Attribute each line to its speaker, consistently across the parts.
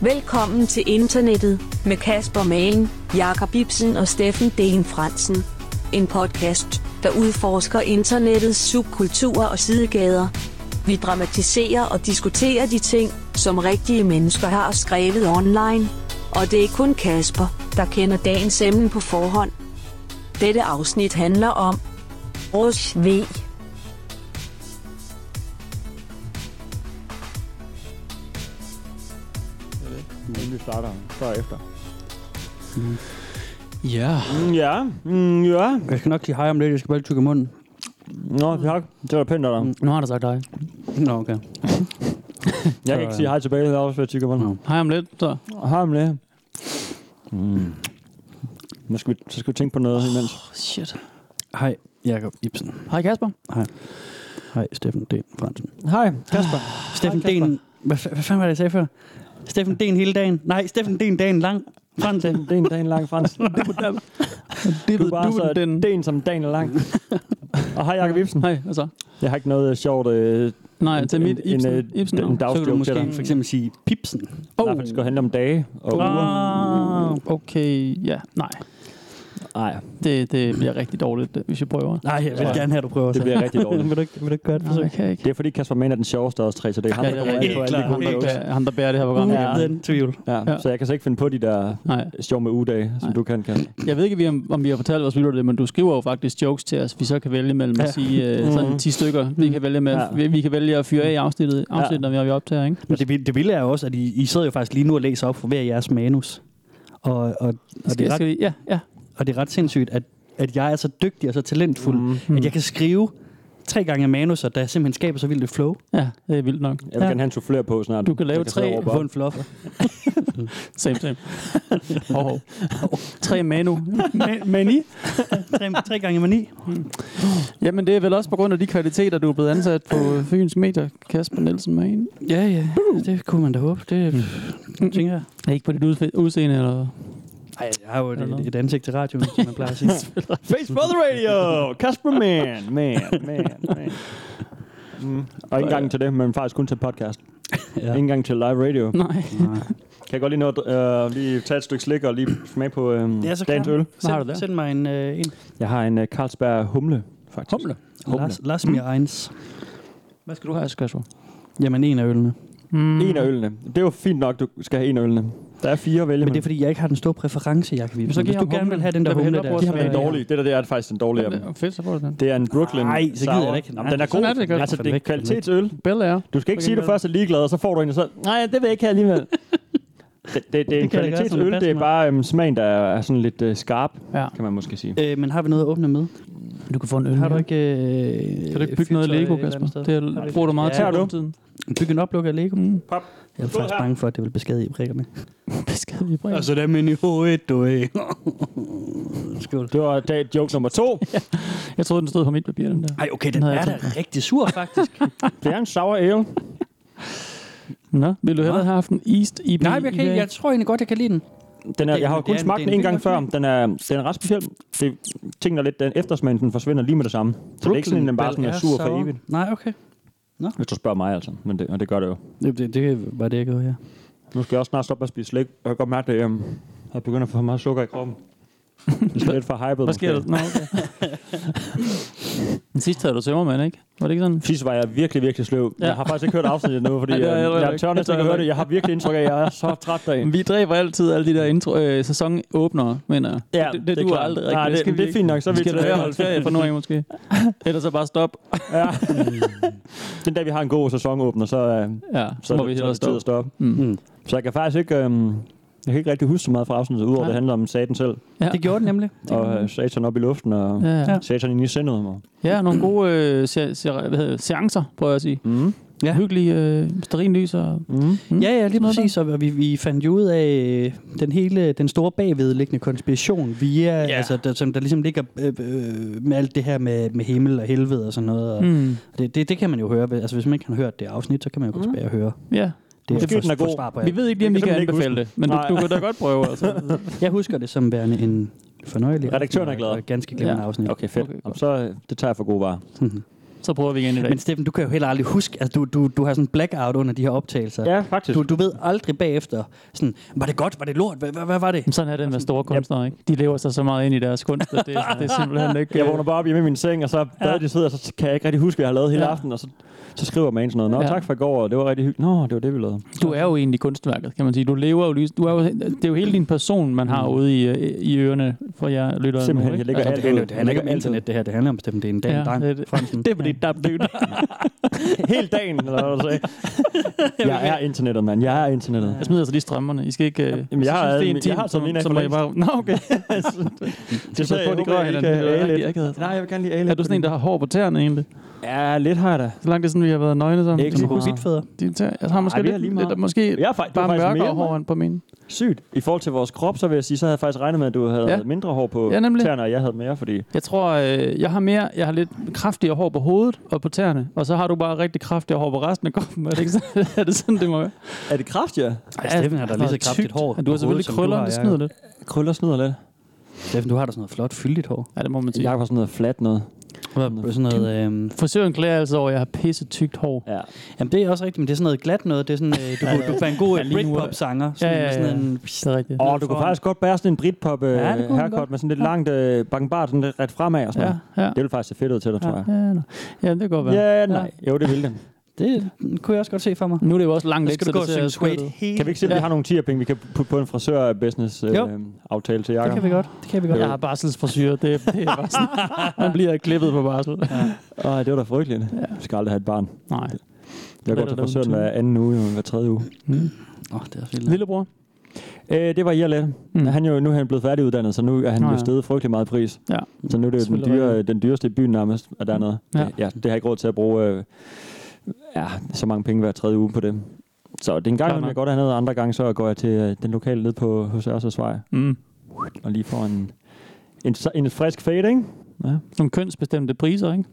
Speaker 1: Velkommen til internettet med Kasper Magen, Jakob Ibsen og Steffen Dehn Fransen. En podcast, der udforsker internettets subkulturer og sidegader. Vi dramatiserer og diskuterer de ting, som rigtige mennesker har skrevet online. Og det er kun Kasper, der kender dagens emne på forhånd. Dette afsnit handler om Rus V.
Speaker 2: inden vi starter før og efter.
Speaker 3: Ja,
Speaker 2: Mm, ja, mm, ja.
Speaker 3: jeg skal nok sige hej om lidt, jeg skal bare lige tykke i munden.
Speaker 2: Nå, tak. Det var pænt af dig.
Speaker 3: Nu har der sagt hej. Nå, okay.
Speaker 2: Jeg kan ikke sige hej tilbage, det er også, hvad jeg tykker på.
Speaker 3: Nå. Hej om lidt, så.
Speaker 2: Hej med det. Mm. Nu skal vi, så skal vi tænke på noget imens.
Speaker 3: Oh, shit. Hej, Jakob Ibsen. Hej, Kasper. Hej. Hej, Steffen D. Fransen.
Speaker 2: Hej, Kasper.
Speaker 3: Steffen
Speaker 2: Kasper.
Speaker 3: D. Hvad, fa- hvad fanden var det, jeg sagde før? Steffen D. hele dagen. Nej, Steffen D. dagen lang. Fransen.
Speaker 2: Det er en dag lang, Frans. Du er bare så den. den som dagen er lang. Og hej, Jacob Ibsen.
Speaker 4: Hej, altså.
Speaker 2: Jeg har ikke noget øh, sjovt... Øh,
Speaker 4: Nej, til
Speaker 2: En-
Speaker 4: mit
Speaker 2: en,
Speaker 4: Ibsen.
Speaker 2: øh,
Speaker 4: Ibsen
Speaker 2: den-
Speaker 4: navn.
Speaker 2: der-
Speaker 3: Så
Speaker 2: dagsjoke
Speaker 3: kan du
Speaker 2: til
Speaker 3: måske
Speaker 2: dig.
Speaker 3: for eksempel sige Pipsen.
Speaker 2: oh. Nej, for det skal handle om dage og uger.
Speaker 4: Ah, okay, ja, nej.
Speaker 2: Nej,
Speaker 4: Det, det bliver rigtig dårligt, øh, hvis jeg prøver.
Speaker 3: Nej, jeg vil
Speaker 2: Ja.
Speaker 3: gerne have, at du prøver.
Speaker 2: det
Speaker 3: så.
Speaker 2: bliver rigtig dårligt.
Speaker 4: Vil du ikke, vil du ikke gøre et forsøg? Okay, ikke.
Speaker 2: Det er fordi Kasper Mann er den sjoveste af os tre, så det er ham,
Speaker 4: Ja,
Speaker 2: der
Speaker 4: det er
Speaker 2: kommer
Speaker 4: rigtigt.
Speaker 2: ind på alle
Speaker 3: Helt
Speaker 2: de gode
Speaker 3: klart.
Speaker 2: jokes.
Speaker 4: Det er ham, der bærer det her program.
Speaker 3: Uden
Speaker 4: Ja.
Speaker 3: den tvivl.
Speaker 2: Ja,
Speaker 4: Ja.
Speaker 2: så jeg kan så ikke finde på de der
Speaker 4: Nej.
Speaker 2: sjove med ugedage, som
Speaker 4: Nej.
Speaker 2: du kan, Kasper.
Speaker 4: Jeg ved ikke, vi- om, om vi har fortalt vores lytter det, men du skriver jo faktisk jokes til os. Vi så kan vælge mellem at
Speaker 3: Ja.
Speaker 4: sige øh,
Speaker 2: Mhm.
Speaker 4: sådan 10 stykker. Vi kan vælge, med,
Speaker 2: Ja.
Speaker 4: vi, vi kan vælge at fyre af i afsnittet, afsnittet når vi er optager, ikke?
Speaker 3: Men det, vil- det vilde er jo også, at I, I sidder jo faktisk lige nu og læser op for hver jeres manus. Og, og, og, det,
Speaker 4: Skal-
Speaker 3: er ret,
Speaker 4: skal vi- Ja, ja.
Speaker 3: og det er ret sindssygt, at, at jeg er så dygtig og så talentfuld, mm.
Speaker 2: Mm.
Speaker 3: at jeg kan skrive tre gange manuser, der simpelthen skaber så vildt et flow.
Speaker 4: Ja, det er vildt nok.
Speaker 2: Jeg vil
Speaker 3: Ja.
Speaker 2: gerne have en soufflør på snart.
Speaker 4: Du kan lave
Speaker 2: Jeg sidde
Speaker 4: tre-
Speaker 2: og råbe
Speaker 3: Få
Speaker 2: op.
Speaker 3: en fluff.
Speaker 4: Same, same. hov, hov. Tre manu. Ma- mani?
Speaker 3: tre, tre gange mani.
Speaker 4: Jamen, det er vel også på grund af de kvaliteter, du er blevet ansat på øh, Fynsk Medier, Kasper Nielsen Magen.
Speaker 3: Ja, ja.
Speaker 4: Uh.
Speaker 3: Det kunne man da håbe. Det Mm.
Speaker 4: Mm.
Speaker 3: tænker jeg.
Speaker 4: Er ikke på dit udfe- udseende, eller hvad?
Speaker 3: Ej, jeg har jo
Speaker 4: Eller-
Speaker 3: et, et ansigt til radioen, som man plejer at sige.
Speaker 2: Face for the radio! Kasper Man! Man, man, man. Mm. Og ikke engang til det, men faktisk kun til podcast. Ja.
Speaker 3: ja.
Speaker 2: Ikke engang til live radio.
Speaker 4: Nej.
Speaker 2: Kan jeg godt lige nå at øh, lige tage et stykke slik og lige smage på øh,
Speaker 3: Ja, så
Speaker 2: dagens
Speaker 3: klar.
Speaker 2: øl?
Speaker 4: Hvad har du
Speaker 3: Send,
Speaker 4: der?
Speaker 3: send mig en, øh, en.
Speaker 2: Jeg har en øh, Carlsberg humle, faktisk.
Speaker 4: Humle.
Speaker 2: Humle.
Speaker 3: Lars, Lars Mir Eins.
Speaker 4: Hvad skal du have, Kasper?
Speaker 3: Jamen, en af ølene.
Speaker 4: Mm.
Speaker 2: En af ølene. Det er jo fint nok, du skal have en af ølene. Der er fire at vælge
Speaker 3: Men det er,
Speaker 2: mellem.
Speaker 3: fordi jeg ikke har den store præference, Jacob Ibsen.
Speaker 4: så giv
Speaker 3: Hvis du
Speaker 4: ham
Speaker 3: gerne
Speaker 4: humlen.
Speaker 3: vil have den der
Speaker 4: Den vil
Speaker 3: humle
Speaker 4: hellere
Speaker 3: der.
Speaker 4: bruge
Speaker 2: Den er dårlig. Det der det er faktisk den dårlige af dem.
Speaker 4: Ja, fedt, så får du den.
Speaker 2: Det er en Brooklyn
Speaker 3: Nej, så gider
Speaker 2: Sour.
Speaker 3: jeg da ikke.
Speaker 2: Nå, men den er god.
Speaker 4: Sådan er det, Kasper.
Speaker 2: altså,
Speaker 3: Få
Speaker 2: det er
Speaker 3: den væk, få den væk.
Speaker 2: kvalitetsøl.
Speaker 4: Bell er.
Speaker 2: Du skal ikke
Speaker 4: På
Speaker 2: sige, at du
Speaker 4: genvej.
Speaker 2: først er ligeglad, og så får du en, og så... Nej, det vil jeg ikke have alligevel. det, det, det er en
Speaker 3: Det kan jeg da gøre, som det
Speaker 2: kvalitetsøl, det er
Speaker 3: passer mig.
Speaker 2: bare øhm, smagen, der er sådan lidt øh, skarp,
Speaker 4: Ja.
Speaker 2: kan man måske sige.
Speaker 3: Øh, men har vi noget at åbne med?
Speaker 4: Du kan få en øl.
Speaker 3: Har du
Speaker 4: mere.
Speaker 3: ikke... Øh,
Speaker 4: Kan du ikke bygge noget Lego, Kasper? Det er, bruger du meget
Speaker 3: Ja,
Speaker 4: tid
Speaker 2: har du.
Speaker 4: på tiden.
Speaker 3: Bygge en oplukker af Lego?
Speaker 4: Mm.
Speaker 3: Jeg er
Speaker 2: Stå
Speaker 3: faktisk
Speaker 2: her.
Speaker 3: bange for, at det vil beskade i prikkerne.
Speaker 4: Beskade i brev.
Speaker 3: Og så der men i hovedet, du er. Skål.
Speaker 2: Det var dag joke nummer to.
Speaker 4: Jeg troede, den stod på mit papir, den der.
Speaker 3: Ej, okay,
Speaker 4: Den
Speaker 3: den
Speaker 4: havde
Speaker 3: er
Speaker 4: jeg
Speaker 3: da rigtig sur, faktisk.
Speaker 2: Det er en sour ale.
Speaker 4: Nå, vil du hellere
Speaker 3: Nå.
Speaker 4: have haft en East E IPA?
Speaker 3: Nej, men jeg, kan, ikke- jeg tror egentlig godt, jeg kan lide den.
Speaker 2: Den er, jeg har jo
Speaker 3: Det
Speaker 2: kun
Speaker 3: er en-
Speaker 2: smagt
Speaker 3: det er
Speaker 2: den en
Speaker 3: en
Speaker 2: gang
Speaker 3: fin
Speaker 2: før.
Speaker 3: opfyldning.
Speaker 2: Den er, den er ret speciel. Det, tingene er lidt, den eftersmagen, den forsvinder lige med det samme. Så det er ikke sådan, at den bare sådan er sur for evigt.
Speaker 3: Nej, okay.
Speaker 2: Hvis du spørger mig altså, men det, og det gør det jo.
Speaker 3: Det, det, det var det, jeg gjorde her.
Speaker 2: Nu skal jeg også snart stoppe med at spise slik. Jeg kan godt mærke, at jeg øhm, jeg begynder at få for meget sukker i kroppen. Det er lidt for hypet.
Speaker 4: Hvad sker der? Nå, okay. Den sidste havde du tømmermand, ikke? Var det ikke sådan?
Speaker 2: Sidst var jeg virkelig, virkelig sløv. Ja.
Speaker 4: Ja.
Speaker 2: Jeg har faktisk ikke hørt afsnittet nu, fordi
Speaker 4: Nej,
Speaker 2: ja,
Speaker 4: det har jeg
Speaker 2: jeg,
Speaker 4: heller
Speaker 2: jeg
Speaker 4: ikke.
Speaker 2: tør
Speaker 4: Det
Speaker 2: næsten
Speaker 4: tør
Speaker 2: ikke
Speaker 4: jeg
Speaker 2: høre det.
Speaker 4: ikke.
Speaker 2: Jeg har virkelig indtryk af, at jeg er så træt derinde.
Speaker 4: Vi dræber altid alle de der intro, øh, sæsonåbner, mener jeg.
Speaker 2: Ja,
Speaker 4: det,
Speaker 2: det
Speaker 4: det,
Speaker 2: er
Speaker 4: det du
Speaker 2: klart.
Speaker 4: aldrig
Speaker 2: Nej,
Speaker 4: rigtigt.
Speaker 2: det- det er
Speaker 4: ikke.
Speaker 2: fint nok, så er
Speaker 4: vi
Speaker 2: vi
Speaker 4: skal da
Speaker 2: tilbage.
Speaker 4: hellere holde ferie for nu af, måske. Ellers så bare stop.
Speaker 2: Ja. Den dag, vi har en god sæsonåbner, så, øh,
Speaker 4: Ja,
Speaker 2: så,
Speaker 4: så må vi
Speaker 2: så er det
Speaker 4: hellere
Speaker 2: tid
Speaker 4: stoppe.
Speaker 2: at stoppe.
Speaker 4: Mm.
Speaker 3: Mm.
Speaker 2: Så jeg kan faktisk ikke... øhm, jeg kan ikke rigtig huske så meget fra afsnittet, udover at
Speaker 4: Nej.
Speaker 2: det handler om satan selv,
Speaker 4: Ja.
Speaker 3: Det gjorde den nemlig.
Speaker 2: og øh, satan op i luften, og
Speaker 4: Ja, ja.
Speaker 3: Ja.
Speaker 2: satan inde i sindet. Og,
Speaker 4: ja, nogle gode øh, se, se, hvad hedder, det, seancer, prøver jeg at sige.
Speaker 2: mm,
Speaker 3: Ja.
Speaker 4: Ja. Hyggelige øh, stearinlys og...
Speaker 2: mm.
Speaker 4: Mm.
Speaker 3: Ja, ja, lige
Speaker 4: Sådan noget
Speaker 3: præcis. Og vi, vi fandt jo ud af øh, den hele, den store bagvedliggende konspiration via, ja. altså, der, som der ligesom ligger øh, øh, med alt det her med, med himmel og helvede og sådan noget. Og mm.
Speaker 4: Mm.
Speaker 3: det, det, det, kan man jo høre. ved- Altså, hvis man ikke har hørt det afsnit, så kan man jo gå tilbage og høre.
Speaker 4: Ja,
Speaker 3: Det
Speaker 2: Måske
Speaker 3: for-
Speaker 2: den er
Speaker 3: for
Speaker 2: god.
Speaker 3: svar på
Speaker 4: vi
Speaker 3: alt.
Speaker 4: ved ikke lige, om vi
Speaker 2: Jeg kan
Speaker 4: kan
Speaker 2: simpelthen ikke
Speaker 4: anbefale det, men du,
Speaker 2: Nej.
Speaker 4: du kan da godt prøve, altså.
Speaker 3: Jeg husker det som værende en fornøjelig
Speaker 2: Redaktøren er glad.
Speaker 3: og ganske glimrende
Speaker 4: Ja.
Speaker 3: afsnit.
Speaker 2: Okay, fedt.
Speaker 4: Okay,
Speaker 2: Okay, så øh, det tager jeg for gode varer.
Speaker 3: Mhm.
Speaker 4: Så prøver vi igen i dag.
Speaker 3: Men Steffen, du kan jo heller aldrig huske, altså du, du, du har sådan en blackout under de her optagelser.
Speaker 2: Ja, faktisk.
Speaker 3: Du, du ved aldrig bagefter, sådan, var det godt, var det lort, hvad, hvad, hvad var det?
Speaker 4: Men sådan er det med store kunstnere, ikke? De lever sig så meget ind i deres kunst, at det, det er simpelthen ikke...
Speaker 2: Jeg vågner bare op hjemme i min seng, og så
Speaker 4: Øh. Ja.
Speaker 2: ja. det sidder, og så kan jeg ikke rigtig huske, hvad jeg har lavet hele
Speaker 4: Ja.
Speaker 2: ja. aftenen, og så, så skriver man sådan noget. Nå,
Speaker 4: Ja.
Speaker 2: ja. tak for i går, og det var rigtig hyggeligt. Nå, det var det, vi lavede.
Speaker 4: Du er jo egentlig kunstværket, kan man sige. Du lever jo lige... Du er jo, det er jo hele din person, man har ude i, øh, i ørerne, for jeg lytter
Speaker 2: Mm. Simpelthen, jeg lægger
Speaker 3: Altså, det,
Speaker 2: alt
Speaker 3: handler,
Speaker 2: ud.
Speaker 3: det handler ikke om
Speaker 2: Alt ud.
Speaker 3: internet, det her. Det handler om Steffen, det er en dag, ja, dreng.
Speaker 4: det, det, det er fordi, der blev
Speaker 2: Hele dagen, eller hvad du sagde. Jeg er internettet, mand. Jeg er internettet.
Speaker 4: Jeg smider altså lige strømmerne. I skal ikke... øh,
Speaker 2: Jamen,
Speaker 4: hvis
Speaker 2: jeg
Speaker 4: I
Speaker 2: har-
Speaker 4: synes, det er
Speaker 2: jeg
Speaker 4: intimt,
Speaker 2: har taget mine af
Speaker 4: så
Speaker 2: for
Speaker 4: må I
Speaker 2: længst.
Speaker 4: bare... Nå, okay.
Speaker 2: Det
Speaker 4: så på, det gør hinanden. Det er rigtigt, jeg ikke havde-
Speaker 2: Nej, jeg vil gerne lige
Speaker 4: er du sådan en, der har hår på tæerne egentlig?
Speaker 2: Ja, lidt har jeg da.
Speaker 4: Så langt det er sådan, vi har været nøgne sammen.
Speaker 2: Ikke
Speaker 4: så
Speaker 2: lige
Speaker 4: meget.
Speaker 3: Hobbitfædre.
Speaker 4: Dine tæer. Jeg har måske
Speaker 2: Ej, vi er
Speaker 4: lidt,
Speaker 2: lige
Speaker 4: lidt,
Speaker 2: meget.
Speaker 4: måske
Speaker 2: Jeg er faktisk, bare
Speaker 4: bare
Speaker 2: faktisk
Speaker 4: mørkere
Speaker 2: mere
Speaker 4: hår
Speaker 2: hår.
Speaker 4: end på mine.
Speaker 2: Sygt. I forhold til vores krop, så vil jeg sige, så havde jeg faktisk regnet med, at du havde
Speaker 4: Ja.
Speaker 2: ja. mindre hår på
Speaker 4: Ja,
Speaker 2: ja,
Speaker 4: nemlig.
Speaker 2: tæerne, og jeg havde mere, fordi...
Speaker 4: Jeg tror, øh, jeg har mere, jeg har lidt kraftigere hår på hovedet og på tæerne, og så har du bare rigtig kraftigere hår på resten af kroppen. Er det, ikke sådan, er det sådan, det må være?
Speaker 2: Er det kraftigere?
Speaker 3: Ej, Steffen har da lige så kraftigt hår.
Speaker 4: Men du har
Speaker 3: på
Speaker 4: selvfølgelig
Speaker 3: hovedet, som
Speaker 4: krøller,
Speaker 3: du har,
Speaker 4: det
Speaker 3: Jacob.
Speaker 4: snyder lidt.
Speaker 2: Krøller snyder lidt.
Speaker 3: Steffen, du har da sådan noget flot, fyldigt hår.
Speaker 4: Ja, det må man sige.
Speaker 2: Jeg har sådan noget flat noget.
Speaker 3: Sådan noget, øhm,
Speaker 4: Frisøren klager altså over, at jeg har pisse tykt hår.
Speaker 2: Ja.
Speaker 3: jamen, det er også rigtigt, men det er sådan noget glat noget. Det er sådan, øh, du, kunne, du kunne være en god øh,
Speaker 4: lige nu er-
Speaker 3: Britpop-sanger.
Speaker 4: Ja,
Speaker 3: Sådan,
Speaker 4: ja, ja.
Speaker 3: Sådan en,
Speaker 4: Det er rigtigt.
Speaker 2: Og du kunne faktisk godt bære sådan en britpop øh,
Speaker 4: Ja,
Speaker 2: ja,
Speaker 4: det kunne man godt.
Speaker 2: haircut med sådan lidt langt øh, bankbart, sådan lidt ret fremad og sådan
Speaker 4: Ja,
Speaker 2: noget.
Speaker 4: ja.
Speaker 2: Det ville faktisk se fedt ud til dig, tror jeg.
Speaker 4: Ja, ja, nå. ja, det kan godt være.
Speaker 2: Ja, nej. Jo, det ville det.
Speaker 3: det kunne jeg også godt se for mig.
Speaker 4: Nu er det jo også langt
Speaker 3: Så
Speaker 4: væk,
Speaker 3: skal
Speaker 4: så
Speaker 3: du gå
Speaker 4: det
Speaker 3: og
Speaker 4: ser
Speaker 3: synge
Speaker 4: skørt
Speaker 3: Suede
Speaker 4: ud.
Speaker 3: hele
Speaker 2: Kan vi ikke se, om vi
Speaker 4: Ja.
Speaker 2: har nogle 10 penge, vi kan putte på en
Speaker 3: Jo.
Speaker 2: frisør-business-aftale til Jacob?
Speaker 3: Det kan vi godt. Det kan vi godt.
Speaker 4: Jeg har barselsfrisyr. Det, det er bare sådan. Man bliver klippet på barsel.
Speaker 2: Åh, det var da frygteligt. Ja. Jeg skal aldrig have et barn.
Speaker 4: Nej.
Speaker 2: Jeg
Speaker 4: var
Speaker 2: går
Speaker 4: da
Speaker 2: til
Speaker 4: da
Speaker 2: frisøren
Speaker 4: ondt.
Speaker 2: hver anden uge, jo, hver tredje uge.
Speaker 4: Mm.
Speaker 3: Åh, det er også vildt.
Speaker 4: Lillebror.
Speaker 2: Øh, det var Irland.
Speaker 4: Mm.
Speaker 2: Mm. Han er jo, nu er han blevet færdiguddannet, så nu er han
Speaker 4: Nå,
Speaker 2: jo
Speaker 4: ja.
Speaker 2: steget frygtelig meget i pris.
Speaker 4: Ja.
Speaker 2: Så nu er det jo den,
Speaker 4: Selvfølgelig
Speaker 2: dyre,
Speaker 4: rigtigt.
Speaker 2: den dyreste i byen nærmest, at der er noget.
Speaker 4: Ja.
Speaker 2: Ja. ja. det har jeg ikke råd til at bruge øh, ja, så mange penge hver tredje uge på det. Så det er en gang,
Speaker 4: Klart
Speaker 2: imellem,
Speaker 4: nok.
Speaker 2: jeg går dernede, og andre gange så går jeg til øh, den lokale nede på hos Ørsers Vej,
Speaker 4: Mm.
Speaker 2: og lige får en, en, så- en frisk fade, ikke? Ja.
Speaker 4: Nogle kønsbestemte priser, ikke?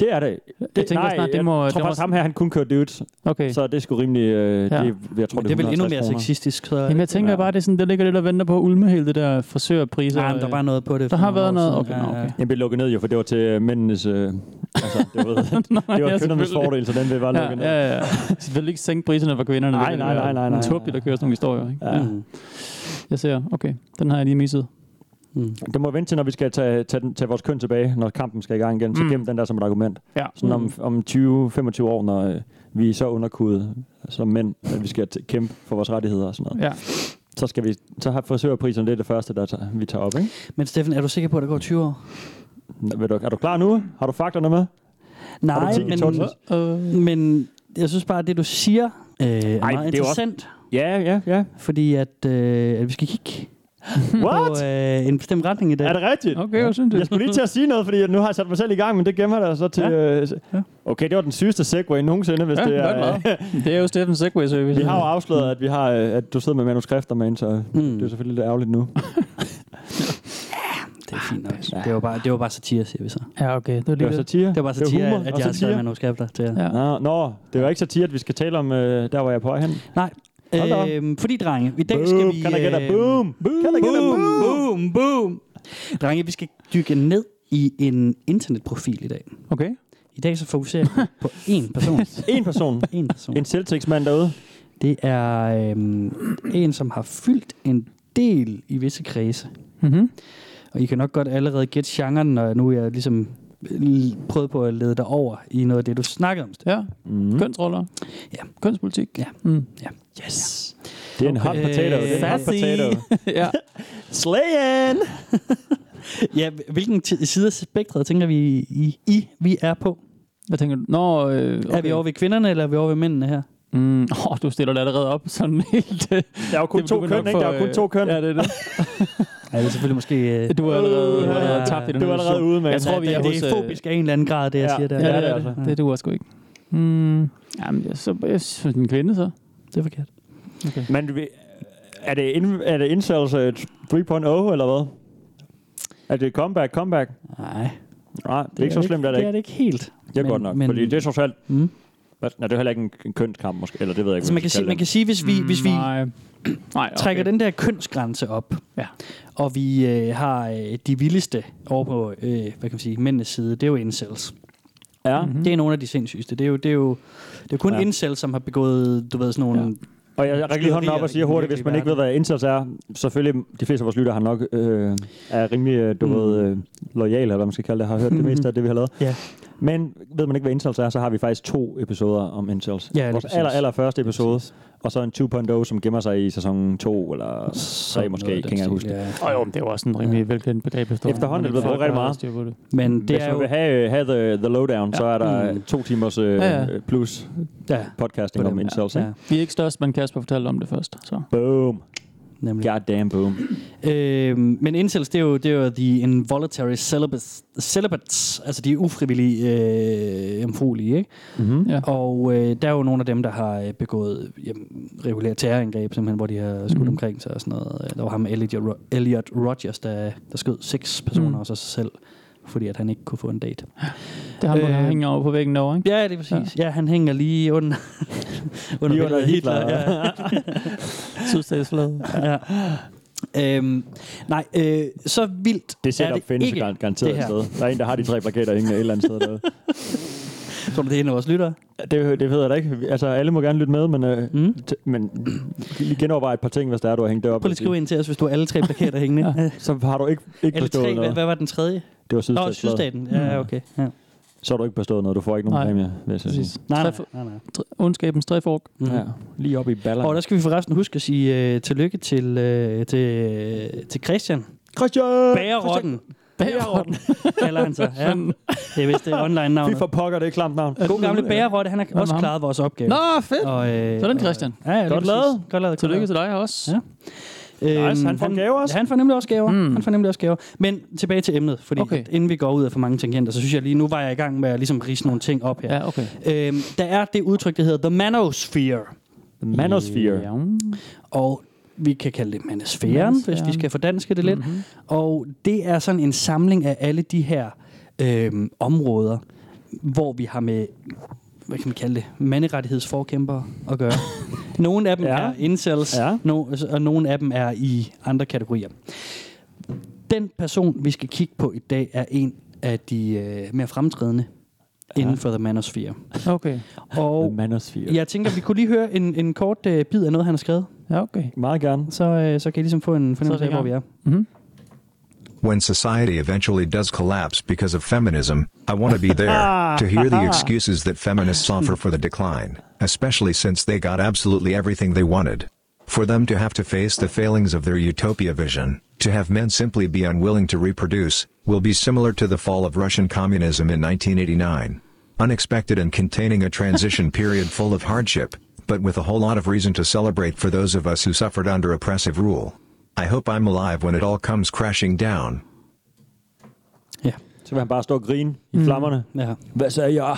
Speaker 2: Det er det. det
Speaker 4: Jeg tænker
Speaker 2: nej,
Speaker 4: snart, det må...
Speaker 2: jeg
Speaker 4: det
Speaker 2: tror
Speaker 4: må-
Speaker 2: faktisk, ham her, han kun kører dudes,
Speaker 4: okay.
Speaker 2: så det er sgu rimelig... Øh,
Speaker 4: Ja.
Speaker 2: ja. det, jeg tror,
Speaker 3: Men det er vel endnu
Speaker 2: 150
Speaker 3: mere
Speaker 2: kroner.
Speaker 3: sexistisk. Så,
Speaker 4: Jamen, jeg tænker
Speaker 2: øh, Ja.
Speaker 4: bare, det er sådan, det ligger lidt og venter på at ulme hele det der frisørpriser.
Speaker 3: Nej, men der var noget på det.
Speaker 4: Der
Speaker 3: for
Speaker 4: har
Speaker 3: nogle
Speaker 4: været
Speaker 3: år
Speaker 4: noget.
Speaker 3: siden.
Speaker 4: Okay, nå, okay.
Speaker 2: Den blev lukket ned jo, for det var til øh, mændenes... Øh, altså, det var,
Speaker 4: Nej,
Speaker 2: det
Speaker 4: ja,
Speaker 2: var
Speaker 4: selvfølgelig.
Speaker 2: kønnernes fordel, så den blev bare
Speaker 4: Ja,
Speaker 2: lukket ned.
Speaker 4: ja, ja. Selvfølgelig ikke sænke priserne for kvinderne.
Speaker 2: Nej,
Speaker 4: Det er
Speaker 2: nej, nej, nej, nej.
Speaker 4: En tåbelig, der kører sådan nogle historier, ikke?
Speaker 2: Ja.
Speaker 3: Mm.
Speaker 4: Jeg ser, okay, den har jeg lige misset.
Speaker 3: Mm.
Speaker 2: Det må vente til, når vi skal tage, tage, den, tage vores køn tilbage, når kampen skal i gang igen. Så
Speaker 4: Mm.
Speaker 2: gem den der som et argument.
Speaker 4: Ja.
Speaker 2: Sådan om, om 20-25 år, når øh, vi er så underkudet som mænd, at vi skal t- kæmpe for vores rettigheder og sådan noget.
Speaker 4: Ja.
Speaker 2: Så, skal vi, så har frisørprisen, det er det første, der tager, vi tager op, ikke?
Speaker 3: Men Steffen, er du sikker på, at der går 20 år?
Speaker 2: Nå, ved du- Er du klar nu? Har du fakterne med?
Speaker 3: Nej,
Speaker 2: tænkt i
Speaker 3: men,
Speaker 2: Tottenham?
Speaker 4: Øh,
Speaker 3: men jeg synes bare, at det du siger øh, er
Speaker 2: det er jo
Speaker 3: meget
Speaker 2: også-
Speaker 3: interessant, også...
Speaker 2: Ja, ja, ja.
Speaker 3: fordi at, øh, at vi skal kigge
Speaker 2: What?
Speaker 3: på øh, en bestemt retning i dag.
Speaker 2: Er det rigtigt?
Speaker 4: okay, jeg synes det.
Speaker 2: Jeg skulle lige til at sige noget, fordi nu har jeg sat mig selv i gang, men det gemmer jeg da så til... Øh,
Speaker 4: Ja.
Speaker 2: okay, det var den sygeste segway nogensinde, hvis
Speaker 4: Ja,
Speaker 2: det
Speaker 4: godt
Speaker 2: er...
Speaker 4: meget. Det er jo Steffens Segway Service.
Speaker 2: Vi har jo afsløret, at, vi har, øh, at du sidder med manuskrifter med ind, så mm. det er
Speaker 3: Mm.
Speaker 2: selvfølgelig lidt ærgerligt nu.
Speaker 3: Det er fint nok. Det var bare, det var bare satire, siger vi så.
Speaker 4: Ja, okay. Det var
Speaker 2: Det
Speaker 4: lige
Speaker 2: var
Speaker 4: det.
Speaker 2: satire.
Speaker 3: Det var bare satire,
Speaker 2: humor
Speaker 3: at, at
Speaker 2: og
Speaker 3: jeg har skrevet
Speaker 2: satire.
Speaker 3: manuskripter til jer.
Speaker 4: Ja.
Speaker 2: Nå, nå, det var ikke satire, at vi skal tale om øh, der, hvor jeg er på vej hen.
Speaker 3: Nej,
Speaker 2: Hold da op.
Speaker 3: øhm, fordi drenge, i dag skal
Speaker 2: Boom,
Speaker 3: vi...
Speaker 2: kan der gætte
Speaker 4: øh,
Speaker 3: øhm,
Speaker 2: boom? Kan der gætte
Speaker 3: boom,
Speaker 2: boom?
Speaker 3: boom, boom. Drenge, vi skal dykke ned i en internetprofil i dag.
Speaker 4: Okay.
Speaker 3: I dag så fokuserer vi på én person.
Speaker 2: En person.
Speaker 3: En person.
Speaker 2: En selvtægtsmand derude.
Speaker 3: Det er øhm, en, som har fyldt en del i visse kredse.
Speaker 2: Mhm.
Speaker 4: Mm-hmm.
Speaker 3: Og I kan nok godt allerede gætte genren, når nu jeg ligesom l- prøvede på at lede dig over i noget af det, du snakkede om.
Speaker 4: Ja.
Speaker 2: Mm.
Speaker 4: Kønsroller.
Speaker 3: Ja.
Speaker 4: Kønspolitik.
Speaker 3: Ja.
Speaker 4: Mm.
Speaker 3: Yes.
Speaker 2: Det er en hot
Speaker 3: Okay.
Speaker 2: potato. Det er en hot
Speaker 4: Sassy.
Speaker 2: potato.
Speaker 4: ja.
Speaker 2: Slayen!
Speaker 3: Ja, hvilken ti- side af spektret tænker vi i, I vi er på?
Speaker 4: Hvad tænker du? Nå, øh, okay.
Speaker 3: Okay. Er vi over ved kvinderne, eller er vi over ved mændene her?
Speaker 4: Mm. Oh, du stiller det allerede op sådan helt... øh,
Speaker 2: Der er jo kun
Speaker 4: det
Speaker 2: to
Speaker 4: vil du
Speaker 2: køn,
Speaker 4: nok
Speaker 2: ikke? Der
Speaker 4: få,
Speaker 2: er jo kun
Speaker 4: øh,
Speaker 2: to køn.
Speaker 4: Ja, det er det.
Speaker 3: Ja, det er selvfølgelig måske... Øh,
Speaker 4: Du er allerede, du er allerede
Speaker 3: Øh,
Speaker 4: tabt i den
Speaker 2: Det var
Speaker 4: her
Speaker 2: allerede
Speaker 4: diskussion.
Speaker 2: ude, mand.
Speaker 4: Jeg tror, vi er
Speaker 3: det,
Speaker 4: hos...
Speaker 3: det er
Speaker 4: øh,
Speaker 3: fobisk af en eller anden grad, det jeg
Speaker 2: ja.
Speaker 3: siger der.
Speaker 4: Ja, det
Speaker 2: det
Speaker 4: er
Speaker 2: er
Speaker 4: det.
Speaker 3: altså.
Speaker 4: Det duer sgu ikke. Mm. Jamen, jeg, så, jeg synes, en kvinde så.
Speaker 3: Det er forkert.
Speaker 4: øh,
Speaker 2: Men vi- er det, ind, er det incels øh, 3.0, eller hvad? Er det comeback, comeback?
Speaker 3: Nej,
Speaker 2: Nej, det, er ikke så slemt, er det
Speaker 3: Det
Speaker 2: ikke.
Speaker 3: er det ikke helt.
Speaker 2: Det er
Speaker 3: Men-
Speaker 2: godt nok,
Speaker 3: men-
Speaker 2: fordi det er socialt...
Speaker 3: Mm.
Speaker 2: Hvad- Nej, det er heller ikke en, en kønskamp, måske. Eller det ved jeg ikke,
Speaker 3: Altså,
Speaker 2: hvad
Speaker 3: man kan, sige,
Speaker 2: kalde
Speaker 3: man kan
Speaker 2: det.
Speaker 3: sige, hvis vi, hvis vi
Speaker 4: Mm, Nej. Nej, okay.
Speaker 3: trækker den der kønsgrænse op,
Speaker 4: Ja.
Speaker 3: og vi øh, har øh, de vildeste over på, øh, hvad kan man sige, mændenes side, det er jo incels.
Speaker 2: Ja.
Speaker 3: Mm-hmm. Det er nogle af de sindssygeste. Det er jo, det er jo, det er kun
Speaker 2: Mhm. Ja.
Speaker 3: ja. incel, som har begået, du ved, sådan nogle... Ja.
Speaker 2: Og jeg rækker lige hånden op og siger hurtigt, hvis man ikke ved, hvad indsats er. Selvfølgelig, de fleste af vores lytter har nok øh, er rimelig, øh, du mm. ved, øh, lojale, eller hvad man skal kalde det, har hørt det meste af det, vi har lavet.
Speaker 3: Ja.
Speaker 2: Men ved man ikke, hvad incels er, så har vi faktisk to episoder om incels.
Speaker 3: Ja, lige
Speaker 2: Vores
Speaker 3: præcis.
Speaker 2: aller, aller første episode,
Speaker 3: præcis.
Speaker 2: og så en 2.0, som gemmer sig i sæson 2 eller 3
Speaker 3: Sådan
Speaker 2: måske,
Speaker 3: noget af
Speaker 2: kan
Speaker 3: den
Speaker 2: ikke engang huske
Speaker 3: stil,
Speaker 2: det.
Speaker 3: ja.
Speaker 4: Åh oh, jo, men det er jo også en rimelig velkendt begreb efterhånden.
Speaker 2: Efterhånden er det blevet brugt rigtig meget.
Speaker 3: Men det
Speaker 2: Hvis
Speaker 3: er
Speaker 2: man
Speaker 3: jo...
Speaker 2: vil have, øh, have the, the lowdown, ja. så er der
Speaker 3: Mm.
Speaker 2: to timers øh,
Speaker 4: Ja, ja.
Speaker 2: ja. plus
Speaker 3: Ja,
Speaker 2: podcasting
Speaker 3: på
Speaker 2: om
Speaker 3: den,
Speaker 2: incels.
Speaker 3: ja.
Speaker 2: Ja.
Speaker 3: Ja,
Speaker 4: Vi er ikke størst, men Kasper fortalte om det først. Så.
Speaker 2: Boom.
Speaker 3: nemlig.
Speaker 2: God damn boom.
Speaker 3: Øhm, men incels, det er jo, det er jo the involuntary celibates, celibates. altså de er ufrivillige øh, jomfruelige, ikke?
Speaker 2: Mm-hmm.
Speaker 4: Ja.
Speaker 3: Og øh, der er jo nogle af dem, der har øh, begået jamen, regulære terrorangreb, simpelthen, hvor de har skudt
Speaker 4: Mhm.
Speaker 3: mm. omkring sig og sådan noget. Der var ham, Elliot, Ro- Elliot Rodgers, der, der skød seks personer
Speaker 4: Mhm.
Speaker 3: mm. og så sig selv, fordi at han ikke kunne få en date.
Speaker 4: Det har man øh,
Speaker 3: Øh,
Speaker 4: hænger over på væggen derovre, ikke?
Speaker 3: Ja, det er præcis. Ja, ja han hænger lige under, under,
Speaker 2: Lige under
Speaker 3: billedet af
Speaker 2: Hitler.
Speaker 3: Hitler ja.
Speaker 4: Sydstatsflade.
Speaker 3: ja. Øhm, nej, øh, så vildt
Speaker 2: Det
Speaker 3: er
Speaker 2: setup
Speaker 3: det
Speaker 2: findes
Speaker 3: ikke,
Speaker 2: gar- garanteret
Speaker 3: det
Speaker 2: et
Speaker 3: her.
Speaker 2: sted. Der er en, der har de tre plakater hængende et eller andet sted. Derude.
Speaker 3: Tror du, det er en af vores lyttere?
Speaker 2: Det, det ved jeg da ikke. Altså, alle må gerne lytte med, men, øh,
Speaker 3: Mm?
Speaker 2: t- men lige genovervej et par ting, hvis der er, du har hængt det op.
Speaker 3: Prøv lige at skrive ind til os, hvis du har alle tre plakater hængende. ja.
Speaker 2: Så har du ikke, ikke
Speaker 3: Eller
Speaker 2: forstået
Speaker 3: tre, hvad,
Speaker 2: noget. Mm.
Speaker 3: hvad var den tredje?
Speaker 2: Det var
Speaker 3: Nå,
Speaker 2: sydstatsflade.
Speaker 3: Sydstaten. Ja, okay. Ja.
Speaker 2: Så har du ikke forstået noget. Du får ikke nogen
Speaker 4: Nej.
Speaker 2: præmie, vil jeg så sige.
Speaker 4: Præcis.
Speaker 3: Nej, nej,
Speaker 4: Træf-
Speaker 3: nej. nej.
Speaker 4: tr- Ondskabens træfork.
Speaker 3: Mm.
Speaker 2: Ja, lige op i ballerne.
Speaker 3: Og der skal vi forresten huske at sige øh, tillykke til, øh, til, til Christian.
Speaker 4: Øh,
Speaker 2: Christian!
Speaker 3: Bagerrotten,
Speaker 4: Bagerorden.
Speaker 3: kalder han sig. Ja. Det er vist det online navn.
Speaker 2: Fy for pokker, det er et klamt navn.
Speaker 3: God gamle Bagerrotte, han har
Speaker 4: Nå,
Speaker 3: også
Speaker 4: ham.
Speaker 3: klaret vores opgave.
Speaker 4: Nå, fedt.
Speaker 3: Og, øh,
Speaker 4: Sådan,
Speaker 3: og-
Speaker 4: Christian.
Speaker 3: Ja, ja, lige
Speaker 2: Godt
Speaker 3: præcis.
Speaker 2: lavet.
Speaker 3: Godt lavet.
Speaker 4: Tillykke til dig også.
Speaker 3: Ja. Øhm,
Speaker 2: Nice, han får gaver også.
Speaker 3: Han får nemlig også gaver.
Speaker 4: Mm.
Speaker 3: Mm. Han får nemlig også gaver. Men tilbage til emnet, fordi
Speaker 4: Okay.
Speaker 3: okay. at, inden vi går ud af for mange tangenter, så synes jeg lige, nu var jeg i gang med at ligesom rise nogle ting op her.
Speaker 4: Ja, okay.
Speaker 3: Ja. Øhm, der er det udtryk, der hedder the manosphere,
Speaker 2: The Manosphere.
Speaker 4: Ja. mm.
Speaker 3: og vi kan kalde det manosfæren,
Speaker 4: Manosfæren.
Speaker 3: hvis vi skal fordanske det lidt.
Speaker 4: Mhm.
Speaker 3: Mm-hmm. Og det er sådan en samling af alle de her øhm, områder, hvor vi har med hvad kan man kalde det, manderettighedsforkæmpere at gøre. nogle af dem
Speaker 2: Ja.
Speaker 3: ja. er incels,
Speaker 2: Ja.
Speaker 3: ja. no, altså, og nogle af dem er i andre kategorier. Den person, vi skal kigge på i dag, er en af de øh, mere fremtrædende ja. inden for The Manosphere.
Speaker 4: Okay.
Speaker 2: The
Speaker 3: Og
Speaker 2: Manosphere.
Speaker 3: jeg tænker, vi kunne lige høre en, en kort øh, bid af noget, han har skrevet.
Speaker 4: Ja, okay.
Speaker 2: Meget gerne.
Speaker 3: Så, øh, så kan I ligesom få en fornemmelse
Speaker 4: i
Speaker 3: af, hvor vi er.
Speaker 4: gang. Mm-hmm.
Speaker 5: When society eventually does collapse because of feminism, I want to be there to hear the excuses that feminists offer for the decline, especially since they got absolutely everything they wanted. For them to have to face the failings of their utopia vision, to have men simply be unwilling to reproduce, will be similar to the fall of Russian communism in 1989. Unexpected and containing a transition period full of hardship, but with a whole lot of reason to celebrate for those of us who suffered under oppressive rule. I hope I'm alive when it all comes crashing down.
Speaker 3: Ja.
Speaker 2: Så vil han bare stå og grine i flammerne.
Speaker 3: ja.
Speaker 2: Hvad sagde jeg?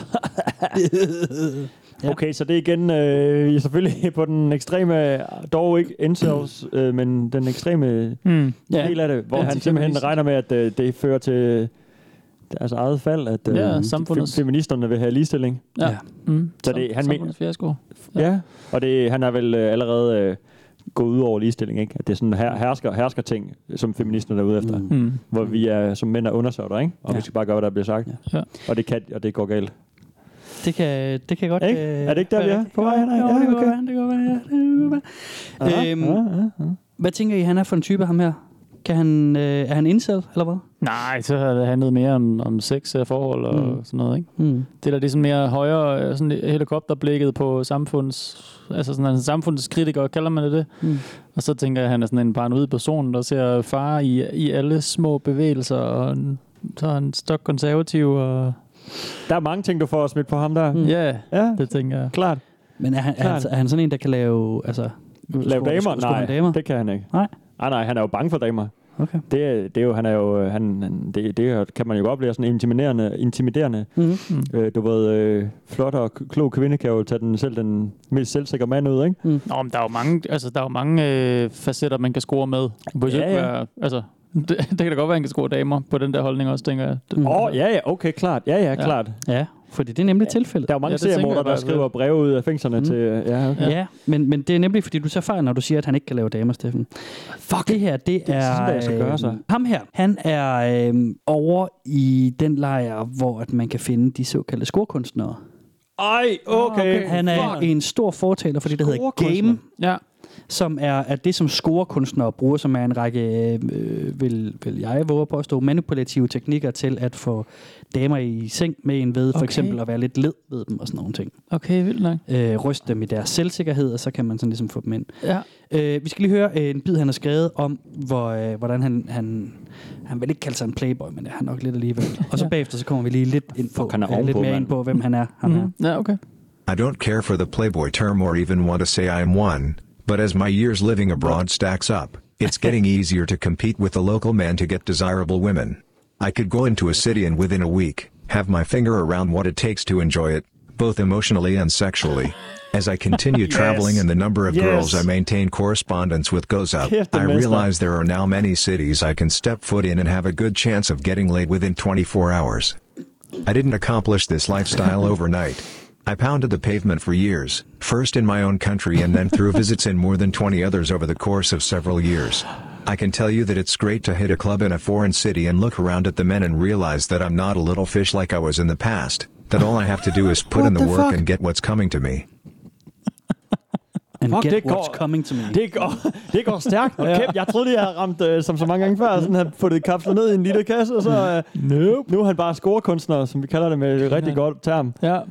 Speaker 2: okay, så det er igen øh, I er selvfølgelig på den ekstreme, dog ikke incels, øh, men den ekstreme
Speaker 4: Mm.
Speaker 2: ja.
Speaker 3: Ja.
Speaker 2: del af det, hvor
Speaker 4: Ja,
Speaker 2: ja, han
Speaker 4: det er
Speaker 2: simpelthen
Speaker 4: feministisk.
Speaker 2: regner med, at øh, det fører til deres eget fald, at øh,
Speaker 4: Ja,
Speaker 2: de
Speaker 4: samfundets-
Speaker 2: fe- feministerne vil have ligestilling.
Speaker 4: Ja.
Speaker 3: Ja.
Speaker 4: Mm.
Speaker 2: Så det- han mener-
Speaker 4: mener... Fiasko. Ja.
Speaker 2: Ja, ja. og det, han er vel øh, allerede øh, gået ud over ligestilling, ikke? At det er sådan her, hersker, hersker ting, som feministerne er ude efter. Mm.
Speaker 4: Mm.
Speaker 2: Hvor vi er som mænd er undersøgter, ikke? Og ja.
Speaker 3: Ja.
Speaker 2: vi skal bare gøre, hvad der bliver sagt.
Speaker 4: Ja.
Speaker 2: Og det kan, og det går galt.
Speaker 3: Det kan, det kan godt... øh,
Speaker 2: Ikke? Er det ikke der,
Speaker 3: være
Speaker 2: vi er?
Speaker 3: rigtigt.
Speaker 2: På vej
Speaker 3: Jo,
Speaker 2: hen ad?
Speaker 3: jo,
Speaker 2: Ja,
Speaker 3: det kan
Speaker 2: okay.
Speaker 3: godt være, det kan godt være, ja, det kan godt være.
Speaker 2: Ja,
Speaker 3: Øhm,
Speaker 2: ja, ja.
Speaker 3: Hvad tænker I, han er for en type, ham her? Kan han, øh, er han incel, eller hvad?
Speaker 4: Nej, så har det handlet mere om, om sex og forhold og mm.
Speaker 3: Mm.
Speaker 4: sådan noget, ikke?
Speaker 2: Hmm.
Speaker 3: Mm.
Speaker 4: Det der, det er sådan mere højere øh, sådan helikopterblikket på samfunds... Altså sådan en samfundskritiker, kalder man det det?
Speaker 3: Mm.
Speaker 4: Og så tænker jeg, at han er sådan en paranoid person, der ser far i, i alle små bevægelser, og en, så er han stok konservativ, og
Speaker 2: Der er mange ting, du får smidt på ham der.
Speaker 4: ja,
Speaker 2: Mm.
Speaker 3: Mm.
Speaker 4: yeah,
Speaker 2: Ja,
Speaker 4: det tænker jeg.
Speaker 2: klart.
Speaker 3: Men er han, er,
Speaker 2: Klart.
Speaker 3: han, er han sådan en, der kan lave... Altså,
Speaker 2: Lav damer? Nej,
Speaker 3: damer?
Speaker 2: det kan han ikke. Ah,
Speaker 3: Nej.
Speaker 2: Nej, nej, han er jo bange for damer.
Speaker 3: Okay.
Speaker 2: Det, er- det er jo, han er jo, øh, han, han- det, det er jo- kan man jo godt blive sådan intimiderende, intimiderende.
Speaker 3: Mm.
Speaker 2: Øh, du ved, øh, flot og k- klog kvinde kan jo tage den, selv den mest selvsikre mand ud, ikke?
Speaker 4: Nå, men der er jo mange, altså, der er jo mange øh, facetter, man kan score med. Det behøver
Speaker 2: Ja,
Speaker 4: ikke
Speaker 2: ja.
Speaker 4: Være, altså, det,
Speaker 2: Mm.
Speaker 4: det, kan da godt være, at han kan score damer på den der holdning også, tænker jeg. Det,
Speaker 2: Åh, oh, ja, ja, okay, klart. Ja, ja,
Speaker 4: Ja.
Speaker 2: klart.
Speaker 3: Ja, Fordi det er nemlig tilfældet.
Speaker 2: Der er jo mange ja,
Speaker 4: Ja, det tænker
Speaker 2: seriemordere,
Speaker 4: jeg
Speaker 2: der
Speaker 4: bare,
Speaker 2: skriver
Speaker 4: ved.
Speaker 2: breve ud af fængslerne mm. til... Ja, okay.
Speaker 3: Ja, ja men, men det er nemlig, fordi du tager fejl, når du siger, at han ikke kan lave damer, Steffen. Fuck, det her, det, det er...
Speaker 2: sådan, jeg skal gøre,
Speaker 3: øh,
Speaker 2: så.
Speaker 3: Ham her, han er øh, over i den lejr, hvor at man kan finde de såkaldte skurkunstnere.
Speaker 2: Ej, okay. okay.
Speaker 3: Ah, Han er en stor fortaler for det, der hedder
Speaker 2: Scorekunstner.
Speaker 3: game,
Speaker 4: Ja.
Speaker 3: som er at det, som scorekunstnere bruger, som er en række, øh, øh, vil, vil jeg våge på at stå, manipulative teknikker til at få damer i seng med en ved, for
Speaker 4: Okay.
Speaker 3: eksempel at være lidt led ved dem og sådan nogle ting.
Speaker 4: Okay, vildt nok.
Speaker 3: Øh, ryste dem i deres selvsikkerhed, og så kan man sådan ligesom få dem ind.
Speaker 4: Ja.
Speaker 3: Øh, vi skal lige høre øh, en bid, han har skrevet om, hvor, øh, hvordan han, han, han vil ikke kalde sig en playboy, men det er han nok lidt alligevel. Og så
Speaker 4: Ja.
Speaker 3: bagefter, så kommer vi lige lidt ind på,
Speaker 2: Fuck, han er
Speaker 3: øh, lidt
Speaker 2: ovenpå,
Speaker 3: mere
Speaker 2: mand.
Speaker 3: ind på, hvem han er. Ham her.
Speaker 2: Mhm.
Speaker 4: Mm. Ja, okay.
Speaker 5: I don't care for the Playboy term or even want to say I am one, but as my years living abroad stacks up, it's getting easier to compete with the local man to get desirable women. I could go into a city and within a week, have my finger around what it takes to enjoy it, both emotionally and sexually. As I continue traveling and the number of girls I maintain correspondence with goes up,
Speaker 2: Kæft, det
Speaker 5: I
Speaker 2: er mester.
Speaker 5: realize there are now many cities I can step foot in and have a good chance of getting laid within 24 hours. I didn't accomplish this lifestyle overnight. I pounded the pavement for years, first in my own country and then through visits in more than 20 others over the course of several years. I can tell you that it's great to hit a club in a foreign city and look around at the men and realize that I'm not a little fish like I was in the past, that all I have to do is put in the, work and get what's coming to me.
Speaker 3: And
Speaker 2: Fuck,
Speaker 3: get
Speaker 2: det går-
Speaker 3: what's coming to me.
Speaker 2: Det går, det går stærkt. Og kæft, jeg troede, jeg havde ramt, øh, som så mange gange før, sådan havde puttet kapsler ned i en lille kasse, og så øh, nope. nu er han bare scorekunstner, som vi kalder det med et rigtig godt term.
Speaker 4: Ja.
Speaker 2: Og,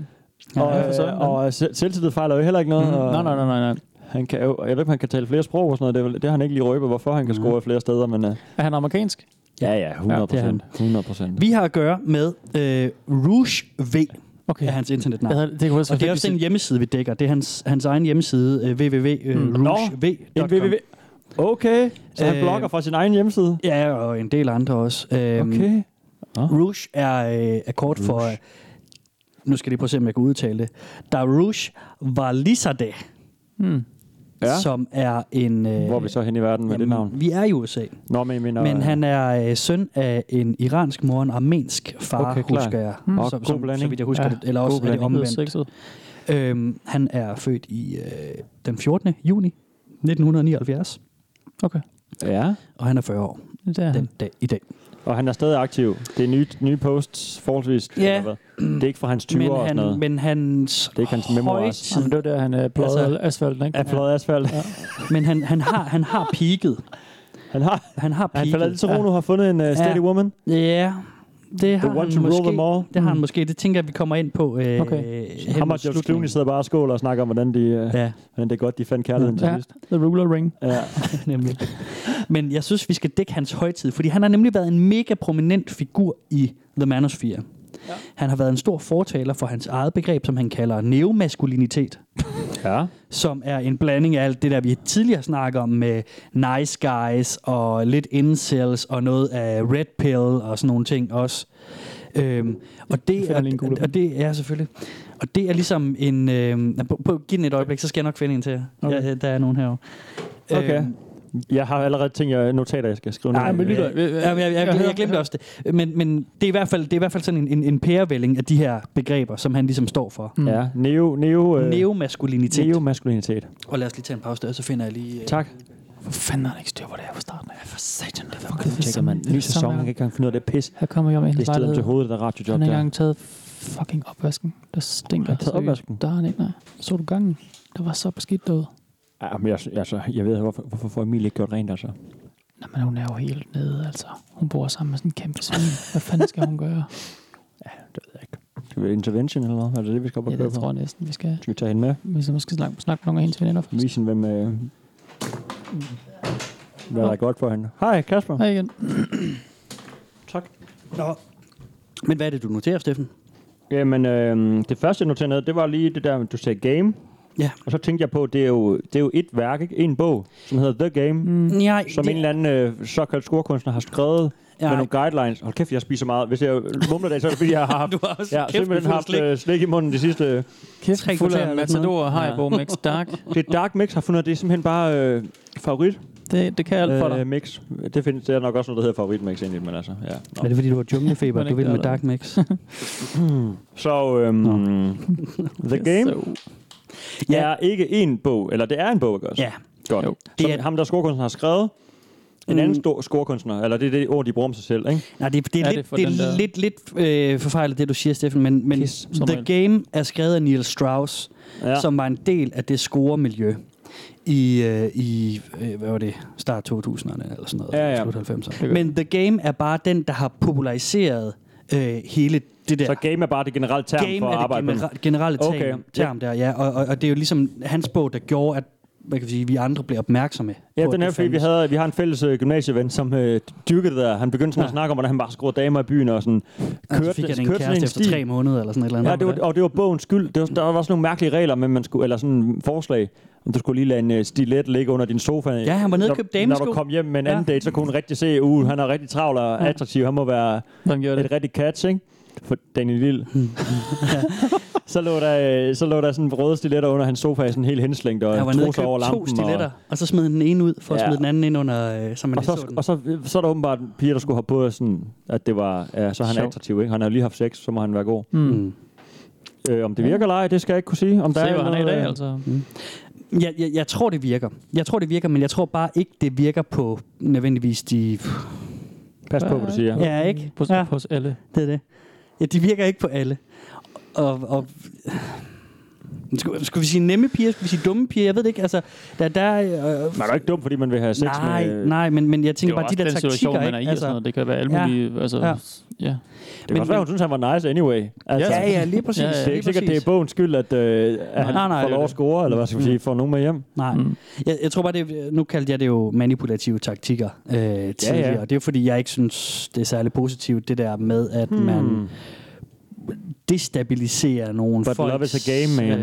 Speaker 4: for sådan,
Speaker 2: øh, og se- selvtillid fejler jo heller ikke noget. Og
Speaker 4: Nej, nej, nej, nej, nej.
Speaker 2: Han kan jo, jeg ved ikke, om han kan tale flere sprog og sådan noget. Det, er vel- det har han ikke lige røbet, hvorfor han kan score flere steder, men... Øh,
Speaker 4: Er han amerikansk?
Speaker 2: ja, ja, 100
Speaker 4: det er han.
Speaker 2: procent. 100 procent.
Speaker 3: Vi har at gøre med øh, Rouge V,
Speaker 4: Okay.
Speaker 3: er hans internetnavn.
Speaker 4: Jeg havde, det kunne jeg så
Speaker 3: Og det er også den hjemmeside, vi dækker. Det er hans, hans egen hjemmeside, øh,
Speaker 2: Hmm. En
Speaker 3: www.rougev.com.
Speaker 2: www. Okay, så han
Speaker 3: Øh,
Speaker 2: blogger fra sin egen hjemmeside. Mm.
Speaker 3: Ja, og en del andre også. Øhm,
Speaker 2: Okay.
Speaker 3: Rouge er øh, akkord for... Øh, nu skal jeg lige prøve at se, om jeg kan udtale det. Der er Rouge Valisade,
Speaker 2: Ja.
Speaker 4: Hmm.
Speaker 3: ja. som er en... Øh,
Speaker 2: Hvor er vi så hen i verden med det navn?
Speaker 3: Vi er i USA.
Speaker 2: Nå, men, jeg mener,
Speaker 3: Men han er øh, søn af en iransk mor og en armensk far,
Speaker 2: Okay,
Speaker 3: okay,
Speaker 2: klar.
Speaker 3: husker jeg.
Speaker 2: Hmm. Og
Speaker 3: Som,
Speaker 2: god
Speaker 3: som,
Speaker 2: blanding.
Speaker 3: så vidt jeg husker
Speaker 2: Ja,
Speaker 3: ja, det. Eller også
Speaker 2: god
Speaker 3: er det
Speaker 2: blanding.
Speaker 3: omvendt. Øhm, han er født i øh, den 14. juni 1979,
Speaker 4: Okay.
Speaker 2: Ja.
Speaker 3: og han er 40 år
Speaker 4: Det er
Speaker 3: den dag i dag.
Speaker 2: Og han er stadig aktiv. Det er nye, nye posts, forholdsvis.
Speaker 3: Ja.
Speaker 2: eller hvad? Det er ikke fra hans 20
Speaker 3: Men,
Speaker 2: år og sådan
Speaker 3: han,
Speaker 2: noget.
Speaker 3: men hans
Speaker 2: Det er ikke hans memoirs.
Speaker 4: Jamen, det var der, han øh, pløjede
Speaker 3: Altså-
Speaker 4: altså, asfalten, ikke?
Speaker 2: Er flot asfalt. Ja.
Speaker 3: Men han, han, har, han har peaked.
Speaker 2: Han har...
Speaker 3: Han har
Speaker 2: Han falder lidt
Speaker 3: peaked.
Speaker 2: til ro nu, har fundet en uh, steady
Speaker 3: Ja.
Speaker 2: woman.
Speaker 3: Ja, det har
Speaker 2: one to
Speaker 3: han
Speaker 2: rule them all. Mm. Hmm.
Speaker 3: måske. Det har han måske. Det tænker jeg, vi kommer ind på. Øh,
Speaker 4: Okay.
Speaker 3: hen
Speaker 2: Ham og
Speaker 3: mod
Speaker 2: George Clooney
Speaker 3: slutningen.
Speaker 2: sidder bare og skåler og snakker om, hvordan, de, uh,
Speaker 3: Ja,
Speaker 2: hvordan det er godt, de fandt kærligheden til
Speaker 4: Ja,
Speaker 2: sidst.
Speaker 4: The Ruler Ring.
Speaker 2: Ja.
Speaker 3: nemlig. Men jeg synes, vi skal dække hans højtid, fordi han har nemlig været en mega prominent figur i The Manosphere. Ja. Han har været en stor fortaler for hans eget begreb, som han kalder neomaskulinitet,
Speaker 2: ja.
Speaker 3: som er en blanding af alt det, der vi tidligere snakker om med nice guys og lidt incels og noget af red pill og sådan nogle ting også. Øhm, og, det
Speaker 4: finder lige en
Speaker 3: er,
Speaker 4: gulerod.
Speaker 3: og det er selvfølgelig. Og det er ligesom en... Øhm, på, på, giv den et øjeblik, så skal jeg nok finde en til jer.
Speaker 4: Okay.
Speaker 3: Okay. Ja, der er nogen herovre.
Speaker 2: Okay.
Speaker 3: Øhm,
Speaker 2: Jeg har allerede ting, jeg notater, jeg skal skrive ned.
Speaker 3: Nej, men lytter.
Speaker 4: Øh, øh,
Speaker 3: Ja, men jeg, jeg, jeg,
Speaker 4: hører-
Speaker 3: jeg glemte også det. Men, men det, er i hvert fald, det er i hvert fald sådan en, en, en pærevælling af de her begreber, som han ligesom står for.
Speaker 2: Ja, neo, neo, øh,
Speaker 3: Neomaskulinitet. Neo.
Speaker 2: neomaskulinitet.
Speaker 3: Og lad os lige tage en pause der, så finder jeg lige... øh,
Speaker 2: Tak.
Speaker 4: Hvor fanden har han ikke styr på det her fra starten af? For satan, det er fucking
Speaker 2: Det tjekker man. Ny sæson, jeg kan ikke engang finde ud af det pis.
Speaker 4: Her kommer jeg med
Speaker 2: Det
Speaker 4: hendes
Speaker 2: er stedet til
Speaker 4: lejlighed.
Speaker 2: hovedet, der radiojob
Speaker 4: Han har ikke
Speaker 2: der.
Speaker 4: engang taget fucking opvasken. Der stinker.
Speaker 2: Har han taget
Speaker 4: seriøst.
Speaker 2: opvasken?
Speaker 4: Der har han ikke, nej. Så du gangen? Der var så beskidt derude.
Speaker 2: Ja, men jeg, altså, jeg ved, hvorfor, hvorfor får Emilie ikke gjort rent, altså?
Speaker 4: Nå, men hun er jo helt nede, altså. Hun bor sammen med sådan en kæmpe svin. Hvad fanden skal hun gøre?
Speaker 2: Det ved jeg ikke. Skal vi intervention eller hvad? Er det det, vi skal op og
Speaker 4: Ja,
Speaker 2: køre
Speaker 4: det
Speaker 2: på?
Speaker 4: tror jeg næsten, vi skal.
Speaker 2: Skal vi tage hende med?
Speaker 4: Vi skal måske snakke, snakke med nogle af hendes veninder først.
Speaker 2: Vise hende, hvem, øh, hvad der er godt for hende. Hej, Kasper.
Speaker 4: Hej igen.
Speaker 3: Nå. Men hvad er det, du noterer, Steffen?
Speaker 2: Jamen, øh, det første, jeg noterede, ned, det var lige det der, du sagde game.
Speaker 3: Ja.
Speaker 2: Og så tænkte jeg på, det er jo, det er jo et værk, ikke? En bog, som hedder The Game. Mm.
Speaker 3: Nej,
Speaker 2: Som en eller anden øh, såkaldt scorekunstner har skrevet ja.
Speaker 3: Ja.
Speaker 2: med nogle guidelines. Hold kæft, jeg spiser meget. Hvis jeg mumler det, så er det fordi, jeg har haft,
Speaker 3: Du har også
Speaker 2: ja,
Speaker 3: kæft med
Speaker 2: simpelthen
Speaker 3: fuld
Speaker 2: haft
Speaker 3: slik.
Speaker 2: øh, slik i munden de sidste... Øh.
Speaker 4: Kæft,
Speaker 3: Tre
Speaker 4: fuld
Speaker 3: kvarter
Speaker 4: af
Speaker 3: eller sådan
Speaker 4: Matador, Haribo, Mix Dark.
Speaker 2: Det Dark Mix har fundet, det er simpelthen bare øh, favorit.
Speaker 4: Det, det kan alt for dig.
Speaker 2: Øh, mix. Det findes der er nok også noget, der hedder favoritmix egentlig, men altså, ja. Nå.
Speaker 3: Er det fordi, du har junglefeber?
Speaker 4: Men
Speaker 3: du vil
Speaker 4: ikke
Speaker 3: med
Speaker 4: der,
Speaker 3: Dark Mix.
Speaker 2: Så, øhm, The Game
Speaker 4: Så-
Speaker 2: ja. er ikke en bog, eller det er en bog, ikke også?
Speaker 3: ja.
Speaker 2: Godt.
Speaker 4: Jo.
Speaker 2: Som
Speaker 3: Det er- Mm.
Speaker 2: ham, der scorekunstner har skrevet, en anden stor scorekunstner, eller det er det ord, de bruger om sig selv, ikke?
Speaker 3: Nej, det, det er,
Speaker 4: Er
Speaker 3: lidt,
Speaker 4: det for
Speaker 3: det er
Speaker 4: den der-
Speaker 3: lidt, lidt øh, forfejlet, det du siger, Steffen, men, men
Speaker 4: Kiss, som
Speaker 3: The
Speaker 4: regel.
Speaker 3: Game er skrevet af Neil Strauss,
Speaker 2: Ja.
Speaker 3: ja. som var en del af det scoremiljø i, øh, i øh, hvad var det, start 2000'erne eller sådan noget,
Speaker 2: Ja, ja.
Speaker 3: slut 90'erne.
Speaker 4: kan-
Speaker 3: Men The Game er bare den, der har populariseret øh, hele det der.
Speaker 2: Så game er bare det generelle term
Speaker 3: Game
Speaker 2: for at
Speaker 3: er det
Speaker 2: arbejde med.
Speaker 3: genera- generelle term,
Speaker 2: Okay.
Speaker 3: okay. term der, ja, og, og, og det er jo ligesom hans bog, der gjorde, at hvad kan vi sige, vi andre blev opmærksomme
Speaker 2: Ja,
Speaker 3: på,
Speaker 2: den
Speaker 3: at
Speaker 2: er
Speaker 3: det
Speaker 2: fordi, vi,
Speaker 3: fandtes.
Speaker 2: havde, vi har en fælles øh, gymnasieven, som øh, dyrkede det der. Han begyndte sådan at snakke om, hvordan han bare skruede damer i byen og sådan
Speaker 3: Og så
Speaker 2: kørte,
Speaker 3: Altså, fik jeg en
Speaker 2: kørte sådan
Speaker 3: kæreste efter
Speaker 2: stil.
Speaker 3: tre måneder eller sådan et eller andet.
Speaker 2: Ja, det var, og det var bogens skyld. Det var, der var også nogle mærkelige regler, men man skulle, eller sådan forslag, om du skulle lige lade en øh, stilet ligge under din sofa.
Speaker 3: Ja, han var nede og
Speaker 2: Når-
Speaker 3: købe
Speaker 2: Når
Speaker 3: damesko.
Speaker 2: du kom hjem med en
Speaker 3: Ja.
Speaker 2: anden date, så kunne hun rigtig se, uh, han er rigtig travl og attraktiv. Han må være
Speaker 4: Hvem gjorde det?
Speaker 2: et rigtig catch, ikke? For Daniel Lille. så, lå der, øh, så lå der sådan røde stiletter under hans sofa, sådan helt henslængt og
Speaker 3: Jeg var nede og
Speaker 2: trusser over
Speaker 3: købte
Speaker 2: lampen.
Speaker 3: to stiletter, og... og så smed han den ene ud, for at
Speaker 2: Ja.
Speaker 3: smide den anden ind under, øh, så man
Speaker 2: Og
Speaker 3: ikke så
Speaker 2: så,
Speaker 3: den.
Speaker 2: og så, så er der åbenbart piger, der skulle have på, sådan, at det var, ja, så er han
Speaker 4: Sjovt.
Speaker 2: attraktiv. Ikke? Han har jo lige haft sex, så må han være god.
Speaker 4: Hmm.
Speaker 3: Mm.
Speaker 2: Øh, om det virker eller ej, det skal jeg ikke kunne sige. Om der
Speaker 4: Se,
Speaker 2: er
Speaker 4: hvor han er i
Speaker 2: noget,
Speaker 4: dag,
Speaker 2: øh,
Speaker 4: altså.
Speaker 3: Jeg, jeg, jeg tror, det virker. Jeg tror, det virker, men jeg tror bare ikke, det virker på nødvendigvis de...
Speaker 2: Pas på, hvad du siger.
Speaker 3: Ja, ikke?
Speaker 4: På,
Speaker 3: Ja.
Speaker 4: ja. Hos alle.
Speaker 3: Det er det. Ja, de virker ikke på alle. Og, og skulle, skulle vi sige nemme piger? Skulle vi sige dumme piger? Jeg ved det ikke. Altså, der, der, er, øh,
Speaker 2: Man er jo ikke dum, fordi man vil have sex
Speaker 3: nej,
Speaker 2: med... øh,
Speaker 3: nej, men, men jeg
Speaker 4: Det er
Speaker 3: tænker
Speaker 4: jo
Speaker 3: bare,
Speaker 4: også
Speaker 3: de der
Speaker 4: den
Speaker 3: taktikker...
Speaker 4: situation, man
Speaker 3: ikke?
Speaker 4: er i. og
Speaker 3: altså,
Speaker 4: sådan noget. Det kan være alle
Speaker 3: Ja.
Speaker 4: mulige... Altså,
Speaker 3: Ja.
Speaker 4: ja. ja.
Speaker 2: Det kan
Speaker 3: Men-
Speaker 2: godt være, hun synes, han var nice anyway. Altså,
Speaker 3: ja, ja, lige præcis.
Speaker 4: Ja, ja.
Speaker 2: Det er
Speaker 3: lige
Speaker 2: ikke sikkert, det
Speaker 3: præcis.
Speaker 2: er bogens skyld, at, øh, at han
Speaker 3: Nej, nej,
Speaker 2: får
Speaker 3: det er
Speaker 2: lov at
Speaker 3: det. Hmm.
Speaker 2: score, eller hvad skal man sige, får nogen med hjem.
Speaker 3: Nej. Mm. Jeg, jeg tror bare, det, nu kaldte jeg det jo manipulative taktikker øh, tidligere. Ja,
Speaker 2: ja.
Speaker 3: ja. Det er jo fordi, jeg ikke synes, det er særlig positivt, det der med, at hmm. man destabiliserer nogen.
Speaker 2: But love is a game, man.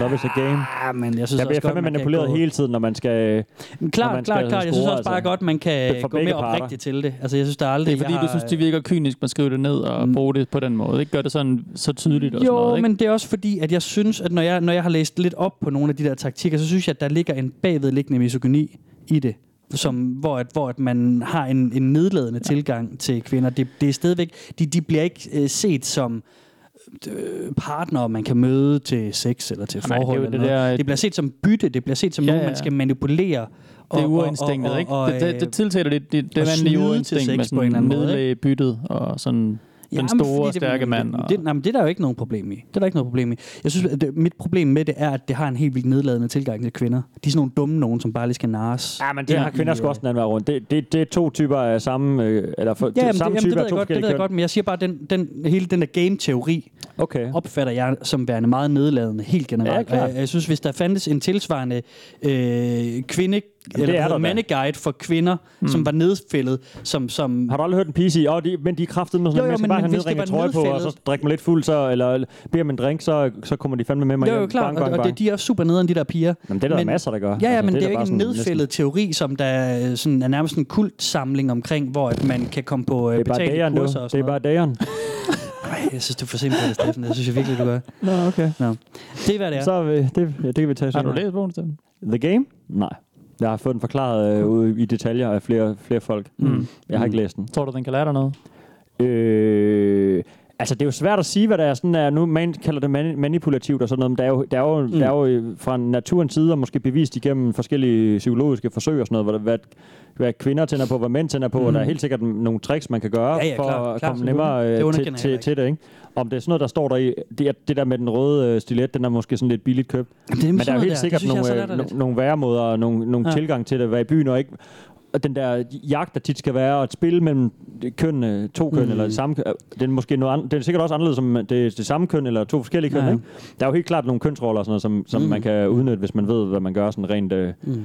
Speaker 2: Love is a game.
Speaker 3: Ah, men jeg synes
Speaker 2: Der bliver
Speaker 3: også godt,
Speaker 2: fandme
Speaker 3: man kan
Speaker 2: manipuleret
Speaker 3: gå-
Speaker 2: hele tiden, når man skal...
Speaker 3: Men
Speaker 2: når
Speaker 3: Klart,
Speaker 2: man
Speaker 3: klart,
Speaker 2: skal
Speaker 3: klart. Jeg synes
Speaker 2: score,
Speaker 3: også bare
Speaker 2: altså.
Speaker 3: godt, man
Speaker 2: Det er
Speaker 3: kan
Speaker 2: for
Speaker 3: gå
Speaker 2: begge
Speaker 3: mere
Speaker 2: parter.
Speaker 3: oprigtigt til det. Altså, jeg synes, der er aldrig...
Speaker 4: Det er fordi,
Speaker 3: jeg
Speaker 4: du
Speaker 3: har-
Speaker 4: synes, det virker kynisk, man skriver det ned og bruger det på den måde. Ikke gør det sådan så tydeligt og
Speaker 3: jo,
Speaker 4: sådan noget. Ikke?
Speaker 3: men det er også fordi, at jeg synes, at når jeg, når jeg har læst lidt op på nogle af de der taktikker, så synes jeg, at der ligger en bagvedliggende misogyni i det. Som, hvor, at, hvor at man har en, en nedladende ja. tilgang til kvinder. Det, det er stadigvæk, de, de bliver ikke øh, set som øh, partnere, man kan møde til sex eller til
Speaker 4: Nej, det er jo
Speaker 3: forhold.
Speaker 4: det
Speaker 3: eller noget.
Speaker 4: der-
Speaker 3: det bliver set som bytte, det bliver set som
Speaker 4: Ja,
Speaker 3: ja, nogen,
Speaker 4: ja.
Speaker 3: man skal manipulere.
Speaker 4: Det er
Speaker 3: og- og-
Speaker 4: urinstinktet,
Speaker 3: og-
Speaker 4: ikke?
Speaker 3: og,
Speaker 4: Det, det, det
Speaker 3: øh,
Speaker 4: tiltaler det, det, det
Speaker 3: og
Speaker 4: vanlige
Speaker 3: snyde til
Speaker 4: urinstinkt
Speaker 3: sex
Speaker 4: med
Speaker 3: på en
Speaker 4: sådan
Speaker 3: eller anden måde,
Speaker 4: nedlæge byttet og sådan den
Speaker 3: Jamen,
Speaker 4: store,
Speaker 3: fordi det-
Speaker 4: stærke mand.
Speaker 3: Det,
Speaker 4: og-
Speaker 3: det, nej, men det er der jo ikke nogen problem i. Det er der ikke noget problem i. Jeg synes, at det, mit problem med det er, at det har en helt vildt nedladende tilgang til kvinder. De er sådan nogle dumme nogen, som bare lige skal narres.
Speaker 2: Ja, men det har kvinder
Speaker 3: i,
Speaker 2: sgu
Speaker 3: øh,
Speaker 2: også den anden vej rundt. Det, det, det er to typer af samme... Øh, eller for,
Speaker 3: Ja, jamen, det,
Speaker 2: samme
Speaker 3: jamen, det,
Speaker 2: type
Speaker 3: ved
Speaker 2: af
Speaker 3: jeg
Speaker 2: to
Speaker 3: godt, det ved
Speaker 2: forskellige
Speaker 3: jeg godt, men jeg siger bare, den, den, hele den der game-teori
Speaker 2: køn. Okay.
Speaker 3: opfatter jeg som værende meget nedladende, helt
Speaker 2: Ja,
Speaker 3: generelt.
Speaker 2: klart.
Speaker 3: Og jeg, jeg synes, hvis der fandtes en tilsvarende øh, kvinde,
Speaker 2: er
Speaker 3: eller hvad
Speaker 2: der da.
Speaker 3: hedder, mandeguide for kvinder, mm. som var nedfældet, som, som
Speaker 2: Har du aldrig hørt en pige sige, oh, de, men de er kraftede med sådan,
Speaker 3: Jo,
Speaker 2: jo,
Speaker 3: jo,
Speaker 2: man skal
Speaker 3: men-
Speaker 2: bare
Speaker 3: men
Speaker 2: have
Speaker 3: hvis det
Speaker 2: nedringet
Speaker 3: var
Speaker 2: trøje på, og så
Speaker 3: nedfældet-
Speaker 2: drikke mig lidt fuld, så, eller beder man en drink, så, så kommer de fandme med mig
Speaker 3: Det er
Speaker 2: hjem.
Speaker 3: jo klart,
Speaker 2: Bang,
Speaker 3: og,
Speaker 2: bang,
Speaker 3: og
Speaker 2: bang.
Speaker 3: det, de er også super nederen, de der piger.
Speaker 2: Jamen, det er der masser, der gør.
Speaker 3: Ja, ja,
Speaker 2: Altså,
Speaker 3: men
Speaker 2: det er
Speaker 3: det er
Speaker 2: da
Speaker 3: jo
Speaker 2: bare
Speaker 3: ikke en
Speaker 2: sådan næsten-
Speaker 3: nedfældet teori, som der er, sådan, er nærmest en kultsamling omkring, hvor at man kan komme på øh,
Speaker 2: det er bare
Speaker 3: betalte
Speaker 2: dageren, du.
Speaker 3: kurser og
Speaker 2: Det
Speaker 3: sådan
Speaker 2: er bare dageren.
Speaker 3: noget. Ej, jeg synes, du er for simpel, Steffen. Det synes jeg virkelig, du gør.
Speaker 2: Nå, okay.
Speaker 3: Nå. Det er, hvad det er.
Speaker 2: Så er vi- det, ja, det kan vi tage
Speaker 4: Har du
Speaker 2: senere.
Speaker 4: læst bogen, Steffen?
Speaker 2: The Game? Nej. Jeg har fået den forklaret øh, ude i detaljer af flere, flere folk. Mm. Jeg har ikke læst den.
Speaker 4: Tror du, den kan lære dig noget?
Speaker 2: Øh, altså, det er jo svært at sige, hvad der er sådan er. Nu man kalder det mani- manipulativt og sådan noget, men der er jo, der er jo, mm. der er jo øh, fra naturens side, og måske bevist igennem forskellige psykologiske forsøg og sådan noget, hvad, hvad, hvad kvinder tænder på, hvad mænd tænder på, mm. og der er helt sikkert nogle tricks, man kan gøre
Speaker 3: Ja, ja,
Speaker 2: for
Speaker 3: klart,
Speaker 2: at
Speaker 3: klart,
Speaker 2: komme nemmere
Speaker 3: selvfølgelig.
Speaker 2: øh,
Speaker 3: Det
Speaker 2: til,
Speaker 3: underkender jeg
Speaker 2: til,
Speaker 3: ikke.
Speaker 2: til det. Ikke? Om det er sådan noget, der står der i, det, er- det der med den røde øh, stilet, den er måske sådan lidt billigt købt.
Speaker 3: Jamen, det er
Speaker 2: Men der er jo helt
Speaker 3: der.
Speaker 2: sikkert
Speaker 3: det synes
Speaker 2: nogle,
Speaker 3: jeg,
Speaker 2: øh,
Speaker 3: er så
Speaker 2: no-
Speaker 3: latterligt.
Speaker 2: nogle væremåder og nogle, nogle ja.
Speaker 3: Ja.
Speaker 2: tilgang til det at være i byen, og ikke og den der jagt, der tit skal være, og et spil mellem køn, to køn mm. eller det samme køn, øh, den er, måske noget an, den er sikkert også anderledes som det, er det samme køn eller to forskellige køn.
Speaker 3: Ja.
Speaker 2: Ikke? Der er jo helt klart nogle kønsroller, og sådan noget, som, som mm. man kan udnytte, hvis man ved, hvad man gør sådan rent... Øh, mm.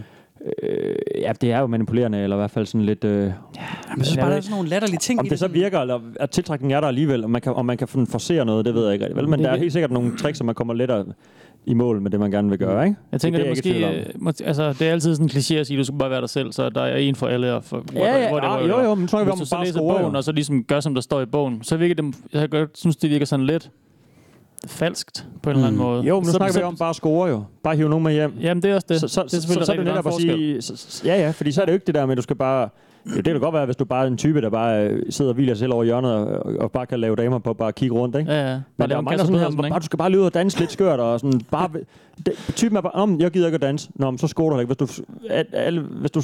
Speaker 2: øh, ja, det er jo manipulerende, eller i hvert fald sådan lidt... Øh,
Speaker 3: Jamen, Jeg synes
Speaker 2: Jeg
Speaker 3: bare,
Speaker 2: ved
Speaker 3: der er sådan nogle latterlige ting
Speaker 2: om
Speaker 3: i
Speaker 2: det så virker, eller at tiltrækningen er der alligevel, og man kan, og man kan sådan forcere noget, det ved jeg ikke rigtig. Vel? Men
Speaker 4: Det-
Speaker 2: der er helt sikkert nogle tricks, som man kommer lettere i mål med det, man gerne vil
Speaker 3: Mm.
Speaker 2: gøre. Ikke?
Speaker 4: Jeg tænker, det,
Speaker 2: er
Speaker 4: det,
Speaker 2: jeg ikke i
Speaker 4: måske,
Speaker 2: tvivl om.
Speaker 4: øh, mås- altså, det er altid sådan en kliché at sige, at du skal bare være dig selv, så der er en for alle. Og for,
Speaker 2: Ja, ja, ah, jo, jo, men så er vi
Speaker 4: Hvis
Speaker 2: om
Speaker 4: du så
Speaker 2: bare
Speaker 4: læser
Speaker 2: score,
Speaker 4: bogen,
Speaker 2: jo.
Speaker 4: og så ligesom gør, som der står i bogen, så virker det, jeg kan godt synes, det virker sådan lidt falskt på en mm. eller anden måde.
Speaker 2: Jo, men nu
Speaker 4: Så-
Speaker 2: snakker
Speaker 4: så-
Speaker 2: vi om bare at score jo. Bare hive nogen med hjem.
Speaker 4: Jamen, det er også det.
Speaker 2: Så, så,
Speaker 4: det er
Speaker 2: så,
Speaker 4: selvfølgelig
Speaker 2: så er det
Speaker 4: rigtig
Speaker 2: netop
Speaker 4: meget
Speaker 2: at sige...
Speaker 4: forskel.
Speaker 2: Så, så- ja, ja, fordi så er det jo ikke det der med, at du skal bare... Jo, det kan da godt være, hvis du bare er en type, der bare øh, sidder og hviler sig selv over hjørnet og, og bare kan lave damer på bare at kigge rundt, ikke?
Speaker 4: Ja, ja.
Speaker 2: Men der er
Speaker 4: lave en
Speaker 2: mange, der
Speaker 4: Kasper
Speaker 2: sådan her,
Speaker 4: Pedersen, ikke?
Speaker 2: bare, du skal bare lyde og danse lidt skørt, og sådan bare... Det, typen er bare, "Nå, men jeg gider ikke at danse. Nå, men så scorer du heller ikke. Hvis du, at, alle, hvis du,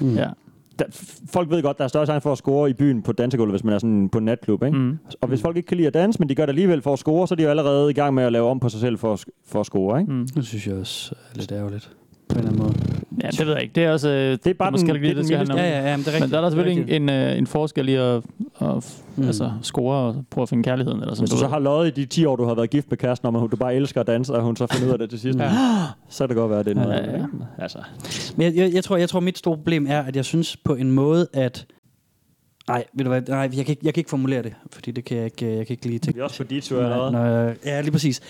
Speaker 4: Ja.
Speaker 2: der, folk ved godt, der er større chance for at score i byen på dansegulvet, hvis man er sådan på en natklub, ikke?
Speaker 4: Mm.
Speaker 2: Og hvis folk ikke kan lide at danse, men de gør det alligevel for at score, så er de jo allerede i gang med at lave om på sig selv for at, sk- for at score, ikke?
Speaker 4: Mm.
Speaker 3: Det synes jeg også er lidt ærgerligt. På en eller anden måde.
Speaker 4: Ja, det ved jeg ikke. Det er også... øh, Det
Speaker 2: bare
Speaker 4: måske
Speaker 2: den-
Speaker 4: ikke
Speaker 2: det er
Speaker 4: lige,
Speaker 2: den mildeste-
Speaker 4: skal handle om.
Speaker 3: Ja, ja, ja, men det er rigtigt.
Speaker 4: Men der er der selvfølgelig
Speaker 3: Det
Speaker 4: en, en, øh, en forskel i at, at mm.
Speaker 3: Mm.
Speaker 4: altså, score og prøve at finde kærligheden. Eller sådan,
Speaker 2: Hvis du så har løjet i de 10 år, du har været gift med kæresten, om at hun- du bare elsker at danse, og hun så finder ud af det til sidst, ja. så kan det godt være, at det er noget.
Speaker 4: Ja,
Speaker 2: Ja,
Speaker 4: ja, ja.
Speaker 2: ja. Altså,
Speaker 3: Men jeg, jeg, jeg, tror, jeg tror, mit store problem er, at jeg synes på en måde, at... Nej, ved du hvad, nej, jeg kan, ikke, jeg kan ikke formulere det, fordi det kan jeg ikke, øh, jeg kan ikke lige tænke.
Speaker 2: vi er også på dit tur
Speaker 3: Nej,
Speaker 2: allerede.
Speaker 3: nej, ja, lige præcis.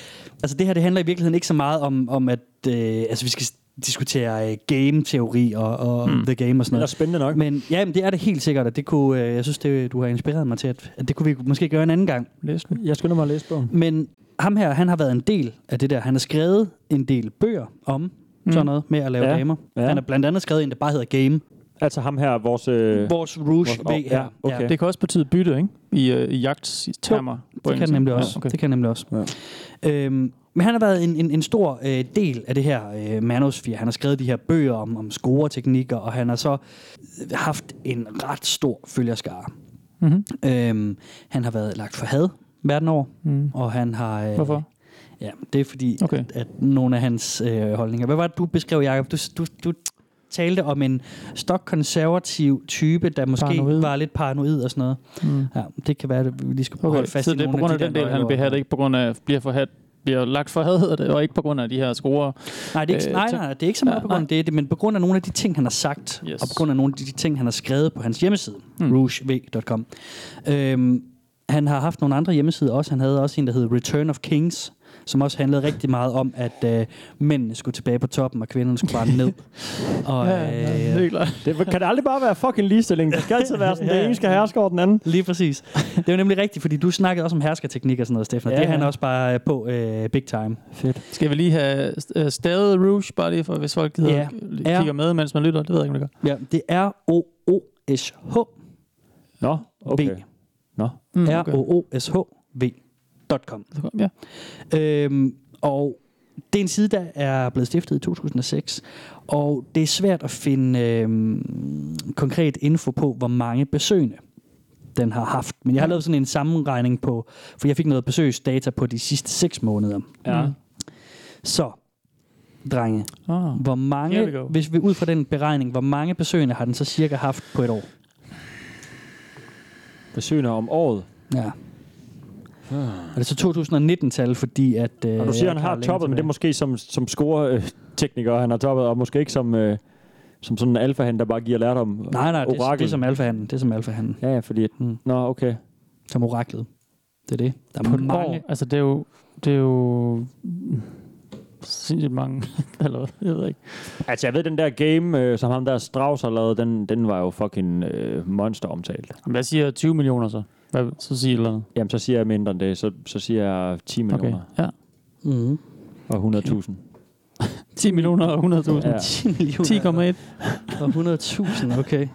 Speaker 3: Altså det her, det handler i virkeligheden ikke så meget om, om at øh, altså, vi skal s- diskutere øh, game-teori og, og
Speaker 4: Mm.
Speaker 3: mm. the game og
Speaker 2: Men Hmm.
Speaker 3: sådan
Speaker 2: det er
Speaker 3: noget.
Speaker 2: spændende nok.
Speaker 3: Men ja, men det er det helt sikkert, at det kunne, øh, jeg synes, det, du har inspireret mig til, at, at det kunne vi måske gøre en anden gang.
Speaker 4: Læs den.
Speaker 2: Jeg skynder mig at læse bogen.
Speaker 3: Men ham her, han har været en del af det der. Han har skrevet en del bøger om mm. sådan noget med at lave
Speaker 2: Hmm. Ja,
Speaker 3: ja. damer.
Speaker 2: ja.
Speaker 3: Ja. Han har blandt andet skrevet en, der bare hedder Game.
Speaker 2: Altså ham her, vores... Øh,
Speaker 3: Vores Rouge
Speaker 2: vores-
Speaker 3: V
Speaker 2: åh,
Speaker 3: her.
Speaker 2: ja, okay.
Speaker 3: Ja,
Speaker 4: Det kan også betyde bytte, ikke? I, øh, i jagttermer.
Speaker 3: det, det kan det nemlig også. Ja, okay. Det kan det nemlig også. Ja. Øhm, men han har været en, en, en stor øh, del af det her øh, manosphere. Han har skrevet de her bøger om, om scoreteknikker, og han har så øh, haft en ret stor følgerskare.
Speaker 4: Mm-hmm.
Speaker 3: Øhm, han har været lagt for had verden over,
Speaker 4: Mm.
Speaker 3: og han har... Øh,
Speaker 4: Hvorfor?
Speaker 3: Ja, det er fordi,
Speaker 4: Okay.
Speaker 3: okay. at, at nogle af hans øh, holdninger... Hvad var det, du beskrev, Jacob? Du, du, du talte om en stokkonservativ type, der måske
Speaker 4: Paranoid.
Speaker 3: paranoid. var lidt paranoid og sådan noget.
Speaker 4: Mm.
Speaker 3: Ja, det kan være, at vi lige skal prøve
Speaker 4: Okay,
Speaker 3: okay. fast
Speaker 4: så
Speaker 3: i
Speaker 4: det er på
Speaker 3: nogle
Speaker 4: grund af
Speaker 3: de
Speaker 4: den
Speaker 3: der
Speaker 4: del, han
Speaker 3: nøgleord.
Speaker 4: bliver hat, ikke på grund af, bliver for hat, bliver lagt for had, hedder det, og ikke på grund af de her scorer.
Speaker 3: Nej, det er ikke,
Speaker 4: Øh,
Speaker 3: nej,
Speaker 4: ting.
Speaker 3: nej, nej, det er ikke så meget
Speaker 4: Ja,
Speaker 3: ja, på grund
Speaker 4: nej.
Speaker 3: af det, det, men på grund af nogle af de ting, han har sagt,
Speaker 4: Yes.
Speaker 3: yes. og på grund af nogle af de ting, han har skrevet på hans hjemmeside,
Speaker 4: Mm.
Speaker 3: mm. rougev.com. Øhm, han har haft nogle andre hjemmesider også. Han havde også en, der hed Return of Kings, som også handlede rigtig meget om, at øh, mændene skulle tilbage på toppen, og kvinderne skulle bare ned. og, øh,
Speaker 4: det er klart.
Speaker 2: det, kan det aldrig bare være fucking ligestilling? Det skal altid være sådan, det ene skal herske over den anden.
Speaker 3: Lige præcis. Det er jo nemlig rigtigt, fordi du snakkede også om herskerteknik og sådan noget, Stefan. Ja,
Speaker 2: Ja,
Speaker 3: det er
Speaker 2: ja.
Speaker 3: han også bare øh, på øh, big time.
Speaker 4: Skal vi lige have øh, stadig Rouge, bare lige for, hvis folk gider,
Speaker 3: Ja.
Speaker 4: yeah. kigger med, mens man lytter. Det ved jeg ikke, om det gør.
Speaker 3: Ja, det er R-O-O-S-H-V.
Speaker 2: Nå, okay. Nå.
Speaker 4: Mm, okay.
Speaker 3: R-O-O-S-H-V.com.
Speaker 4: Ja.
Speaker 3: Øhm, og det er en side, der er blevet stiftet i 2006, og det er svært at finde øhm, konkret info på, hvor mange besøgende den har haft. Men jeg har lavet sådan en sammenregning på, for jeg fik noget besøgsdata på de sidste 6 måneder.
Speaker 2: Ja.
Speaker 4: Mm.
Speaker 3: Så, drenge,
Speaker 4: Ah. Here
Speaker 3: hvor
Speaker 4: we
Speaker 3: mange,
Speaker 4: go.
Speaker 3: hvis vi ud fra den beregning, hvor mange besøgende har den så cirka haft på et år?
Speaker 2: Besøgende om året.
Speaker 3: Ja. Og det er så 2019-tal, fordi at... Øh,
Speaker 2: Ah. Og du siger, han har toppet, men det er måske som, som scoretekniker, han har toppet, og måske ikke som, øh, som sådan en alfahand, der bare giver lærdom.
Speaker 3: Nej, nej, det, er-
Speaker 2: Orakel.
Speaker 3: det er som alfahanden. Det er som alfahanden.
Speaker 2: Ja, ja, fordi... Mm.
Speaker 3: Mm.
Speaker 2: Nå, okay.
Speaker 3: Som oraklet. Det er det. Der er
Speaker 4: På et
Speaker 3: mange.
Speaker 4: år. Altså, det er jo... Det er jo sindssygt mange, eller hvad? jeg ved ikke.
Speaker 2: Altså, jeg ved, den der game, øh, som ham der Strauss har lavet, den, den var jo fucking øh, monster omtalt.
Speaker 4: Men Hvad siger 20 millioner så? Hvad, så siger I et eller andet.
Speaker 2: Jamen, så siger jeg mindre end det. Så, så siger jeg 10
Speaker 4: Okay.
Speaker 2: millioner
Speaker 4: Ja.
Speaker 3: Mm.
Speaker 2: og 100.000.
Speaker 4: 10 millioner og 100.000.
Speaker 2: Ja.
Speaker 4: Ja.
Speaker 3: 10 millioner
Speaker 4: 10,1.
Speaker 3: og 100.000, okay.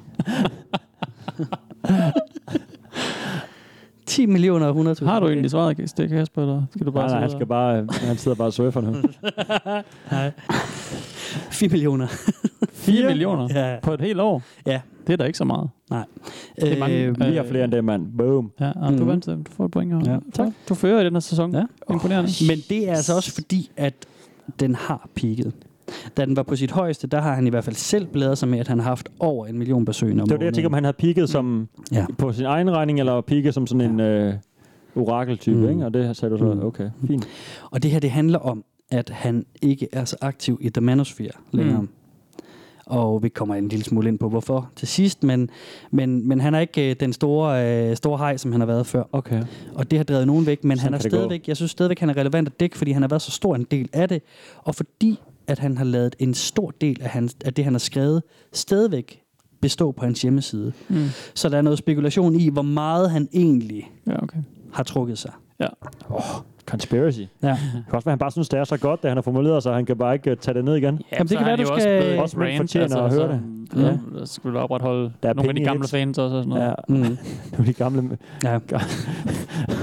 Speaker 3: 10 millioner og 100.000.
Speaker 4: Har du egentlig svaret, Kas- det Kasper, eller skal du bare
Speaker 2: Nej, nej,
Speaker 4: sidde
Speaker 2: han,
Speaker 4: og-
Speaker 2: skal bare, øh, han sidder bare og surfer nu.
Speaker 3: 4 millioner.
Speaker 4: 4 millioner
Speaker 3: Ja.
Speaker 4: på et helt år?
Speaker 3: Ja.
Speaker 4: Det er da ikke så meget.
Speaker 3: Det
Speaker 4: er mange.
Speaker 2: Vi har flere end det, mand. Boom.
Speaker 4: Ja, og mm-hmm. du
Speaker 3: Mhm.
Speaker 4: vandt, øh, du får et point her.
Speaker 3: Ja.
Speaker 4: tak. Du fører i den her sæson.
Speaker 3: Ja.
Speaker 4: Imponerende.
Speaker 3: Men det er altså også fordi, at den har peaked. Da den var på sit højeste, der har han i hvert fald selv bladret sig med, at han har haft over en million besøgende om
Speaker 2: Det var det, jeg tænker, om han havde peaked som ja.
Speaker 3: Ja.
Speaker 2: Mm. på sin egen regning, eller peaked som sådan en øh, orakeltype, mm.
Speaker 3: Mm.
Speaker 2: ikke? Og det sagde du så,
Speaker 3: Mm.
Speaker 2: okay, fint.
Speaker 3: Og det her, det handler om, at han ikke er så aktiv i The Manosphere længere.
Speaker 4: Mm.
Speaker 3: Mm. Og vi kommer en lille smule ind på, hvorfor til sidst, men, men, men han er ikke øh, den store, øh, store hej, som han har været før.
Speaker 2: Okay.
Speaker 3: Og det har drevet nogen væk, men
Speaker 2: Sådan
Speaker 3: han er
Speaker 2: kan det gå.
Speaker 3: stadigvæk, jeg synes stadigvæk, han er relevant at dække, fordi han har været så stor en del af det. Og fordi at han har lavet en stor del af, hans, af det, han har skrevet, stadigvæk bestå på hans hjemmeside.
Speaker 4: Mm.
Speaker 3: Så der er noget spekulation i, hvor meget han egentlig
Speaker 4: Ja, okay.
Speaker 3: har trukket sig.
Speaker 4: Ja.
Speaker 2: Conspiracy.
Speaker 3: Ja.
Speaker 2: Det kan også være, han bare synes, det er så godt, at han har formuleret sig, og han kan bare ikke øh, tage det ned igen.
Speaker 4: Ja,
Speaker 3: Jamen, det
Speaker 4: så
Speaker 3: kan
Speaker 4: har
Speaker 3: være,
Speaker 4: de
Speaker 3: du
Speaker 4: jo også
Speaker 3: skal-
Speaker 4: blevet
Speaker 2: Også man
Speaker 4: rained,
Speaker 2: fortjener at høre det.
Speaker 4: så, ja. Så skal du opretholde
Speaker 2: Der
Speaker 4: der
Speaker 2: er
Speaker 4: nogle af
Speaker 2: penge
Speaker 4: de
Speaker 2: i
Speaker 4: gamle
Speaker 2: hits.
Speaker 4: fans også og sådan noget.
Speaker 2: Ja,
Speaker 4: Ja.
Speaker 3: Mm.
Speaker 2: nu er de gamle...
Speaker 3: ja.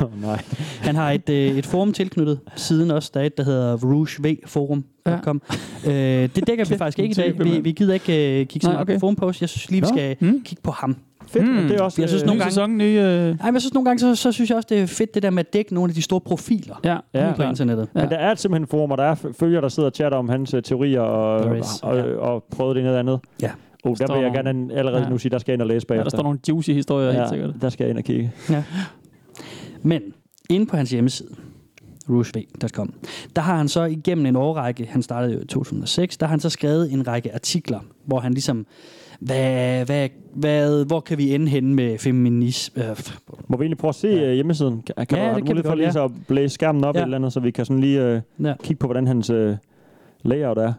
Speaker 2: Oh, nej.
Speaker 3: Han har et, øh, et forum tilknyttet siden også, der er et, der hedder rougevforum.com. Ja. Øh, det dækker vi faktisk ikke i dag.
Speaker 4: type,
Speaker 3: Vi,
Speaker 4: mand.
Speaker 3: vi gider ikke øh, kigge så
Speaker 4: Nej,
Speaker 3: meget okay.
Speaker 4: okay.
Speaker 3: på forumpost. Jeg synes lige, vi
Speaker 2: Nå,
Speaker 3: skal
Speaker 4: mm.
Speaker 3: kigge på ham.
Speaker 2: Fedt,
Speaker 4: Mm.
Speaker 2: mm. det er også...
Speaker 3: Jeg synes,
Speaker 2: øh,
Speaker 4: Ny
Speaker 3: nogle gange-
Speaker 4: sæson, nye... Øh...
Speaker 3: Ej, men jeg synes nogle gange, så, så synes jeg også, det er fedt det der med at dække nogle af de store profiler
Speaker 4: Ja,
Speaker 3: ja,
Speaker 4: ja.
Speaker 3: på internettet.
Speaker 2: Men der er simpelthen forum, og der er f- følgere, der sidder og chatter om hans øh, teorier og,
Speaker 3: There is,
Speaker 2: og,
Speaker 3: ja.
Speaker 2: og, og prøver det ene eller andet.
Speaker 3: Ja.
Speaker 2: Oh, der
Speaker 4: Står
Speaker 2: vil jeg
Speaker 4: nogle-
Speaker 2: gerne an- allerede
Speaker 4: Ja.
Speaker 2: nu sige, der skal jeg ind og læse
Speaker 4: Ja,
Speaker 2: bagefter.
Speaker 4: der står nogle juicy historier, ja. helt sikkert.
Speaker 2: ja, der skal jeg ind og kigge.
Speaker 3: Men inde på hans hjemmeside, roosevelt.com, der har han så igennem en årrække, han startede jo i 2006, der har han så skrevet en række artikler, hvor han ligesom, hvad, hvad, hvad, hvor kan vi ende henne med feminisme? Øh,
Speaker 2: Må vi egentlig prøve at se ja. hjemmesiden? Kan, kan
Speaker 3: Ja,
Speaker 2: ja,
Speaker 3: det
Speaker 2: du
Speaker 3: kan vi
Speaker 2: mulighed for
Speaker 3: godt,
Speaker 2: lige
Speaker 3: ja.
Speaker 2: så at blæse skærmen op
Speaker 3: Ja.
Speaker 2: ja. eller andet, så vi kan sådan lige øh,
Speaker 3: ja,
Speaker 2: kigge på, hvordan hans øh, layout er?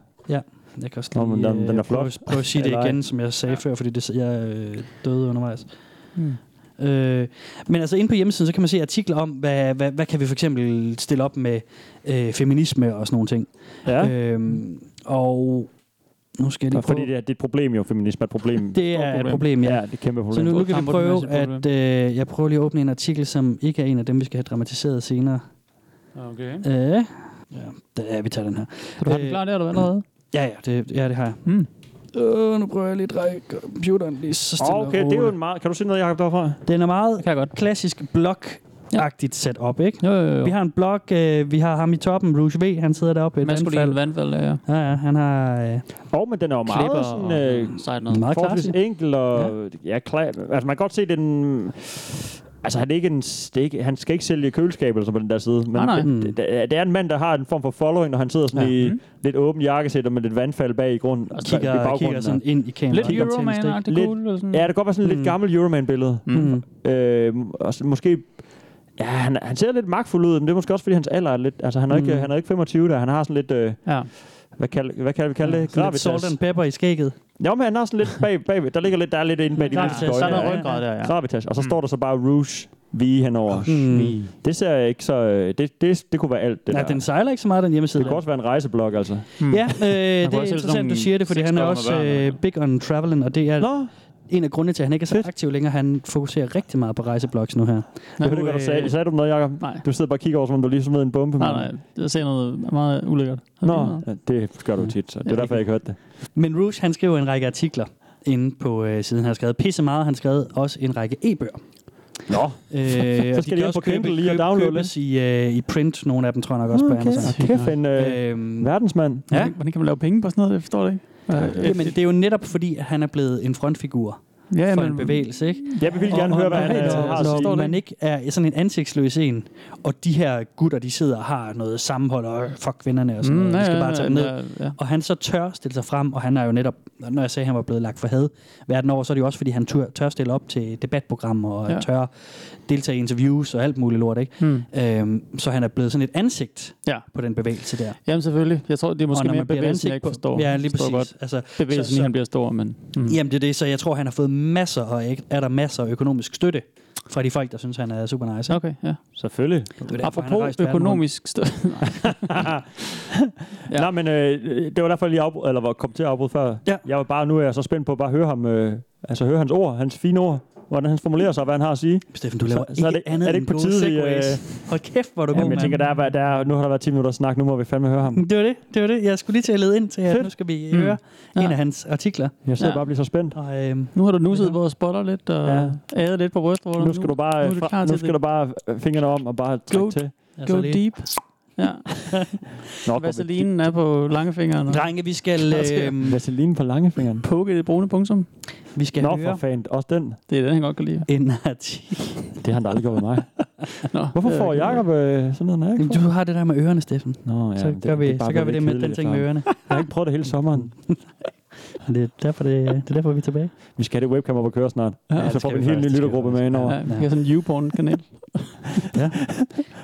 Speaker 3: jeg kan også
Speaker 2: Nå,
Speaker 3: lige
Speaker 2: men den-
Speaker 3: øh,
Speaker 2: den er
Speaker 3: prøve,
Speaker 2: flot.
Speaker 3: prøve at sige det
Speaker 2: Eller ej.
Speaker 3: igen, som jeg sagde ja. før, fordi det, jeg øh, døde undervejs.
Speaker 4: Mm.
Speaker 3: Øh, men altså inde på hjemmesiden, så kan man se artikler om, hvad, hvad, hvad kan vi for eksempel stille op med øh, feminisme og sådan nogle ting.
Speaker 2: Ja, øh,
Speaker 3: Øhm, og nu skal jeg lige prøve...
Speaker 2: fordi det er, det er et problem jo, feminisme er et problem.
Speaker 3: Det
Speaker 4: Stort
Speaker 3: er et
Speaker 4: problem.
Speaker 3: problem, ja.
Speaker 2: ja, det er et kæmpe problem.
Speaker 3: Så nu, nu kan vi
Speaker 4: Kampen
Speaker 3: prøve,
Speaker 4: er et
Speaker 3: at øh, jeg prøver lige at åbne en artikel, som ikke er en af dem, vi skal have dramatiseret senere.
Speaker 4: Okay.
Speaker 3: Øh, ja, det er, vi tager den her.
Speaker 4: Så du har den
Speaker 3: Øh,
Speaker 4: klar der, eller hvad allerede?
Speaker 3: Ja, ja, det, ja, det har jeg.
Speaker 4: Mm.
Speaker 3: Øh, nu prøver jeg lige at dreje computeren lige så stille
Speaker 2: okay,
Speaker 3: og
Speaker 2: det er jo
Speaker 3: roligt.
Speaker 2: en meget... Kan du se noget, Jacob, derfra?
Speaker 3: Den er meget
Speaker 4: Det kan jeg godt.
Speaker 3: klassisk blog-agtigt setup, ikke?
Speaker 4: Jo, jo, jo.
Speaker 3: Vi har en blog, øh, vi har ham i toppen, Rouge V, han sidder deroppe i et
Speaker 4: Maskulin
Speaker 3: vandfald.
Speaker 4: vandfald, ja. ja.
Speaker 3: Ja, ja, han har øh,
Speaker 2: Og men den er jo meget
Speaker 4: Klipper
Speaker 2: sådan...
Speaker 4: og
Speaker 2: Øh,
Speaker 4: øh, sejt noget.
Speaker 3: meget
Speaker 2: forholdsvis
Speaker 3: klassisk.
Speaker 2: enkel og... Ja, ja klar, altså man kan godt se, den... Altså, han, er ikke en, det er ikke, han skal ikke sælge køleskab eller sådan på den der side. Men
Speaker 4: Nej, nej.
Speaker 2: Det, det, det, er en mand, der har en form for following, når han sidder sådan
Speaker 3: Mm. Ja.
Speaker 2: ja. i mm. lidt åben jakkesæt og med lidt vandfald bag altså, i grunden. Og
Speaker 3: kigger, kigger sådan ind i kameraet.
Speaker 4: Lidt
Speaker 3: Kigger til en stik.
Speaker 4: Euroman-agtig
Speaker 2: Lidt-
Speaker 4: cool. Eller sådan.
Speaker 2: Ja, det kan godt være sådan et
Speaker 3: Mm.
Speaker 2: lidt gammelt Euroman-billede.
Speaker 3: Mm.
Speaker 2: Øh, og så måske... Ja, han, han ser lidt magtfuld ud, men det er måske også, fordi hans alder er lidt... Altså, han er, ikke,
Speaker 3: Mm.
Speaker 2: han er ikke 25 der. Han har sådan lidt... Øh,
Speaker 4: Ja.
Speaker 2: hvad, kald, hvad kan vi kalde det?
Speaker 3: Sådan lidt
Speaker 2: Gravitas.
Speaker 3: salt and pepper i skægget.
Speaker 2: Jo, men han har sådan lidt bag... bag der ligger lidt, der er lidt inde bag de
Speaker 3: Ja,
Speaker 2: mindste
Speaker 3: ja,
Speaker 2: øjne.
Speaker 3: der er noget
Speaker 4: ryggrad der, ja.
Speaker 2: Gravitas. Og så står der så bare Rouge V henover.
Speaker 3: Mm.
Speaker 2: Det ser jeg ikke så... øh, Det, det, det kunne være alt, det
Speaker 3: Nej,
Speaker 2: der.
Speaker 3: den sejler ikke så meget, den hjemmeside.
Speaker 2: det kunne også være en rejseblog, altså.
Speaker 3: Ja, øh, det er
Speaker 4: også sælge sådan
Speaker 3: interessant,
Speaker 4: nogle
Speaker 3: du siger det, fordi han er
Speaker 4: sexblogger
Speaker 3: også
Speaker 4: med børn,
Speaker 3: øh, big on traveling, og det er Nå.
Speaker 2: Nå,
Speaker 3: en af grundene til, at han ikke er så
Speaker 2: Fedt.
Speaker 3: aktiv længere. Han fokuserer rigtig meget på rejseblogs nu her.
Speaker 2: jeg ved ikke, hvad du sagde. Sagde du noget, Jacob?
Speaker 4: øh, Nej.
Speaker 2: Du sidder bare og kigger over, som om du lige smed en bombe.
Speaker 4: Nej,
Speaker 2: mand.
Speaker 4: nej. Jeg ser noget meget ulækkert.
Speaker 2: Nå, ja, det gør du tit, så det er
Speaker 4: Ja.
Speaker 2: derfor, jeg ikke hørte det.
Speaker 3: Men Rouge, han skrev en række artikler inde på øh, siden. Han har skrevet pisse meget, han skrev også en række e-bøger.
Speaker 2: Nå,
Speaker 3: Øh,
Speaker 2: skal
Speaker 3: og de
Speaker 2: de
Speaker 3: kan
Speaker 2: ind
Speaker 3: også
Speaker 2: på Kindle
Speaker 3: købe-
Speaker 2: lige og
Speaker 3: købe-
Speaker 2: downloade
Speaker 3: købes i, øh, i print, nogle af dem tror jeg nok også på Amazon.
Speaker 2: okay. kæft en øh,
Speaker 3: Øhm,
Speaker 2: verdensmand.
Speaker 3: Ja.
Speaker 4: Ja. Hvordan, hvordan kan man lave penge på sådan noget? Det forstår jeg ikke. Øh, Ja,
Speaker 3: Jamen, det er jo netop fordi, at han er blevet en frontfigur
Speaker 4: ja,
Speaker 3: for
Speaker 4: men-
Speaker 3: en bevægelse, ikke?
Speaker 2: Jeg vil virkelig gerne høre, hvad han øh, har at
Speaker 3: når, når
Speaker 2: sige.
Speaker 3: man ikke er sådan en ansigtsløs en, og de her gutter, de sidder og har noget sammenhold, og øh, fuck kvinderne og
Speaker 2: Mm,
Speaker 3: sådan noget,
Speaker 4: Mm, ja,
Speaker 3: de skal
Speaker 4: ja,
Speaker 3: bare tage
Speaker 4: ja,
Speaker 3: dem ned.
Speaker 4: Ja, ja.
Speaker 3: Og han så tør stille sig frem, og han er jo netop, når jeg sagde, at han var blevet lagt for had verden over, så er det jo også, fordi han tør, tør stille op til debatprogrammer, og ja.
Speaker 4: Ja.
Speaker 3: tør deltage i interviews og alt muligt lort, ikke?
Speaker 4: Hmm.
Speaker 3: Øhm, så han er blevet sådan et ansigt
Speaker 4: Ja.
Speaker 3: på den bevægelse der.
Speaker 4: Jamen selvfølgelig. Jeg tror, det er
Speaker 3: og
Speaker 4: måske
Speaker 3: når
Speaker 4: mere
Speaker 3: bliver et
Speaker 4: bevægelsen, jeg
Speaker 3: ansigt
Speaker 4: ikke forstår.
Speaker 3: Ja, lige
Speaker 4: Forstår
Speaker 3: præcis.
Speaker 4: godt
Speaker 3: Altså,
Speaker 4: bevægelsen, i,
Speaker 3: så-
Speaker 4: han bliver stor, men... Mm.
Speaker 3: Jamen det er det, så jeg tror, han har fået masser, og ikke- er der masser af økonomisk støtte fra de folk, der synes, han er super nice. ikke?
Speaker 4: Okay, ja.
Speaker 2: Selvfølgelig.
Speaker 3: Det er derfor, han har
Speaker 4: Apropos
Speaker 3: rejst verden rundt.
Speaker 4: økonomisk støtte.
Speaker 2: Ja.
Speaker 4: Ja.
Speaker 2: Nej, men øh, det var derfor, jeg lige afbrød, eller var kom til at afbryde før.
Speaker 3: Ja.
Speaker 2: Jeg var bare, nu er jeg så spændt på at bare høre ham, øh, altså høre hans ord, hans fine ord, hvordan han formulerer sig, og hvad han har at sige.
Speaker 3: Steffen, du
Speaker 2: Så-
Speaker 3: laver
Speaker 2: så er det-
Speaker 3: ikke andet
Speaker 2: er det
Speaker 3: end
Speaker 2: ikke på
Speaker 3: gode
Speaker 2: tide, vi,
Speaker 3: segways. Hold kæft, hvor er du god,
Speaker 2: Jamen, jeg
Speaker 3: mand.
Speaker 2: tænker, der er, hvad- der er, nu har der været 10 minutter snak, nu må vi fandme høre ham.
Speaker 3: Det var det, det var det. Jeg skulle lige til at lede ind til, at
Speaker 2: Fedt.
Speaker 3: nu skal vi
Speaker 4: Mm.
Speaker 3: høre
Speaker 4: Ja.
Speaker 3: en af hans artikler.
Speaker 2: Jeg sidder
Speaker 4: Ja.
Speaker 2: bare og bliver så spændt.
Speaker 3: Og, øhm,
Speaker 4: Nu har du nusset vores spotter lidt, og
Speaker 2: Ja.
Speaker 4: ja. æret lidt på brystvorterne.
Speaker 2: Nu skal du bare,
Speaker 4: nu er du klar
Speaker 2: fra,
Speaker 4: til
Speaker 2: nu skal
Speaker 4: det.
Speaker 2: du bare øh, fingrene om og bare
Speaker 4: Go.
Speaker 2: trække til.
Speaker 4: Go
Speaker 3: altså lige-
Speaker 4: deep. Ja,
Speaker 2: Nå,
Speaker 4: vaselinen er på langefingeren. og
Speaker 3: Drenge, vi skal, øhm,
Speaker 2: Vaseline på langefingeren.
Speaker 4: Pukke det brune punktum.
Speaker 3: vi skal
Speaker 2: Nå, for
Speaker 3: høre
Speaker 2: fanden. Også den.
Speaker 4: Det er den, han godt kan lide.
Speaker 3: en artikel.
Speaker 2: Det har han da aldrig gjort med mig.
Speaker 4: Nå,
Speaker 2: Hvorfor
Speaker 4: det er
Speaker 2: får
Speaker 4: ikke-
Speaker 2: Jacob øh, sådan noget, når jeg ikke
Speaker 3: Jamen, Du har det der med ørerne, Steffen.
Speaker 2: får? Nå, ja,
Speaker 3: Så
Speaker 2: men
Speaker 3: gør vi
Speaker 2: er bare
Speaker 3: så gør vi
Speaker 2: blevet
Speaker 3: det med
Speaker 2: lidt
Speaker 3: den
Speaker 2: kedeligt
Speaker 3: ting med
Speaker 2: efterhånden.
Speaker 3: ørerne.
Speaker 2: Jeg har ikke prøvet det hele sommeren.
Speaker 3: Det er derfor, det, det er derfor vi er tilbage.
Speaker 2: Vi skal have det webcam op og køre snart.
Speaker 4: Ja,
Speaker 2: Ja,
Speaker 4: det
Speaker 2: så får
Speaker 3: skal
Speaker 2: vi en
Speaker 3: vi
Speaker 2: helt ny
Speaker 3: faktisk.
Speaker 2: lyttergruppe med indover.
Speaker 4: Ja, vi har sådan en YouPorn-kanal.
Speaker 3: Der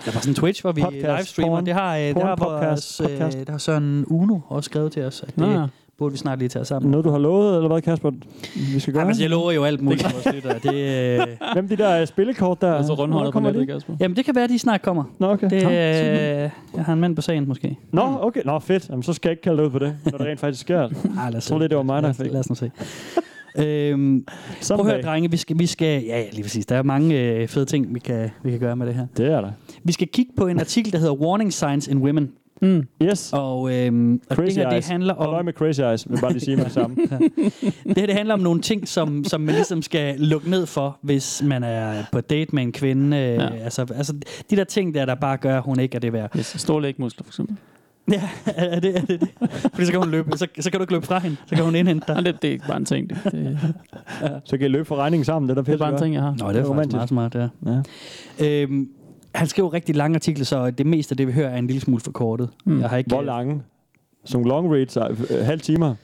Speaker 3: var sådan en Twitch, hvor vi
Speaker 2: Podcast,
Speaker 3: livestreamer.
Speaker 2: porn,
Speaker 3: Det har, øh, det
Speaker 2: porn
Speaker 3: har vores,
Speaker 2: podcast,
Speaker 3: øh,
Speaker 2: podcast.
Speaker 3: der har Søren Uno også skrevet til os, at det
Speaker 4: Nå,
Speaker 3: er
Speaker 4: ja.
Speaker 3: burde vi snart lige tage os sammen.
Speaker 2: Noget, du har lovet, eller hvad, Kasper, vi skal gøre?
Speaker 3: Jamen, altså, jeg lover jo alt muligt. for vores lyttere. Det, øh...
Speaker 2: Hvem de der øh, spillekort der?
Speaker 4: Og så Altså rundhåndet på
Speaker 2: Hvornår kommer
Speaker 4: nettet,
Speaker 2: de?
Speaker 4: Kasper.
Speaker 3: Jamen, det kan være, at de snart kommer.
Speaker 2: Nå, okay.
Speaker 3: Det,
Speaker 2: Nå,
Speaker 3: øh...
Speaker 2: super.
Speaker 3: Jeg har en mand på sagen, måske.
Speaker 2: Nå, okay. Nå, fedt. Jamen, så skal jeg ikke kalde dig ud på det, når det rent faktisk sker.
Speaker 3: Ej, lad os
Speaker 2: Jeg troede lidt, det var mig, der
Speaker 3: lad,
Speaker 2: fik.
Speaker 3: lad os nu se. øhm, prøv at høre,
Speaker 2: Someday.
Speaker 3: drenge. Vi skal, vi skal, ja, ja, lige præcis. Der er mange øh, fede ting, vi kan, vi kan gøre med det her.
Speaker 2: Det er der.
Speaker 3: Vi skal kigge på en artikel, der hedder Warning Signs in Women.
Speaker 4: Mm.
Speaker 2: Yes.
Speaker 3: Og, øhm, og det
Speaker 2: Crazy
Speaker 3: her, det
Speaker 2: Eyes.
Speaker 3: handler
Speaker 2: Og løg
Speaker 3: om,
Speaker 2: med Crazy Eyes, vil jeg bare lige sige med det samme.
Speaker 3: det, her, det handler om nogle ting, som, som man ligesom skal lukke ned for, hvis man er på date med en kvinde. Øh, ja.
Speaker 4: Ja.
Speaker 3: altså, altså, de der ting der, der bare gør, at hun ikke er det værd.
Speaker 4: Yes. Store lægmuskler, for eksempel.
Speaker 3: Ja, er det, er det, det? Fordi så kan, hun løbe, så, så kan du ikke løbe fra hende. Så kan hun indhente dig.
Speaker 4: Nej, det, det er ikke bare en ting. Det, det,
Speaker 2: Så kan I løbe for regningen sammen. Det er da
Speaker 4: det er
Speaker 2: pisse
Speaker 4: bare en
Speaker 2: godt.
Speaker 4: ting, jeg har.
Speaker 3: Nå,
Speaker 2: det er faktisk
Speaker 3: meget smart, ja.
Speaker 2: Ja.
Speaker 3: Øhm, han skrev rigtig lange artikler, så det meste af det, vi hører, er en lille smule forkortet. Mm. Jeg har ikke...
Speaker 2: Hvor lange? Som long reads, øh, øh, halv timer.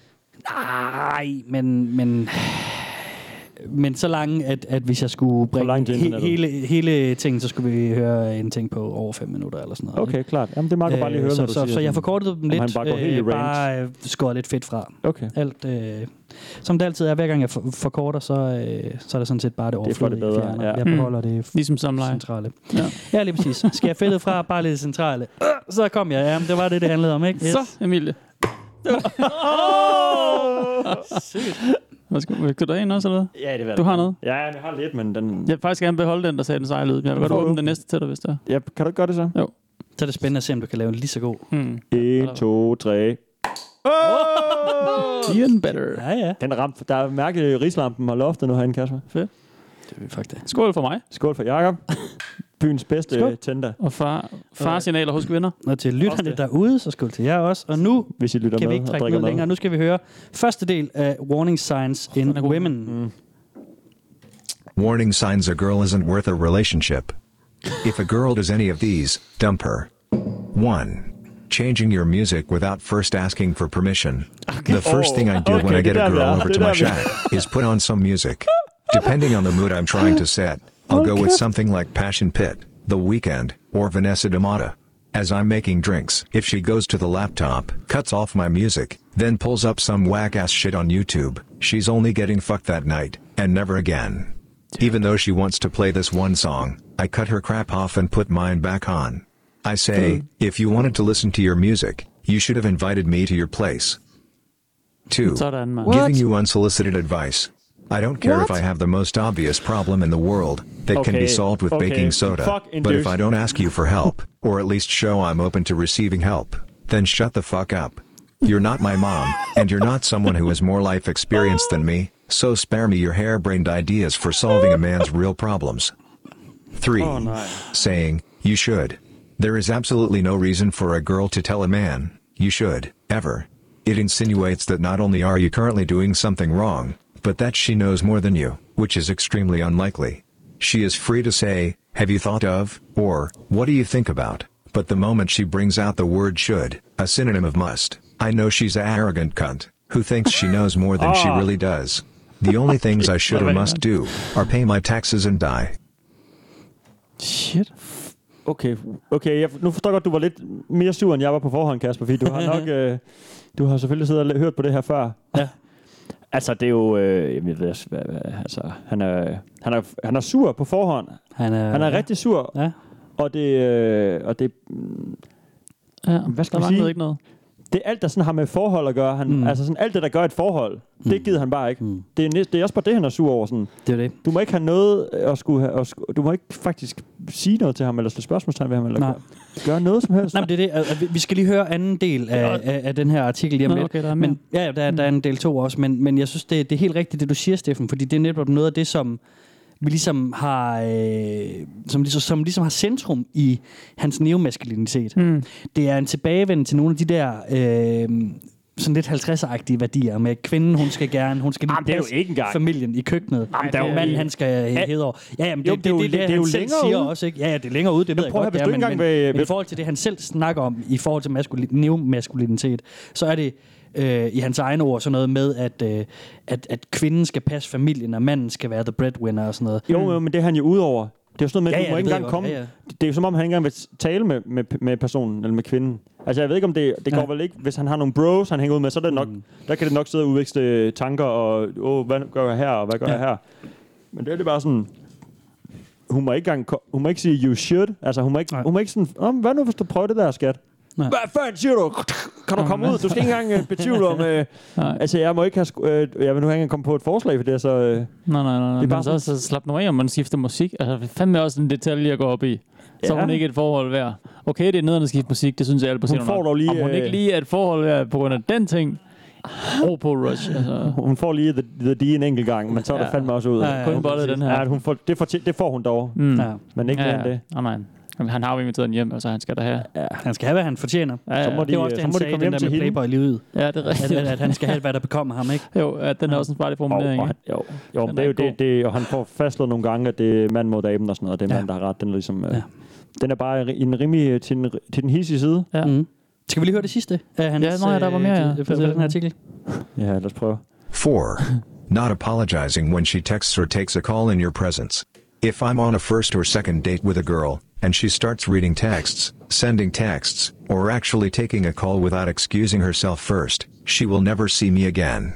Speaker 3: Nej, men, men, men så lange, at, at hvis jeg skulle bringe
Speaker 2: langt til
Speaker 3: he,
Speaker 2: internettet.
Speaker 3: hele, hele ting, så skulle vi høre en ting på over 5 minutter eller sådan noget. Øh,
Speaker 2: Okay, klart. Jamen, det må jeg bare lige høre,
Speaker 3: så,
Speaker 2: når du
Speaker 3: så,
Speaker 2: siger
Speaker 3: så jeg
Speaker 2: sådan.
Speaker 3: forkortede dem
Speaker 2: Om
Speaker 3: lidt,
Speaker 2: han bare går helt i rant.
Speaker 3: bare øh, skåret lidt fedt fra.
Speaker 2: Okay.
Speaker 3: Alt, øh, som det altid er, hver gang jeg for, forkorter, så, øh, så er det sådan set bare det
Speaker 2: Det får det
Speaker 3: overflødige,
Speaker 2: bedre,
Speaker 3: jeg fjerner.
Speaker 2: ja.
Speaker 3: Jeg
Speaker 4: Mm.
Speaker 3: beholder det
Speaker 4: Ligesom samleje.
Speaker 3: centrale.
Speaker 4: Ja.
Speaker 3: Ja, lige præcis. Skal jeg fældet fra, bare lidt centrale. Øh, så kom jeg. Jamen, det var det, det handlede om, ikke?
Speaker 4: Så, Emilie.
Speaker 3: Sygt.
Speaker 4: Hvad skal, vil du have en også, eller hvad?
Speaker 2: Ja, det var
Speaker 4: Du har noget?
Speaker 2: Ja, jeg har lidt, men den...
Speaker 4: Jeg vil faktisk gerne beholde den, der sagde den seje lyd. men Jeg
Speaker 2: Den
Speaker 4: vil godt
Speaker 2: får du.
Speaker 4: åbne den næste til dig, hvis det er.
Speaker 2: Ja, kan du ikke gøre det så?
Speaker 3: Så er det spændende at se, om du kan lave en lige så god.
Speaker 4: Mm.
Speaker 2: 1, 2, 3.
Speaker 4: Even better.
Speaker 3: Ja, ja.
Speaker 2: Den ramte, der er mærket, at rislampen har loftet nu herinde, Kasper. Fedt.
Speaker 3: Det er faktisk det.
Speaker 4: Skål for mig.
Speaker 2: Skål for Jakob. Byens bedste
Speaker 4: Skål.
Speaker 2: Skål. tænder,
Speaker 4: Og far, farsignaler hos kvinder.
Speaker 3: Og til
Speaker 2: Også
Speaker 3: lytterne
Speaker 2: det.
Speaker 3: derude, så skål til jer også. Og nu
Speaker 2: hvis I lytter
Speaker 3: kan vi
Speaker 2: med
Speaker 3: ikke
Speaker 2: og
Speaker 3: trække
Speaker 2: drikker
Speaker 3: ned
Speaker 2: med.
Speaker 3: længere. Nu skal vi høre første del af Warning Signs in Women. Mm.
Speaker 5: Warning signs a girl isn't worth a relationship. If a girl does any of these, dump her. 1. Changing your music without first asking for permission. The first thing I do when
Speaker 2: Oh, okay,
Speaker 5: I get a
Speaker 2: did
Speaker 5: girl
Speaker 2: I-
Speaker 5: over to
Speaker 2: did
Speaker 5: my
Speaker 2: I-
Speaker 5: shack is put on some music. Depending on the mood I'm trying to set, I'll go with something like Passion Pit, The Weekend, or Vanessa D'Amata. As I'm making drinks, if she goes to the laptop, cuts off my music, then pulls up some whack ass shit on YouTube, she's only getting fucked that night, and never again. Even though she wants to play this one song, I cut her crap off and put mine back on. I say, if you wanted to listen to your music, you should have invited me to your place. 2.
Speaker 4: Sådan, mand.
Speaker 5: Giving you unsolicited advice. I don't care if I have the most obvious problem in the world that can
Speaker 2: Okay,
Speaker 5: be solved with
Speaker 2: okay,
Speaker 5: baking soda,
Speaker 2: fuck
Speaker 5: but if
Speaker 2: induced.
Speaker 5: I don't ask you for help, or at least show I'm open to receiving help, then shut the fuck up. You're not my mom, and you're not someone who has more life experience than me, so spare me your harebrained ideas for solving a man's real problems. 3. Saying, you should. There is absolutely no reason for a girl to tell a man, you should, ever. It insinuates that not only are you currently doing something wrong, but that she knows more than you, which is extremely unlikely. She is free to say, have you thought of, or, what do you think about? But the moment she brings out the word should, a synonym of must, I know she's an arrogant cunt, who thinks she knows more than she really does. The only things I should or must do are pay my taxes and die.
Speaker 4: Shit.
Speaker 2: Okay, okay jeg, nu forstår jeg godt, du var lidt mere sur, end jeg var på forhånd, Kasper, fordi du har nok... øh, du har selvfølgelig siddet og l- hørt på det her før.
Speaker 3: Ja.
Speaker 2: Altså, det er jo... Øh, jamen, jeg ved, også, hvad, hvad, altså, han er, han, er, han er sur på forhånd.
Speaker 3: Han er,
Speaker 2: Han er rigtig sur,
Speaker 3: Ja.
Speaker 2: og det, øh, og det,
Speaker 4: Ja,
Speaker 2: Hvad skal
Speaker 4: der
Speaker 2: vi
Speaker 4: manglede
Speaker 2: sige?
Speaker 4: ikke noget.
Speaker 2: det er alt, der sådan har med forhold at gøre. Han,
Speaker 3: Mm.
Speaker 2: mm. Altså sådan alt det, der gør et forhold, mm. det gider han bare ikke.
Speaker 3: Mm.
Speaker 2: Mm. Det, er, næ- det er også bare det, han er sur over. Sådan.
Speaker 3: Det er det.
Speaker 2: Du må ikke have noget øh, at skulle have, at sku, du må ikke faktisk sige noget til ham, eller stille spørgsmålstegn ved ham, eller
Speaker 3: Nej.
Speaker 2: gøre, gøre noget som helst.
Speaker 3: Nej, men det er det. Altså, vi- Vi skal lige høre anden del af, af, af den her artikel lige om
Speaker 4: Nå,
Speaker 3: lidt.
Speaker 4: okay, der er mere.
Speaker 3: men, ja, ja, der, er- der er en del to også, men, men jeg synes, det, det er helt rigtigt, det du siger, Steffen, fordi det er netop noget af det, som vi ligesom har, øh, som, ligesom, som ligesom har centrum i hans neomaskulinitet. Mm. Det er en tilbagevend til nogle af de der... Øh, sådan lidt 50'er-agtige værdier med kvinden, hun skal gerne, hun skal lige
Speaker 2: Jamen, det er jo
Speaker 3: passe
Speaker 2: ikke engang.
Speaker 3: familien i køkkenet. Jamen,
Speaker 2: der er jo-
Speaker 3: manden, han skal øh, hedde over. Ja, jamen, det,
Speaker 2: Jo,
Speaker 3: det, det, det, det, det,
Speaker 2: er
Speaker 3: det,
Speaker 2: jo
Speaker 3: han selv
Speaker 2: længere
Speaker 3: siger
Speaker 2: ude.
Speaker 3: også, ikke? Ja, ja, det er længere ude, det ved jeg
Speaker 2: prøv at
Speaker 3: godt,
Speaker 2: høre,
Speaker 3: det
Speaker 2: hvis du
Speaker 3: er,
Speaker 2: ikke
Speaker 3: men,
Speaker 2: engang
Speaker 3: men,
Speaker 2: vil-
Speaker 3: men i
Speaker 2: vil-
Speaker 3: forhold til det, han selv snakker om i forhold til maskuli- neomaskulinitet, så er det øh, i hans egne ord sådan noget med, at, øh, at, at kvinden skal passe familien, og manden skal være the breadwinner og sådan noget.
Speaker 2: Jo, jo, men det er han jo ud over. Det er jo sådan noget med,
Speaker 3: Hmm.
Speaker 2: ja,
Speaker 3: Ja, ja,
Speaker 2: du må ikke engang
Speaker 3: det ved jeg godt.
Speaker 2: komme.
Speaker 3: Ja,
Speaker 2: Ja,
Speaker 3: ja.
Speaker 2: ja. Det er jo som om, han ikke engang vil tale med, med, med personen, eller med kvinden. Altså, jeg ved ikke, om det, det går vel ikke, hvis han har nogle bros, han hænger ud med, så er det nok,
Speaker 3: Hmm.
Speaker 2: der kan det nok sidde og udveksle tanker, og åh, hvad gør jeg her, og hvad gør jeg her? Men det er det bare sådan, hun må ikke, engang, ko- hun må ikke sige, you should. Altså, hun må ikke,
Speaker 3: Nej.
Speaker 2: hun må ikke sådan, om, hvad nu, hvis du prøver det der, skat?
Speaker 3: Nej.
Speaker 2: Hvad fanden siger du? Kan du komme ud? Du skal ikke engang øh, betvivle om... Øh,
Speaker 4: Nej.
Speaker 2: altså, jeg må ikke have... Sku- øh, jeg vil nu ikke engang komme på et forslag for det, så... Øh,
Speaker 4: Nej, nej, nej. Det
Speaker 2: bare
Speaker 4: er bare så
Speaker 2: sådan-
Speaker 4: altså også slap nu af, om man skifter musik. Altså, det er fandme også en detalje, jeg går op i. Så
Speaker 2: Ja.
Speaker 4: er hun ikke et forhold værd. Okay, det er nederen at skifte musik, det synes jeg alle på
Speaker 2: Hun
Speaker 4: scenen
Speaker 2: får
Speaker 4: nok.
Speaker 2: dog lige,
Speaker 4: Om hun
Speaker 2: øh,
Speaker 4: ikke lige er et forhold værd på grund af den ting, ro på Rush. Altså,
Speaker 2: hun får lige the, the D en enkelt gang, men så er der
Speaker 4: Ja.
Speaker 2: fandme også ud.
Speaker 3: Ja, ja,
Speaker 4: kun
Speaker 3: ja,
Speaker 4: bollet den her.
Speaker 2: Ja, hun får, det, får, det får hun dog,
Speaker 4: Mm.
Speaker 3: Ja.
Speaker 2: men ikke ja, mere end det.
Speaker 4: Nej, nej. Jamen, Han har jo inviteret den hjem, altså han skal da have. Ja,
Speaker 3: Han skal have, hvad han fortjener.
Speaker 4: ja.
Speaker 2: Så må de,
Speaker 3: Det var også
Speaker 2: så
Speaker 3: det, han
Speaker 2: må de
Speaker 3: sagde,
Speaker 2: komme hjem
Speaker 3: den der
Speaker 2: til
Speaker 3: med
Speaker 2: hende.
Speaker 3: Playboy-livet.
Speaker 4: ja det er
Speaker 3: At,
Speaker 4: rigtigt.
Speaker 3: at, at han skal have, hvad der bekommer ham, ikke?
Speaker 4: Jo, at den er også en farlig formulering.
Speaker 2: Og,
Speaker 4: ikke?
Speaker 2: og, jo, jo men
Speaker 4: Den
Speaker 2: det er
Speaker 4: er
Speaker 2: jo det,
Speaker 4: god.
Speaker 2: det, og han får fastslået nogle gange, at det er mand mod damen og sådan noget, og det er
Speaker 3: Ja.
Speaker 2: ja. mand, der har ret. Den er, ligesom, øh,
Speaker 3: Ja.
Speaker 2: ja. den er bare i en rimelig, øh, til, den, til den hissige side.
Speaker 4: Ja.
Speaker 3: Mm. Skal vi lige høre det sidste? af hans,
Speaker 4: Ja, nå ja, der var mere,
Speaker 3: øh,
Speaker 4: ja.
Speaker 3: det- det- det- den her artikel.
Speaker 2: Ja, lad os prøve.
Speaker 5: 4. Not apologizing when she texts or takes a call in your presence. If I'm on a first or second date with a girl, and she starts reading texts, sending texts, or actually taking a call without excusing herself first, she will never see me again.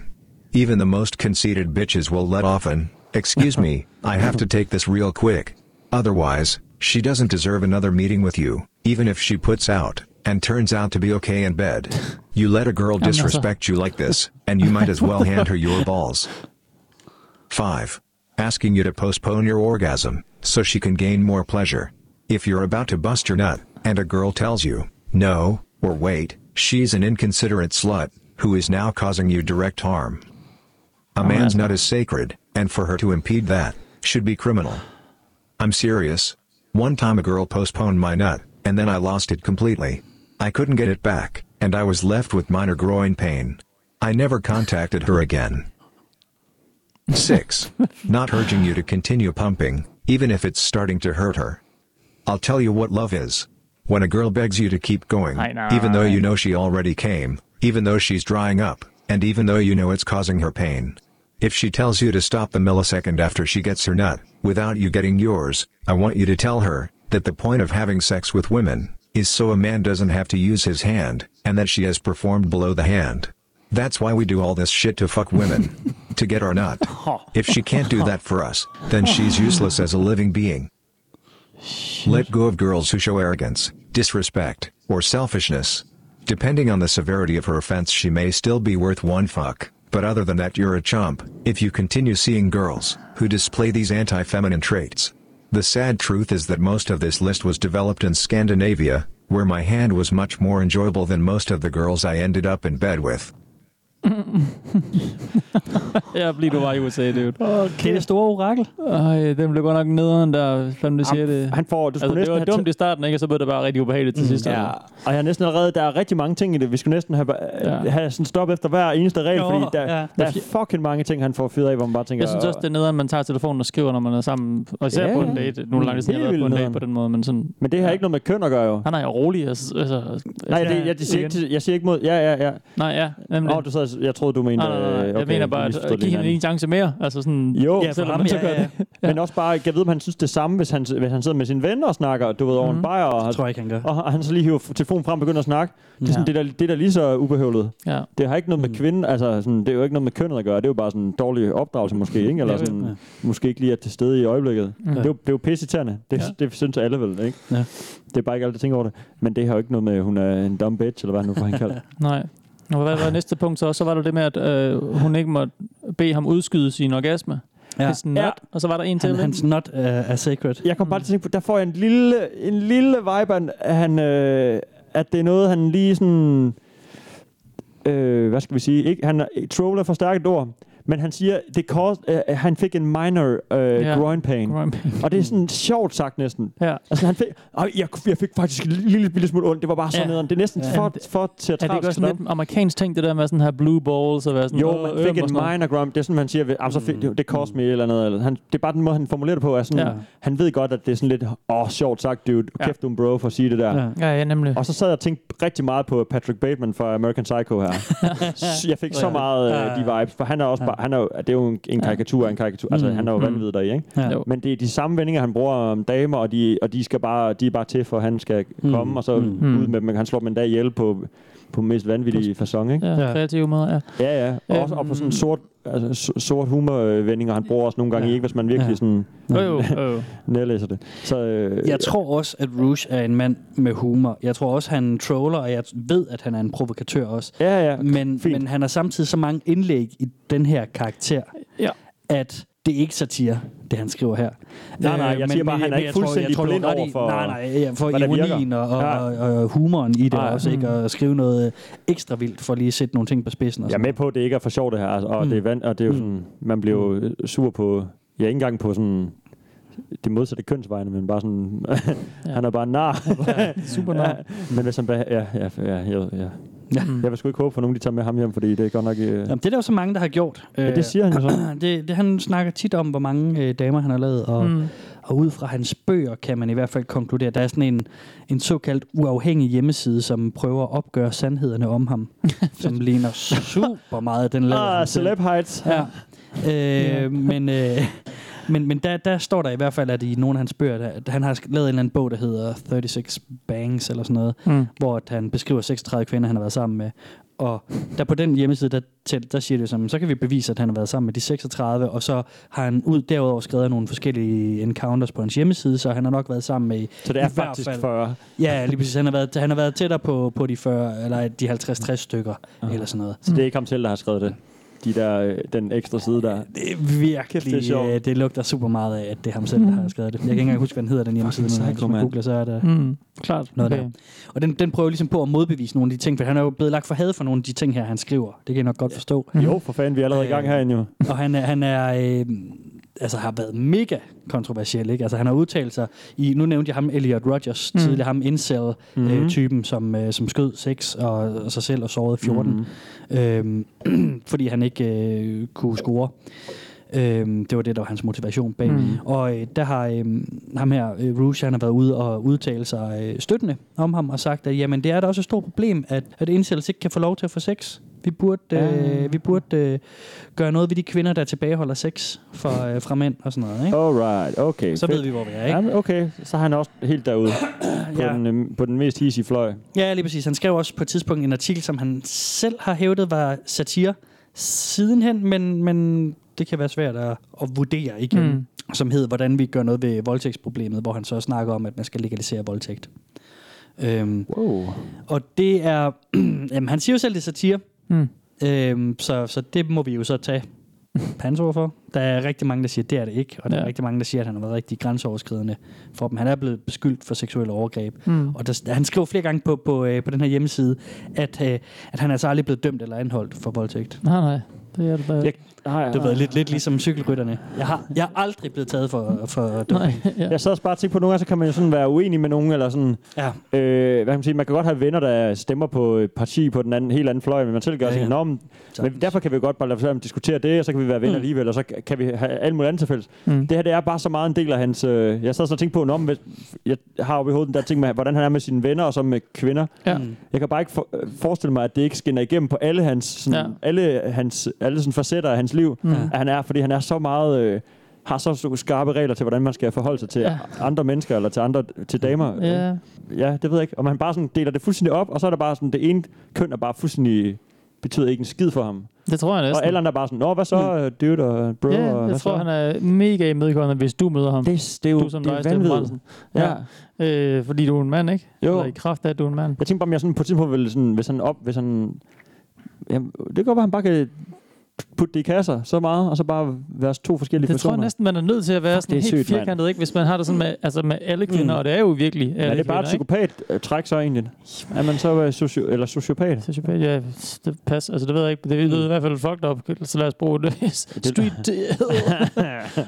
Speaker 5: Even the most conceited bitches will let off an, excuse me, I have to take this real quick. Otherwise, she doesn't deserve another meeting with you, even if she puts out and turns out to be okay in bed. You let a girl
Speaker 4: that's a-
Speaker 5: disrespect you like this, and you might as well hand her your balls. 5. Asking you to postpone your orgasm so she can gain more pleasure. If you're about to bust your nut and a girl tells you, no, or wait, she's an inconsiderate slut who is now causing you direct harm. A man's nut is sacred, and for her to impede that should be criminal. I'm serious. One time a girl postponed my nut, and then I lost it completely. I couldn't get it back, and I was left with minor groin pain. I never contacted her again. 6. Not urging you to continue pumping, even if it's starting to hurt her. I'll tell you what love is. When a girl begs you to keep going,
Speaker 4: I know,
Speaker 5: even though
Speaker 4: right?
Speaker 5: you know she already came, even though she's drying up, and even though you know it's causing her pain. If she tells you to stop the millisecond after she gets her nut, without you getting yours, I want you to tell her that the point of having sex with women is so a man doesn't have to use his hand, and that she has performed below the hand. That's why we do all this shit to fuck women. to get our nut. If she can't do that for us, then she's useless as a living being. Let go of girls who show arrogance, disrespect, or selfishness. Depending on the severity of her offense, she may still be worth one fuck, but other than that, you're a chump if you continue seeing girls who display these anti feminine traits. The sad truth is that most of this list was developed in Scandinavia, where my hand was much more enjoyable than most of the girls I ended up in bed with.
Speaker 4: Ja, fordi du var i USA, dude.
Speaker 3: Det er det store orakel.
Speaker 4: Ej, den blev godt nok nederen der, fem det siger det.
Speaker 2: Han får, du skulle
Speaker 4: Altså,
Speaker 2: næsten
Speaker 4: det var
Speaker 2: have Mm.
Speaker 4: dumt i starten, ikke? Og så blev det bare rigtig ubehageligt til sidst.
Speaker 2: Ja,
Speaker 4: altså.
Speaker 2: og jeg har næsten allerede, der er rigtig mange ting i det. Vi skulle næsten have,
Speaker 4: Ja.
Speaker 2: ja. have sådan stop efter hver eneste regel,
Speaker 3: Nå,
Speaker 2: fordi der,
Speaker 3: ja.
Speaker 2: ja. der er fucking mange ting, han får fyret af, hvor man bare tænker...
Speaker 4: Jeg synes også, det er nederen, man tager telefonen og skriver, når man er sammen. Og især
Speaker 2: Ja.
Speaker 4: på en date. Nu er det langt siden, jeg
Speaker 2: Helt
Speaker 4: har været på en
Speaker 2: vildt
Speaker 4: date på
Speaker 2: nederen.
Speaker 4: den måde, men sådan...
Speaker 2: Men det har ikke noget med køn at gøre, jo.
Speaker 4: Han er jo rolig. Altså, altså,
Speaker 2: Nej,
Speaker 4: altså,
Speaker 2: det, jeg, det siger
Speaker 4: igen.
Speaker 2: ikke, til- jeg siger ikke mod... Ja, ja, ja.
Speaker 4: Nej, ja. Nemlig.
Speaker 2: Åh, oh, du sad, jeg troede, du mente...
Speaker 4: nej, nej, nej.
Speaker 2: øh,
Speaker 4: Jeg
Speaker 2: okay,
Speaker 4: mener
Speaker 2: vi
Speaker 4: bare, at
Speaker 2: misforstod
Speaker 4: at give hende
Speaker 2: hinanden.
Speaker 4: en chance mere. Altså sådan...
Speaker 2: Jo,
Speaker 3: Ja, for ham,
Speaker 4: man så
Speaker 3: ja,
Speaker 4: gør
Speaker 3: ja.
Speaker 4: det.
Speaker 2: Ja. Men også bare, jeg ved, om han synes det samme, hvis han, hvis han sidder med sine venner og snakker, du ved, over mm.
Speaker 4: Mhm.
Speaker 2: en bajer, og,
Speaker 3: Det tror jeg ikke, han gør.
Speaker 2: og, og han så lige hiver f- telefonen frem og begynder at snakke. Det er, sådan,
Speaker 4: Ja. Mm.
Speaker 2: det, der, det der lige så ubehøvlet.
Speaker 4: Ja.
Speaker 2: Det har ikke noget med kvinden, altså sådan, det er jo ikke noget med kønnet at gøre, det er jo bare sådan en dårlig opdragelse måske, ikke? eller
Speaker 4: Ja,
Speaker 2: sådan,
Speaker 3: ja.
Speaker 2: måske ikke lige er til stede i øjeblikket.
Speaker 4: Ja.
Speaker 2: Det er jo, det er jo pissetærende, det,
Speaker 4: Ja.
Speaker 2: ja. det synes alle vel, ikke?
Speaker 3: Ja.
Speaker 2: Det er bare ikke alle, der tænker over det. Men det har jo ikke noget med, at hun er en dumb bitch, eller hvad han nu får han kaldt.
Speaker 4: Nej. Og hvad var næste punkt så? Så var der det med, at øh, hun ikke måtte øh, bede ham udskyde sin orgasme.
Speaker 3: Ja.
Speaker 4: Ja. Sådan,
Speaker 2: Ja.
Speaker 4: ja. Og så var der en til.
Speaker 3: Han,
Speaker 4: ikke?
Speaker 3: hans not uh, er sacred.
Speaker 2: Jeg kom bare til at tænke på, der får jeg en lille, en lille vibe, af, at, han, øh, at det er noget, han lige sådan... Øh, hvad skal vi sige? Ikke, han er- troller for stærkt et ord, men han siger, det kost, øh, han fik en minor øh,
Speaker 4: Ja.
Speaker 2: yeah. groin pain. Og det er sådan sjovt sagt næsten.
Speaker 4: Ja.
Speaker 2: Altså, han fik, og jeg, jeg fik faktisk en lille, lille smule ondt. Det var bare sådan
Speaker 4: Ja.
Speaker 2: noget. Det er næsten
Speaker 4: Ja.
Speaker 2: for, for
Speaker 4: Er det ikke også
Speaker 2: teatralsk.
Speaker 4: sådan
Speaker 2: Ja,
Speaker 4: lidt amerikansk ting, det der med sådan her blue balls og være sådan
Speaker 2: jo,
Speaker 4: "Åh,
Speaker 2: man
Speaker 4: øm"
Speaker 2: fik
Speaker 4: og
Speaker 2: en
Speaker 4: sådan noget. Mm.
Speaker 2: minor groin. Det er sådan, man siger, ved- "Ah, så fik, det, det kost me et eller andet. Eller, han, det er bare den måde, han formulerer det på. Er sådan,
Speaker 4: Ja.
Speaker 2: ja. Han ved godt, at det er sådan lidt, åh, oh, sjovt sagt, dude.
Speaker 4: Ja.
Speaker 2: Kæft, du er en bro for at sige det der.
Speaker 3: Ja.
Speaker 2: Ja.
Speaker 4: Ja, ja, nemlig.
Speaker 2: Og så sad jeg og tænkte rigtig meget på Patrick Bateman fra American Psycho her. S- jeg fik så
Speaker 3: Ja.
Speaker 2: meget
Speaker 3: Ja, ja,
Speaker 2: af de
Speaker 3: ja.
Speaker 2: vibes, for han er også
Speaker 3: Ja.
Speaker 2: bare, han er jo, det er jo en, en karikatur af en karikatur. Altså,
Speaker 3: Mm.
Speaker 2: han er jo vanvittig deri, ikke?
Speaker 3: Ja.
Speaker 4: Jo.
Speaker 2: Men det er de samme vendinger, han bruger om damer, og de, og de, skal bare, de er bare til for, at han skal
Speaker 3: Mm.
Speaker 2: komme, og så
Speaker 4: Mm.
Speaker 2: ud med dem. Han slår dem endda ihjel på, på mest vanvittige fasong, ikke?
Speaker 4: Ja,
Speaker 3: Ja.
Speaker 4: kreative måder, ja.
Speaker 2: Ja, ja. Og, også, og på
Speaker 3: Mm.
Speaker 2: sådan sort, altså, so- sort humorvendinger, han bruger også nogle gange,
Speaker 3: Ja.
Speaker 2: ikke? Hvis man virkelig
Speaker 3: Ja.
Speaker 2: sådan
Speaker 4: Jo, jo, jo.
Speaker 2: nærlæser det. Så, øh,
Speaker 3: Jeg tror også, at Rouge er en mand med humor. Jeg tror også, han troller, og jeg ved, at han er en provokatør også.
Speaker 2: Ja, ja.
Speaker 3: Men,
Speaker 2: Fint.
Speaker 3: men han har samtidig så mange indlæg i den her karakter,
Speaker 4: Ja.
Speaker 3: at det er ikke satire, det han skriver her. Øh,
Speaker 2: Nej, nej, jeg
Speaker 3: men-
Speaker 2: siger bare,
Speaker 3: men-
Speaker 2: han er
Speaker 3: men
Speaker 2: ikke
Speaker 3: jeg tror- jeg
Speaker 2: fuldstændig
Speaker 3: tror, du har
Speaker 2: blind
Speaker 3: ret i-
Speaker 2: over for-
Speaker 3: Nej, nej, ja, for
Speaker 2: hvad der virker.
Speaker 3: ironien og, og,
Speaker 2: Ja. mm.
Speaker 3: og, og humoren i det
Speaker 2: Ja, ja.
Speaker 3: også, ikke? Og skrive noget ekstra vildt for lige at sætte nogle ting på spidsen. Og
Speaker 2: Jeg er
Speaker 3: sådan
Speaker 2: med på, at det ikke er for sjovt det her, altså, og, mm. det er vand, og det er jo sådan, man bliver jo øh, sur på, ja ikke engang på sådan, det modsatte kønsvejene, men bare sådan, ja. han er bare en nar.
Speaker 4: Super
Speaker 2: ja,
Speaker 4: nok.
Speaker 2: men hvis han bare, ja, ja, ja, ja, ja. Jeg vil sgu ikke håbe for nogen, de tager med ham hjem, fordi det er godt nok, øh,
Speaker 3: Jamen, det er der jo så mange, der har gjort. Øh,
Speaker 2: ja, det siger han jo så.
Speaker 3: det, det, han snakker tit om, hvor mange øh, damer han har lavet, og, mm. og ud fra hans bøger kan man i hvert fald konkludere, at der er sådan en, en såkaldt uafhængig hjemmeside, som prøver at opgøre sandhederne om ham, som ligner super meget den lader
Speaker 2: Ah,
Speaker 3: ham selv.
Speaker 2: celeb heights.
Speaker 3: Ja. Øh, men øh, men, men der, der står der i hvert fald, at i nogle af hans bøger, der, han har sk- lavet en eller anden bog, der hedder 36 Bangs eller sådan noget,
Speaker 4: Mm.
Speaker 3: hvor at han beskriver 36 kvinder, han har været sammen med. Og der på den hjemmeside, der, til, der siger det som, så kan vi bevise, at han har været sammen med de 36, og så har han ud derudover skrevet nogle forskellige encounters på hans hjemmeside, så han har nok været sammen med... i-
Speaker 2: Så det er
Speaker 3: i hvert
Speaker 2: faktisk
Speaker 3: fald-
Speaker 2: 40.
Speaker 3: Ja, lige præcis. Han har været, han har været tættere på, på de 40, eller de 50-60 stykker, eller sådan noget.
Speaker 2: Så det er ikke ham selv, der har skrevet det. De der, øh, den ekstra side der.
Speaker 3: Det er virkelig,
Speaker 2: det er
Speaker 3: det,
Speaker 2: sjovt.
Speaker 3: er øh, det lugter super meget af, at det er ham selv, der har skrevet det. Jeg kan ikke engang huske, hvad den hedder, den hjemmeside.
Speaker 2: Mm. Fucking
Speaker 3: men Hvis
Speaker 2: psycho,
Speaker 3: man
Speaker 2: mand.
Speaker 3: googler, så er det...
Speaker 4: Mm. Klart.
Speaker 3: Noget der. Og den, den prøver ligesom på at modbevise nogle af de ting, for han er jo blevet lagt for had for nogle af de ting her, han skriver. Det kan jeg nok godt forstå.
Speaker 2: Jo, for fanden, vi er allerede i gang
Speaker 3: Øh,
Speaker 2: herinde jo.
Speaker 3: Og han, er- han er... Øh, altså har været mega kontroversiel, ikke? Altså han har udtalt sig i... Nu nævnte jeg ham, Elliot Rodgers, mm. tidligere ham incel-typen, øh, typen, som, øh, som skød sex og, og sig selv og sårede
Speaker 2: Mm-hmm.
Speaker 3: 14. Mm. Øhm, fordi han ikke øh, kunne score. Øhm, det var det, der var hans motivation bag. Mm. Og øh, der har øh, ham her, øh, Rouge, han har været ude og udtale sig øh, støttende om ham og sagt, at jamen, det er da også et stort problem, at, at incels ikke kan få lov til at få sex. Vi burde, øh, vi burde øh, gøre noget ved de kvinder, der tilbageholder sex for, øh, fra mænd og sådan noget. Ikke?
Speaker 2: Alright, okay.
Speaker 3: Så
Speaker 2: fedt.
Speaker 3: ved vi, hvor vi er,
Speaker 2: Ja,
Speaker 3: ikke?
Speaker 2: men okay, så har han også helt derude på,
Speaker 3: Ja.
Speaker 2: den, øhm, på den mest hissige fløj.
Speaker 3: Ja, lige præcis. Han skrev også på et tidspunkt en artikel, som han selv har hævdet var satire sidenhen, men, men det kan være svært at, at vurdere igen. Mm.
Speaker 4: Mm.
Speaker 3: Som hed, hvordan vi gør noget ved voldtægtsproblemet, hvor han så snakker om, at man skal legalisere voldtægt. Øhm,
Speaker 2: Wow.
Speaker 3: og det er... jamen, han siger jo selv, det er satire,
Speaker 4: Mm.
Speaker 3: øhm, så, så det må vi jo så tage pans overfor. Der er rigtig mange, der siger, at det er det ikke, og der ja. er
Speaker 4: Ja.
Speaker 3: rigtig mange, der siger, at han har været rigtig grænseoverskridende for dem. Han er blevet beskyldt for seksuelle overgreb.
Speaker 4: Mm.
Speaker 3: Og der, han skriver flere gange på, på, øh, på den her hjemmeside, at, øh, at han altså aldrig blevet dømt eller anholdt for voldtægt.
Speaker 4: Nej, nej. Det er det bare.
Speaker 2: Jeg, nej,
Speaker 3: Det var lidt, lidt ligesom cykelrytterne. Jeg har, jeg er aldrig blevet taget for, for doping.
Speaker 4: Nej, ja.
Speaker 2: jeg sad også bare og tænkte på, at nogle gange så kan man jo sådan være uenig med nogen, eller sådan,
Speaker 3: Ja,
Speaker 2: øh, hvad kan man sige, man kan godt have venner, der stemmer på et parti på den anden, helt anden fløj, men man selv gør
Speaker 3: Ja,
Speaker 2: ja,
Speaker 3: ja.
Speaker 2: ja. Nå, men,
Speaker 3: Sagtens.
Speaker 2: men derfor kan vi jo godt bare lade være med at diskutere det, og så kan vi være venner
Speaker 3: Mm.
Speaker 2: mm. alligevel, og så kan vi have alt muligt andet til fælles.
Speaker 4: Mm.
Speaker 2: Det her, det er bare så meget en del af hans... Øh, jeg sad så og tænkte på, Nå, men hvis, jeg har oppe i hovedet den der ting med, hvordan han er med sine venner, og så med kvinder.
Speaker 4: Ja.
Speaker 2: Jeg kan bare ikke for, øh, forestille mig, at det ikke skinner igennem på alle hans, sådan,
Speaker 4: Ja.
Speaker 2: ja. alle hans alle sådan facetter af hans liv,
Speaker 4: Mm.
Speaker 2: mm. at han er, fordi han er så meget... Øh, har så så skarpe regler til, hvordan man skal forholde sig til
Speaker 4: Ja.
Speaker 2: ja. andre mennesker, eller til andre til damer.
Speaker 4: Ja.
Speaker 2: ja, det ved jeg ikke. Og man bare sådan deler det fuldstændig op, og så er der bare sådan, det ene køn er bare fuldstændig betyder ikke en skid for ham. Næsten.
Speaker 4: Det tror jeg næsten.
Speaker 2: Og alle andre er bare sådan, nå, hvad så, øh, dude og bro?
Speaker 4: Mm. Ja,
Speaker 2: og
Speaker 4: jeg
Speaker 2: hvad
Speaker 4: tror,
Speaker 2: så?
Speaker 4: han er mega imødekommende, hvis du møder ham.
Speaker 2: det, det er jo
Speaker 4: du som
Speaker 2: det
Speaker 4: dig,
Speaker 2: er
Speaker 4: Steffen
Speaker 2: vanvittigt.
Speaker 4: Bransen.
Speaker 2: Ja.
Speaker 4: Ja. Øh, fordi du er en mand, ikke?
Speaker 2: Jo.
Speaker 4: Eller i kraft af, at du er en mand.
Speaker 2: Jeg tænkte bare, om jeg sådan på et tidspunkt ville sådan, hvis han op, hvis han... Jamen, det kan godt være, han bare kan putte det i kasser så meget, og så bare være to forskellige
Speaker 4: Det tror
Speaker 2: personer.
Speaker 4: jeg næsten, man er nødt til at være sådan
Speaker 2: det er
Speaker 4: helt
Speaker 2: sygt, mand.
Speaker 4: firkantet, ikke? Hvis man har det sådan med, altså med alle kvinder, mm. og det er jo virkelig alle
Speaker 2: Men er det bare et
Speaker 4: kvinder, ikke?
Speaker 2: psykopat-træk så egentlig? Er man så øh, socio- eller sociopat?
Speaker 4: Sociopat, ja, det passer. Altså, det ved jeg ikke. Det lyder
Speaker 3: Mm.
Speaker 4: i hvert fald fucked up, så lad os bruge det. Street.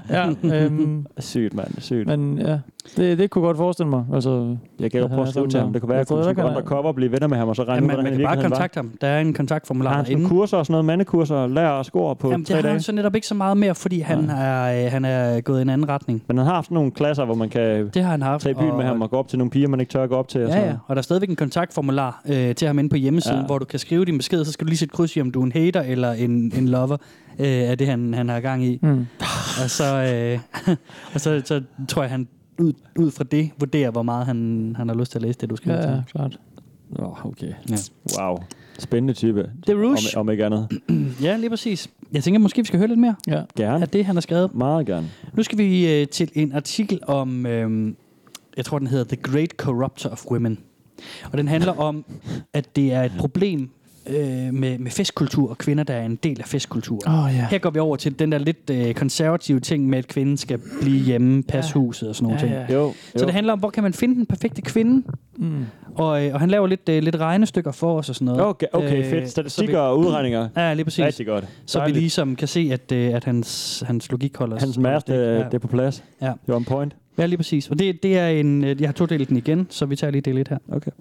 Speaker 4: ja, øhm,
Speaker 2: Sygt, mand. Sygt.
Speaker 4: men ja. Det, det kunne jeg godt forestille mig. Altså,
Speaker 2: Jeg kan jo
Speaker 4: Ja,
Speaker 2: prøve at skrive
Speaker 4: sådan
Speaker 2: til ham.
Speaker 4: der.
Speaker 2: Det kunne være, at
Speaker 4: Jeg
Speaker 2: jeg kunne
Speaker 4: tror, der
Speaker 2: skrive
Speaker 4: kan-
Speaker 2: undercover og blive venner med ham, og så regne
Speaker 3: Jamen,
Speaker 2: ud, hvordan
Speaker 3: man
Speaker 2: han
Speaker 3: kan bare
Speaker 2: virkelig var.
Speaker 3: kontakte ham. Der er en kontaktformular
Speaker 2: Har han sådan
Speaker 3: derinde.
Speaker 2: kurser og sådan noget, mandekurser, lærer at score på
Speaker 3: Jamen, det
Speaker 2: tre
Speaker 3: har
Speaker 2: dage?
Speaker 3: han så netop ikke så meget mere, fordi han, er, øh, han er gået i en anden retning.
Speaker 2: Men han har haft nogle klasser, hvor man kan
Speaker 3: Det har han haft.
Speaker 2: tage i byen
Speaker 3: og-
Speaker 2: med ham og gå op til nogle piger, man ikke tør gå op til. Og
Speaker 3: Ja,
Speaker 2: sådan
Speaker 3: ja.
Speaker 2: noget.
Speaker 3: Og der er stadigvæk en kontaktformular øh, til ham inde på hjemmesiden, ja.
Speaker 2: Ja.
Speaker 3: hvor du kan skrive din besked, så skal du lige sætte kryds i, om du er en hater eller en, en lover øh, af det, han, han har gang i.
Speaker 4: Mm.
Speaker 3: Og, så, øh, og så, så tror jeg, han ud, ud fra det vurderer, hvor meget han, han har lyst til at læse det, du skriver
Speaker 4: Ja,
Speaker 3: til.
Speaker 4: ja, klart.
Speaker 2: Nå, okay.
Speaker 3: Ja.
Speaker 2: Wow. Spændende type.
Speaker 3: Det er
Speaker 2: Om,
Speaker 3: Rouge.
Speaker 2: om ikke andet.
Speaker 3: Ja, lige præcis. Jeg tænker, måske vi skal høre lidt mere
Speaker 4: Ja.
Speaker 2: Gerne.
Speaker 3: af det, han har skrevet.
Speaker 2: Meget gerne.
Speaker 3: Nu skal vi øh, til en artikel om, øh, jeg tror den hedder The Great Corruptor of Women. Og den handler om, at det er et problem øh, med, med festkultur og kvinder, der er en del af festkulturen.
Speaker 4: Åh, ja.
Speaker 3: Her går vi over til den der lidt øh, konservative ting med, at kvinden skal blive hjemme, passe
Speaker 4: Ja.
Speaker 3: huset og sådan nogle
Speaker 4: Ja,
Speaker 3: ting.
Speaker 4: ja.
Speaker 2: Jo, jo.
Speaker 3: Så det handler om, hvor kan man finde den perfekte kvinde?
Speaker 4: Mm.
Speaker 3: Og, øh, og han laver lidt, øh, lidt regnestykker for os og sådan noget.
Speaker 2: Okay, okay fedt. Statistikker og udregninger.
Speaker 3: Så vi, ja, lige præcis.
Speaker 2: Rigtig godt.
Speaker 3: Så vi
Speaker 2: Dejligt.
Speaker 3: ligesom kan se, at, øh, at hans, hans logik holder
Speaker 2: Hans mærke,
Speaker 3: Ja.
Speaker 2: det, det er på plads.
Speaker 3: Ja.
Speaker 2: Det var en point.
Speaker 3: Ja, lige præcis. Og det, det er en... øh, Jeg har todelt den igen, så vi tager lige del 1 her.
Speaker 2: Okay.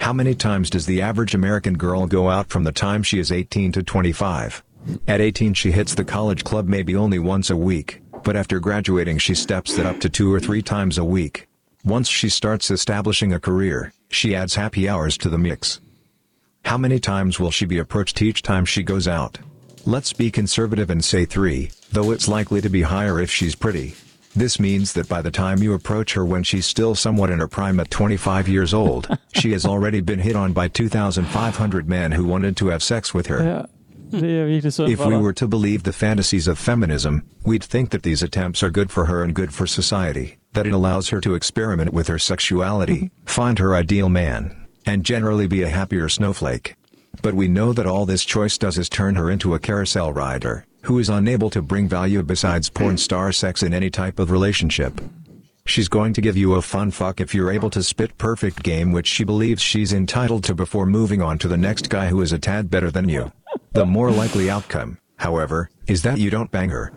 Speaker 5: How many times does the average American girl go out from the time she is 18 to 25? At 18, she hits the college club maybe only once a week, but after graduating, she steps it up to two or three times a week. Once she starts establishing a career, she adds happy hours to the mix. How many times will she be approached each time she goes out? Let's be conservative and say three, though it's likely to be higher if she's pretty. This means that by the time you approach her when she's still somewhat in her prime at 25 years old, she has already been hit on by 2,500 men who wanted to have sex with her.
Speaker 4: Ja. Det er virkelig synd
Speaker 5: If
Speaker 4: for
Speaker 5: we
Speaker 4: dig.
Speaker 5: were to believe the fantasies of feminism, we'd think that these attempts are good for her and good for society, that it allows her to experiment with her sexuality, find her ideal man, and generally be a happier snowflake. But we know that all this choice does is turn her into a carousel rider, who is unable to bring value besides porn star sex in any type of relationship. She's going to give you a fun fuck if you're able to spit perfect game, which she believes she's entitled to before moving on to the next guy who is a tad better than you. The more likely outcome, however, is that you don't bang her.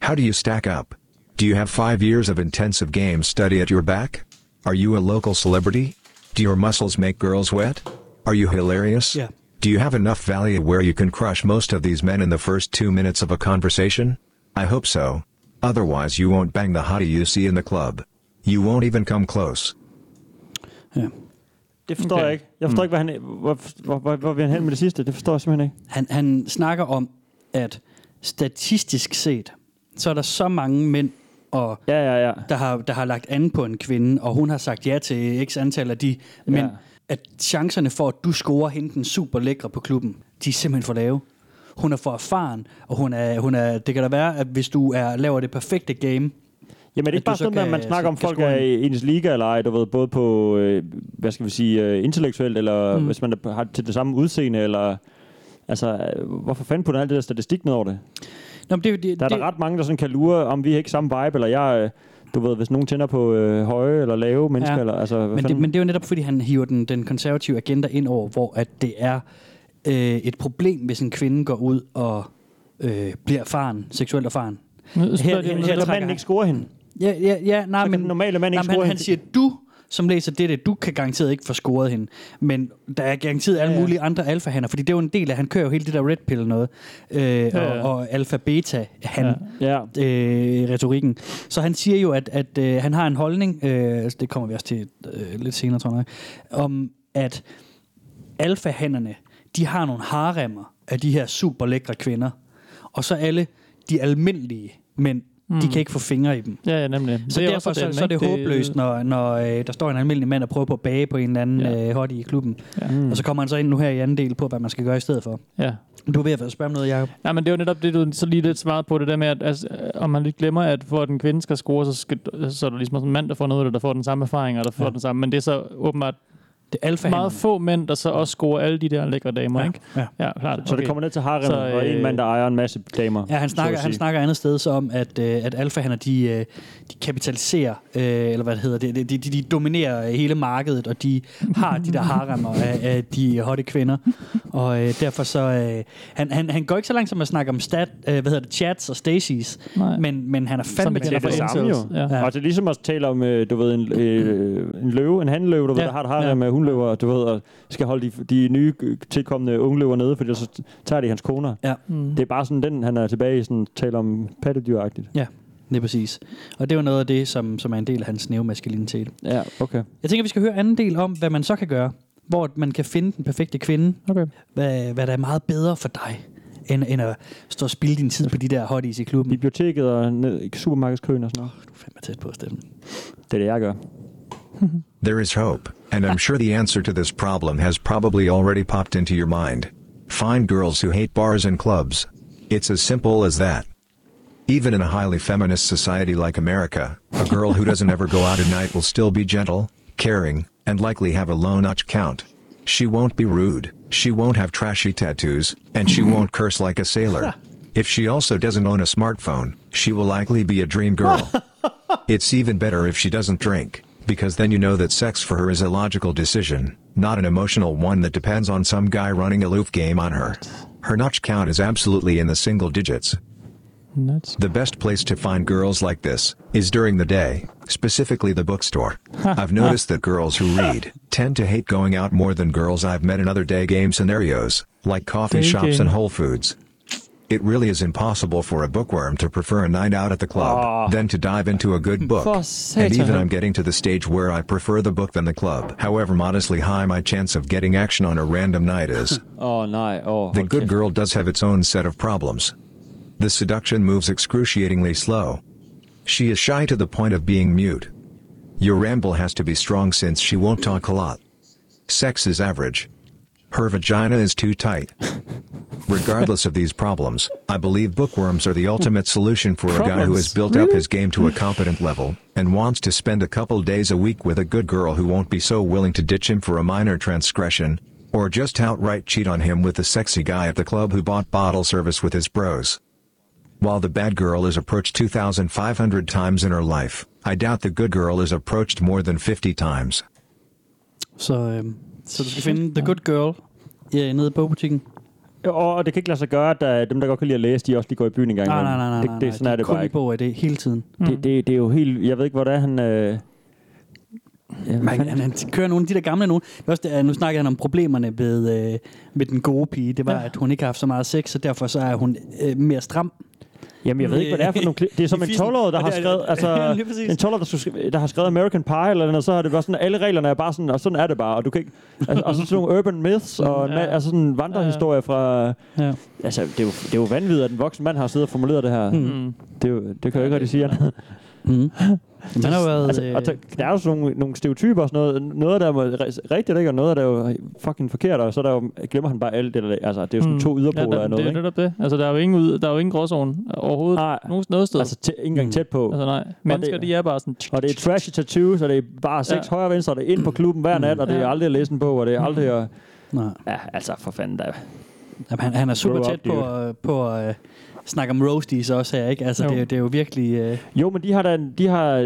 Speaker 5: How do you stack up? Do you have five years of intensive game study at your back? Are you a local celebrity? Do your muscles make girls wet? Are you hilarious?
Speaker 3: Yeah.
Speaker 5: Do you have enough value where you can crush most of these men in the first two minutes of a conversation? I hope so. Otherwise, you won't bang the hottie you see in the club. You won't even come close.
Speaker 2: Det forstår
Speaker 4: Okay.
Speaker 2: okay. jeg ikke. Jeg forstår mm. ikke, hvad han, hvor, hvor, hvor, hvor vil han hen med det sidste. Det forstår jeg simpelthen ikke.
Speaker 3: Han, han snakker om, at statistisk set, så er der så mange mænd, og
Speaker 2: Ja, ja, ja.
Speaker 3: der, har, der har lagt an på en kvinde, og hun har sagt ja til x antal af de mænd,
Speaker 2: Ja.
Speaker 3: at chancerne for, at du scorer hende den super lækre på klubben, de er simpelthen for lave. Hun er for erfaren, og hun er, hun er, det kan da være, at hvis du er, laver det perfekte game,
Speaker 2: Jamen, er det
Speaker 3: At
Speaker 2: ikke
Speaker 3: du
Speaker 2: bare
Speaker 3: så
Speaker 2: sådan, at
Speaker 3: kan-
Speaker 2: man snakker
Speaker 3: så
Speaker 2: om
Speaker 3: kan
Speaker 2: folk
Speaker 3: score
Speaker 2: er
Speaker 3: en-
Speaker 2: i ens liga eller ej, du ved, både på, øh, hvad skal vi sige, øh, intellektuelt, eller mm. hvis man er- har til det samme udseende, eller... Altså, øh, hvorfor fanden putter han alt det der statistik ned over det?
Speaker 3: Nå, men det, er jo- det,
Speaker 2: Der er
Speaker 3: det,
Speaker 2: det... der ret mange, der sådan kan lure, om vi er ikke samme vibe, eller jeg... Øh, du ved, hvis nogen tænder på øh, høje eller lave mennesker,
Speaker 3: Ja.
Speaker 2: ja. eller altså... Hvad
Speaker 3: Men det,
Speaker 2: fanden?
Speaker 3: men det er jo netop, fordi han hiver den, den konservative agenda ind over, hvor at det er øh, et problem, hvis en kvinde går ud og øh, bliver erfaren, seksuelt erfaren.
Speaker 4: Nu spørger
Speaker 3: Her-
Speaker 4: de, om
Speaker 3: her-
Speaker 4: noget.
Speaker 2: Så
Speaker 3: trækker
Speaker 2: manden
Speaker 3: han.
Speaker 2: ikke scorer hende.
Speaker 3: Ja, ja, ja nej,
Speaker 2: kan
Speaker 3: men,
Speaker 2: den normale mand
Speaker 3: nej,
Speaker 2: ikke
Speaker 3: men
Speaker 2: score
Speaker 3: han, han
Speaker 2: hende.
Speaker 3: siger, du som læser dette, du kan garanteret ikke få scoret hende. Men der er garanteret alle
Speaker 2: Ja, ja.
Speaker 3: mulige andre alfahander, fordi det er jo en del af, han kører jo hele det der red pill noget, øh,
Speaker 4: ja.
Speaker 3: og, og alfa-beta-han. Ja
Speaker 2: Ja.
Speaker 3: øh, retorikken. Så han siger jo, at, at øh, han har en holdning, øh, altså det kommer vi også til øh, lidt senere, tror jeg, nok, om at alfahannerne, de har nogle haremmer af de her super lækre kvinder, og så alle de almindelige mænd, mm. de kan ikke få fingre i dem.
Speaker 4: Ja, ja, nemlig.
Speaker 3: Så
Speaker 4: er
Speaker 3: det derfor
Speaker 4: også
Speaker 3: så,
Speaker 4: den,
Speaker 3: så er det
Speaker 4: ikke?
Speaker 3: håbløst, når, når øh, der står en almindelig mand og prøver på at bage på en eller anden
Speaker 4: Ja.
Speaker 3: ja. øh, hottie i klubben.
Speaker 4: Ja.
Speaker 3: Ja. Mm. Og så kommer han så ind nu her i anden del på, hvad man skal gøre i stedet for.
Speaker 4: Ja.
Speaker 3: Du er ved at spørge om noget, Jacob.
Speaker 4: Nej, men det var netop det, du så lige lidt svarede på, det der med, at altså, øh, om man lidt glemmer, at for at en kvinde skal score, så, skal, så er der ligesom også en mand, der får noget, af det, der får den samme erfaring, og der får
Speaker 3: Ja.
Speaker 4: ja. den samme, men det er så åbenbart
Speaker 3: Det er alfa
Speaker 4: meget få mænd, der så også scorer alle de der lækre damer,
Speaker 3: Ja,
Speaker 4: ikke?
Speaker 3: ja.
Speaker 4: ja klart.
Speaker 2: Så det kommer ned til harem,
Speaker 4: Så,
Speaker 2: og en
Speaker 4: øh,
Speaker 2: mand, der ejer en masse damer.
Speaker 3: Ja, han
Speaker 2: så
Speaker 3: snakker,
Speaker 2: at
Speaker 3: han
Speaker 2: sige.
Speaker 3: snakker andet sted så om, at, øh, at alfahanner, de, øh, de kapitaliserer, øh, eller hvad det hedder, det, de, de, de dominerer øh, hele markedet, og de har de der haremmer af, af de hotte kvinder. Og øh, derfor så, øh, han, han, han går ikke så langt som at snakke om stat, øh, hvad hedder det, chats og stacies,
Speaker 4: Nej.
Speaker 3: men, men han er
Speaker 4: Som
Speaker 3: fandme
Speaker 2: Det
Speaker 4: vi
Speaker 3: den
Speaker 2: er
Speaker 4: kalder
Speaker 2: det
Speaker 4: for
Speaker 2: samme jo.
Speaker 4: incels,
Speaker 2: Ja.
Speaker 4: ja.
Speaker 2: Og det er ligesom at tale om, øh, du ved, en, øh, en løve, en handløve, du ved,
Speaker 3: Ja,
Speaker 2: der har et harem med hundløver, du ved, og skal holde de, de nye øh, tilkommende ungløver nede, for ellers så tager de hans koner.
Speaker 3: Ja,
Speaker 4: Mm.
Speaker 2: Det er bare sådan den, han er tilbage i, sådan taler om pattedyragtigt.
Speaker 3: ja, det er præcis. Og det var noget af det, som, som er en del af hans neomaskulinitet.
Speaker 2: Ja, okay.
Speaker 3: Jeg tænker, vi skal høre anden del om, hvad man så kan gøre, hvor man kan finde den perfekte kvinde,
Speaker 4: Okay.
Speaker 3: hvad, hvad der er meget bedre for dig, end, end at stå og spilde din tid på de der hotties i klubben.
Speaker 2: Biblioteket og ned, i supermarkedskøen og sådan noget.
Speaker 3: Du er fandme tæt på, Steffen.
Speaker 2: Det er det, jeg gør.
Speaker 5: There is hope, and I'm sure the answer to this problem has probably already popped into your mind. Find girls who hate bars and clubs. It's as simple as that. Even in a highly feminist society like America, a girl who doesn't ever go out at night will still be gentle, caring, and likely have a low notch count. She won't be rude, she won't have trashy tattoos, and she won't curse like a sailor. If she also doesn't own a smartphone, she will likely be a dream girl. It's even better if she doesn't drink, because then you know that sex for her is a logical decision, not an emotional one that depends on some guy running a loof game on her. Her notch count is absolutely in the single digits.
Speaker 4: Nuts.
Speaker 5: The best place to find girls like this is during the day, specifically the bookstore. I've noticed that girls who read tend to hate going out more than girls I've met in other day game scenarios, like coffee
Speaker 4: Day
Speaker 5: shops
Speaker 4: game.
Speaker 5: and Whole Foods. It really is impossible for a bookworm to prefer a night out at the club than to dive into a good book.
Speaker 4: For
Speaker 5: And
Speaker 4: Satan.
Speaker 5: even I'm getting to the stage where I prefer the book than the club. However modestly high my chance of getting action on a random night is,
Speaker 2: Åh, oh, nej. Åh, oh,
Speaker 5: the good girl does have its own set of problems. The seduction moves excruciatingly slow. She is shy to the point of being mute. Your ramble has to be strong since she won't talk a lot. Sex is average. Her vagina is too tight. Regardless of these problems, I believe bookworms are the ultimate solution for a guy who has
Speaker 4: Problems?
Speaker 5: built up his game to a competent level and wants to spend a couple days a week with a good girl who won't be so willing to ditch him for a minor transgression or just outright cheat on him with the sexy guy at the club who bought bottle service with his bros. While the bad girl is approached 2,500 times in her life, I doubt the good girl is approached more than 50 times.
Speaker 3: Så, øhm, så du skal finde The Good Girl ja, nede i bogbutikken.
Speaker 2: Og og det kan ikke lade sig gøre, at der, dem, der godt kan lide at læse, de også lige går i byen en gang.
Speaker 3: Nej, nej,
Speaker 2: imellem.
Speaker 3: nej, nej.
Speaker 2: Det,
Speaker 3: nej,
Speaker 2: det, sådan
Speaker 3: nej.
Speaker 2: er det
Speaker 3: kun
Speaker 2: bare
Speaker 3: i
Speaker 2: ikke.
Speaker 3: bog af det hele tiden.
Speaker 2: Det, det, det, er jo helt... Jeg ved ikke, hvor det er, han... Øh, ja,
Speaker 3: Man, han, han kører nogle af de der gamle nogen. Det er også, det, at nu snakker han om problemerne ved, øh, med den gode pige. Det var, ja. at hun ikke har haft så meget sex, så derfor så er hun øh, mere stram.
Speaker 2: Jamen, jeg ved ikke, hvad det er for nogle kli- Det er som en
Speaker 3: I fisen.
Speaker 2: 12-årig, der
Speaker 3: Og
Speaker 2: har
Speaker 3: det er-
Speaker 2: skrevet... Altså,
Speaker 3: Lige præcis.
Speaker 2: en 12 der, skulle, sk- der har skrevet American Pie eller noget, så har det været sådan, alle reglerne er bare sådan, og sådan er det bare, og du kan ikke... Altså, og så sådan nogle urban myths, og ja. altså sådan en vandrehistorie fra...
Speaker 3: Ja.
Speaker 2: Altså, det er, jo, det er jo vanvittigt, at en voksen mand har siddet og formuleret det her. Mm. Det, er jo, det kan jeg jo ikke rigtig sige andet.
Speaker 3: Mm. Han har jo været...
Speaker 2: Altså,
Speaker 3: Øh,
Speaker 2: og der, der er jo sådan nogle, nogle stereotyper og sådan noget. Noget, der er jo re- rigtigt, ikke? Og noget, der er jo fucking forkert, og så er der jo, glemmer han bare alt det der. Altså, det er jo sådan mm. to
Speaker 4: Ja,
Speaker 2: yderpoler
Speaker 4: der,
Speaker 2: ja, af
Speaker 4: det
Speaker 2: noget,
Speaker 4: er
Speaker 2: ikke?
Speaker 4: netop det. Altså, der er jo ingen, ud, der er jo ingen gråzone overhovedet.
Speaker 2: Nej.
Speaker 4: Nogen, noget sted.
Speaker 2: Altså, tæ- ikke
Speaker 3: Mm.
Speaker 2: engang tæt på.
Speaker 4: Altså nej, mennesker
Speaker 2: det-
Speaker 4: de er bare sådan...
Speaker 2: Og det er trashy tattoos, og det er bare seks ja.
Speaker 4: Ja.
Speaker 2: højre og venstre, og det er ind på klubben
Speaker 3: Mm.
Speaker 2: hver nat, og det er
Speaker 4: Ja. Mm.
Speaker 2: aldrig at læse en bog, og det er aldrig at...
Speaker 3: nej.
Speaker 2: Ja, altså for fanden da.
Speaker 3: Jamen, han, han er super
Speaker 2: Grow
Speaker 3: tæt
Speaker 2: up,
Speaker 3: på,
Speaker 2: dude.
Speaker 3: øh, på at øh, snakke om roasties også her, ikke? Altså,
Speaker 4: Jo.
Speaker 3: det, er jo- det er jo virkelig... Øh,
Speaker 2: Jo, men de har da... De har, øh,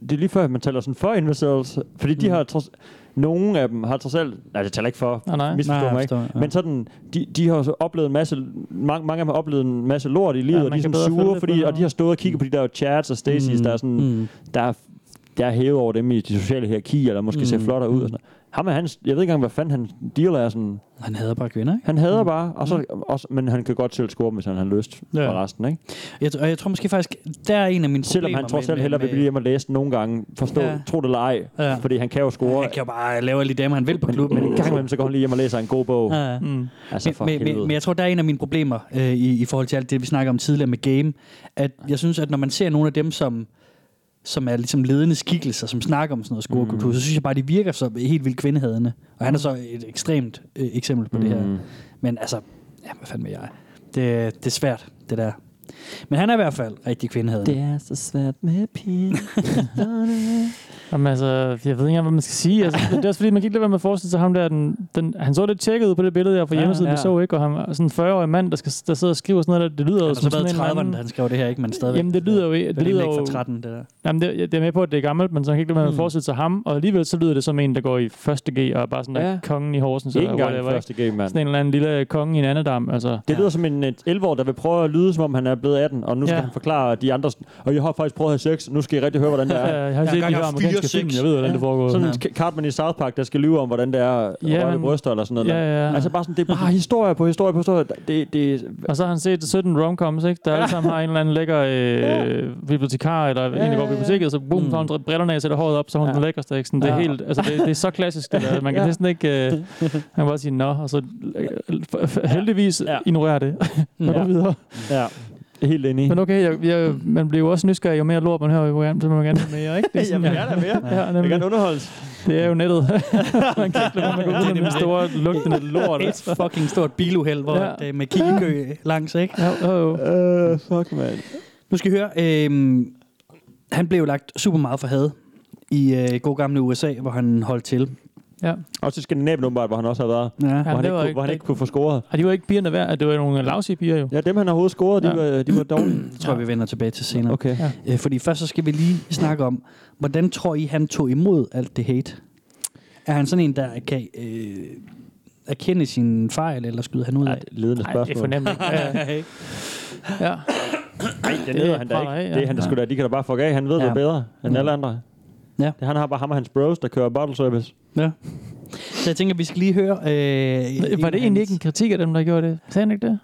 Speaker 2: det er lige før, at man taler sådan for investors, fordi
Speaker 4: Mm.
Speaker 2: de har trods... Nogle af dem har trods alt... Nej, det taler ikke for.
Speaker 4: Nej, nej.
Speaker 2: Misforstå
Speaker 3: Nej, jeg
Speaker 2: mig ikke.
Speaker 3: forstår, ja.
Speaker 2: Men sådan, de, de har jo så oplevet en masse... Mange, mange af dem har oplevet en masse lort i livet,
Speaker 4: Ja,
Speaker 2: ja, og de
Speaker 4: man
Speaker 2: er sådan
Speaker 4: kan bedre følge
Speaker 2: sure,
Speaker 4: det
Speaker 2: fordi,
Speaker 4: på-
Speaker 2: og de har stået og kigget på de der chats og Stacy's, der er sådan...
Speaker 3: mm.
Speaker 2: Der er, der er hævet over dem i de sociale hierarkier, eller måske mm. ser flottere ud og sådan noget. Ham er hans, jeg ved ikke engang, hvad fanden han deal er sådan...
Speaker 3: Han hader bare kvinder, ikke?
Speaker 2: Han hader bare, og så,
Speaker 3: Mm.
Speaker 2: også, men han kan godt selv score, hvis han har lyst ja.
Speaker 4: Ja.
Speaker 2: for resten. Ikke?
Speaker 3: Jeg, og jeg tror måske faktisk, der er en af mine
Speaker 2: Selvom
Speaker 3: problemer
Speaker 2: han trods
Speaker 3: med-
Speaker 2: alt
Speaker 3: med-
Speaker 2: hellere vil
Speaker 3: med-
Speaker 2: blive hjemme og læse nogle gange. Forstå, ja.
Speaker 3: Ja.
Speaker 2: tro det eller ej. Ja.
Speaker 3: Ja.
Speaker 2: Fordi han kan jo score.
Speaker 3: Han kan jo bare lave alle de damer, han vil på klubben.
Speaker 2: Men en gang imellem, så går han lige hjem og læser en god bog. Ja.
Speaker 3: Ja. Mm.
Speaker 2: Altså for
Speaker 3: Men, men,
Speaker 2: helvede.
Speaker 3: men jeg tror, der er en af mine problemer øh, i, i forhold til alt det, vi snakker om tidligere med game, at jeg synes, at når man ser nogle af dem, som, som er ligesom ledende skikkelser, som snakker om sådan noget scorekultur, mm. så synes jeg bare, de virker så helt vildt kvindehadende. Og han er så et ekstremt øh, eksempel på mm. det her. Men altså, ja, hvad fanden med jeg? Det, det er svært, det der. Men han er i hvert fald rigtig kvindehadende.
Speaker 4: er så svært med pigen. Jamen, altså, jeg ved ikke engang, hvad man skal sige. Altså, det er også fordi, man kan ikke lade være med at forestille sig ham der. Den, den, han så lidt tjekket ud på det billede, jeg fra
Speaker 2: Ja,
Speaker 4: hjemmesiden,
Speaker 2: ja.
Speaker 4: vi så, ikke? Og han er sådan en 40-årig mand, der, skal, der sidder og skriver sådan noget der. Det lyder jo
Speaker 3: Han har så
Speaker 4: som
Speaker 3: været i
Speaker 4: sådan en eller
Speaker 3: 30'erne,
Speaker 4: anden...
Speaker 3: da han skrev det her, ikke? Men stadigvæk.
Speaker 4: Jamen, det lyder jo... Det,
Speaker 3: det
Speaker 4: lyder
Speaker 3: lyder
Speaker 4: jo
Speaker 3: ikke fra 13, det der.
Speaker 4: jamen, det, jeg, det er med på, at det er gammelt, men så kan jeg ikke lade være med at
Speaker 3: Mm.
Speaker 4: forestille sig ham. Og alligevel så lyder det som en, der går i første G og er bare sådan der
Speaker 2: Ja.
Speaker 4: kongen i Horsens.
Speaker 2: Ikke
Speaker 4: eller
Speaker 2: engang i
Speaker 4: whatever,
Speaker 2: første game, mand.
Speaker 4: Sådan en eller anden lille øh, konge i en andedam. Altså,
Speaker 2: Det lyder som en 11-år, der vil prøve at lyde, som om han er blevet 18, og nu skal
Speaker 4: Ja.
Speaker 2: han forklare de andre, sådan, og jeg har faktisk prøvet at have sex, nu skal I rigtig høre, hvordan det
Speaker 4: Ja,
Speaker 2: er.
Speaker 4: jeg har set de
Speaker 3: engang
Speaker 4: her
Speaker 3: haft
Speaker 4: amerikanske
Speaker 3: fire,
Speaker 4: film,
Speaker 3: seks.
Speaker 4: jeg ved, hvordan
Speaker 3: Ja.
Speaker 4: det foregår.
Speaker 2: Sådan en Ka- Cartman i South Park, der skal lyve om, hvordan det er at
Speaker 4: Ja,
Speaker 2: røre ved
Speaker 4: men-
Speaker 2: bryster eller sådan noget.
Speaker 4: Ja,
Speaker 2: der.
Speaker 4: ja, Ah, ja.
Speaker 2: Altså bare sådan, det er bare historie på historie på historie. Det, det,
Speaker 4: Og så har han set 17 romcoms, ikke? Der alle sammen har en eller anden lækker øh, bibliotekar, eller ja, en, der går på biblioteket, så boom, så har hun brillerne af, sætter håret op, så har
Speaker 2: Mm.
Speaker 4: hun
Speaker 2: Ja.
Speaker 4: ja. den lækkerste, ikke? Sådan, det, er
Speaker 2: Ja.
Speaker 4: helt, altså, det, det, er så klassisk, det der. Man kan
Speaker 2: Ja.
Speaker 4: ja. næsten ikke... Øh, man kan bare sige, nå, og så øh, f- f- heldigvis
Speaker 2: Ja.
Speaker 4: ja. ignorerer det. og
Speaker 2: Ja.
Speaker 4: ja. videre.
Speaker 2: ja. Helt enig.
Speaker 4: Men okay, jeg, jeg, man bliver jo også nysgerrig, jo mere lort man hører i programmet, så vil man gerne have mere, ikke? Det er sådan, Mm. ja,
Speaker 2: gerne have mere.
Speaker 4: ja, nemlig,
Speaker 2: underholdes.
Speaker 4: det er jo nettet. man kan ikke lade være med at gå ud med den store lugtende lort.
Speaker 3: Et fucking stort biluheld, hvor
Speaker 4: Ja.
Speaker 3: ja. det med kiggekø langs, ikke?
Speaker 4: Ja, jo, jo.
Speaker 2: Øh, fuck, man.
Speaker 3: Nu skal I høre, øh, han blev jo lagt super meget for had i øh, god gamle USA, hvor han holdt til.
Speaker 4: ja.
Speaker 2: Og til Skandinavien åbenbart, hvor han også har været.
Speaker 3: Ja.
Speaker 2: hvor han,
Speaker 4: det
Speaker 2: ikke,
Speaker 4: var
Speaker 2: kunne-
Speaker 4: ikke-
Speaker 2: hvor han
Speaker 4: det-
Speaker 2: ikke kunne få scoret.
Speaker 4: Og de var ikke pigerne værd, at det var nogle lavsige piger jo.
Speaker 2: Ja, dem han har hovedet scoret, de,
Speaker 4: Ja.
Speaker 2: var, de var dårlige.
Speaker 3: Det tror jeg, vi vender tilbage til senere.
Speaker 2: Okay.
Speaker 3: Øh, fordi først så skal vi lige snakke om, hvordan tror I, han tog imod alt det hate? Er han sådan en, der kan øh, erkende sin fejl, eller skyder han ud
Speaker 2: Ja,
Speaker 3: af?
Speaker 2: det er et ledende
Speaker 4: Nej, det
Speaker 2: spørgsmål.
Speaker 4: er fornemt ikke. Ja,
Speaker 3: det
Speaker 4: ja.
Speaker 2: Nej, det neder han da ikke.
Speaker 4: praler af, ja.
Speaker 2: Det er han, der skulle da. De kan da bare fuck af. Han ved
Speaker 3: Ja.
Speaker 2: det bedre end
Speaker 3: Mm.
Speaker 2: alle andre.
Speaker 3: Ja.
Speaker 2: Det, han har bare ham og hans bros, der kører bottle service.
Speaker 3: ja. Så jeg tænker, vi skal lige høre... Øh,
Speaker 4: Var det egentlig ikke en kritik af dem, der gjorde det? Sagde han ikke det?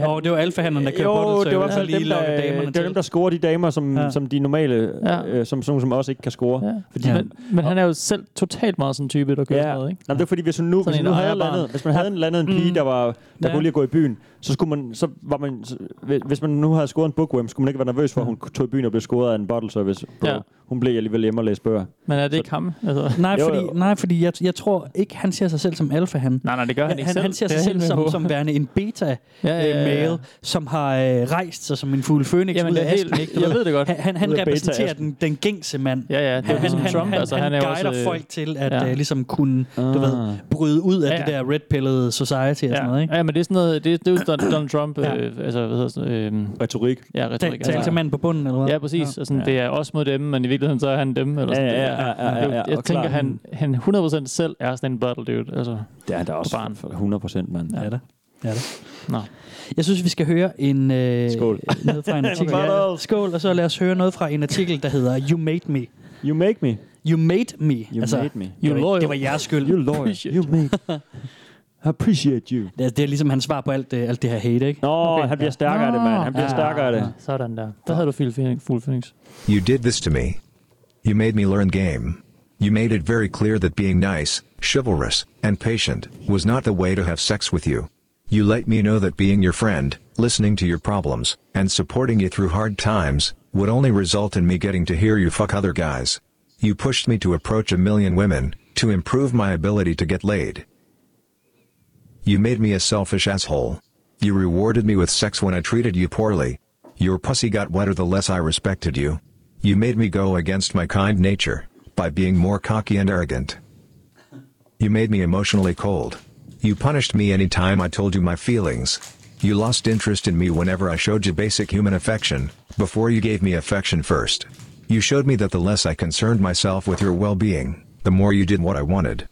Speaker 2: Øh,
Speaker 3: Åh, oh, det var alfahandlerne, der kørte
Speaker 2: jo,
Speaker 3: bottle
Speaker 2: det var i hvert fald
Speaker 3: service og lige
Speaker 2: dem, der,
Speaker 3: lokkede damerne
Speaker 2: det var
Speaker 3: til.
Speaker 2: dem, der scorer de damer, som, ja.
Speaker 3: Ja.
Speaker 2: som de normale, ja.
Speaker 4: Ja.
Speaker 2: øh, som, som, som også ikke kan score. Ja.
Speaker 4: Ja.
Speaker 2: Fordi,
Speaker 3: Ja.
Speaker 2: ja.
Speaker 4: Men, men han er jo selv totalt meget sådan en type, der gør ja. sådan noget, ikke?
Speaker 2: Nå, men det er fordi, hvis hun nu,
Speaker 4: Sådan
Speaker 2: hvis hun
Speaker 4: en
Speaker 2: nu havde
Speaker 4: ejerbarn.
Speaker 2: landet, hvis man havde en landet en pige, der, var, der ja.
Speaker 4: Mm. Ja.
Speaker 2: kunne lide at gå i byen, så skulle man, så var man, så, hvis- hvis man nu havde scoret en bookworm, skulle man ikke være nervøs for, at hun tog i byen og blev scoret af en bottle service. Ja.
Speaker 4: Ja.
Speaker 2: Hun blev alligevel hjemme og læste bøger.
Speaker 4: Men er det ikke ham? Altså.
Speaker 3: Nej,
Speaker 2: Jo,
Speaker 3: fordi,
Speaker 2: jo.
Speaker 3: nej, fordi jeg, jeg tror ikke, han ser sig selv som alfahan.
Speaker 4: Nej, nej, det gør han,
Speaker 3: Han,
Speaker 4: ikke
Speaker 3: han,
Speaker 4: selv.
Speaker 3: han ser
Speaker 4: Det
Speaker 3: sig
Speaker 4: er
Speaker 3: selv
Speaker 4: helt med
Speaker 3: som, øh,
Speaker 4: på.
Speaker 3: som værende en beta-male,
Speaker 4: ja, ja, ja, ja.
Speaker 3: som har øh, rejst sig som en fuld fønix
Speaker 4: Øh, Jamen,
Speaker 3: ud
Speaker 4: det er
Speaker 3: af asken.
Speaker 4: helt,
Speaker 3: ikke? Du
Speaker 4: jeg ved det godt.
Speaker 3: Han, han,
Speaker 2: Ud
Speaker 3: han
Speaker 2: af
Speaker 3: repræsenterer
Speaker 2: beta-asken.
Speaker 3: den, den gængse mand.
Speaker 4: Ja, ja, det er jo
Speaker 3: han,
Speaker 4: ligesom
Speaker 3: han,
Speaker 4: Trump.
Speaker 3: han,
Speaker 4: altså,
Speaker 3: han,
Speaker 4: han er jo
Speaker 3: guider
Speaker 4: også... øh,
Speaker 3: folk til at
Speaker 4: ja. Ah.
Speaker 3: ja. uh, ligesom kunne du ved, bryde ud af
Speaker 4: Ja,
Speaker 3: ja. det
Speaker 4: ja.
Speaker 3: der red-pillede society og sådan noget. Ikke?
Speaker 4: Ja, ja, men det er sådan noget, det, det er jo Don- Donald Trump,
Speaker 3: Ja.
Speaker 4: øh, altså, hvad hedder sådan, øh,
Speaker 2: Retorik.
Speaker 4: ja,
Speaker 3: Tal,
Speaker 4: retorik. altså.
Speaker 3: tal til manden på bunden, eller hvad?
Speaker 4: Ja, præcis. Altså, det er os mod dem, men i virkeligheden så er han dem. Eller sådan,
Speaker 2: Ja, ja,
Speaker 4: det er-
Speaker 2: ja, ja,
Speaker 4: det er jo-
Speaker 2: ja, ja,
Speaker 4: Jeg
Speaker 2: og
Speaker 4: tænker,
Speaker 2: klar.
Speaker 4: han, han 100% selv er sådan en battle dude. Altså,
Speaker 2: Det er der også.
Speaker 4: barn.
Speaker 2: 100 procent, mand.
Speaker 3: Ja, da. Ja, da.
Speaker 4: Nå.
Speaker 3: Jeg synes, vi skal høre en, øh,
Speaker 2: Skål.
Speaker 3: noget fra en artikel.
Speaker 2: Skål.
Speaker 3: Skål, og så lad os høre noget fra en artikel, der hedder You Made Me.
Speaker 2: You make me.
Speaker 3: You Made Me. You
Speaker 4: Altså,
Speaker 2: made me.
Speaker 3: Det
Speaker 4: You
Speaker 3: var, ikke- det
Speaker 4: loyal.
Speaker 3: var jeres skyld.
Speaker 2: You lawyer. You make. I appreciate you.
Speaker 3: Det er, det er ligesom hans svar på alt det, alt det her hate, ikke?
Speaker 2: Nå, okay. han bliver stærkere af det, mand. Han bliver
Speaker 3: Ja.
Speaker 2: stærkere af det.
Speaker 4: Sådan der. Der havde du Phil Phoenix- Fugl Phoenix.
Speaker 5: You did this to me. You made me learn game. You made it very clear that being nice, chivalrous, and patient was not the way to have sex with you. You let me know that being your friend, listening to your problems, and supporting you through hard times would only result in me getting to hear you fuck other guys. You pushed me to approach a million women to improve my ability to get laid. You made me a selfish asshole. You rewarded me with sex when I treated you poorly. Your pussy got wetter the less I respected you. You made me go against my kind nature by being more cocky and arrogant. You made me emotionally cold. You punished me any time I told you my feelings. You lost interest in me whenever I showed you basic human affection, before you gave me affection first. You showed me that the less I concerned myself with your well being, the more you did what I wanted.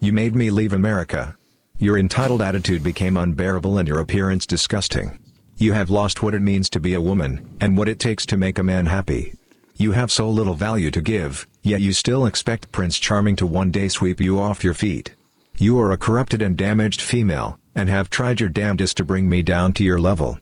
Speaker 5: You made me leave America. Your entitled attitude became unbearable and your appearance disgusting. You have lost what it means to be a woman, and what it takes to make a man happy. You have so little value to give, yet you still expect Prince Charming to one day sweep you off your feet. You are a corrupted and damaged female, and have tried your damnedest to bring me down to your level.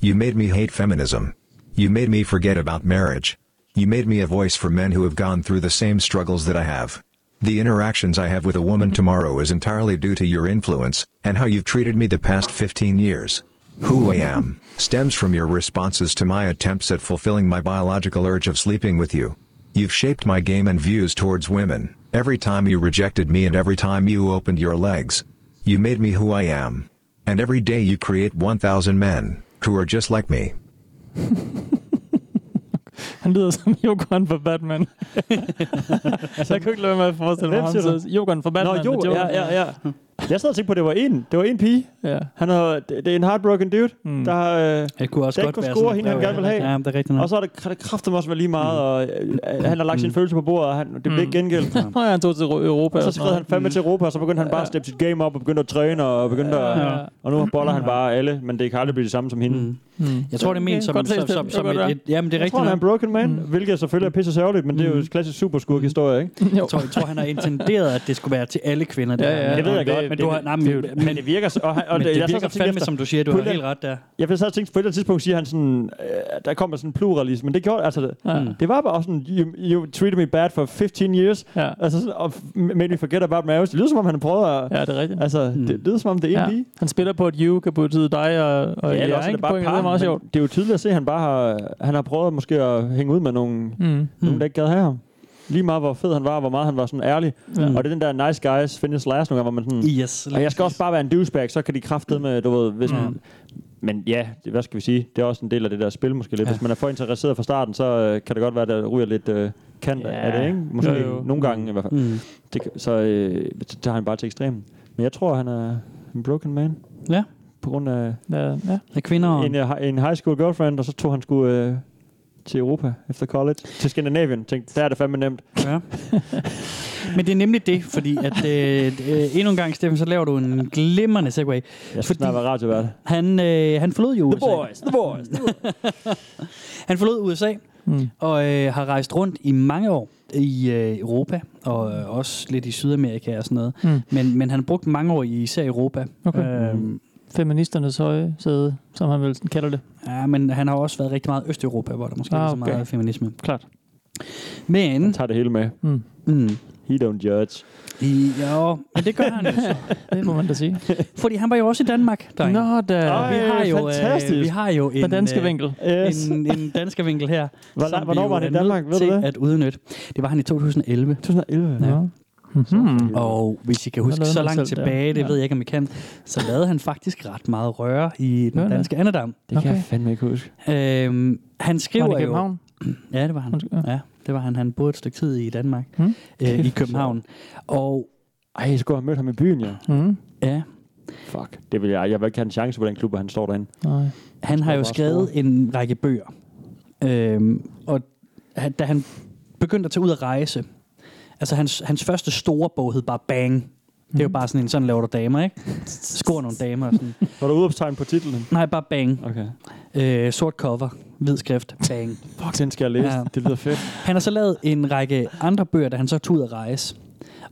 Speaker 5: You made me hate feminism. You made me forget about marriage. You made me a voice for men who have gone through the same struggles that I have. The interactions I have with a woman tomorrow is entirely due to your influence, and how you've treated me the past 15 years. Who I am stems from your responses to my attempts at fulfilling my biological urge of sleeping with you. You've shaped my game and views towards women, every time you rejected me and every time you opened your legs. You made me who I am. And every day you create 1,000 men, who are just like me.
Speaker 4: Han lyder som Jokeren fra Batman. jeg kunne ikke lade være med at forestille mig
Speaker 2: Hvem
Speaker 4: ham.
Speaker 2: siger du?
Speaker 4: Så Jokeren fra Batman.
Speaker 2: Nå, jo,
Speaker 4: med
Speaker 2: ja,
Speaker 4: Jokeren.
Speaker 2: ja, ja. Jeg sad og tænkte på, at det var en. Det var en pige.
Speaker 4: ja.
Speaker 2: Han har, det, det er en heartbroken dude, mm. der øh,
Speaker 3: Jeg kunne også
Speaker 2: Den
Speaker 3: godt
Speaker 2: kunne
Speaker 3: være
Speaker 2: score
Speaker 3: sådan,
Speaker 2: hende, han
Speaker 3: ja,
Speaker 2: gerne vil have.
Speaker 3: Ja, men det er rigtigt nok.
Speaker 2: Og så er det, kan det kraftigt også være lige meget, og øh, øh, han har lagt sine følelser på bordet, og han, det blev ikke gengældt.
Speaker 4: Nå, ja, han tog til Ro- Europa.
Speaker 2: Og så
Speaker 4: og sådan
Speaker 2: skred
Speaker 4: noget.
Speaker 2: han fandme til Europa, og så begyndte han bare at steppe sit game op, og begyndte at træne, og begyndte
Speaker 4: Ja.
Speaker 2: at, og nu boller han bare alle, men det kan aldrig blive det samme som hende.
Speaker 3: Mm.
Speaker 4: Mm.
Speaker 3: Jeg tror, det er ment
Speaker 4: Okay,
Speaker 3: som,
Speaker 4: godt
Speaker 3: som,
Speaker 4: set,
Speaker 3: som,
Speaker 4: Steffen.
Speaker 3: som
Speaker 4: Det kan
Speaker 3: et,
Speaker 4: godt
Speaker 3: et... Jamen, det er
Speaker 2: Jeg
Speaker 3: rigtigt
Speaker 2: tror, han er en
Speaker 3: nok.
Speaker 2: broken man, hvilket selvfølgelig er pisse sørgeligt, men det er jo en klassisk superskurk-historie, ikke?
Speaker 4: Jo.
Speaker 3: Jeg tror, jeg tror, han har intenderet, at det skulle være til alle kvinder. Det
Speaker 4: Ja,
Speaker 3: her.
Speaker 4: ja.
Speaker 2: Det ved jeg
Speaker 4: det-
Speaker 2: godt,
Speaker 3: Men
Speaker 2: men
Speaker 3: du har...
Speaker 2: det,
Speaker 3: Nej, men, men,
Speaker 2: men det virker så, og, han- og
Speaker 3: men
Speaker 2: jeg
Speaker 3: det
Speaker 2: sad
Speaker 3: virker
Speaker 2: og tænkte
Speaker 3: fandme,
Speaker 2: efter-
Speaker 3: som du siger. Du har
Speaker 2: Pulle- Mm.
Speaker 3: helt ret der.
Speaker 2: Jeg vil så tænke, på et eller andet tidspunkt siger han sådan, øh, der kommer sådan en pluralisme, men det gjorde, altså,
Speaker 4: Ja.
Speaker 2: det var bare sådan, you, you treated me bad for 15 years,
Speaker 4: Ja.
Speaker 2: altså sådan, og f- made me forget about marriage. Det lyder som om, han prøver at,
Speaker 4: ja, det er rigtigt.
Speaker 2: altså, det, det lyder som om, det er en
Speaker 4: Ja.
Speaker 2: pige.
Speaker 4: Han spiller på, at you kan betyde dig og, og
Speaker 2: eller
Speaker 4: jer,
Speaker 2: også er
Speaker 4: ikke?
Speaker 2: det
Speaker 4: På
Speaker 2: bare
Speaker 4: en
Speaker 2: par,
Speaker 4: måde, det er
Speaker 2: men
Speaker 4: meget sjovt.
Speaker 2: det er jo tydeligt at se, at han bare har, han har prøvet måske at hænge ud med nogle, mm.
Speaker 4: Mm.
Speaker 2: nogen, der ikke gad have ham. Lige meget, hvor fed han var, og hvor meget han var sådan ærlig.
Speaker 4: Ja.
Speaker 2: Og det er den der nice guys finish last nogle gange, hvor man sådan,
Speaker 3: Yes.
Speaker 2: Og jeg skal også bare være en douchebag, så kan de kraftede med, du ved, hvis man, Men ja, det, hvad skal vi sige? Det er også en del af det der spil, måske lidt.
Speaker 3: Mm. Ja.
Speaker 2: Hvis man er for interesseret fra starten, så øh, kan det godt være, at der ryger lidt øh, kant
Speaker 4: Ja.
Speaker 2: af det, ikke? Måske
Speaker 4: Jo, jo.
Speaker 2: nogle gange i hvert fald.
Speaker 3: Mm.
Speaker 2: Det, kan- så øh, så tager han bare til ekstremen. Men jeg tror, han er en broken man.
Speaker 3: Ja.
Speaker 2: På grund af
Speaker 4: Ja, ja.
Speaker 3: Er kvinder og...
Speaker 2: en, øh, hi- en high school girlfriend, og så tog han sgu øh, til Europa efter college. Til Skandinavien. Tænkte, der er det fandme nemt.
Speaker 3: Ja. Men det er nemlig det, fordi at øh, øh, endnu en gang, Steffen, så laver du en glimrende segway.
Speaker 2: Jeg skal
Speaker 3: Fordi-
Speaker 2: snart være radiovært.
Speaker 3: Han, øh, han forlod jo USA.
Speaker 2: the boys.
Speaker 3: Han forlod USA
Speaker 4: Mm.
Speaker 3: og øh, har rejst rundt i mange år i øh, Europa, og øh, også lidt i Sydamerika og sådan noget.
Speaker 4: Mm.
Speaker 3: Men, men han har brugt mange år i især Europa.
Speaker 4: Okay.
Speaker 3: Øhm,
Speaker 4: Feministernes høje sæde, som han vel kalder det.
Speaker 3: ja, men han har også været rigtig meget i Østeuropa, hvor der måske
Speaker 4: Ah,
Speaker 3: ah, okay. ikke
Speaker 4: okay.
Speaker 3: er så meget feminisme.
Speaker 4: Klart.
Speaker 2: Han
Speaker 3: Men,
Speaker 2: tager det hele med.
Speaker 4: Mm.
Speaker 3: mm,
Speaker 2: He don't judge.
Speaker 3: i, jo, men det gør han jo så.
Speaker 4: Det må man da sige.
Speaker 3: Fordi han var jo også i Danmark, drenge.
Speaker 4: Nå da.
Speaker 2: Ej,
Speaker 3: vi har jo, øh,
Speaker 2: fantastisk.
Speaker 3: vi har jo en,
Speaker 4: Den danske
Speaker 3: øh,
Speaker 4: vinkel.
Speaker 2: Yes.
Speaker 3: en, en dansker vinkel her.
Speaker 2: Hvor,
Speaker 3: som vi
Speaker 2: hvornår
Speaker 3: jo
Speaker 2: var han
Speaker 3: er
Speaker 2: i Danmark?
Speaker 3: nødt
Speaker 2: Ved du
Speaker 3: til
Speaker 2: det?
Speaker 3: At udnytte. Det var han i 2011.
Speaker 2: 2011.
Speaker 4: Ja. Mm-hmm.
Speaker 3: Og hvis I kan huske
Speaker 4: lavede
Speaker 3: så
Speaker 4: han
Speaker 3: langt
Speaker 4: selv der.
Speaker 3: tilbage, det
Speaker 4: Ja.
Speaker 3: ved jeg ikke, om I kan, så lavede han faktisk ret meget røre i
Speaker 4: Nå,
Speaker 3: den
Speaker 4: da.
Speaker 3: danske andedam.
Speaker 2: Det kan
Speaker 4: Okay.
Speaker 2: jeg fandme ikke huske.
Speaker 3: Øhm, han skriver
Speaker 4: Var det i
Speaker 3: jo...
Speaker 4: København?
Speaker 3: Ja, det var han.
Speaker 4: Undskyld, ja.
Speaker 3: Ja, det var han. Han boede et stykke tid i Danmark,
Speaker 4: Mm.
Speaker 3: øh, i København. Og
Speaker 2: Ej, jeg skulle have mødt ham i byen, ja.
Speaker 4: Mm.
Speaker 3: ja,
Speaker 2: Fuck. Det vil jeg. Jeg vil ikke have en chance på den klub, hvor han står derinde.
Speaker 4: Nej.
Speaker 3: Han har
Speaker 2: Jeg
Speaker 3: jo
Speaker 2: var
Speaker 3: skrevet en række bøger. Øhm, og han- da han begyndte at tage ud at rejse, altså hans, hans første store bog hed bare Bang. Det
Speaker 4: Mhm.
Speaker 3: er jo bare sådan en, sådan laver du damer, ikke? Skor nogle damer og sådan.
Speaker 2: Var du udopstegn på titlen?
Speaker 3: Nej, bare Bang.
Speaker 2: Okay.
Speaker 3: Øh, sort cover, hvid skrift, Bang.
Speaker 2: Fuck, den skal jeg læse.
Speaker 3: Ja.
Speaker 2: Ja. Det lyder fedt.
Speaker 3: Han har så lavet en række andre bøger, da han så tog ud at rejse,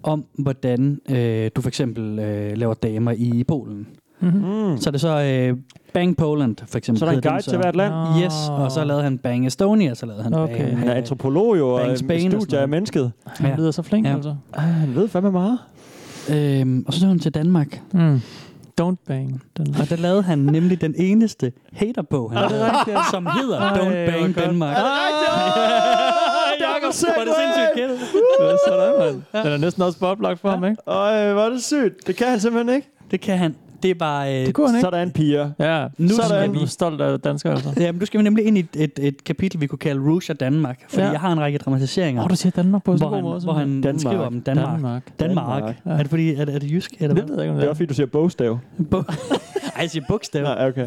Speaker 3: om hvordan øh, du for eksempel øh, laver damer i Polen.
Speaker 2: Mm.
Speaker 3: Så er det så øh, Bang Poland, for eksempel.
Speaker 2: Så er der en
Speaker 3: hedder den
Speaker 2: guide til hvert land.
Speaker 4: Nå.
Speaker 3: Yes, og så lavede han Bang Estonia, så lavede han
Speaker 4: Okay.
Speaker 3: Bang...
Speaker 2: Han er antropolog jo, og
Speaker 3: Bangs Bane og sådan
Speaker 2: studier af
Speaker 3: noget.
Speaker 2: mennesket.
Speaker 4: Mm. Han
Speaker 3: Ja.
Speaker 4: lyder så flink,
Speaker 3: Ja.
Speaker 4: altså.
Speaker 2: Ej, han ved fandme meget.
Speaker 3: Øhm, og så tog han til Danmark,
Speaker 4: Mm. Don't bang. Den
Speaker 3: og der lavede han nemlig den eneste haterbog, han lavede, som hedder
Speaker 4: Ej,
Speaker 3: Don't
Speaker 4: hvor
Speaker 3: Bang
Speaker 4: godt.
Speaker 3: Danmark.
Speaker 2: Jakob
Speaker 3: Var det sindssygt gæld?
Speaker 4: er sådan, man. Den er næsten også boblagt for ham, ikke?
Speaker 2: Ej, hvor er det sygt. Det kan han simpelthen ikke.
Speaker 3: Det kan han. Det er bare... Øh,
Speaker 4: Det kunne han ikke.
Speaker 2: Sådan, piger.
Speaker 4: Ja,
Speaker 3: Nu
Speaker 4: nu så er
Speaker 3: skal
Speaker 4: vi
Speaker 3: vi-
Speaker 4: stolt af danskere, altså.
Speaker 3: Jamen, du skal vi nemlig ind i et, et, et kapitel, vi kunne kalde Rouge og Danmark, fordi
Speaker 4: Ja.
Speaker 3: jeg har en række dramatiseringer,
Speaker 4: Åh, du siger Danmark på sådan
Speaker 3: hvor
Speaker 4: en
Speaker 3: han,
Speaker 4: god måde.
Speaker 3: hvor han
Speaker 2: Danmark.
Speaker 3: skriver om Danmark. Danmark.
Speaker 4: Danmark.
Speaker 3: Danmark.
Speaker 2: Danmark.
Speaker 3: Ja. Er det fordi, er det, er det jysk? Eller
Speaker 4: Det ved
Speaker 3: hvad?
Speaker 4: jeg ikke, om
Speaker 2: Det
Speaker 4: det
Speaker 2: er
Speaker 4: er.
Speaker 2: også fordi, du siger bogstav.
Speaker 3: Bu- Ej, jeg siger bogstav.
Speaker 2: Nej, okay.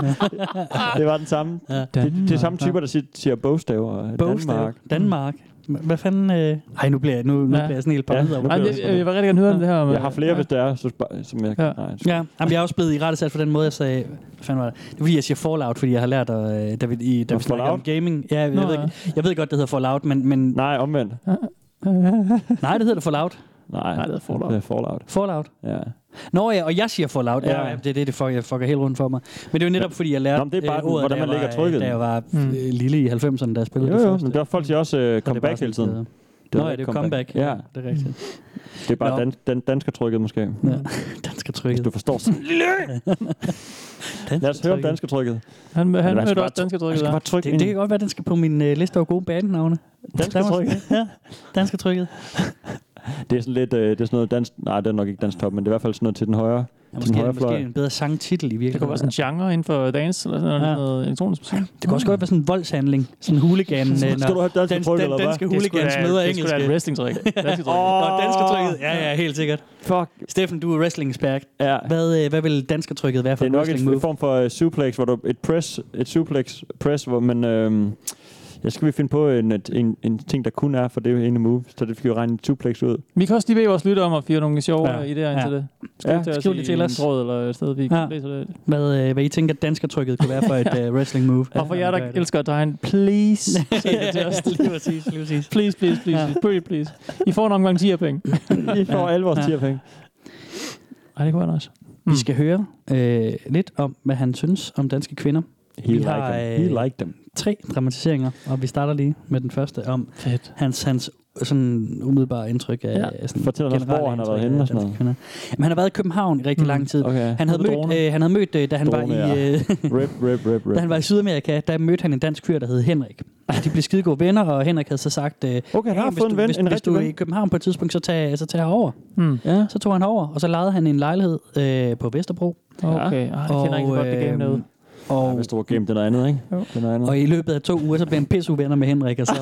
Speaker 2: Det var den samme.
Speaker 3: Ja.
Speaker 2: Det, det er samme typer, der siger, siger bogstav og
Speaker 3: Bogstav.
Speaker 2: Danmark.
Speaker 3: Mm. Danmark. H- Hvad fanden... Øh... Ej, nu bliver jeg, nu, nu
Speaker 4: Ja.
Speaker 3: bliver jeg sådan helt
Speaker 2: Ja.
Speaker 3: paranoid over.
Speaker 4: Ej,
Speaker 2: Det
Speaker 4: men
Speaker 2: er
Speaker 4: jeg, jeg, jeg vil rigtig gerne høre om det her. Med,
Speaker 2: Jeg har flere, hvis der er, så sp- som jeg...
Speaker 4: Ja.
Speaker 2: Nej, sgu.
Speaker 3: Ja, jamen, jeg er også blevet i rette sat for den måde, jeg sagde... Hvad fanden var det? Det er fordi, jeg siger Fallout, fordi jeg har lært, at, øh, da vi, i, da
Speaker 2: Nå,
Speaker 3: vi snakkede om
Speaker 2: Fallout?
Speaker 3: gaming. Ja, jeg,
Speaker 4: Nå,
Speaker 3: jeg, ved,
Speaker 4: ja.
Speaker 3: ikke, jeg ved godt, det hedder Fallout, men, men nej.
Speaker 2: Nej, omvendt.
Speaker 3: det hedder det Fallout.
Speaker 2: Nej,
Speaker 4: Nej, det er Fallout.
Speaker 2: Det er Fallout.
Speaker 3: Fallout.
Speaker 2: Ja.
Speaker 3: Nå ja, og jeg siger Fallout. Ja,
Speaker 2: Ja.
Speaker 3: ja det er det, det fucker, jeg fucker helt rundt for mig. Men det er jo netop, fordi jeg lærte øh,
Speaker 2: Nå, men det er bare den-
Speaker 3: ordet,
Speaker 2: hvordan
Speaker 3: da jeg
Speaker 2: man lægger
Speaker 3: var,
Speaker 2: trykket.
Speaker 3: Da jeg var
Speaker 4: Mm.
Speaker 3: mm. lille i 90'erne, da jeg spillede
Speaker 2: Jo,
Speaker 3: det
Speaker 2: jo,
Speaker 3: første.
Speaker 2: men der er folk siger også uh,
Speaker 3: Så det er bare
Speaker 2: comeback hele
Speaker 3: sådan,
Speaker 2: tiden. Det
Speaker 3: Det Nå ja, det er jo comeback.
Speaker 2: Ja,
Speaker 3: det er rigtigt.
Speaker 2: det er bare
Speaker 3: Nå.
Speaker 2: dan, dan, danskertrykket måske.
Speaker 3: Ja. Dansk
Speaker 2: Hvis
Speaker 3: trykket.
Speaker 2: du forstår sådan. Lad os høre om danskertrykket.
Speaker 4: Han, han, han
Speaker 2: skal
Speaker 4: mødte
Speaker 2: bare
Speaker 4: også danske
Speaker 2: Man
Speaker 4: drikket
Speaker 2: skal
Speaker 4: der.
Speaker 2: bare trykke
Speaker 3: Det,
Speaker 2: ind.
Speaker 3: det kan godt være, den skal på min øh, liste over gode bandnavne.
Speaker 2: Danskertrykket.
Speaker 3: Ja, dansk trykket.
Speaker 2: Det er sådan lidt, øh, det er sådan noget dans... Nej, det er nok ikke dansk top, men det er i hvert fald sådan noget til den højre.
Speaker 3: Ja, måske, er det,
Speaker 2: højrefløj.
Speaker 3: måske er det en bedre sangtitel i virkeligheden.
Speaker 4: Det kunne være sådan en genre inden for dance eller sådan noget,
Speaker 3: Ja.
Speaker 4: noget elektronisk musik.
Speaker 3: Det kunne også godt være sådan en voldshandling. Sådan en hooligan. øh,
Speaker 2: Skal du
Speaker 3: når
Speaker 2: have dansk
Speaker 3: den,
Speaker 2: tryk,
Speaker 3: den,
Speaker 2: eller hvad?
Speaker 3: den, danske
Speaker 4: Det skulle
Speaker 3: hooligans
Speaker 4: da-
Speaker 3: møder
Speaker 4: Det skulle da
Speaker 3: engelske.
Speaker 4: et wrestling-trick. Danske-trick.
Speaker 3: Og danskertrykket. Ja, ja, helt sikkert.
Speaker 2: Fuck.
Speaker 3: Steffen, du er wrestling-ekspert.
Speaker 2: Ja.
Speaker 3: Hvad, øh, hvad vil danskertrykket være for
Speaker 2: Det er
Speaker 3: en
Speaker 2: nok en
Speaker 3: wrestling-move?
Speaker 2: f- form for uh, suplex, hvor du et press, et suplex press, hvor man... Øhm, jeg skal vi finde på en, et- en, en ting, der kun er for det ene move, så det fik jo regne et suplex ud.
Speaker 4: Vi kan også lige bede vores lytter om at fyre nogle sjove
Speaker 2: Ja.
Speaker 4: ja. idéer ind
Speaker 3: Ja.
Speaker 4: til det.
Speaker 2: Ja,
Speaker 4: til os
Speaker 3: skriv
Speaker 4: i
Speaker 3: det til
Speaker 4: en
Speaker 3: os.
Speaker 4: Tråd eller et sted, vi
Speaker 3: Ja.
Speaker 4: ja. læser det.
Speaker 3: Hvad, øh, hvad I tænker, danskertrykket kunne være for et øh, wrestling-move?
Speaker 4: Og for jer, der
Speaker 3: Gør det.
Speaker 4: elsker at tegne, please, send det til os.
Speaker 3: lige præcis, lige præcis.
Speaker 4: Please, please, please,
Speaker 3: Ja.
Speaker 4: please, pretty please. I får en omgang 10 penge.
Speaker 2: I får alle vores
Speaker 3: Ja.
Speaker 2: tierpenge.
Speaker 4: Ej, det kunne være nice.
Speaker 3: Vi skal høre øh, lidt om, hvad han synes om danske kvinder.
Speaker 2: He
Speaker 3: Vi
Speaker 2: like
Speaker 3: har,
Speaker 2: them. He
Speaker 3: øh,
Speaker 2: like them.
Speaker 3: Tre dramatiseringer, og vi starter lige med den første om
Speaker 4: Fedt.
Speaker 3: hans, hans sådan umiddelbare indtryk af...
Speaker 2: Ja.
Speaker 3: Sådan
Speaker 2: Fortæl os,
Speaker 3: generelle
Speaker 2: hvor han har været
Speaker 3: indtryk af
Speaker 2: henne og sådan
Speaker 3: danske kvinder. Jamen, han har været i København i rigtig
Speaker 4: Mm,
Speaker 3: lang tid.
Speaker 2: Okay.
Speaker 3: Han havde, mødt,
Speaker 4: Drone.
Speaker 3: øh, han havde mødt, øh, da han
Speaker 2: Drone,
Speaker 3: var i...
Speaker 2: ja.
Speaker 3: Øh,
Speaker 2: Rip, rip, rip,
Speaker 3: Da han
Speaker 2: rip.
Speaker 3: var i Sydamerika, der mødte han en dansk fyr, der hed Henrik. Og de blev skide gode venner, og Henrik havde så sagt, øh,
Speaker 2: Okay, han
Speaker 3: "Hey,
Speaker 2: har
Speaker 3: hvis
Speaker 2: fået
Speaker 3: du,
Speaker 2: en ven,
Speaker 3: hvis,
Speaker 2: en
Speaker 3: hvis
Speaker 2: rigtig
Speaker 3: du er i
Speaker 2: ven.
Speaker 3: København på et tidspunkt, så tag, så tag herover.
Speaker 4: Mm.
Speaker 2: Ja.
Speaker 3: Så tog han over, og så lejede han en lejlighed øh, på Vesterbro.
Speaker 4: Okay, ah, det kender ikke så godt det game derude.
Speaker 2: Ja,
Speaker 3: Og,
Speaker 2: hvis du var game, det er noget andet, ikke?
Speaker 4: Jo.
Speaker 2: Det er noget andet.
Speaker 3: og i løbet af to uger, så blev han pisseuvenner med Henrik, og så,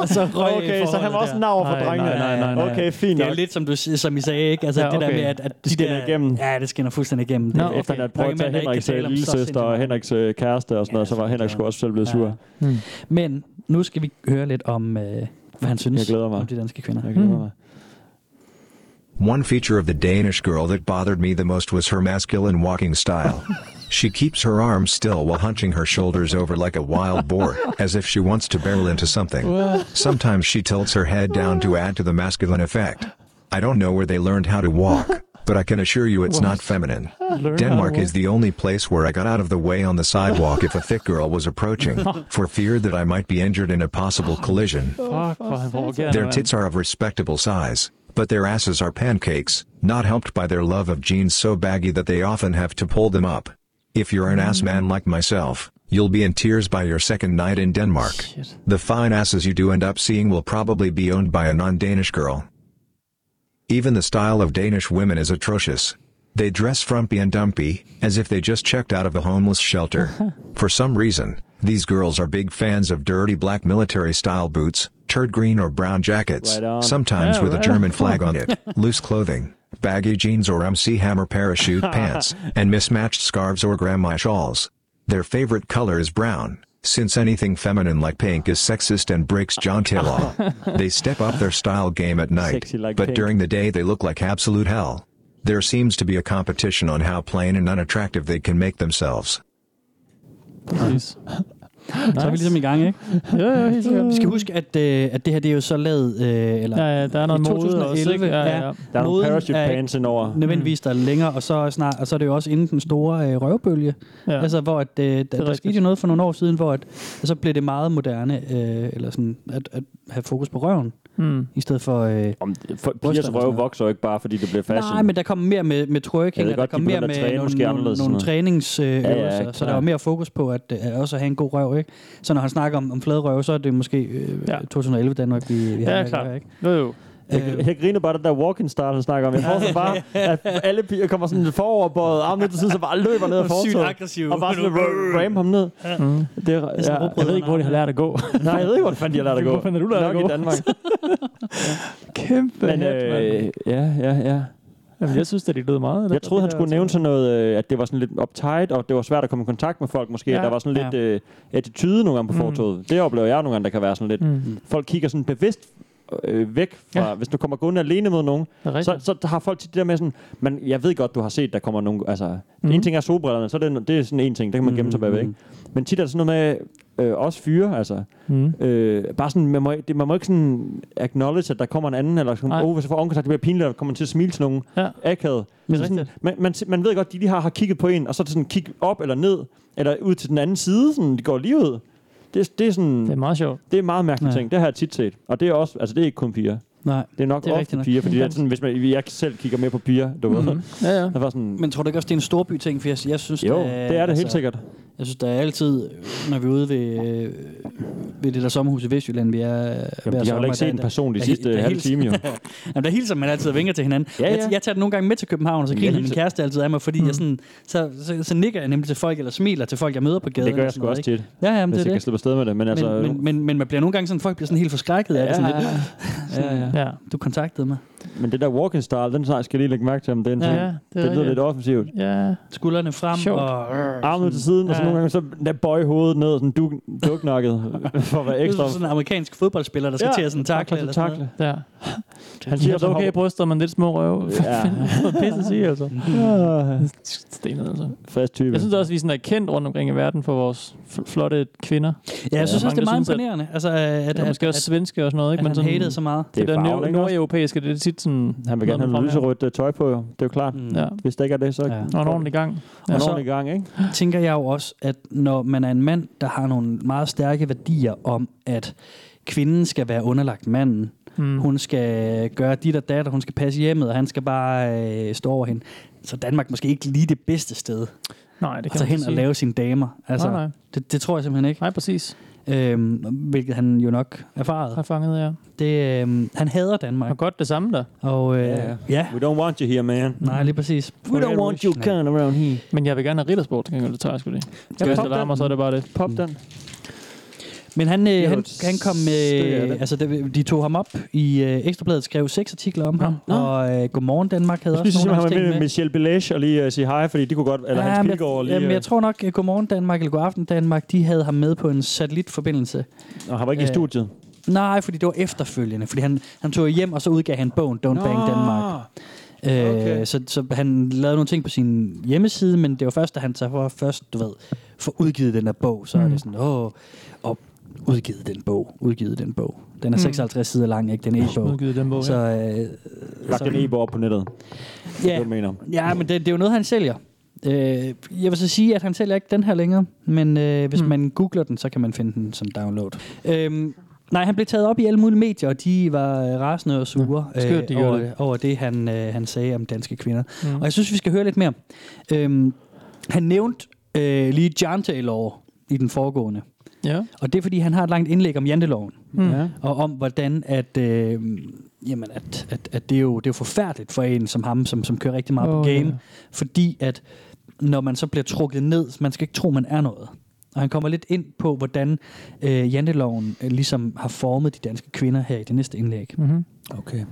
Speaker 3: og så røg
Speaker 2: Okay, så han var
Speaker 3: forholdet
Speaker 2: også
Speaker 3: der.
Speaker 2: en over for
Speaker 4: Nej,
Speaker 2: drengene.
Speaker 4: nej, nej, nej, nej.
Speaker 2: Okay, fint
Speaker 3: Det er
Speaker 2: nok.
Speaker 3: jo lidt som, du, som I sagde, ikke? Altså
Speaker 4: Ja,
Speaker 3: ja, okay. det der
Speaker 4: okay.
Speaker 3: med, at, at de
Speaker 2: Det skinner
Speaker 3: der,
Speaker 2: igennem.
Speaker 3: Ja, det skinner fuldstændig igennem.
Speaker 4: Nå,
Speaker 3: Det-
Speaker 2: Efter han havde
Speaker 3: Der er
Speaker 2: prøvet
Speaker 3: ikke
Speaker 2: at tage
Speaker 3: mænd, der
Speaker 2: Henriks
Speaker 3: ikke kan tale
Speaker 2: øh,
Speaker 3: om så
Speaker 2: lillesøster
Speaker 3: sindssygt
Speaker 2: og
Speaker 3: meget.
Speaker 2: Henriks øh, kæreste og sådan
Speaker 3: Ja,
Speaker 2: noget, så var
Speaker 3: sindssygt
Speaker 2: Henrik sgu
Speaker 3: meget.
Speaker 2: også selv blevet
Speaker 3: Ja.
Speaker 2: sur.
Speaker 4: Mm.
Speaker 3: Men nu skal vi høre lidt om, øh, hvad han synes
Speaker 2: Jeg glæder mig.
Speaker 3: om de danske kvinder.
Speaker 2: Jeg glæder
Speaker 4: Mm.
Speaker 2: mig.
Speaker 5: One feature of the Danish girl that bothered me the most was her masculine walking style. she keeps her arms still while hunching her shoulders over like a wild boar, as if she wants to barrel into something. Sometimes she tilts her head down to add to the masculine effect. I don't know where they learned how to walk, but I can assure you it's not feminine. Denmark is the only place where I got out of the way on the sidewalk if a thick girl was approaching, for fear that I might be injured in a possible collision.
Speaker 4: Fuck, hvor er han provokerende,
Speaker 5: Their
Speaker 4: mand.
Speaker 5: tits are of respectable size, but their asses are pancakes, not helped by their love of jeans so baggy that they often have to pull them up. If you're an ass man like myself, you'll be in tears by your second night in Denmark.
Speaker 4: Shit.
Speaker 5: The fine asses you do end up seeing will probably be owned by a non Danish girl. Even the style of Danish women is atrocious. They dress frumpy and dumpy, as if they just checked out of a homeless shelter. For some reason, these girls are big fans of dirty black military style boots, turd green or brown jackets,
Speaker 2: Right on.
Speaker 5: sometimes
Speaker 4: Yeah,
Speaker 5: with
Speaker 4: right
Speaker 5: a German flag on it, loose clothing, baggy jeans or MC Hammer parachute pants, and mismatched scarves or grandma shawls. Their favorite color is brown, since anything feminine like pink is sexist and breaks John Taylor. they step up their style game at night,
Speaker 2: Sexy like
Speaker 5: but
Speaker 2: pink.
Speaker 5: during the day they look like absolute hell. There seems to be a competition on how plain and unattractive they can make themselves.
Speaker 4: Præcis.
Speaker 3: Så er vi ligesom i gang, ikke?
Speaker 4: Ja, ja, helt sikkert.
Speaker 3: Vi skal huske, at, øh, at det her det er jo så lavet, øh, eller
Speaker 4: Ja, ja, der er noget
Speaker 3: I
Speaker 4: mode også,
Speaker 3: 2011
Speaker 4: ikke? Ja, ja.
Speaker 3: er
Speaker 2: Der er nogle
Speaker 3: moden
Speaker 2: parachute
Speaker 3: er ikke
Speaker 2: pants indover.
Speaker 3: nødvendigvis der er længere, og så, er snart, og så er det jo også inden den store øh, røvbølge. Ja.
Speaker 4: ja.
Speaker 3: Altså, hvor at, øh, der, der
Speaker 4: rigtigt.
Speaker 3: skete jo noget for nogle år siden, hvor at, at så blev det meget moderne, øh, eller sådan, at, at have fokus på røven,
Speaker 4: Mm.
Speaker 3: i stedet for... Øh,
Speaker 2: Om, for,
Speaker 3: Bryster
Speaker 2: pigers
Speaker 3: og
Speaker 2: røv
Speaker 3: sådan
Speaker 2: vokser jo ikke bare, fordi det bliver fashion.
Speaker 3: nej, men der kom mere med, med
Speaker 2: Jeg
Speaker 3: twerking,
Speaker 2: ved
Speaker 3: og der
Speaker 2: godt, de
Speaker 3: kom mere
Speaker 2: begyndte at
Speaker 3: med
Speaker 2: træne
Speaker 3: nogle,
Speaker 2: måske
Speaker 3: nogle,
Speaker 2: anderledes og
Speaker 3: nogle
Speaker 2: sådan
Speaker 3: træningsøvelser,
Speaker 2: Ja,
Speaker 3: øh,
Speaker 2: ja,
Speaker 3: øvelser, så der
Speaker 2: klar.
Speaker 3: var mere fokus på at, øh, også at have en god røv, ikke? Så når han snakker om, om flade røv, så er det måske øh,
Speaker 4: Ja.
Speaker 3: 2011 Danmark, vi, vi har
Speaker 4: Ja,
Speaker 3: med at
Speaker 4: klart.
Speaker 3: gøre, ikke? Øh,
Speaker 4: Jo, jo. øh,
Speaker 2: Jeg, jeg griner bare det der walking start, han snakker om. Jeg forestiller bare, at alle piger kommer sådan foroverbøjet, armen ned til siden, så bare løber ned af fortoget.
Speaker 3: aggressiv.
Speaker 2: Og bare sådan r- ram ham ned.
Speaker 4: Mm.
Speaker 2: Det er,
Speaker 3: sådan
Speaker 2: ja,
Speaker 3: rugbrød.
Speaker 4: Jeg ved ikke, hvor de har lært at gå.
Speaker 2: nej, jeg ved ikke, hvor fanden de har lært at gå.
Speaker 4: Hvor fanden har du lært at
Speaker 2: Nok
Speaker 4: gå?
Speaker 2: i Danmark.
Speaker 4: Kæmpe
Speaker 2: Men,
Speaker 4: hat, mand.
Speaker 2: øh, ja, ja, ja.
Speaker 4: Jamen, jeg synes, at de lød meget.
Speaker 2: Jeg troede, han skulle nævne sådan noget, øh, at det var sådan lidt uptight, og det var svært at komme i kontakt med folk måske.
Speaker 4: Ja.
Speaker 2: Ja, der var sådan
Speaker 3: Ja.
Speaker 2: lidt øh, attitude nogle gange på
Speaker 4: Mm.
Speaker 2: fortoget. Det oplever jeg nogle gange, der kan være sådan lidt.
Speaker 4: Mm.
Speaker 2: Folk kigger sådan bevidst øh, væk fra,
Speaker 4: Ja.
Speaker 2: hvis du kommer gående alene mod nogen,
Speaker 4: Det er
Speaker 2: så,
Speaker 4: rigtigt.
Speaker 2: så har folk tit det der med sådan, men jeg ved godt, du har set, der kommer nogen, altså, mm.
Speaker 4: Mhm.
Speaker 2: en ting er solbrillerne, så er det, det er sådan en ting, der kan man gemme sig bagved, ikke? Men tit er der sådan noget med, øh, også fyre, altså,
Speaker 4: Mm.
Speaker 2: øh, bare sådan, man må, det, man må ikke sådan acknowledge, at der kommer en anden, eller sådan,
Speaker 4: Nej.
Speaker 2: oh, hvis jeg får øjenkontakt, det bliver pinligt, og kommer man til at smile til nogen,
Speaker 4: Ja.
Speaker 2: akavet.
Speaker 4: Det er
Speaker 2: Så sådan,
Speaker 4: rigtigt.
Speaker 2: man, man, man ved godt, de lige har, har kigget på en, og så er det sådan, kig op eller ned, eller ud til den anden side, sådan, det går lige ud. Det, det er sådan,
Speaker 4: Det er meget sjovt.
Speaker 2: det er meget mærkelige
Speaker 3: Ja.
Speaker 2: ting, det har jeg tit set. Og det er også, altså det er ikke kun piger.
Speaker 3: Nej.
Speaker 2: Det er nok
Speaker 3: Det
Speaker 2: det
Speaker 3: er
Speaker 2: er
Speaker 3: rigtigt
Speaker 2: ofte
Speaker 3: nok.
Speaker 2: piger, fordi det er sådan, hvis man, jeg selv kigger mere på piger, du mm-hmm. ved.
Speaker 4: Ja, ja.
Speaker 2: Der var sådan,
Speaker 3: Men tror du ikke også, det er en storby-ting? For jeg, jeg synes,
Speaker 2: jo,
Speaker 3: at,
Speaker 2: det er det helt sikkert.
Speaker 3: øh, altså, Jeg synes, der er altid, når vi er ude ved, øh, ved det der sommerhus i Vestjylland, vi er Jamen,
Speaker 2: har heller ikke set en person de sidste halve time, jo.
Speaker 3: Jamen, der hilser man altid og vinker til hinanden.
Speaker 2: Ja,
Speaker 3: Ja, ja.
Speaker 2: ja.
Speaker 3: Jeg, jeg tager den nogle gange med til København, og så
Speaker 2: Jeg
Speaker 3: griner min
Speaker 2: hilser-
Speaker 3: kæreste altid af mig, fordi mm. jeg sådan, så, så, så, nikker jeg nemlig til folk, eller smiler til folk, jeg møder på gaden.
Speaker 2: Det gør
Speaker 3: eller
Speaker 2: jeg
Speaker 3: sådan
Speaker 2: sgu
Speaker 3: noget,
Speaker 2: også
Speaker 3: ikke?
Speaker 2: tit.
Speaker 3: Ja, ja, men
Speaker 2: Hvis
Speaker 3: det
Speaker 2: jeg kan
Speaker 3: er det.
Speaker 2: slippe afsted med det. Men altså,
Speaker 3: Men, men, men, men, man bliver nogle gange sådan, folk bliver sådan helt forskrækket af det. Sådan lidt,
Speaker 4: ja, ja. ja.
Speaker 3: du kontaktede mig.
Speaker 2: men det der walking style, den sag skal jeg lige lægge mærke til, om det er en
Speaker 4: Ja,
Speaker 2: ting.
Speaker 4: ja, det er
Speaker 2: det lyder
Speaker 4: rigtigt.
Speaker 2: lidt offensivt.
Speaker 4: Ja,
Speaker 3: Skuldrene frem,
Speaker 4: Sjovt.
Speaker 3: og...
Speaker 2: Armet til siden, og så
Speaker 4: Ja.
Speaker 2: nogle gange så der bøje hovedet ned, sådan du, duknakket, for at være
Speaker 3: Det er
Speaker 2: ekstra.
Speaker 3: sådan en amerikansk fodboldspiller, der skal
Speaker 2: Ja,
Speaker 3: til at sådan takle. Eller sådan noget.
Speaker 2: takle.
Speaker 4: ja.
Speaker 2: Han
Speaker 4: De
Speaker 2: siger,
Speaker 4: har
Speaker 2: så
Speaker 4: så okay
Speaker 2: hopper-
Speaker 4: bryster, men lidt små røve.
Speaker 2: Ja,
Speaker 4: Pisse sig, altså.
Speaker 2: Ah,
Speaker 4: Stenet, altså.
Speaker 2: fast type.
Speaker 4: Jeg synes også, vi sådan er kendt rundt omkring i verden for vores fl- flotte kvinder.
Speaker 3: Ja, jeg synes
Speaker 4: Ja.
Speaker 3: også, det er meget
Speaker 4: Mange, der synes,
Speaker 3: imponerende. Altså, at, at,
Speaker 4: Det er måske også
Speaker 3: at,
Speaker 4: svenske og sådan noget,
Speaker 3: at
Speaker 4: ikke?
Speaker 3: han
Speaker 4: sådan,
Speaker 3: hatede så meget.
Speaker 2: det
Speaker 4: det
Speaker 2: er
Speaker 4: der
Speaker 2: farven,
Speaker 4: nord-
Speaker 2: ikke også?
Speaker 4: nordeuropæiske, det er tit sådan...
Speaker 2: Han vil gerne have
Speaker 4: noget
Speaker 2: noget
Speaker 4: frem her.
Speaker 2: lyserødt øh, tøj på, jo. Det er jo klart.
Speaker 3: Mm.
Speaker 4: Ja,
Speaker 2: Hvis det ikke er det, så
Speaker 3: Ja.
Speaker 2: ja.
Speaker 4: og en ordentlig gang.
Speaker 2: ja.
Speaker 3: Og så-
Speaker 2: ordentlig gang, ikke?
Speaker 3: tænker jeg jo også, at når man er en mand, der har nogle meget stærke værdier om, at kvinden skal være underlagt manden,
Speaker 4: Hmm.
Speaker 3: mm. hun skal gøre dit og datter, hun skal passe hjemmet, og han skal bare øh, stå over hende. Så Danmark måske ikke lige det bedste sted
Speaker 4: Nej, det
Speaker 3: at
Speaker 4: kan man
Speaker 3: tage altså hen og
Speaker 4: sige.
Speaker 3: lave sine damer. Altså,
Speaker 4: nej, nej.
Speaker 3: Det, det tror jeg simpelthen ikke.
Speaker 4: nej, præcis.
Speaker 3: Øhm, hvilket han jo nok erfarede.
Speaker 4: Har fanget, ja.
Speaker 3: Det, øhm, han hader
Speaker 4: Og
Speaker 3: Danmark.
Speaker 4: godt det samme der.
Speaker 3: Og øh,
Speaker 2: Ja, ja.
Speaker 3: ja, ja.
Speaker 2: We don't want you here, man.
Speaker 3: Nej, lige præcis.
Speaker 2: We don't want you
Speaker 3: Nej.
Speaker 2: coming around here.
Speaker 4: Men jeg vil gerne have riddersport, til gengæld, det tager jeg sgu lige. Skal
Speaker 2: pop
Speaker 4: jeg det varmer,
Speaker 2: den.
Speaker 4: så er det bare det.
Speaker 2: Pop den.
Speaker 3: Men han,
Speaker 2: er jo
Speaker 3: øh, han,
Speaker 2: et
Speaker 3: han kom
Speaker 2: stykke af
Speaker 3: med...
Speaker 2: det.
Speaker 3: Øh, altså, det- de tog ham op i øh, Ekstrabladet, skrev seks artikler om ham.
Speaker 2: Nå.
Speaker 3: Og øh, Godmorgen Danmark havde
Speaker 2: Jeg synes,
Speaker 3: også
Speaker 2: at
Speaker 3: nogle af
Speaker 2: han
Speaker 3: hans
Speaker 2: var
Speaker 3: ting
Speaker 2: med
Speaker 3: med.
Speaker 2: Michelle Belage og lige øh, sige hej, fordi de kunne godt, eller
Speaker 3: Ja,
Speaker 2: Hans
Speaker 3: men-
Speaker 2: Pilgaard og lige,
Speaker 3: Jamen, jeg
Speaker 2: øh,
Speaker 3: tror nok, at Godmorgen Danmark eller Godaften Danmark, de havde ham med på en satellitforbindelse.
Speaker 2: og han var ikke i
Speaker 3: øh,
Speaker 2: studiet.
Speaker 3: Nej, fordi det var efterfølgende. Fordi han, han tog hjem, og så udgav han bogen Don't Bang Danmark. Øh,
Speaker 2: okay.
Speaker 3: så, så han lavede nogle ting på sin hjemmeside, men det var først, da han så var først, du ved, får udgivet den her bog, så mm. er det sådan, åh, og udgivet den bog, udgivet den bog. Den er 56 sider lang, ikke? Den er e-bog.
Speaker 4: Udgivet den bog,
Speaker 3: Så,
Speaker 4: ja.
Speaker 3: øh,
Speaker 2: Lagt en e-bog op på nettet. Det er
Speaker 3: ja,
Speaker 2: det, du mener.
Speaker 3: ja, men det, det er jo noget, han sælger. Øh, jeg vil så sige, at han sælger ikke den her længere, men øh, hvis
Speaker 4: Mm.
Speaker 3: mm. man googler den, så kan man finde den som download. Øh, nej, han blev taget op i alle mulige medier, og de var øh, rasende og sure
Speaker 4: Ja, skørt, de
Speaker 3: øh, over,
Speaker 4: gjorde det.
Speaker 3: over det, han, øh, han sagde om danske kvinder.
Speaker 4: Mm.
Speaker 3: Og jeg synes, vi skal høre lidt mere. Øh, han nævnte øh, lige Jantelov i den foregående,
Speaker 4: Ja.
Speaker 3: og det er, fordi han har et langt indlæg om janteloven
Speaker 4: Mm.
Speaker 2: Ja.
Speaker 3: og om hvordan at, øh, jamen at, at, at det, er jo, det er jo forfærdeligt for en som ham, som, som kører rigtig meget oh,
Speaker 4: Åh,
Speaker 3: på game,
Speaker 4: ja.
Speaker 3: fordi at når man så bliver trukket ned, man skal ikke tro, man er noget. Og han kommer lidt ind på, hvordan øh, janteloven øh, ligesom har formet de danske kvinder her i det næste indlæg.
Speaker 4: Mm-hmm.
Speaker 3: Okay.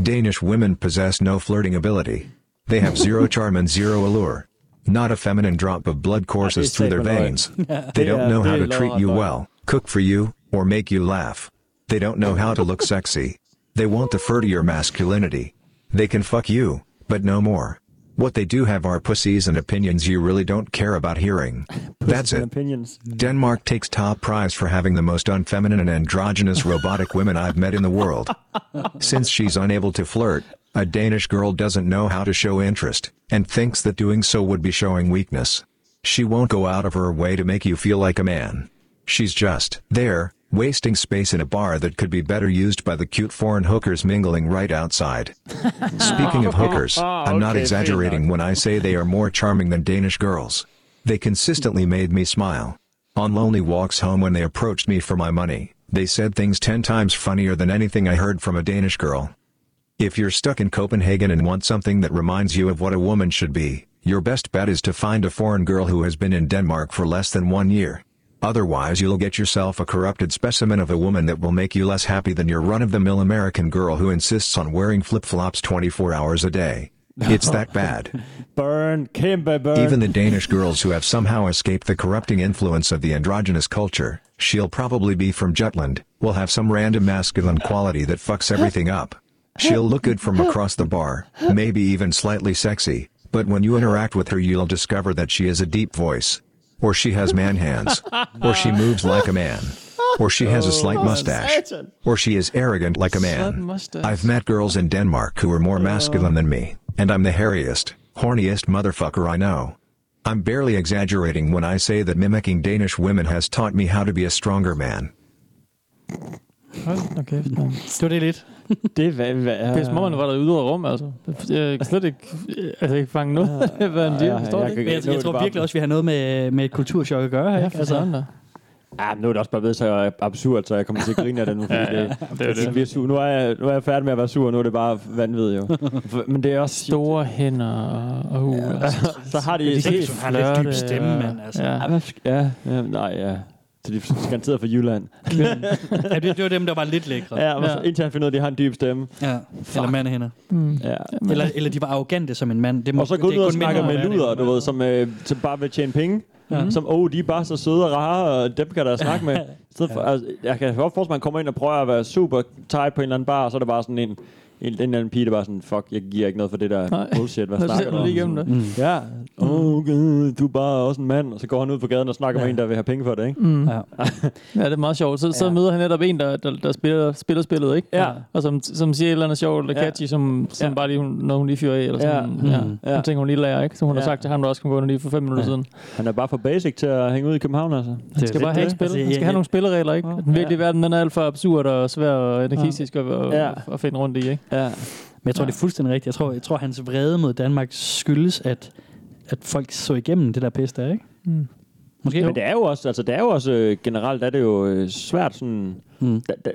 Speaker 5: Danish women possess no flirting ability. They have zero charm and zero allure. Not a feminine drop of blood courses
Speaker 2: they
Speaker 5: through
Speaker 2: say
Speaker 5: their
Speaker 2: below.
Speaker 5: veins. They don't know how to treat you well, cook for you, or make you laugh. They don't know how to look sexy. They won't defer to your masculinity. They can fuck you, but no more. What they do have are pussies and opinions you really don't care about hearing. That's it.
Speaker 2: Opinions.
Speaker 5: Denmark takes top prize for having the most unfeminine and androgynous robotic women I've met in the world. Since she's unable to flirt, a Danish girl doesn't know how to show interest, and thinks that doing so would be showing weakness. She won't go out of her way to make you feel like a man. She's just there, wasting space in a bar that could be better used by the cute foreign hookers mingling right outside. Speaking of hookers, I'm not
Speaker 2: Ah, okay, fair
Speaker 5: exaggerating when I say they are more charming than Danish girls. They consistently made me smile. On lonely walks home when they approached me for my money, they said things 10 times funnier than anything I heard from a Danish girl. If you're stuck in Copenhagen and want something that reminds you of what a woman should be, your best bet is to find a foreign girl who has been in Denmark for less than one year. Otherwise, you'll get yourself a corrupted specimen of a woman that will make you less happy than your run of the mill American girl who insists on wearing flip flops 24 hours a day. It's that bad.
Speaker 2: Burn. Kæmpe burn.
Speaker 5: Even the Danish girls who have somehow escaped the corrupting influence of the androgynous culture, she'll probably be from Jutland, will have some random masculine quality that fucks everything up. She'll look good from across the bar, maybe even slightly sexy, but when you interact with her, you'll discover that she has a deep voice. Or she has man hands. Or she moves like a man. Or she has a slight mustache. Or she is arrogant like a
Speaker 4: Slight
Speaker 5: man.
Speaker 4: mustache.
Speaker 5: I've met girls in Denmark who are more masculine than me, and I'm the hairiest, horniest motherfucker I know. I'm barely exaggerating when I say that mimicking Danish women has taught me how to be a stronger man.
Speaker 4: Hold da kæft, man.
Speaker 3: Det var det lidt.
Speaker 2: det hvad, hvad,
Speaker 4: Pisse mormor var der i ydre rum, altså. Jeg kan slet ikke, altså, jeg kan ikke fange noget af, hvad han
Speaker 2: Ja, ja,
Speaker 4: siger. Forstår
Speaker 2: jeg
Speaker 4: det
Speaker 2: kan-
Speaker 4: ikke?
Speaker 3: Men jeg, jeg
Speaker 2: det
Speaker 3: tror
Speaker 2: bare-
Speaker 3: virkelig også, vi har noget med, med et kulturschok at gøre.
Speaker 4: Ja,
Speaker 3: Ja,
Speaker 4: for
Speaker 3: altså,
Speaker 4: søren da.
Speaker 2: Ja, Ah, men nu er det også bare blevet så absurd, så jeg kommer til at grine af det nu. Fordi ja, det, det, er det. Vi er sur. Nu, er jeg, nu er jeg færdig med at være sur, og nu er det bare vanvittigt jo. Men det er også...
Speaker 4: Store hænder og uh, ja. altså,
Speaker 2: Så har de...
Speaker 3: det er
Speaker 2: helt-
Speaker 3: ikke, har lidt dyb stemme, mand. Altså.
Speaker 4: øh, Ja.
Speaker 2: Ja, hvad sk- ja, ja, nej, ja. Så de er garanteret fra Jylland.
Speaker 3: Ja, det, det var dem, der var lidt lækre.
Speaker 2: Ja, og så indtil han finder ud af, at de har en dyb stemme.
Speaker 3: Ja. Eller mand hænder.
Speaker 2: Ja.
Speaker 3: Eller, eller de var arrogante som en mand. Det må,
Speaker 2: Og så gå
Speaker 3: det er
Speaker 2: ud og
Speaker 3: kun
Speaker 2: snakke
Speaker 3: mænd,
Speaker 2: med
Speaker 3: der er
Speaker 2: luder,
Speaker 3: det.
Speaker 2: du ved, som, øh, som bare vil tjene penge.
Speaker 3: Ja.
Speaker 2: Ja. Som, åh, oh, de er bare så søde og rare, og dem kan der snakke med. I stedet For, altså, jeg kan godt forestille mig, at man kommer ind og prøver at være super tight på en eller anden bar, og så er det bare sådan en, en, en eller anden pige, der bare sådan, fuck, jeg giver ikke noget for det der
Speaker 4: Nej.
Speaker 2: bullshit, hvad
Speaker 4: Lad os
Speaker 2: snakker
Speaker 4: se,
Speaker 2: du
Speaker 4: om
Speaker 2: om?
Speaker 4: lige igennem
Speaker 2: Sådan,
Speaker 4: det.
Speaker 2: Ja, oh, okay, du er bare også en mand, og så går han ud på gaden og snakker ja. med en, der vil have penge for det, ikke?
Speaker 4: Mm.
Speaker 3: Ja.
Speaker 4: Ja, det er meget sjovt. Så, så
Speaker 3: Ja.
Speaker 4: møder han netop en, der, der, der spiller, spiller spillet, ikke?
Speaker 2: Ja.
Speaker 4: Og som, som siger et eller andet sjovt eller
Speaker 2: Ja.
Speaker 4: catchy, som, som
Speaker 2: Ja.
Speaker 4: bare lige, hun, når hun lige fyrer af, eller sådan.
Speaker 2: Ja.
Speaker 4: Ja.
Speaker 3: Mm.
Speaker 4: Ja. Nogle ting, hun lige lærer, ikke? Som hun
Speaker 2: Ja.
Speaker 4: har sagt til ham, der også kom gående lige for fem minutter
Speaker 3: Ja.
Speaker 4: siden.
Speaker 2: Han er bare for basic til at hænge ud i København, altså.
Speaker 3: Det er
Speaker 4: Han skal
Speaker 3: lidt
Speaker 4: bare have et
Speaker 3: det.
Speaker 4: spil.
Speaker 3: Altså,
Speaker 4: han
Speaker 3: jeg-
Speaker 4: skal have nogle spilleregler, ikke? Den virkelige verden, den er alt for absurd og svær og anarkistisk at, at,
Speaker 2: Ja.
Speaker 4: at finde rundt i, ikke?
Speaker 2: Ja.
Speaker 3: Men jeg tror, det er fuldstændig rigtigt. Jeg tror, jeg tror hans vrede mod Danmark skyldes, at, at folk så igennem det der pis der, ikke?
Speaker 4: Mm.
Speaker 3: Måske?
Speaker 2: Men det er jo også, altså det er jo også, øh, generelt er det jo øh, svært sådan,
Speaker 3: Mm.
Speaker 2: mm. da, da,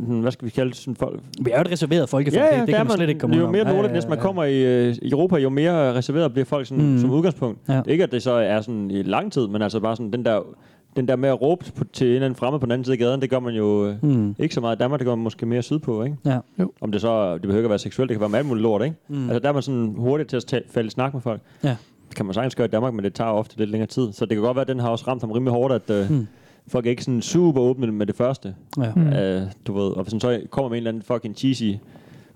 Speaker 2: sådan, hvad skal vi kalde det, sådan folk,
Speaker 3: Vi er jo et reserveret folkefærd. det, det
Speaker 2: der
Speaker 3: kan
Speaker 2: er
Speaker 3: man slet ikke komme
Speaker 2: Jo
Speaker 3: udenom.
Speaker 2: mere
Speaker 3: Ja, ja,
Speaker 2: nordligt næsten man
Speaker 3: ja.
Speaker 2: kommer i øh, Europa, jo mere reserveret bliver folk sådan,
Speaker 3: Mm.
Speaker 2: mm. som udgangspunkt.
Speaker 3: Ja.
Speaker 2: Ja. Ikke at det så er sådan i lang tid, men altså bare sådan den der, den der med at råbe på, til en eller anden fremme på den anden side af gaden, det gør man jo øh,
Speaker 3: Mm.
Speaker 2: ikke så meget i Danmark, det gør man måske mere sydpå, ikke?
Speaker 3: Ja.
Speaker 2: Om det så, det behøver ikke at være seksuelt, det kan være med alt muligt lort, ikke?
Speaker 3: Mm.
Speaker 2: Mm. Altså der er man sådan hurtigt til at ta- falde i snak med folk.
Speaker 3: Ja.
Speaker 2: Det kan man sagtens gøre i Danmark, men det tager ofte lidt længere tid. Så det kan godt være, at den har også ramt ham rimelig hårdt, at øh,
Speaker 3: Mm.
Speaker 2: mm. folk er ikke sådan super åbne med det første.
Speaker 3: Ja.
Speaker 4: Mm.
Speaker 2: Øh, du ved, og hvis han så kommer med en eller anden fucking cheesy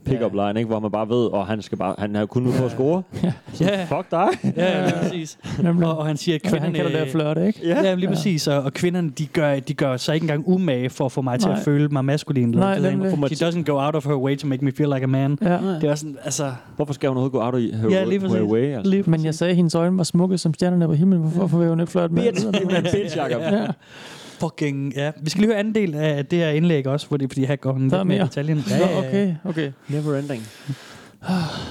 Speaker 2: pickup line, ikke, hvor man bare ved, og han skal bare, han har kun ud på at score. Så
Speaker 3: Ja.
Speaker 2: fuck dig.
Speaker 3: Ja, ja, præcis.
Speaker 4: Nemlig.
Speaker 3: Og, og han siger, at
Speaker 4: Kvinderne, han
Speaker 3: kvinderne...
Speaker 4: kalder det at flirte, ikke?
Speaker 3: Ja, ja lige præcis. Og, og kvinderne, de gør, de gør sig ikke engang umage for at få mig til
Speaker 4: Nej.
Speaker 3: at føle mig maskulin. eller
Speaker 4: Nej,
Speaker 3: noget.
Speaker 4: nemlig.
Speaker 3: She doesn't go out of her way to make me feel like a man.
Speaker 4: Ja.
Speaker 3: Det er også sådan, altså...
Speaker 2: Hvorfor skal hun overhovedet gå out i her,
Speaker 3: Ja, lige præcis.
Speaker 2: her way? Altså?
Speaker 3: Lige
Speaker 4: Men jeg sagde, at hendes øjne var smukke som stjernerne på himlen. Hvorfor får hun ikke flirte med?
Speaker 2: Bitch, hun er en bitch, Jacob.
Speaker 4: Ja.
Speaker 3: Fucking, ja. Vi skal lige høre anden del af det her indlæg også, fordi, fordi her går han
Speaker 4: Der
Speaker 3: lidt
Speaker 4: er
Speaker 3: mere i
Speaker 4: mere.
Speaker 3: detaljen. Ja,
Speaker 4: Nå,
Speaker 3: ja, ja.
Speaker 4: okay, okay.
Speaker 2: Never ending.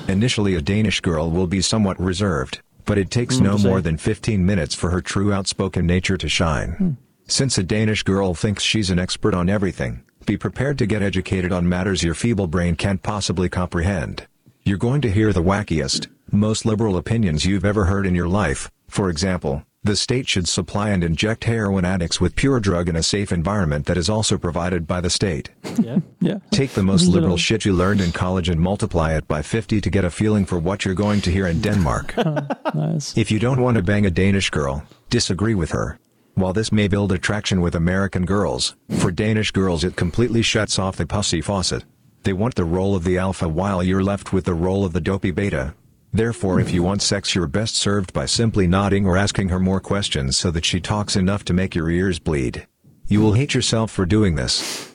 Speaker 5: Initially, a Danish girl will be somewhat reserved, but it takes no more than 15 minutes for her true outspoken nature to shine. Since a Danish girl thinks she's an expert on everything, be prepared to get educated on matters your feeble brain can't possibly comprehend. You're going to hear the wackiest, most liberal opinions you've ever heard in your life. For example, the state should supply and inject heroin addicts with pure drug in a safe environment that is also provided by the state.
Speaker 4: Ja.
Speaker 5: Take the most liberal shit you learned in college and multiply it by 50 to get a feeling for what you're going to hear in Denmark.
Speaker 4: Nice.
Speaker 5: if you don't want to bang a Danish girl, disagree with her. While this may build attraction with American girls, for Danish girls it completely shuts off the pussy faucet. They want the role of the alpha while you're left with the role of the dopey beta. Therefore, if you want sex, you're best served by simply nodding or asking her more questions so that she talks enough to make your ears bleed. You will hate yourself for doing this.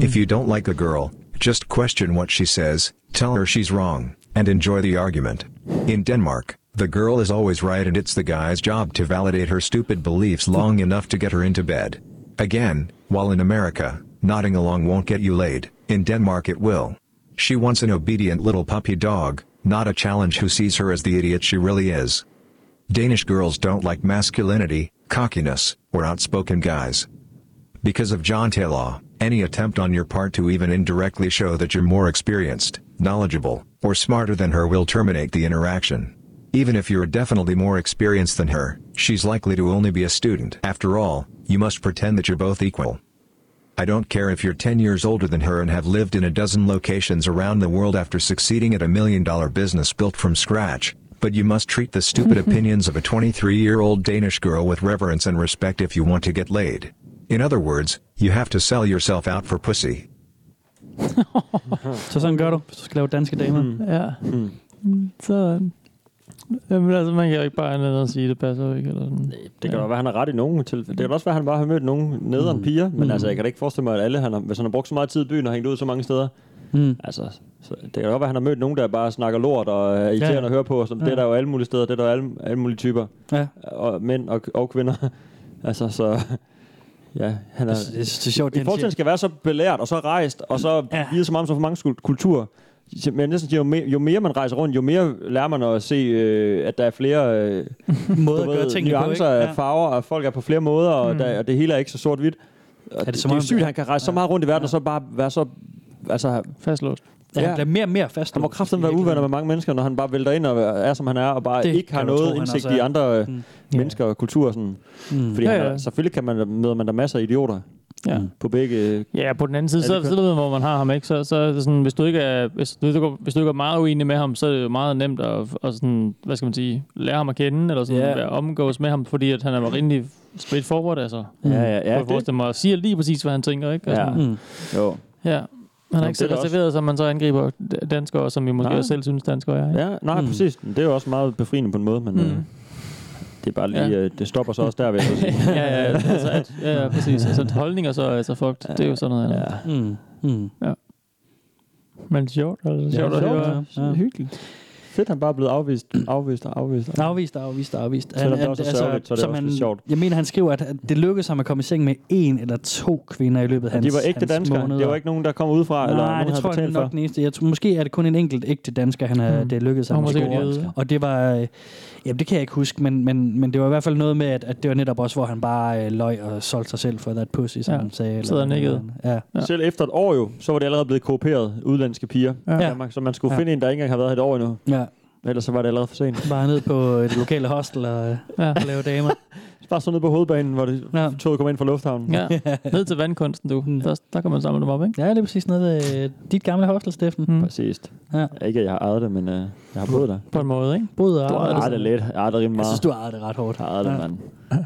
Speaker 5: If you don't like a girl, just question what she says, tell her she's wrong, and enjoy the argument. In Denmark, the girl is always right and it's the guy's job to validate her stupid beliefs long enough to get her into bed. Again, while in America, nodding along won't get you laid, in Denmark it will. She wants an obedient little puppy dog, not a challenge who sees her as the idiot she really is. Danish girls don't like masculinity, cockiness, or outspoken guys. Because of John Law, any attempt on your part to even indirectly show that you're more experienced, knowledgeable, or smarter than her will terminate the interaction. Even if you're definitely more experienced than her, she's likely to only be a student. After all, you must pretend that you're both equal. I don't care if you're 10 years older than her and have lived in a dozen locations around the world after succeeding at a million dollar business built from scratch, but you must treat the stupid opinions of a 23 year old Danish girl with reverence and respect if you want to get laid. In other words, you have to sell yourself out for pussy.
Speaker 3: Så sådan gør du, hvis du skal lave danske damer. Mm.
Speaker 4: Ja.
Speaker 2: Hmm.
Speaker 4: Sådan. Jamen altså, man kan jo ikke bare andet end at sige, det passer jo ikke. Eller sådan.
Speaker 2: Det kan ja. være, han har ret i nogen tilfælde. Det kan også være, han bare har mødt nogen
Speaker 3: Mm.
Speaker 2: nederen piger, men altså, jeg kan da ikke forestille mig, at alle, han har, hvis han har brugt så meget tid i byen og hængt ud så mange steder,
Speaker 3: Mm.
Speaker 2: altså, så det kan godt være, han har mødt nogen, der bare snakker lort og er irriterende
Speaker 3: Ja, ja.
Speaker 2: ja. at høre på. Som, Det er der jo alle mulige steder, det er der jo alle, alle mulige typer,
Speaker 3: Ja.
Speaker 2: og mænd og, og kvinder. altså, så Ja, han er...
Speaker 3: Det, det, det er sjovt,
Speaker 2: I
Speaker 3: det
Speaker 2: fortiden
Speaker 3: han siger.
Speaker 2: skal være så belært, og så rejst, og så
Speaker 3: Ja.
Speaker 2: ja. vide så meget om så mange skul- kulturer. Så- Men jeg næsten siger, jo, me- jo mere man rejser rundt, jo mere lærer man at se, øh, at der er flere øh,
Speaker 3: Måde at
Speaker 2: du
Speaker 3: gøre
Speaker 2: ved,
Speaker 3: tingene på,
Speaker 2: nuancer
Speaker 3: ikke?
Speaker 2: af
Speaker 3: Ja.
Speaker 2: farver, og folk er på flere måder, og, mm. der, og det hele er ikke så sort-hvidt. Og
Speaker 3: det
Speaker 2: det,
Speaker 3: som
Speaker 2: det er
Speaker 3: om-
Speaker 2: sygt, at han kan rejse ja. så meget rundt i verden, ja. og så bare være så... Altså,
Speaker 4: Fastlåst.
Speaker 3: Ja,
Speaker 2: Ja.
Speaker 3: han bliver mere og mere fast.
Speaker 2: han må kraften være uvenner med mange mennesker, når han bare vælter ind og er, som han er, og bare
Speaker 3: Det
Speaker 2: det ikke har
Speaker 3: kan du tro,
Speaker 2: noget
Speaker 3: han
Speaker 2: indsigt
Speaker 3: også er.
Speaker 2: i andre øh,
Speaker 3: Mm.
Speaker 2: mennesker og kulturer. Sådan.
Speaker 3: Mm.
Speaker 2: Fordi
Speaker 4: Ja,
Speaker 2: ja, ja. Han
Speaker 4: ja.
Speaker 2: er, selvfølgelig kan man, møder man der masser af idioter
Speaker 4: Ja.
Speaker 2: på begge
Speaker 4: Ja, på den anden side,
Speaker 2: Ja,
Speaker 4: så,
Speaker 2: det
Speaker 4: så ved man, hvor man har ham, ikke? Så, så er det sådan, hvis du ikke er, hvis du, ikke er- hvis du ikke er meget uenig med ham, så er det jo meget nemt at, at sådan, hvad skal man sige, lære ham at kende, eller sådan,
Speaker 2: Ja.
Speaker 4: yeah. omgås med ham, fordi at han er rimelig straight forward, altså.
Speaker 2: Ja, ja,
Speaker 4: Ja,
Speaker 2: ja.
Speaker 4: jeg forestille mig, og siger lige præcis, hvad han tænker, ikke? Og
Speaker 2: Ja.
Speaker 4: sådan,
Speaker 3: Mm.
Speaker 2: jo.
Speaker 4: ja. Han
Speaker 2: Nå,
Speaker 4: er
Speaker 2: det
Speaker 4: ikke så
Speaker 2: er da
Speaker 4: reserveret, som man så angriber d- danskere, som vi måske
Speaker 2: Nej.
Speaker 4: også selv synes, danskere er. Ikke?
Speaker 2: Ja, nej,
Speaker 3: Mm.
Speaker 2: mm. præcis. Det er jo også meget befriende på en måde, men
Speaker 4: Mm.
Speaker 2: mm. øh, det er bare lige,
Speaker 4: Ja.
Speaker 2: ja. øh, det stopper så også der, vil jeg så sige.
Speaker 4: ja, ja, altså, at, ja, ja, præcis. Altså, at holdninger så er altså fucked. Det er jo sådan noget andet. Ja.
Speaker 2: Ja.
Speaker 3: Mm. Mm.
Speaker 4: Men sjovt, altså, sjovt, ja, sjovt
Speaker 3: sjovt,
Speaker 4: det var
Speaker 3: ja. Ja.
Speaker 4: ja. hyggeligt.
Speaker 2: Fedt, han bare er blevet afvist, afvist og afvist.
Speaker 3: Afvist, afvist, afvist.
Speaker 2: Selvom det også er sørgeligt, så er det
Speaker 3: som
Speaker 2: også
Speaker 3: han,
Speaker 2: lidt sjovt.
Speaker 3: Jeg mener, han skriver, at at det lykkedes ham at komme i seng med en eller to kvinder i løbet af
Speaker 2: Og
Speaker 3: hans
Speaker 2: de var ægte
Speaker 3: hans
Speaker 2: danskere.
Speaker 3: måneder.
Speaker 2: Det var ikke nogen, der kom udefra, eller
Speaker 3: Nej,
Speaker 2: nogen
Speaker 3: det
Speaker 2: havde
Speaker 3: tror jeg det er
Speaker 2: betalt
Speaker 3: nok
Speaker 2: for.
Speaker 3: den eneste. Jeg tror, måske er det kun en enkelt ægte dansker, han er,
Speaker 4: Mm.
Speaker 3: det lykkedes
Speaker 4: Og
Speaker 3: ham
Speaker 4: hun
Speaker 3: at
Speaker 4: var sikkert
Speaker 3: score.
Speaker 4: jøde.
Speaker 3: Og det var, øh, jamen det kan jeg ikke huske, men, men, men det var i hvert fald noget med, at, at det var netop også, hvor han bare øh, løg og solgte sig selv for that pussy, som
Speaker 4: Ja.
Speaker 3: han sagde.
Speaker 4: Sidder og nikkede.
Speaker 3: Ja.
Speaker 4: Ja.
Speaker 2: Selv efter et år jo, så var det allerede blevet kopieret udlandske piger.
Speaker 4: Ja.
Speaker 2: i Danmark, så man skulle
Speaker 3: Ja.
Speaker 2: finde en, der ikke engang har været her et år endnu.
Speaker 3: ja.
Speaker 2: Ellers så var det allerede for sent.
Speaker 3: Bare ned på et lokale hostel og øh,
Speaker 4: Ja.
Speaker 3: lave damer.
Speaker 2: Bare så nede på hovedbanen, hvor det,
Speaker 3: Ja.
Speaker 2: toget kom ind fra lufthavnen.
Speaker 4: Ja. Ned til vandkunsten, du.
Speaker 3: Mm.
Speaker 4: Der, der kan man samle dem op, ikke?
Speaker 3: Ja, det er præcis noget ved øh, dit gamle hostel, Steffen.
Speaker 4: Mm.
Speaker 2: Præcis.
Speaker 3: Ja.
Speaker 2: Ikke, at jeg har ejet det, men øh, jeg har boet der.
Speaker 4: På en måde, ikke?
Speaker 3: Både og
Speaker 4: Du
Speaker 2: Jeg
Speaker 4: ejede
Speaker 3: arbejde.
Speaker 4: det
Speaker 2: ejer det lidt. Jeg ejer det rimelig
Speaker 3: Jeg synes,
Speaker 2: meget.
Speaker 3: Altså, du ejede det ret hårdt.
Speaker 2: Jeg ejer det,
Speaker 3: Ja.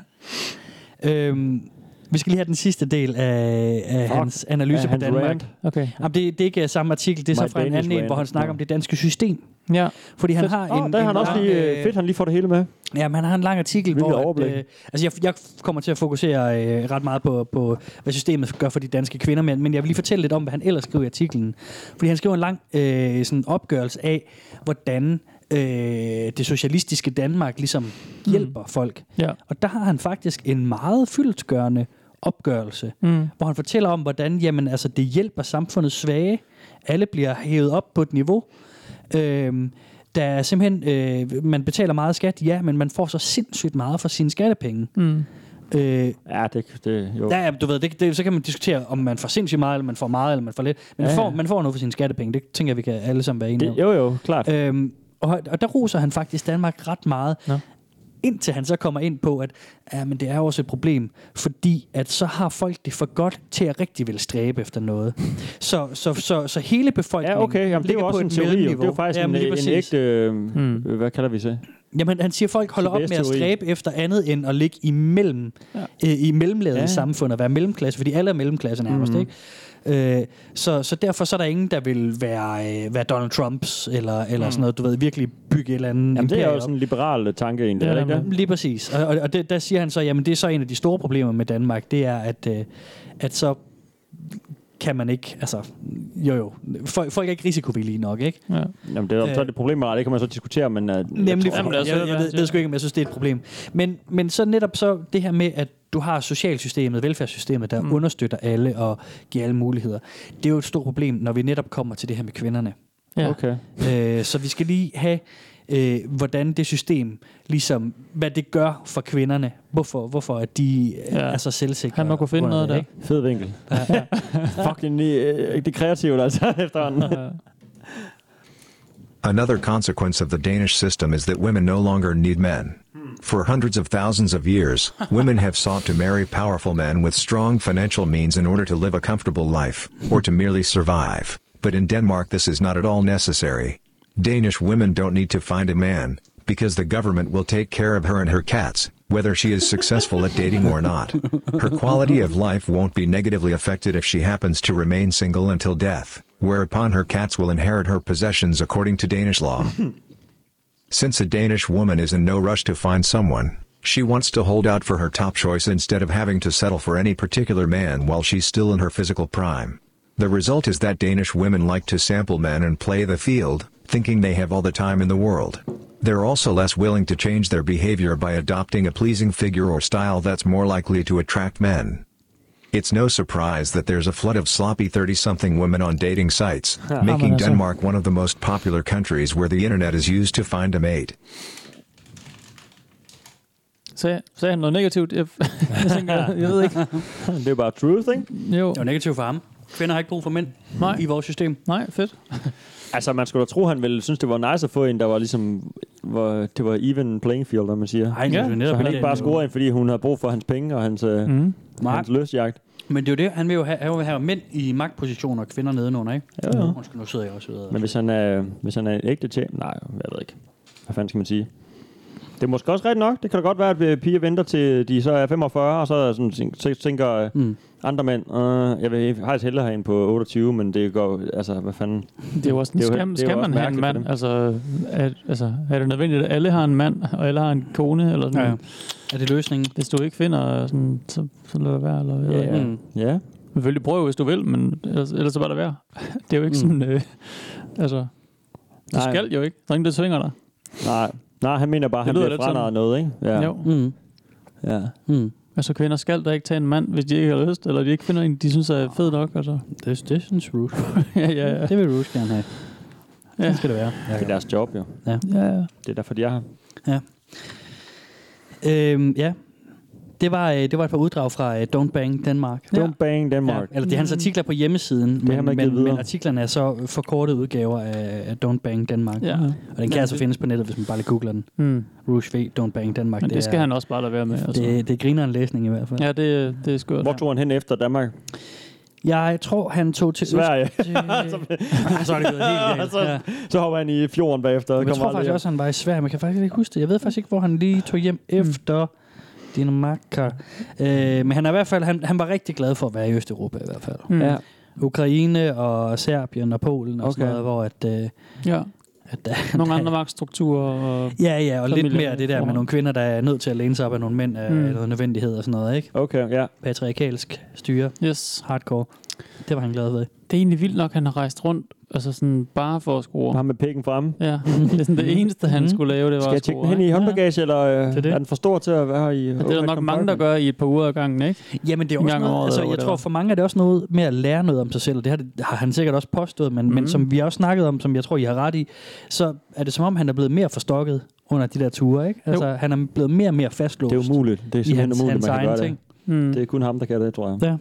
Speaker 2: mand.
Speaker 3: Øhm, vi skal lige have den sidste del af, af
Speaker 2: Fuck.
Speaker 3: hans analyse
Speaker 2: Ja,
Speaker 3: på
Speaker 2: hans
Speaker 3: Danmark.
Speaker 2: rant.
Speaker 4: Okay.
Speaker 3: Jamen, det, det er ikke øh, samme artikel, det er
Speaker 2: My
Speaker 3: så fra en
Speaker 2: Danish
Speaker 3: anden en,
Speaker 2: rant.
Speaker 3: hvor han snakker
Speaker 2: Nå.
Speaker 3: om det danske system.
Speaker 4: Ja.
Speaker 3: Fordi han
Speaker 4: Fedt.
Speaker 3: har en...
Speaker 2: Åh, der er
Speaker 3: en
Speaker 2: han også
Speaker 3: lang,
Speaker 2: lige... øh, Fedt, han lige får det hele med.
Speaker 3: Jamen, han har en lang artikel,
Speaker 2: Hvilket
Speaker 3: hvor...
Speaker 2: overblik.
Speaker 3: At, øh, altså, jeg, jeg kommer til at fokusere øh, ret meget på, på, hvad systemet gør for de danske kvinder, men, men jeg vil lige fortælle lidt om, hvad han ellers skriver i artiklen. Fordi han skriver en lang øh, sådan opgørelse af, hvordan øh, det socialistiske Danmark ligesom hjælper mm. folk.
Speaker 4: Ja.
Speaker 3: Og der har han faktisk en meget fyldtgørende opgørelse,
Speaker 4: Mm.
Speaker 3: hvor han fortæller om, hvordan jamen, altså, det hjælper samfundets svage. Alle bliver hævet op på et niveau. Øhm, der er simpelthen, øh, man betaler meget skat, ja, men man får så sindssygt meget for sine skattepenge.
Speaker 4: Mm.
Speaker 3: Øh,
Speaker 2: Ja, det, det jo.
Speaker 3: Ja, ja, du ved, det, det, så kan man diskutere, om man får sindssygt meget, eller man får meget, eller man får lidt. Men ja,
Speaker 2: Ja,
Speaker 3: ja.
Speaker 2: ja.
Speaker 3: Får, man får noget for sine skattepenge. Det tænker jeg, vi kan alle sammen være enige om.
Speaker 2: det, jo, jo, klart.
Speaker 3: Øhm, og, og der roser han faktisk Danmark ret meget,
Speaker 4: Nå.
Speaker 3: indtil han så kommer ind på, at ja, men det er jo også et problem, fordi at så har folk det for godt til at rigtig vil stræbe efter noget. Så, så, så, så hele befolkningen
Speaker 2: Ja, okay. Jamen, det er
Speaker 3: ligger
Speaker 2: jo
Speaker 3: på
Speaker 2: også en
Speaker 3: et
Speaker 2: teori. Jo. Det
Speaker 3: mellemniveau.
Speaker 2: er jo faktisk
Speaker 3: Jamen,
Speaker 2: en,
Speaker 3: lige
Speaker 2: en
Speaker 3: præcis. Hmm.
Speaker 2: ægte... Øh, mm. Hvad kalder vi så?
Speaker 3: Jamen, han siger, at folk holder op med at
Speaker 2: CBS-teori.
Speaker 3: stræbe efter andet end at ligge imellem, ja.
Speaker 4: Ja.
Speaker 3: øh, i mellemlaget ja.
Speaker 2: Ja. Mhm.
Speaker 3: i samfundet, og være mellemklasse, fordi alle er mellemklasse nærmest, mm. ikke? Øh, så, så derfor så er der ingen, der vil være, øh, være Donald Trumps, eller, eller mm. sådan noget, du ved, virkelig bygge et eller andet
Speaker 2: Mhm. Jamen, det er
Speaker 3: imperium
Speaker 2: jo sådan en liberal øh, tanke egentlig,
Speaker 4: Ja,
Speaker 2: er det ikke
Speaker 4: men-
Speaker 2: det?
Speaker 3: Lige præcis. Og, og, og det, der siger han så, jamen det er så en af de store problemer med Danmark, det er, at, øh, at så kan man ikke, altså, jo jo, folk, folk er ikke risikovillige nok, ikke?
Speaker 4: Ja.
Speaker 2: Jamen, det er,
Speaker 3: Øh.
Speaker 2: så er det problemer, og det kan man så diskutere, men... øh, jeg
Speaker 3: Nemlig,
Speaker 2: tror-
Speaker 3: jeg,
Speaker 4: Jamen, lad
Speaker 3: jeg,
Speaker 4: os
Speaker 3: jeg,
Speaker 4: høre,
Speaker 3: jeg
Speaker 4: hvad
Speaker 3: ved,
Speaker 4: han
Speaker 3: ved sgu ikke, om jeg synes, det er et problem. Men, men så netop så det her med, at du har socialsystemet, velfærdssystemet, der mm. understøtter alle og giver alle muligheder. Det er jo et stort problem, når vi netop kommer til det her med kvinderne.
Speaker 4: ja.
Speaker 2: Okay.
Speaker 3: Øh, så vi skal lige have, øh, hvordan det system, ligesom, hvad det gør for kvinderne. Hvorfor, hvorfor at de ja.
Speaker 4: Ja.
Speaker 3: er så selvsikre.
Speaker 4: Han må kunne finde
Speaker 3: under
Speaker 4: noget
Speaker 3: det,
Speaker 4: der.
Speaker 3: ikke?
Speaker 2: Fed vinkel. Fucking øh, det er kreativt, altså, efterhånden.
Speaker 5: Another consequence of the Danish system is that women no longer need men. For hundreds of thousands of years, women have sought to marry powerful men with strong financial means in order to live a comfortable life, or to merely survive. But in Denmark, this is not at all necessary. Danish women don't need to find a man, because the government will take care of her and her cats, whether she is successful at dating or not. Her quality of life won't be negatively affected if she happens to remain single until death, whereupon her cats will inherit her possessions according to Danish law. Since a Danish woman is in no rush to find someone, she wants to hold out for her top choice instead of having to settle for any particular man while she's still in her physical prime. The result is that Danish women like to sample men and play the field, thinking they have all the time in the world. They're also less willing to change their behavior by adopting a pleasing figure or style that's more likely to attract men. It's no surprise that there's a flood of sloppy 30 something women on dating sites,
Speaker 2: Ja,
Speaker 5: making
Speaker 6: men altså.
Speaker 5: Denmark one of the most popular countries where the internet is used to find a mate.
Speaker 4: Sag, sagde han noget negativt? Jeg, jeg, tænker, jeg ved ikke.
Speaker 2: det er bare truth, ikke?
Speaker 4: Jo.
Speaker 3: Det var negativt for ham. Kvinder har ikke brug for mænd
Speaker 4: Nej.
Speaker 3: i vores system.
Speaker 4: Nej, fedt.
Speaker 2: Altså, man skulle da tro, han ville synes, det var nice at få en, der var ligesom... Var, det var even playing field, hvad man siger.
Speaker 3: Nej, det
Speaker 4: Ja,
Speaker 3: er jo netop
Speaker 2: så han
Speaker 3: det.
Speaker 2: ikke bare scorede en, fordi hun havde brug for hans penge og hans, mm.
Speaker 4: Mm.
Speaker 3: Nej,
Speaker 2: hans løsjagt.
Speaker 3: men det er jo det, han vil jo have, han vil have mænd i magtpositioner og kvinder nedenunder, ikke?
Speaker 2: Ja, ja.
Speaker 3: Undskyld, nu sidder jeg også videre.
Speaker 2: Men hvis han er, hvis han er en ægte tjæm... Nej, jeg ved ikke. Hvad fanden skal man sige? Det er måske også rigtigt nok. Det kan da godt være, at øh, piger venter til de så er 45, og så er sådan, tænk- så tænker mm. andre mænd, øh, jeg vil faktisk hellere have en på 28, men det går, altså, hvad fanden?
Speaker 4: Det er jo også,
Speaker 2: Det er jo-
Speaker 4: skal,
Speaker 2: det er jo
Speaker 4: skal
Speaker 2: også
Speaker 4: man have en
Speaker 2: mærkeligt for
Speaker 4: mand?
Speaker 2: dem.
Speaker 4: Altså er, altså, er det nødvendigt, at alle har en mand, og alle har en kone? Eller sådan?
Speaker 3: Ja.
Speaker 4: Ja.
Speaker 3: Er det løsningen?
Speaker 4: Hvis du ikke finder sådan, så, så lad det være. Eller, jeg ved
Speaker 2: Ja,
Speaker 4: ikke.
Speaker 2: ja.
Speaker 3: Mm.
Speaker 2: Ja,
Speaker 4: Selvfølgelig prøv, hvis du vil, men ellers, ellers så bare lad være. Det er jo ikke
Speaker 3: Mm.
Speaker 4: sådan, øh, altså, du
Speaker 2: Nej.
Speaker 4: Nej. skal jo ikke. Der er ingen, der tvinger dig.
Speaker 2: nej. Nej, han mener bare, at
Speaker 4: Det
Speaker 2: han
Speaker 4: lyder
Speaker 2: bliver
Speaker 4: lidt sådan.
Speaker 2: franarret noget, ikke?
Speaker 4: Ja.
Speaker 2: Ja.
Speaker 4: Jo.
Speaker 3: Mm.
Speaker 2: ja.
Speaker 3: Mm.
Speaker 4: Altså kvinder skal da ikke tage en mand, hvis de ikke har lyst, eller de ikke finder en, de synes er fed nok. Altså.
Speaker 3: Det, det synes Ruth.
Speaker 4: ja, ja, ja.
Speaker 3: Det vil Ruth gerne have. Ja.
Speaker 4: Ja.
Speaker 3: Det skal det være.
Speaker 2: Det er deres job, jo.
Speaker 4: ja, ja.
Speaker 2: Det er derfor, de er her.
Speaker 3: Øhm, ja. Det var, øh, det var et par uddrag fra øh, Don't Bang Danmark.
Speaker 2: Don't bang Denmark.
Speaker 3: Ja, eller det er hans artikler på hjemmesiden, det
Speaker 2: har
Speaker 3: men,
Speaker 2: man ikke givet
Speaker 3: men, men
Speaker 2: videre.
Speaker 3: artiklerne er så forkortede udgaver af, af Don't Bang Danmark.
Speaker 4: ja.
Speaker 3: Og den kan altså findes på nettet, hvis man bare lige googler den.
Speaker 4: Mm.
Speaker 3: Rouge V, Don't Bang Danmark.
Speaker 4: Men det, skal
Speaker 3: er,
Speaker 4: han også bare lade være med. Altså.
Speaker 3: Det, det griner en læsning i hvert fald. Ja.
Speaker 4: ja, det, det er skørt.
Speaker 2: Hvor tog han hen efter Danmark?
Speaker 3: Jeg tror, han tog til Øst...
Speaker 2: Sverige.
Speaker 3: Ah, så er det gået helt galt.
Speaker 2: Så-
Speaker 3: Ja.
Speaker 2: Så hopper han i fjorden bagefter.
Speaker 3: Jeg tror
Speaker 2: aldrig
Speaker 3: faktisk
Speaker 2: hjem.
Speaker 3: også, han var i Sverige, men jeg kan faktisk ikke huske det. Jeg ved faktisk ikke, hvor han lige tog hjem efter Dinamarca. Øh, men han, er i hvert fald, han, han var rigtig glad for at være i Østeuropa i hvert fald.
Speaker 4: Mm.
Speaker 2: Ja.
Speaker 4: Ja.
Speaker 3: Ukraine og Serbien og Polen og okay. sådan
Speaker 2: Okay.
Speaker 3: noget, hvor at... Øh,
Speaker 4: ja.
Speaker 3: at der,
Speaker 4: Nogle andre magtstrukturer. Og,
Speaker 3: Ja, ja, og lidt
Speaker 4: Familie-
Speaker 3: mere det der med
Speaker 4: forhold.
Speaker 3: nogle kvinder, der er nødt til at læne sig op af nogle mænd af
Speaker 4: Mm.
Speaker 3: noget nødvendighed og sådan noget, ikke?
Speaker 2: Okay, ja.
Speaker 3: Patriarkalsk styre,
Speaker 4: yes.
Speaker 3: hardcore. Det var han glad ved.
Speaker 4: Det er egentlig vildt nok, at han har rejst rundt, altså sådan bare for at score.
Speaker 2: Ham med pikken fremme.
Speaker 4: Ja, det, er sådan, det eneste, han
Speaker 3: Mhm.
Speaker 4: skulle lave, det var
Speaker 2: Skal jeg
Speaker 4: at
Speaker 2: tjekke
Speaker 4: score.
Speaker 2: den hen i
Speaker 4: ikke?
Speaker 2: håndbagage, eller øh,
Speaker 3: er det.
Speaker 2: er den for stor til at være her i...
Speaker 4: Ja. Det er der nok mange, der gør i et par uger ad gangen, ikke?
Speaker 3: Jamen, det er
Speaker 4: En
Speaker 3: også
Speaker 4: gang om
Speaker 3: noget,
Speaker 4: året,
Speaker 3: altså,
Speaker 4: eller
Speaker 3: jeg
Speaker 4: hvad det
Speaker 3: tror
Speaker 4: var.
Speaker 3: for mange er det også noget med at lære noget om sig selv, og det har, det har han sikkert også påstået, men, mm. men
Speaker 4: Mhm.
Speaker 3: som vi har også snakket om, som jeg tror, I har ret i, så er det som om, han er blevet mere forstokket under de der ture, ikke? Altså, han er blevet mere og mere fastlåst
Speaker 2: Det er umuligt. Det er
Speaker 3: i
Speaker 2: simpelthen
Speaker 3: hans,
Speaker 2: umuligt,
Speaker 3: hans
Speaker 2: man kan
Speaker 3: egen
Speaker 2: gøre
Speaker 3: ting.
Speaker 4: Mm.
Speaker 2: det. Det er kun ham, der kan det, tror jeg.
Speaker 3: Ja.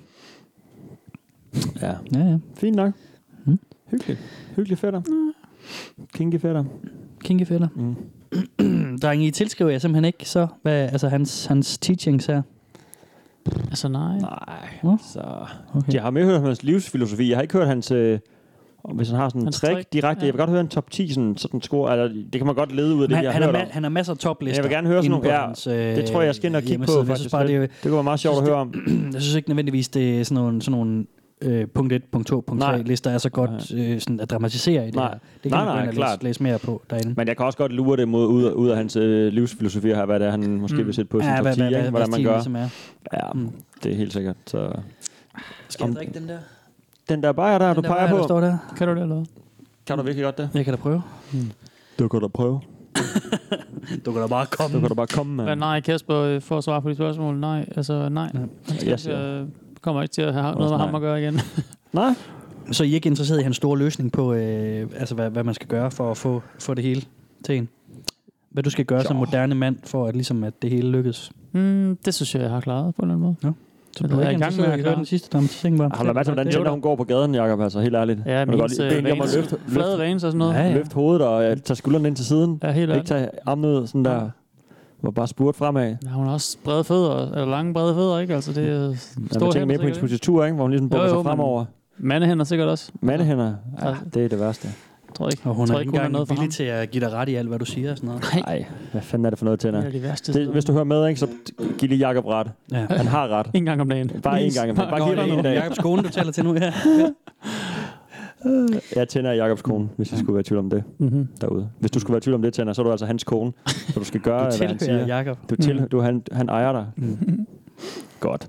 Speaker 2: Ja.
Speaker 3: Ja, ja.
Speaker 2: Fint nok.
Speaker 3: Mm.
Speaker 2: Hyggeligt. Hyggelig fætter. Kinky fætter.
Speaker 3: Kinky fætter.
Speaker 2: Mm.
Speaker 3: Drenge, I tilskriver jeg simpelthen ikke så, hvad, altså hans, hans teachings her.
Speaker 4: Altså nej.
Speaker 2: Nej,
Speaker 3: Nå.
Speaker 2: så...
Speaker 3: Mm. Okay.
Speaker 2: Jeg har mere hørt om hans livsfilosofi. Jeg har ikke hørt hans... Øh, om hvis han har sådan en
Speaker 4: Hans
Speaker 2: trick,
Speaker 4: trick,
Speaker 2: direkte.
Speaker 4: ja.
Speaker 2: Jeg vil godt høre en top 10 sådan, sådan score. Eller, det kan man godt lede ud af det,
Speaker 3: Han,
Speaker 2: jeg
Speaker 3: han,
Speaker 2: har
Speaker 3: har
Speaker 2: hørt
Speaker 3: ma-
Speaker 2: om.
Speaker 3: han har masser af toplister.
Speaker 2: Jeg vil gerne høre sådan
Speaker 3: inde på
Speaker 2: nogle. Ja,
Speaker 3: hans, øh,
Speaker 2: Det tror jeg, jeg skal ind og kigge på,
Speaker 3: hjemmeside. Jeg
Speaker 2: faktisk.
Speaker 3: synes, bare, det, er,
Speaker 2: Det kunne være meget sjovt at
Speaker 3: synes,
Speaker 2: høre om.
Speaker 3: jeg synes ikke nødvendigvis, det er sådan nogle, sådan nogle øh, punkt 1, punkt 2, punkt 3
Speaker 2: Nej.
Speaker 3: lister er så godt øh, sådan at dramatisere i det
Speaker 2: Nej.
Speaker 3: her. Det kan
Speaker 2: Nej,
Speaker 3: man gå
Speaker 2: nej,
Speaker 3: ind og
Speaker 2: klart.
Speaker 3: læse, læse mere på derinde.
Speaker 2: Men jeg kan også godt lure det mod, ud, af- ud af hans øh, livsfilosofi her, hvad det er, han måske mm. vil sætte på sin top 10, ikke? hvordan man
Speaker 3: stilen
Speaker 2: gør.
Speaker 3: ligesom er.
Speaker 2: Ja,
Speaker 3: Mm.
Speaker 2: det er helt sikkert. Så.
Speaker 3: Skal jeg drikke den der?
Speaker 2: Den der bajer der, du
Speaker 3: den der,
Speaker 2: peger
Speaker 3: bajer, der
Speaker 2: på,
Speaker 3: står der?
Speaker 4: Kan du det eller hvad?
Speaker 2: kan du virkelig godt det?
Speaker 3: Jeg kan da prøve.
Speaker 2: Du kan da prøve.
Speaker 3: Du kan da bare komme.
Speaker 2: Du kan da bare komme,
Speaker 4: Men
Speaker 2: mand.
Speaker 4: nej, Kasper, øh, for at svare på de spørgsmål, nej. Altså nej.
Speaker 3: Nej.
Speaker 2: Jeg siger.
Speaker 4: Jeg øh, kommer ikke til at have noget
Speaker 2: Også
Speaker 4: med ham
Speaker 2: nej.
Speaker 4: at gøre igen.
Speaker 2: Nej,
Speaker 3: Så I er ikke interesseret i hans store løsning på, øh, altså hvad, hvad man skal gøre for at få, få det hele til en? Hvad du skal gøre jo. som
Speaker 2: Jo.
Speaker 3: moderne mand, for at, ligesom, at det hele lykkes?
Speaker 4: Mm, det synes jeg, jeg har klaret på en eller anden måde.
Speaker 3: Så
Speaker 4: Men
Speaker 3: du
Speaker 4: jeg
Speaker 3: er
Speaker 4: er
Speaker 3: ikke
Speaker 4: i gang med
Speaker 3: interesseret
Speaker 4: at
Speaker 3: i at høre
Speaker 4: klare-
Speaker 3: den sidste dramatisering, bare?
Speaker 2: har du været til, hvordan Jenna, hun går på gaden, Jacob, altså helt ærligt.
Speaker 4: Ja,
Speaker 2: Hun er
Speaker 4: men
Speaker 2: godt
Speaker 4: ens,
Speaker 2: lige-
Speaker 4: øh,
Speaker 2: ben om at
Speaker 4: veins-
Speaker 2: løfte,
Speaker 4: flade vanes og sådan noget.
Speaker 3: Ja, ja.
Speaker 2: løfte hovedet og øh, tage skuldrene ind til siden.
Speaker 4: Ja, helt
Speaker 2: Ikke
Speaker 4: ærligt.
Speaker 2: tage armen ud, sådan der, og bare spurt fremad.
Speaker 4: Ja, hun har også brede fødder, eller lange brede fødder, ikke? Altså, det er
Speaker 2: Ja, man
Speaker 4: store
Speaker 2: tænker
Speaker 4: hænder
Speaker 2: mere på hendes
Speaker 4: sikkert, ikke?
Speaker 2: positur, ikke? hvor hun ligesom bukker
Speaker 4: Jo, jo,
Speaker 2: sig fremover.
Speaker 4: Mandehænder sikkert også.
Speaker 2: Mandehænder, ja,
Speaker 4: Altså-
Speaker 2: det er det værste.
Speaker 4: Jeg tror ikke,
Speaker 3: Og hun
Speaker 4: jeg
Speaker 3: er
Speaker 4: tror
Speaker 3: ikke
Speaker 4: ikke, hun er noget
Speaker 3: engang
Speaker 4: for ham.
Speaker 3: villig til at give dig ret i alt, hvad du siger og sådan noget.
Speaker 2: Nej, hvad fanden er det for noget,
Speaker 4: Det er
Speaker 2: Tænder?
Speaker 4: det værste
Speaker 2: Det, hvis du hører med, ikke, så giv lige Jacob ret.
Speaker 3: Ja.
Speaker 2: Han har ret.
Speaker 4: En gang om dagen.
Speaker 2: Bare en
Speaker 4: Please.
Speaker 2: gang. Bare giv ham en dag.
Speaker 3: Jakobs kone, du taler til nu her.
Speaker 2: Jeg tænder Jacobs kone, hvis jeg skulle være i tvivl om det
Speaker 4: Mhm.
Speaker 2: derude. Hvis du skulle være i tvivl om det, Tænder, så er du altså hans kone. Så du skal gøre,
Speaker 3: Du
Speaker 2: hvad han
Speaker 4: Mm.
Speaker 3: tilhører
Speaker 2: siger.
Speaker 3: Jakob.
Speaker 2: Du til, du, han, han ejer dig. Godt.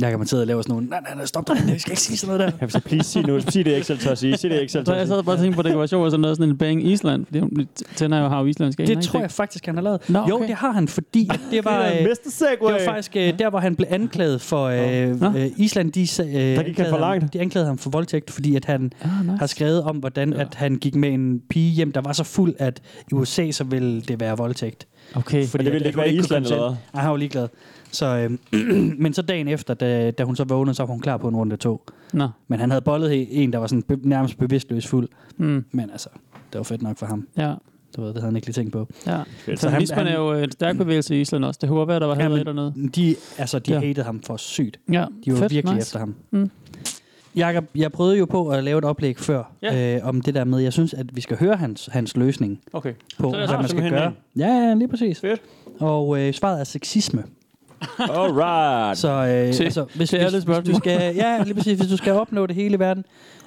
Speaker 3: Jeg kan sidde og lave sådan nogle, nej, nej, nej, stop dig, vi skal ikke sige sådan noget der.
Speaker 2: Jeg vil sige, please, sig nu. Sig det, jeg ikke selv tør at sige. Sig det, jeg ikke selv
Speaker 4: Så
Speaker 2: tør
Speaker 4: jeg
Speaker 2: at sige.
Speaker 4: sad bare og tænkte på, at det kunne være sjovt, at sådan noget sådan en Bang Island, fordi hun tænder jo har jo islandsk
Speaker 3: Det tror jeg faktisk, han har lavet.
Speaker 4: Nå,
Speaker 3: Jo,
Speaker 4: okay.
Speaker 3: det har han, fordi det var... øh,
Speaker 2: Mr. Segway.
Speaker 3: Det var faktisk øh, der, hvor han blev anklaget for øh,
Speaker 4: Nå.
Speaker 3: øh, Island. De, sag- øh,
Speaker 2: han
Speaker 3: anklagede
Speaker 2: for
Speaker 3: ham-
Speaker 2: langt.
Speaker 3: De anklagede ham for voldtægt, fordi at han
Speaker 4: Ah, nice.
Speaker 3: har skrevet om, hvordan at han gik med en pige hjem, der var så fuld, at i USA så ville det være voldtægt.
Speaker 4: Okay.
Speaker 2: Men det ville
Speaker 3: at-
Speaker 2: ikke
Speaker 3: at hun
Speaker 2: være
Speaker 3: kunne
Speaker 2: Island,
Speaker 3: komme til-
Speaker 2: eller hvad?
Speaker 3: Nej, han var ligeglad. Så, øh, men så dagen efter, da, da hun så vågnede, så var hun klar på en runde to.
Speaker 4: Nå.
Speaker 3: Men han havde bollet en, der var sådan be, nærmest bevidstløs fuld.
Speaker 4: Mm.
Speaker 3: Men altså, det var fedt nok for ham.
Speaker 4: Ja.
Speaker 3: Du ved, det havde han ikke lige tænkt på.
Speaker 4: Ja.
Speaker 2: Fedt.
Speaker 4: Så
Speaker 3: han- Mm.
Speaker 4: Lisbon er jo øh, en stærk bevægelse i Island også. Det kunne godt være, der var
Speaker 3: Ja,
Speaker 4: ja,
Speaker 3: men-
Speaker 4: et dernede.
Speaker 3: De, altså, de
Speaker 4: Ja.
Speaker 3: ja. hated ham for sygt.
Speaker 4: Ja,
Speaker 3: De var
Speaker 4: fedt,
Speaker 3: Fedt, virkelig
Speaker 4: nice.
Speaker 3: nice. efter ham.
Speaker 4: Mm.
Speaker 3: Mm. Jakob, jeg prøvede jo på at lave et oplæg før
Speaker 4: Ja.
Speaker 3: ja. øh, om det der med, jeg synes, at vi skal høre hans, hans løsning
Speaker 4: Okay.
Speaker 3: på,
Speaker 4: Så
Speaker 3: hvad
Speaker 4: jeg
Speaker 2: har
Speaker 3: man skal
Speaker 2: simpelthen
Speaker 3: gøre. Ja, ja, lige præcis.
Speaker 2: Fedt.
Speaker 3: Og øh, svaret er sexisme.
Speaker 2: Alright.
Speaker 3: Så øh,
Speaker 4: Til-
Speaker 3: altså, hvis,
Speaker 4: til alle
Speaker 3: hvis, hvis du
Speaker 4: spørgsmål.
Speaker 3: skal, ja, lige præcis, hvis du skal opnå det hele i verden,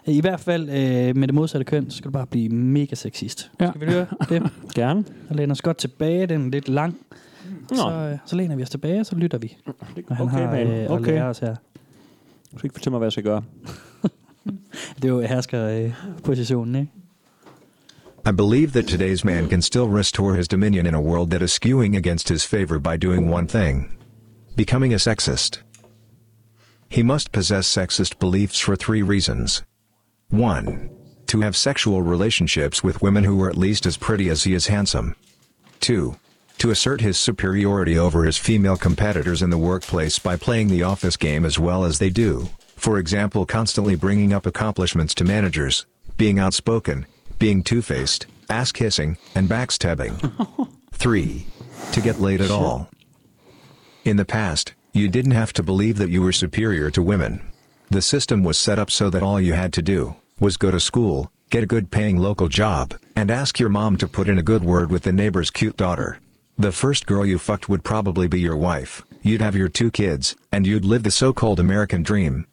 Speaker 3: øh, i hvert fald øh, med det modsatte køn, så skal du bare blive mega sexist.
Speaker 4: Ja.
Speaker 3: Skal vi høre det?
Speaker 2: Gerne.
Speaker 3: Så læner os godt tilbage, den er lidt lang.
Speaker 2: Nå,
Speaker 3: Så, øh, så læner vi os tilbage, og så lytter vi. Og han
Speaker 2: okay,
Speaker 3: har
Speaker 2: man.
Speaker 3: øh, at
Speaker 2: Okay.
Speaker 3: lære os her.
Speaker 2: Du skal ikke fortælle mig, hvad jeg skal gøre.
Speaker 3: Det er jo herskerpositionen, øh, positionen, ikke?
Speaker 5: I believe that today's man can still restore his dominion in a world that is skewing against his favor by doing one thing becoming a sexist. He must possess sexist beliefs for three reasons. 1. To have sexual relationships with women who are at least as pretty as he is handsome. 2. To assert his superiority over his female competitors in the workplace by playing the office game as well as they do, for example, constantly bringing up accomplishments to managers, being outspoken, being two faced, ass kissing, and backstabbing. 3. To get laid at all. In the past, you didn't have to believe that you were superior to women. The system was set up so that all you had to do was go to school, get a good paying local job, and ask your mom to put in a good word with the neighbor's cute daughter. The first girl you fucked would probably be your wife, you'd have your two kids, and you'd live the so called American dream.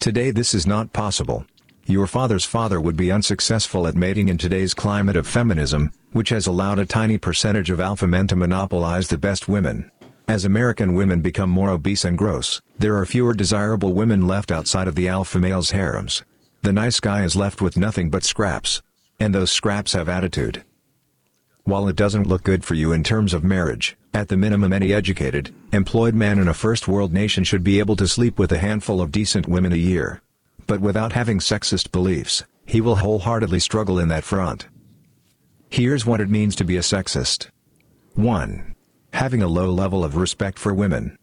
Speaker 5: Today, this is not possible. Your father's father would be unsuccessful at mating in today's climate of feminism, which has allowed a tiny percentage of alpha men to monopolize the best women. As American women become more obese and gross, there are fewer desirable women left outside of the alpha male's harems. The nice guy is left with nothing but scraps. And those scraps have attitude. While it doesn't look good for you in terms of marriage, at the minimum, any educated, employed man in a first world nation should be able to sleep with a handful of decent women a year. But without having sexist beliefs, he will wholeheartedly struggle in that front. Here's what it means to be a sexist 1. Having a low level of respect for women.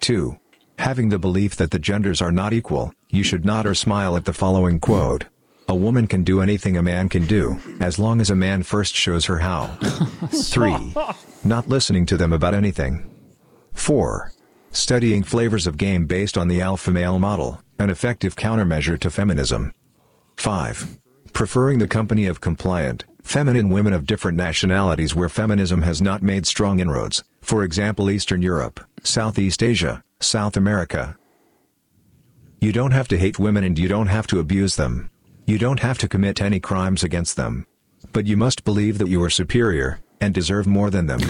Speaker 5: 2. Having the belief that the genders are not equal, you should nod or smile at the following quote. A woman can do anything a man can do, as long as a man first shows her how. 3. Not listening to them about anything. 4. Studying flavors of game based on the alpha male model, an effective countermeasure to feminism. 5. Preferring the company of compliant, feminine women of different nationalities where feminism has not made strong inroads, for example, Eastern Europe, Southeast Asia, South America. You don't have to hate women and you don't have to abuse them. You don't have to commit any crimes against them. But you must believe that you are superior and deserve more than them.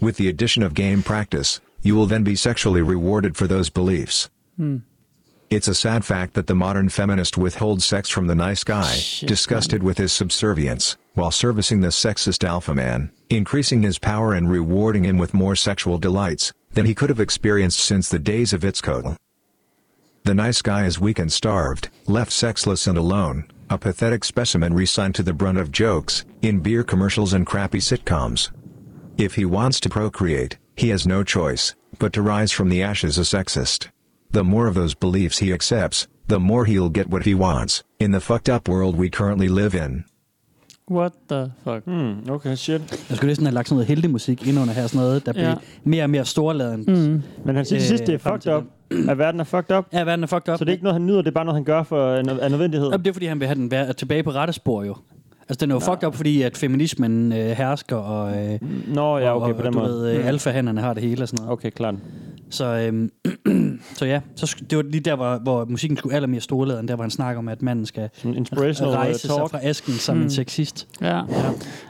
Speaker 5: With the addition of game practice, you will then be sexually rewarded for those beliefs. It's a sad fact that the modern feminist withholds sex from the nice guy, disgusted with his subservience, while servicing the sexist alpha man, increasing his power and rewarding him with more sexual delights than he could have experienced since the days of Itzcoatl. The nice guy is weak and starved, left sexless and alone, a pathetic specimen resigned to the brunt of jokes, in beer commercials and crappy sitcoms. If he wants to procreate, he has no choice but to rise from the ashes a sexist. The more of those beliefs he accepts, the more he'll get what he wants in the fucked up world we currently live in.
Speaker 4: What the fuck? Mm.
Speaker 2: Okay, shit.
Speaker 3: Jeg skulle næsten have lagt sådan noget heldig musik ind under her, sådan noget, der
Speaker 4: Ja.
Speaker 3: ja. blev mere og mere storladen. Mm.
Speaker 2: Men han siger til
Speaker 3: Øh,
Speaker 2: sidst, det er
Speaker 3: frem
Speaker 2: fucked
Speaker 3: til
Speaker 2: up. At verden er fucked up.
Speaker 3: Ja, verden er fucked up.
Speaker 2: Så det er ikke noget, han nyder, det er bare noget, han gør for af nød- af nødvendighed.
Speaker 3: Jamen, det er, fordi han vil have den vær- tilbage på rette spor, jo. Altså, den er jo fucked up, fordi at feminismen øh, hersker, og, øh,
Speaker 2: Nå ja,
Speaker 3: og-
Speaker 2: okay, på
Speaker 3: og
Speaker 2: den
Speaker 3: du øh,
Speaker 2: måde. Mm.
Speaker 3: ved, øh, alfahænderne har det hele og sådan noget.
Speaker 2: Okay, klart.
Speaker 3: Så, øhm, Så ja, så sk- det var lige der, hvor, hvor musikken skulle allermere storladen, der hvor han snakker om, at manden skal
Speaker 2: Sådan inspirational øh,
Speaker 3: rejse sig
Speaker 2: talk.
Speaker 3: fra asken som
Speaker 4: Mm.
Speaker 3: en sexist.
Speaker 4: Ja.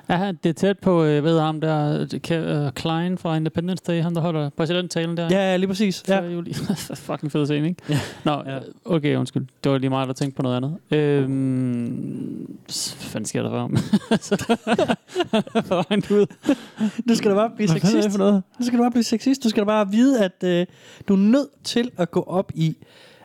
Speaker 4: ja. det er tæt på, øh, ved ham der, Ke- øh, Klein fra Independence Day, han der holder præsidenttalen der.
Speaker 3: Ja, ja, lige præcis.
Speaker 4: Ja.
Speaker 3: Ja.
Speaker 4: Juli. Fucking fed scene, ikke?
Speaker 3: Ja.
Speaker 4: Nå,
Speaker 3: Ja.
Speaker 4: okay, undskyld. Det var lige meget, der tænkte på noget andet. Øhm, s- hvad fanden sker der for ham? for han ud.
Speaker 3: øh, Du skal da bare blive
Speaker 4: Hvad fanden er
Speaker 3: sexist.
Speaker 4: det for noget?
Speaker 3: Du skal da bare blive sexist. Du skal da bare vide, at øh, du er nødt til at gå op i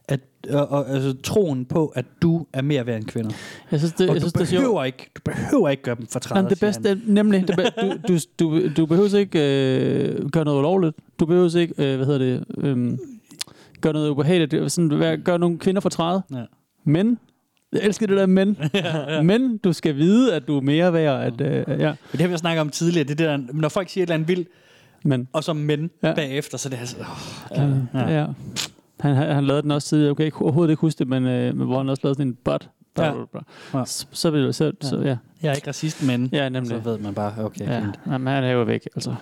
Speaker 3: at, og, og, altså, troen på, at du er mere værd end kvinder.
Speaker 4: Jeg synes, det,
Speaker 3: Og
Speaker 4: Øh, jeg
Speaker 3: du,
Speaker 4: synes, det er sjovt.
Speaker 3: behøver ikke, du behøver ikke gøre dem for
Speaker 4: Jamen, det bedste, er nemlig, det be- du, du, du, du behøver ikke øh, gøre noget ulovligt. Du behøver ikke, øh, hvad hedder det, øh, gøre noget ubehageligt. Sådan, vær- gør nogle kvinder for træde.
Speaker 3: Ja.
Speaker 4: Men, jeg elsker det der men. Men du skal vide, at du er mere værd. At, øh, ja.
Speaker 3: Men det har vi jo snakket om tidligere, det er det der, når folk siger et eller andet vildt,
Speaker 4: Men,
Speaker 3: og så men
Speaker 4: Ja.
Speaker 3: ja. bagefter, så er det altså, åh,
Speaker 4: ja. ja. Han, han, han lavede den også tidligere. Jeg kan ikke, overhovedet ikke huske det, men, øh, men hvor han også lavede sådan en bot.
Speaker 3: Ja.
Speaker 4: Ja.
Speaker 3: Ja.
Speaker 4: Så, så, vil- så, så, ja.
Speaker 3: jeg er ikke racist, men.
Speaker 4: ja, nemlig.
Speaker 3: Så ved man bare, okay,
Speaker 4: Ja,
Speaker 3: ja. fint.
Speaker 4: jamen, han er jo væk, altså.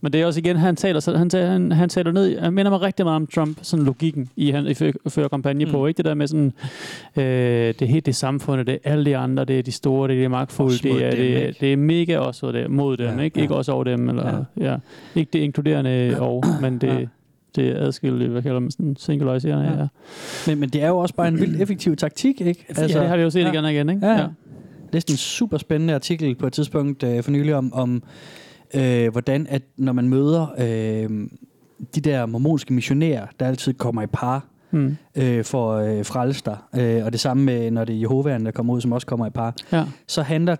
Speaker 4: Men det er også igen, han taler, så- han taler, han, han taler ned, han minder mig rigtig meget om Trump, sådan logikken i, han i før, før kampagne mm. på, ikke? Det der med sådan, øh, det er helt det er samfundet, det er alle de andre, det er de store, det er de magtfulde,
Speaker 3: Også mod
Speaker 4: det er,
Speaker 3: dem,
Speaker 4: det, er-
Speaker 3: ikke?
Speaker 4: det er mega også det, mod dem, ja,
Speaker 3: Ja,
Speaker 4: ikke? Ja.
Speaker 3: ja.
Speaker 4: Ikke også over dem, eller, ja. ja. Ikke det inkluderende og, men det, ja.
Speaker 3: Ja.
Speaker 4: det er adskilt, hvad kalder man sådan, singulariserende, ja.
Speaker 3: Ja.
Speaker 4: ja.
Speaker 3: Men, men det er jo også bare en vildt effektiv taktik, ikke?
Speaker 4: Altså, ja, det har vi jo set ja.
Speaker 3: ja.
Speaker 4: igen og igen, ikke?
Speaker 3: Ja, ja. læste en super spændende artikel på et tidspunkt øh, for nylig om, om øh, hvordan, at når man møder øh, de der mormonske missionærer, der altid kommer i par
Speaker 4: Mm.
Speaker 3: øh, for øh, frelster, øh, og det samme med, når det er Jehovaen, der kommer ud, som også kommer i par,
Speaker 4: ja.
Speaker 3: så handler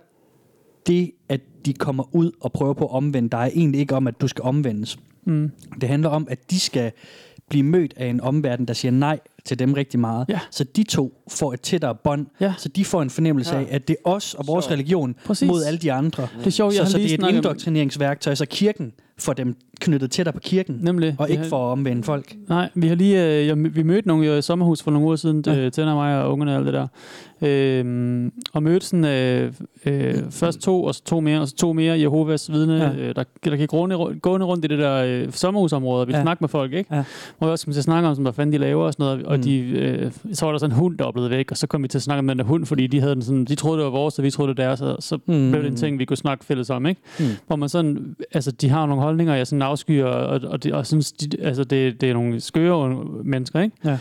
Speaker 3: det, at de kommer ud og prøver på at omvende dig, egentlig ikke om, at du skal omvendes.
Speaker 4: Mm.
Speaker 3: Det handler om, at de skal blive mødt af en omverden, der siger nej til dem rigtig meget.
Speaker 4: Ja.
Speaker 3: Så de to får et tættere bånd,
Speaker 4: Ja.
Speaker 3: så de får en fornemmelse
Speaker 2: Ja.
Speaker 3: af, at det er os og vores
Speaker 2: Så-
Speaker 3: religion
Speaker 4: Præcis.
Speaker 3: mod alle de andre.
Speaker 4: Det er sjovt, jeg
Speaker 3: så,
Speaker 4: har
Speaker 3: så
Speaker 4: lige
Speaker 3: det er et
Speaker 4: snakket om-
Speaker 3: indoktrineringsværktøj, så kirken får dem knyttet tættere på kirken,
Speaker 4: Nemlig.
Speaker 3: og
Speaker 4: Vi
Speaker 3: ikke
Speaker 4: har-
Speaker 3: for at omvende folk.
Speaker 4: Nej, vi har lige øh, jeg, vi mødte nogle i et sommerhus for nogle uger siden, ja. Tænder og mig og ungerne og alt det der. Øhm, og mødte sådan, øh, øh, først to, og så to mere, og så to mere Jehovas vidne, ja.
Speaker 3: Ja.
Speaker 4: øh, der, der gik runde, gående rundt i det der øh, sommerhusområde, og ville ja.
Speaker 3: Ja.
Speaker 4: snakke med folk, ikke?
Speaker 3: Ja.
Speaker 4: Hvor vi også kom til at snakke om, sådan, hvad fanden de laver og sådan noget, og
Speaker 3: Mm.
Speaker 4: de, øh, så var der sådan en hund, der var blevet væk, og så kom vi til at snakke om den der hund, fordi de, havde den sådan, de troede, det var vores, og vi troede, det var deres, og så mm.
Speaker 3: Mm.
Speaker 4: blev det en ting, vi kunne snakke fælles om, ikke?
Speaker 3: Mm.
Speaker 4: hvor man sådan, altså de har nogle holdninger, jeg sådan afskyer, og, og, det, og synes, de, altså det, det er nogle skøre mennesker, ikke?
Speaker 3: Ja.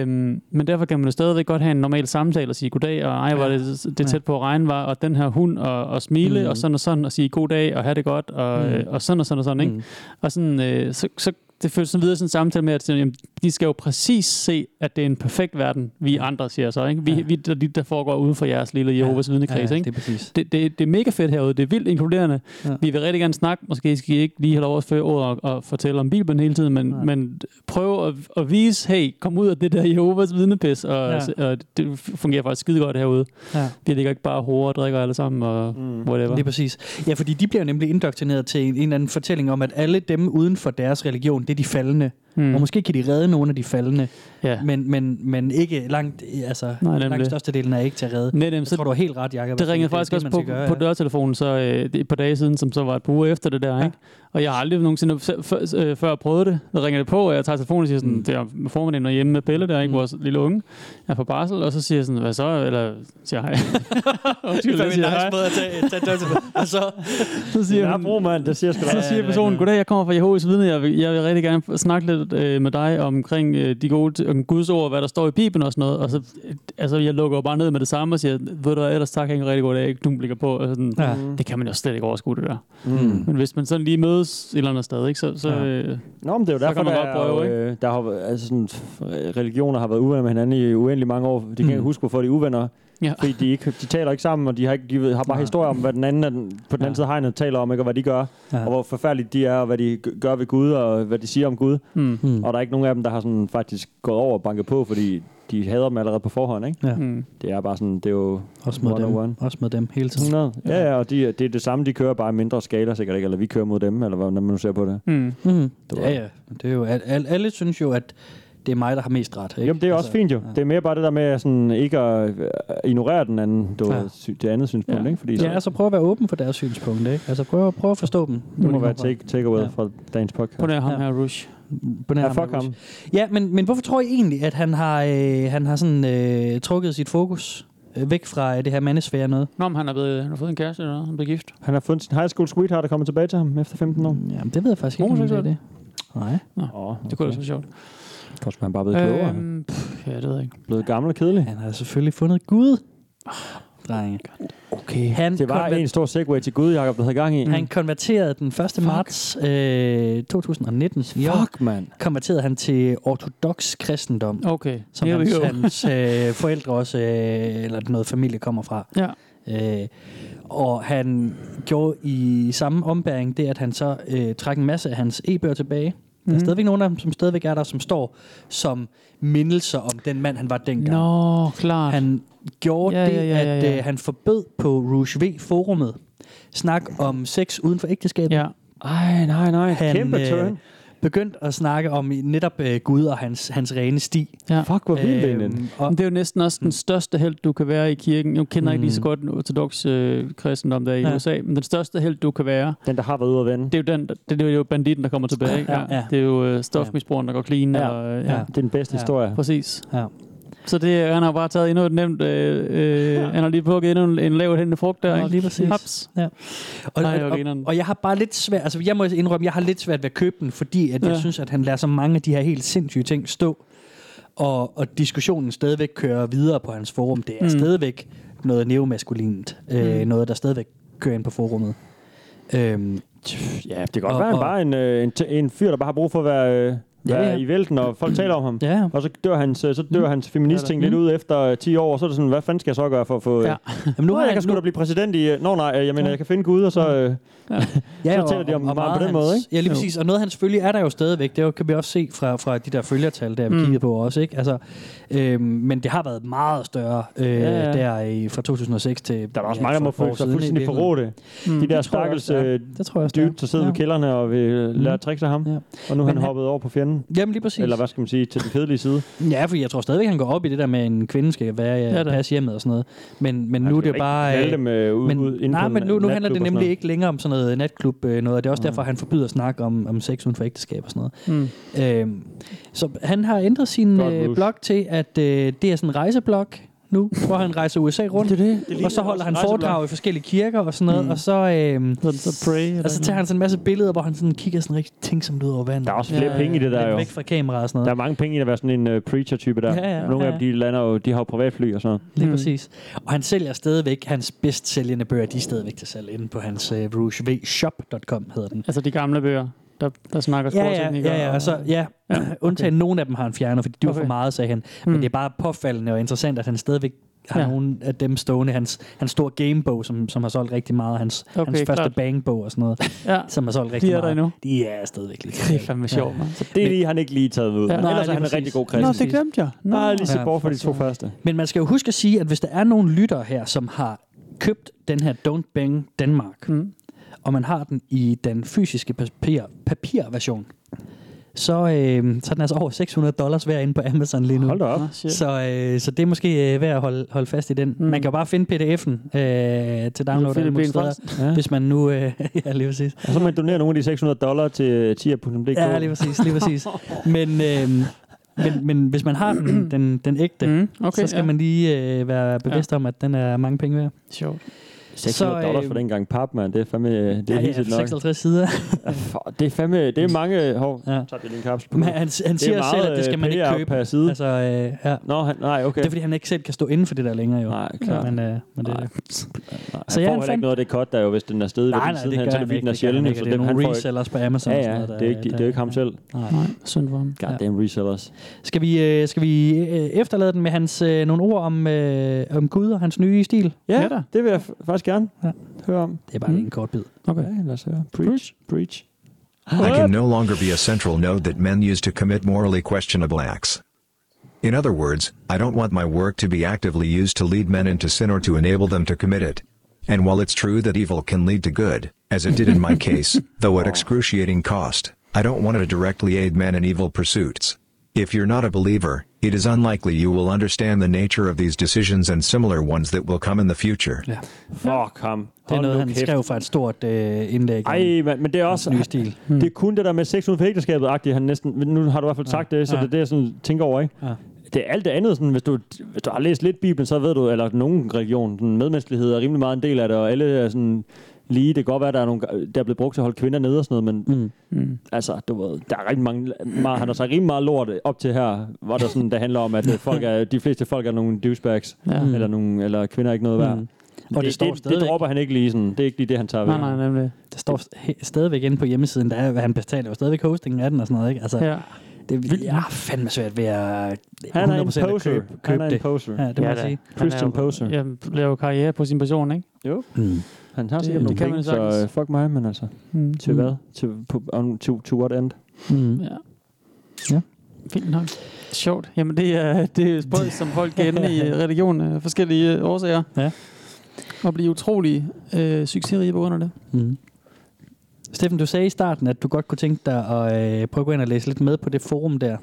Speaker 4: Øhm, men derfor kan man jo stadigvæk godt have en normal samtale og sige goddag, og ej, hvor ja.
Speaker 3: Ja.
Speaker 4: det, det er
Speaker 3: Ja.
Speaker 4: tæt på at regne var, og den her hund, og, og smile, mm.
Speaker 3: Mm.
Speaker 4: og sådan og sådan, og sige god dag, og have det godt, og, mm.
Speaker 3: Mm.
Speaker 4: øh, og sådan og sådan og sådan, ikke? Mm.
Speaker 3: Mm.
Speaker 4: Og sådan, øh, så, så det føles sådan videre sådan en samtale med, at sådan, jamen, de skal jo præcis se, at det er en perfekt verden, vi andre siger så, ikke? Vi, ja.
Speaker 3: Ja.
Speaker 4: vi der, der foregår uden for jeres lille Jehovas ja. vidnekreds, ikke?
Speaker 3: det er præcis.
Speaker 4: det, det, det er mega fedt herude. Det er vildt inkluderende. Ja.
Speaker 3: Ja.
Speaker 4: Vi vil rigtig gerne snakke. Måske skal I ikke lige have lov at føre ordet og, og fortælle om Bibelen hele tiden, men,
Speaker 3: Nej.
Speaker 4: men prøv at, at vise, hey, kom ud af det der Jehovas vidnepis, og, ja.
Speaker 3: Ja.
Speaker 4: og det fungerer faktisk skide godt herude.
Speaker 3: Ja.
Speaker 4: Vi ligger ikke bare og horer og drikker alle sammen og mm. whatever.
Speaker 3: Lige præcis. Ja, fordi de bliver nemlig indoktrineret til en, en eller anden fortælling om, at alle dem uden for deres religion, det er de faldende. Mm. Og måske kan de redde nogle af de faldende,
Speaker 4: Hmm. ja.
Speaker 3: men, men, men ikke langt, altså,
Speaker 4: Nej, nemlig.
Speaker 3: langt størstedelen er ikke til at redde.
Speaker 4: Netop,
Speaker 3: Jeg tror,
Speaker 4: så
Speaker 3: du har helt ret, Jacob.
Speaker 4: det ringede
Speaker 3: er
Speaker 4: faktisk også
Speaker 3: man
Speaker 4: på,
Speaker 3: skal gøre,
Speaker 4: på
Speaker 3: ja.
Speaker 4: dørtelefonen så, øh, det- et par dage siden, som så var et par uger efter det der, ja.
Speaker 3: Ja.
Speaker 4: ikke? Og jeg har aldrig nogensinde f- f- øh, før prøvet det. Jeg ringer det på, og jeg tager telefonen og siger sådan, mm.
Speaker 3: Mm.
Speaker 4: det er om formiddagen og hjemme med Pelle der, ikke? Mm.
Speaker 3: Mm.
Speaker 4: Vores lille unge er på barsel, og så siger jeg sådan, hvad så? Eller siger jeg hej. Undskyld, jeg siger hej.
Speaker 3: måde at tage, tage dørtelefonen. Og så,
Speaker 4: Så
Speaker 2: Det
Speaker 4: siger,
Speaker 2: er
Speaker 4: hun,
Speaker 2: brug, mand. Det siger sgu da.
Speaker 4: så siger
Speaker 3: det er
Speaker 4: personen,
Speaker 3: rigtigt.
Speaker 4: goddag, jeg kommer fra Jehovas vidne, jeg vil, jeg vil rigtig gerne f- snakke lidt øh, med dig omkring øh, de gode, om Guds ord, hvad der står i Bibelen og sådan noget. Og så, øh, altså, jeg lukker jo bare ned med det samme og siger, ved du hvad, ellers tak, jeg en rigtig god dag, du ligger på. Og sådan,
Speaker 3: ja.
Speaker 4: det kan man jo slet ikke overskue det der.
Speaker 2: Mm.
Speaker 4: Men hvis man sådan lige mødes et eller andet sted, ikke, så... øh, så
Speaker 3: Ja.
Speaker 4: ja.
Speaker 2: Nå, men det er jo
Speaker 4: Så
Speaker 2: derfor,
Speaker 4: kan man
Speaker 2: der,
Speaker 4: godt prøve,
Speaker 2: er, jo, øh, der har, jo- altså sådan, religioner har været uvenner med hinanden i uendelig mange år. De kan ikke
Speaker 3: Mm.
Speaker 2: huske, hvorfor de er uvenner.
Speaker 4: Ja.
Speaker 2: Fordi de, ikke, de taler ikke sammen, og de har, ikke, de ved- har bare
Speaker 3: Nej.
Speaker 2: historier om, hvad den anden er den- på den anden
Speaker 4: Ja.
Speaker 2: side af hegnet taler om, ikke, og hvad de gør,
Speaker 3: Ja.
Speaker 2: og hvor forfærdeligt de er, og hvad de g- gør ved Gud, og hvad de siger om Gud.
Speaker 4: Mm.
Speaker 3: Mm.
Speaker 2: Og der er ikke nogen af dem, der har sådan faktisk gået over og banket på, fordi de hader dem allerede på forhånd, ikke?
Speaker 3: Ja.
Speaker 4: Mm.
Speaker 2: Det er bare sådan, det er jo
Speaker 3: Også mod dem.
Speaker 2: 101.
Speaker 3: Også mod dem hele tiden.
Speaker 2: 100. Ja, ja, og de, det er det samme, de kører bare i mindre skala sikkert, ikke? Eller vi kører mod dem, eller hvordan man nu ser på det.
Speaker 4: Mm.
Speaker 3: Mm.
Speaker 2: Det var-
Speaker 3: Ja, ja. Det er jo, al, al, alle synes jo, at det er mig, der har mest ret. Ikke? Altså,
Speaker 2: Jamen, det er også fint jo. Ja. Det er mere bare det der med sådan, ikke at øh, ignorere den anden, du,
Speaker 3: Ja.
Speaker 2: ja. sy- det andet synspunkt. Ja. Ikke? Fordi så,
Speaker 3: Ja, altså prøv at være åben for deres synspunkter, ikke? Altså prøv, at- prøv at forstå dem.
Speaker 2: det må være take, take away
Speaker 3: Ja.
Speaker 2: ja. fra dagens podcast.
Speaker 4: På nær ham
Speaker 3: Ja.
Speaker 4: ja. her, Rush.
Speaker 3: på nær
Speaker 2: Ja,
Speaker 3: ham,
Speaker 2: fuck ham.
Speaker 3: Marcus. Ja, men, men hvorfor tror I egentlig, at han har, øh, han har sådan, øh, trukket sit fokus øh, væk fra øh, det her mandesfære noget?
Speaker 4: Nå, men han er blevet, han har fået en kæreste eller noget. Han blev gift.
Speaker 2: Han har fundet sin high school sweetheart og kommer tilbage til ham efter 15 år. Åh,
Speaker 3: Mm, Jamen, det ved jeg faktisk ikke, om det er det. Nej.
Speaker 2: oh,
Speaker 4: Det kunne da være sjovt.
Speaker 2: Kost, han er bare blevet klogere. han
Speaker 4: Øhm, pff, ja, det ved jeg ikke.
Speaker 2: er blevet gammel og kedelig.
Speaker 3: Han har selvfølgelig fundet Gud. Drenge.
Speaker 2: Okay.
Speaker 3: Han,
Speaker 2: Oh, Det var
Speaker 3: konver-
Speaker 2: en stor segway til Gud, Jacob, du havde gang i.
Speaker 3: han konverterede den 1. Fuck. marts øh, 2019. i år,
Speaker 2: Fuck, mand.
Speaker 3: Konverterede han til ortodox kristendom,
Speaker 4: Okay,
Speaker 3: som
Speaker 4: here we
Speaker 3: hans,
Speaker 4: go.
Speaker 3: hans øh, forældre også, øh, eller noget familie kommer fra.
Speaker 4: Ja.
Speaker 3: Øh, og han gjorde i samme ombæring det, at han så øh, trak en masse af hans e-bøger tilbage. Der er stadigvæk nogle af dem, som stadigvæk er der, som står som mindelser om den mand, han var dengang.
Speaker 4: Nå, klart. Han,
Speaker 3: Han gjorde ja, det, ja, ja, ja, at
Speaker 4: ja.
Speaker 3: øh, han forbød på Rouge V-forummet snak om sex uden for ægteskabet.
Speaker 4: ja.
Speaker 2: Ej, nej, nej.
Speaker 3: Han,
Speaker 2: Kæmpe
Speaker 3: øh,
Speaker 2: turn.
Speaker 3: Begyndte at snakke om netop øh, Gud og hans, hans rene sti.
Speaker 4: ja.
Speaker 2: Fuck, hvor vildt øh,
Speaker 3: Øhm,
Speaker 4: Men
Speaker 3: og,
Speaker 4: Det er jo næsten også den største held, du kan være i kirken. Nu kender jeg ikke lige så godt den ortodoxe øh, kristendom, der er i
Speaker 3: Ja.
Speaker 4: ja. USA, men den største held, du kan være,
Speaker 2: Den, der har været ude at vende.
Speaker 4: det er jo, den, det, det er jo banditten, der kommer tilbage. Ikke?
Speaker 3: Ja,
Speaker 4: Ja,
Speaker 3: ja.
Speaker 4: Det er jo øh, stofmisbrugeren, der går clean.
Speaker 2: Ja.
Speaker 4: Ja. Og, øh, ja.
Speaker 3: Ja.
Speaker 4: ja.
Speaker 2: Det er den bedste
Speaker 3: Ja.
Speaker 2: ja. historie.
Speaker 4: Præcis.
Speaker 3: ja.
Speaker 4: Så det, øh, han har bare taget endnu et nemt... Øh, øh, ja. Han har lige plukket endnu en, en lavt hængende frugt der.
Speaker 3: Nå,
Speaker 4: ikke?
Speaker 3: lige præcis.
Speaker 4: Haps.
Speaker 3: Og,
Speaker 4: Nej,
Speaker 3: og,
Speaker 4: hvor griner
Speaker 3: og,
Speaker 4: den.
Speaker 3: og jeg har bare lidt svært, altså jeg må indrømme, jeg har lidt svært ved at købe den, fordi at jeg
Speaker 4: Ja.
Speaker 3: synes, at han lader så mange af de her helt sindssyge ting stå, og, og diskussionen stadigvæk kører videre på hans forum. Det er mm.
Speaker 4: Mm.
Speaker 3: stadigvæk noget neomaskulint,
Speaker 2: Mm.
Speaker 3: øh, noget der stadigvæk kører ind på forummet. Øhm,
Speaker 2: Ja, det kan godt
Speaker 3: Og-
Speaker 2: være, han
Speaker 3: og-
Speaker 2: bare er en, øh, en, t- en fyr, der bare har brug for at være, øh, være
Speaker 3: ja.
Speaker 2: i vælten, og folk taler om ham.
Speaker 3: ja,
Speaker 2: Og så dør hans, øh, så dør hans feminist-ting lidt ud efter øh, 10 år, og så er det sådan, hvad fanden skal jeg så gøre for at få... Øh,
Speaker 4: Ja.
Speaker 2: ja.
Speaker 3: Jamen,
Speaker 2: Nu har jeg kan sgu da blive præsident i... øh, Nå nej, øh, jeg mener, jeg kan finde Gud, og så... Øh,
Speaker 3: ja,
Speaker 2: så tæller de om meget på den
Speaker 3: hans,
Speaker 2: måde, ikke?
Speaker 3: Ja, lige
Speaker 4: Jo.
Speaker 3: præcis. Og noget af hans følge er der jo stadigvæk. Det kan vi også se fra, fra de der følgertal, der vi mm.
Speaker 4: Mm.
Speaker 3: kiggede på også. Ikke? Altså, øhm, men det har været meget større øh, ja,
Speaker 2: Ja,
Speaker 3: ja.
Speaker 2: ja.
Speaker 3: der i, fra 2006 til...
Speaker 2: der er da også
Speaker 3: ja,
Speaker 2: mange, der
Speaker 3: for
Speaker 2: må
Speaker 3: et par år
Speaker 2: føle sig
Speaker 3: siden i
Speaker 2: fuldstændig
Speaker 3: virkeligheden.
Speaker 2: forråde. De der
Speaker 4: Mm.
Speaker 3: Det tror jeg
Speaker 2: stakkels
Speaker 3: også, ja.
Speaker 2: øh,
Speaker 3: Det tror jeg også, det er.
Speaker 2: dude, der sidder
Speaker 3: ja. Mm.
Speaker 2: ved kælderne og vil lære tricks af ham.
Speaker 3: Ja.
Speaker 2: Og nu er han
Speaker 3: han-
Speaker 2: hoppet over på fjenden.
Speaker 3: Jamen lige præcis.
Speaker 2: Eller hvad skal man sige, til den kedelige side. Altså,
Speaker 3: Ja, fordi jeg tror stadigvæk, han går op i det der med, at en kvinde skal være ja,
Speaker 4: Ja, da.
Speaker 3: passe hjemmet og sådan noget. Men, men nu
Speaker 2: Han
Speaker 3: er
Speaker 2: skal
Speaker 3: det
Speaker 2: ikke
Speaker 3: bare...
Speaker 2: kalde
Speaker 3: øh,
Speaker 2: dem, øh, ud, ud,
Speaker 3: Men,
Speaker 2: inden
Speaker 3: nej,
Speaker 2: for en
Speaker 3: men nu, nu
Speaker 2: natklub
Speaker 3: handler
Speaker 2: og
Speaker 3: det
Speaker 2: sådan
Speaker 3: nemlig
Speaker 2: noget.
Speaker 3: ikke længere om sådan noget natklub øh, noget, og det
Speaker 2: Mm.
Speaker 3: er også derfor, han forbyder snak om, om sex uden for ægteskab og sådan
Speaker 4: Mm.
Speaker 3: noget. Øhm, så han har ændret sin
Speaker 2: Godt
Speaker 3: øh,
Speaker 2: rouge.
Speaker 3: blog til, at øh, det er sådan en rejseblog nu, hvor han rejser USA rundt, det det.
Speaker 2: ligner
Speaker 3: og så holder
Speaker 2: også
Speaker 3: han
Speaker 2: en rejseblog.
Speaker 3: foredrag i forskellige kirker og sådan noget, mm. og så... Øh,
Speaker 4: Så, så pray. eller
Speaker 3: og så
Speaker 4: sådan
Speaker 3: tager han sådan en masse billeder, hvor han sådan kigger sådan rigtig tænksomt ud over vandet.
Speaker 2: Der er også flere penge i det der,
Speaker 3: Lidt
Speaker 2: jo.
Speaker 3: væk fra kameraet og sådan noget.
Speaker 2: Der er mange penge i at være sådan en øh, preacher-type der.
Speaker 3: Ja, ja,
Speaker 2: Nogle
Speaker 3: ja,
Speaker 2: af dem, de lander jo, de har jo privatfly og sådan noget.
Speaker 3: Lige mm.
Speaker 4: Mm.
Speaker 3: præcis. Og han sælger stadigvæk hans bedst sælgende bøger. De er stadigvæk til salg inde på hans uh, rougevshop.com hedder den.
Speaker 4: Altså de gamle bøger, der, der snakker
Speaker 3: Ja, ja,
Speaker 4: sportsteknikere.
Speaker 3: ja, ja, og så, ja. ja okay. undtagen nogle af dem har han fjernet, fordi de var for
Speaker 4: Okay.
Speaker 3: meget, sagde han. Men
Speaker 4: Mm.
Speaker 3: det er bare påfaldende og interessant, at han stadigvæk har ja.
Speaker 4: Ja.
Speaker 3: nogle af dem stående. Hans, hans store gamebog, som, som har solgt rigtig meget, hans, okay,
Speaker 4: Okay,
Speaker 3: hans første
Speaker 4: klart.
Speaker 3: bangbog og sådan noget,
Speaker 4: ja.
Speaker 3: som har solgt rigtig
Speaker 4: De er der
Speaker 3: meget.
Speaker 4: endnu.
Speaker 3: De er stadigvæk lige til
Speaker 4: Det er
Speaker 3: salg.
Speaker 4: fandme sjovt, man.
Speaker 2: Så det er lige, han ikke lige taget ud.
Speaker 4: Ja.
Speaker 2: Ja,
Speaker 4: Nej,
Speaker 2: Ellers er
Speaker 3: lige
Speaker 2: han en
Speaker 3: præcis.
Speaker 2: rigtig god
Speaker 4: Nå,
Speaker 2: kristen.
Speaker 4: det glemte jeg. Nå.
Speaker 2: Bare lige
Speaker 3: Ja,
Speaker 2: se bort for de to første.
Speaker 3: Men man skal jo huske at sige, at hvis der er nogle lyttere her, som har købt den her Don't Bang Danmark, mm.
Speaker 4: Mm.
Speaker 3: og man har den i den fysiske papir, papirversion, så, øh, så er den altså over 600 dollars værd inde på Amazon lige nu.
Speaker 2: Hold da op.
Speaker 4: Nå, shit.
Speaker 3: Så, øh, så det er måske øh, værd at holde, holde fast i den. Mm.
Speaker 4: Mm.
Speaker 3: Man kan jo bare finde pdf'en øh, til download
Speaker 4: Philip
Speaker 3: alle
Speaker 4: Ben
Speaker 3: mulige steder,
Speaker 4: Fransen.
Speaker 2: Ja.
Speaker 3: hvis man nu... Øh, ja, lige præcis.
Speaker 2: Og så man donerer nogle af de 600 dollar til øh, tia.dk.
Speaker 3: Ja, lige præcis, lige præcis. Men, øh, men, men hvis man har den, den, den ægte, mm.
Speaker 4: Mm,
Speaker 3: okay,
Speaker 4: okay,
Speaker 3: så skal ja.
Speaker 4: ja.
Speaker 3: man lige øh, være bevidst ja. om, at den er mange penge værd.
Speaker 4: Sjovt.
Speaker 2: 600
Speaker 3: Så, øh,
Speaker 2: dollars for dengang pap, mand. Det er fandme... Det er
Speaker 3: ja, ja,
Speaker 2: helt nok.
Speaker 3: 56 sider.
Speaker 2: Fuck, Det er fandme... Det er mange... Hov,
Speaker 3: Ja.
Speaker 2: ja. tabte jeg lige en kapsel på.
Speaker 3: Men han, han
Speaker 2: Det er
Speaker 3: siger
Speaker 2: meget,
Speaker 3: selv, at det skal
Speaker 2: øh,
Speaker 3: man ikke
Speaker 2: PR
Speaker 3: købe.
Speaker 2: Per side.
Speaker 3: Altså, øh, ja.
Speaker 2: Nå, han, nej, okay.
Speaker 3: Det er fordi, han ikke selv kan stå inden for det der længere, jo.
Speaker 2: Nej, klart.
Speaker 3: Men, øh, men det er det.
Speaker 2: nej,
Speaker 3: så
Speaker 2: så
Speaker 3: ja,
Speaker 2: jeg får heller
Speaker 3: han fandt-
Speaker 2: ikke noget af det cut, der jo, hvis den er stedet ved
Speaker 3: Nej,
Speaker 2: den
Speaker 3: nej,
Speaker 2: siden
Speaker 3: det
Speaker 2: her,
Speaker 3: gør
Speaker 2: så er det
Speaker 3: han
Speaker 2: fordi, den er
Speaker 3: ikke. Det gør han
Speaker 2: sjældent,
Speaker 3: ikke.
Speaker 2: så
Speaker 3: Det er
Speaker 2: den han
Speaker 3: nogle
Speaker 2: får ikke.
Speaker 3: resellers på Amazon.
Speaker 2: Ja,
Speaker 3: og
Speaker 2: ja,
Speaker 3: sådan noget, der-
Speaker 2: det er ikke, det er jo ikke ham
Speaker 3: der-
Speaker 2: selv.
Speaker 4: Nej, synd for ham.
Speaker 2: God damn resellers.
Speaker 3: Skal vi, øh, skal vi øh, efterlade den med hans øh, nogle ord om, øh, om Gud og hans nye stil?
Speaker 2: Ja,
Speaker 4: Ja da.
Speaker 2: det vil jeg f- faktisk gerne
Speaker 3: Ja.
Speaker 2: høre om.
Speaker 3: Det er bare
Speaker 4: Mm.
Speaker 3: lige en kort bid.
Speaker 4: Okay.
Speaker 2: Ja, lad os høre. Preach. Preach.
Speaker 5: I can no longer be a central node that men use to commit morally questionable acts. In other words, I don't want my work to be actively used to lead men into sin or to enable them to commit it. And while it's true that evil can lead to good, as it did in my case, though at excruciating cost, I don't want to directly aid men in evil pursuits. If you're not a believer, it is unlikely you will understand the nature of these decisions and similar ones that will come in the future.
Speaker 3: Ja.
Speaker 2: Fuck ham.
Speaker 3: Det er
Speaker 2: Hold
Speaker 3: noget,
Speaker 2: nu
Speaker 3: han
Speaker 2: kæft.
Speaker 3: skrev fra et stort øh, indlæg.
Speaker 2: Ej, men, men det er også...
Speaker 3: Ny stil.
Speaker 2: Hmm. Det er kun det der med sex uden for ægteskabet agtigt han næsten... Nu har du i hvert fald sagt det, så
Speaker 3: Ja.
Speaker 2: det er det, jeg sådan tænker over, ikke?
Speaker 3: Ja.
Speaker 2: Det er alt det andet, sådan, hvis, du, hvis du har læst lidt Bibelen, så ved du, eller nogen religion, sådan, medmenneskelighed er rimelig meget en del af det, og alle er sådan lige, det kan godt være, der er, nogle, der er blevet brugt til at holde kvinder nede og sådan noget, men mm.
Speaker 4: Mm.
Speaker 2: altså, du ved, der er rigtig mange, meget, han har sagt rimelig meget lort op til her, hvor der sådan, det handler om, at øh, folk er, de fleste folk er nogle douchebags,
Speaker 4: Ja.
Speaker 2: eller, nogle, eller kvinder er ikke noget værd.
Speaker 3: Mm.
Speaker 2: Mm.
Speaker 3: Og det, det står
Speaker 2: det, det,
Speaker 3: stadigvæk,
Speaker 2: dropper han ikke lige sådan. Det er ikke lige det, han tager
Speaker 4: Nej,
Speaker 2: ved.
Speaker 4: nej, nemlig.
Speaker 3: det står he- stadigvæk inde på hjemmesiden, der er, hvad han betaler jo stadigvæk hostingen af den og sådan noget, ikke? Altså,
Speaker 4: Ja.
Speaker 3: det er ja, fandme svært ved at 100%
Speaker 2: Han er en
Speaker 3: at
Speaker 2: poser.
Speaker 3: købe,
Speaker 2: han
Speaker 3: købe
Speaker 2: er en
Speaker 3: det.
Speaker 2: poser.
Speaker 3: Ja, det må
Speaker 4: Ja,
Speaker 3: jeg
Speaker 4: da.
Speaker 3: sige.
Speaker 2: Christian
Speaker 4: Han er jo-
Speaker 2: Poser.
Speaker 4: Ja, laver karriere på sin person, ikke?
Speaker 2: Jo,
Speaker 3: Mm.
Speaker 2: han har
Speaker 4: Det-
Speaker 2: sikkert
Speaker 4: det
Speaker 2: nogle
Speaker 4: kan man
Speaker 2: penge, så
Speaker 4: sagtens.
Speaker 2: øh, fuck mig, men altså,
Speaker 4: Mm.
Speaker 2: til hvad? Til, på, on, to, to what end?
Speaker 3: Mm.
Speaker 4: Ja.
Speaker 3: Ja.
Speaker 4: Fint nok. Sjovt. Jamen, det er, det er spøjt, som folk kan ende i religion af forskellige øh, årsager.
Speaker 3: Ja.
Speaker 4: Og blive utrolig øh, succesrige på grund af det.
Speaker 3: Mm. Steffen, du sagde i starten, at du godt kunne tænke dig at øh, prøve at gå ind og læse lidt med på det forum der.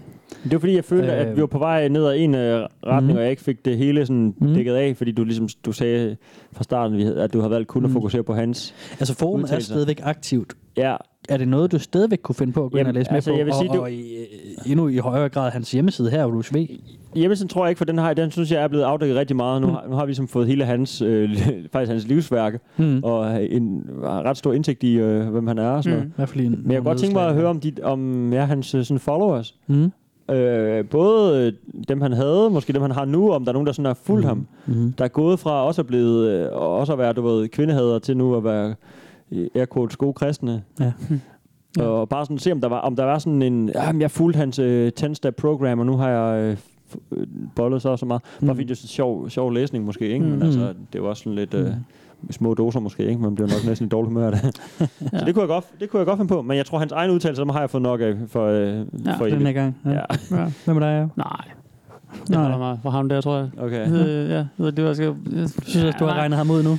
Speaker 2: Det var fordi, jeg følte,
Speaker 3: Øh.
Speaker 2: øh, at vi var på vej ned ad en øh, retning,
Speaker 3: Mhm.
Speaker 2: mm. og jeg ikke fik det hele sådan
Speaker 3: Mhm.
Speaker 2: mm. dækket af, fordi du ligesom du sagde fra starten, vi havde- at du havde valgt kun at
Speaker 3: Mhm.
Speaker 2: fokusere på hans.
Speaker 3: Altså forumet er
Speaker 2: Udtalelser.
Speaker 3: stadigvæk aktivt.
Speaker 2: Ja,
Speaker 3: Er det noget, du stadigvæk kunne finde på at gå ind og
Speaker 2: Jamen,
Speaker 3: læse med
Speaker 2: altså,
Speaker 3: på?
Speaker 2: jeg vil sige,
Speaker 3: og,
Speaker 2: du-
Speaker 3: og i, øh, endnu i højere grad hans hjemmeside her, Ulus V.
Speaker 2: Hjemmesen tror jeg ikke, for den, har, den synes jeg er blevet afdækket rigtig meget. Nu, har, nu har vi ligesom fået hele hans, øh, faktisk hans livsværk,
Speaker 3: Mm.
Speaker 2: og en har ret stor indsigt i, øh, hvem han er og sådan mm. noget.
Speaker 3: I hvert fald i en,
Speaker 2: Men jeg kunne godt tænke mig at høre om, dit, om ja, hans øh, sådan followers.
Speaker 3: Mm.
Speaker 2: Øh, både øh, dem, han havde, måske dem, han har nu, om der er nogen, der sådan har fulgt mm. ham.
Speaker 3: Mm.
Speaker 2: Der er gået fra også at, blive, øh, og også at være, du ved, kvindehader til nu at være øh, air quotes, gode kristne.
Speaker 3: Ja.
Speaker 2: Ja. Og bare sådan se, om der var, om der var sådan en... Jamen, jeg fulgte hans øh, 10-step program, og nu har jeg øh, f- øh, bollet så og så meget. Mm. Bare fordi det er sådan sjov, sjov læsning måske, ikke? Men
Speaker 4: Mm.
Speaker 2: altså, det var også sådan lidt... Øh, små doser måske, ikke? Man bliver nok næsten i dårlig humør af det. ja. Så det kunne, jeg godt, det kunne jeg godt finde på. Men jeg tror, hans egen udtalelse, dem har jeg fået nok af for, øh, ja, for
Speaker 3: Den
Speaker 2: evigt.
Speaker 3: her gang. Ja.
Speaker 2: Ja.
Speaker 4: Mm. Ja.
Speaker 3: Hvad med dig, Jacob?
Speaker 4: Nej. Det
Speaker 3: Nej.
Speaker 4: holder mig for ham der, tror jeg.
Speaker 2: Okay.
Speaker 4: Øh, ja, det, det, jeg skal, jeg,
Speaker 3: Synes du, at du har regnet ham ud nu?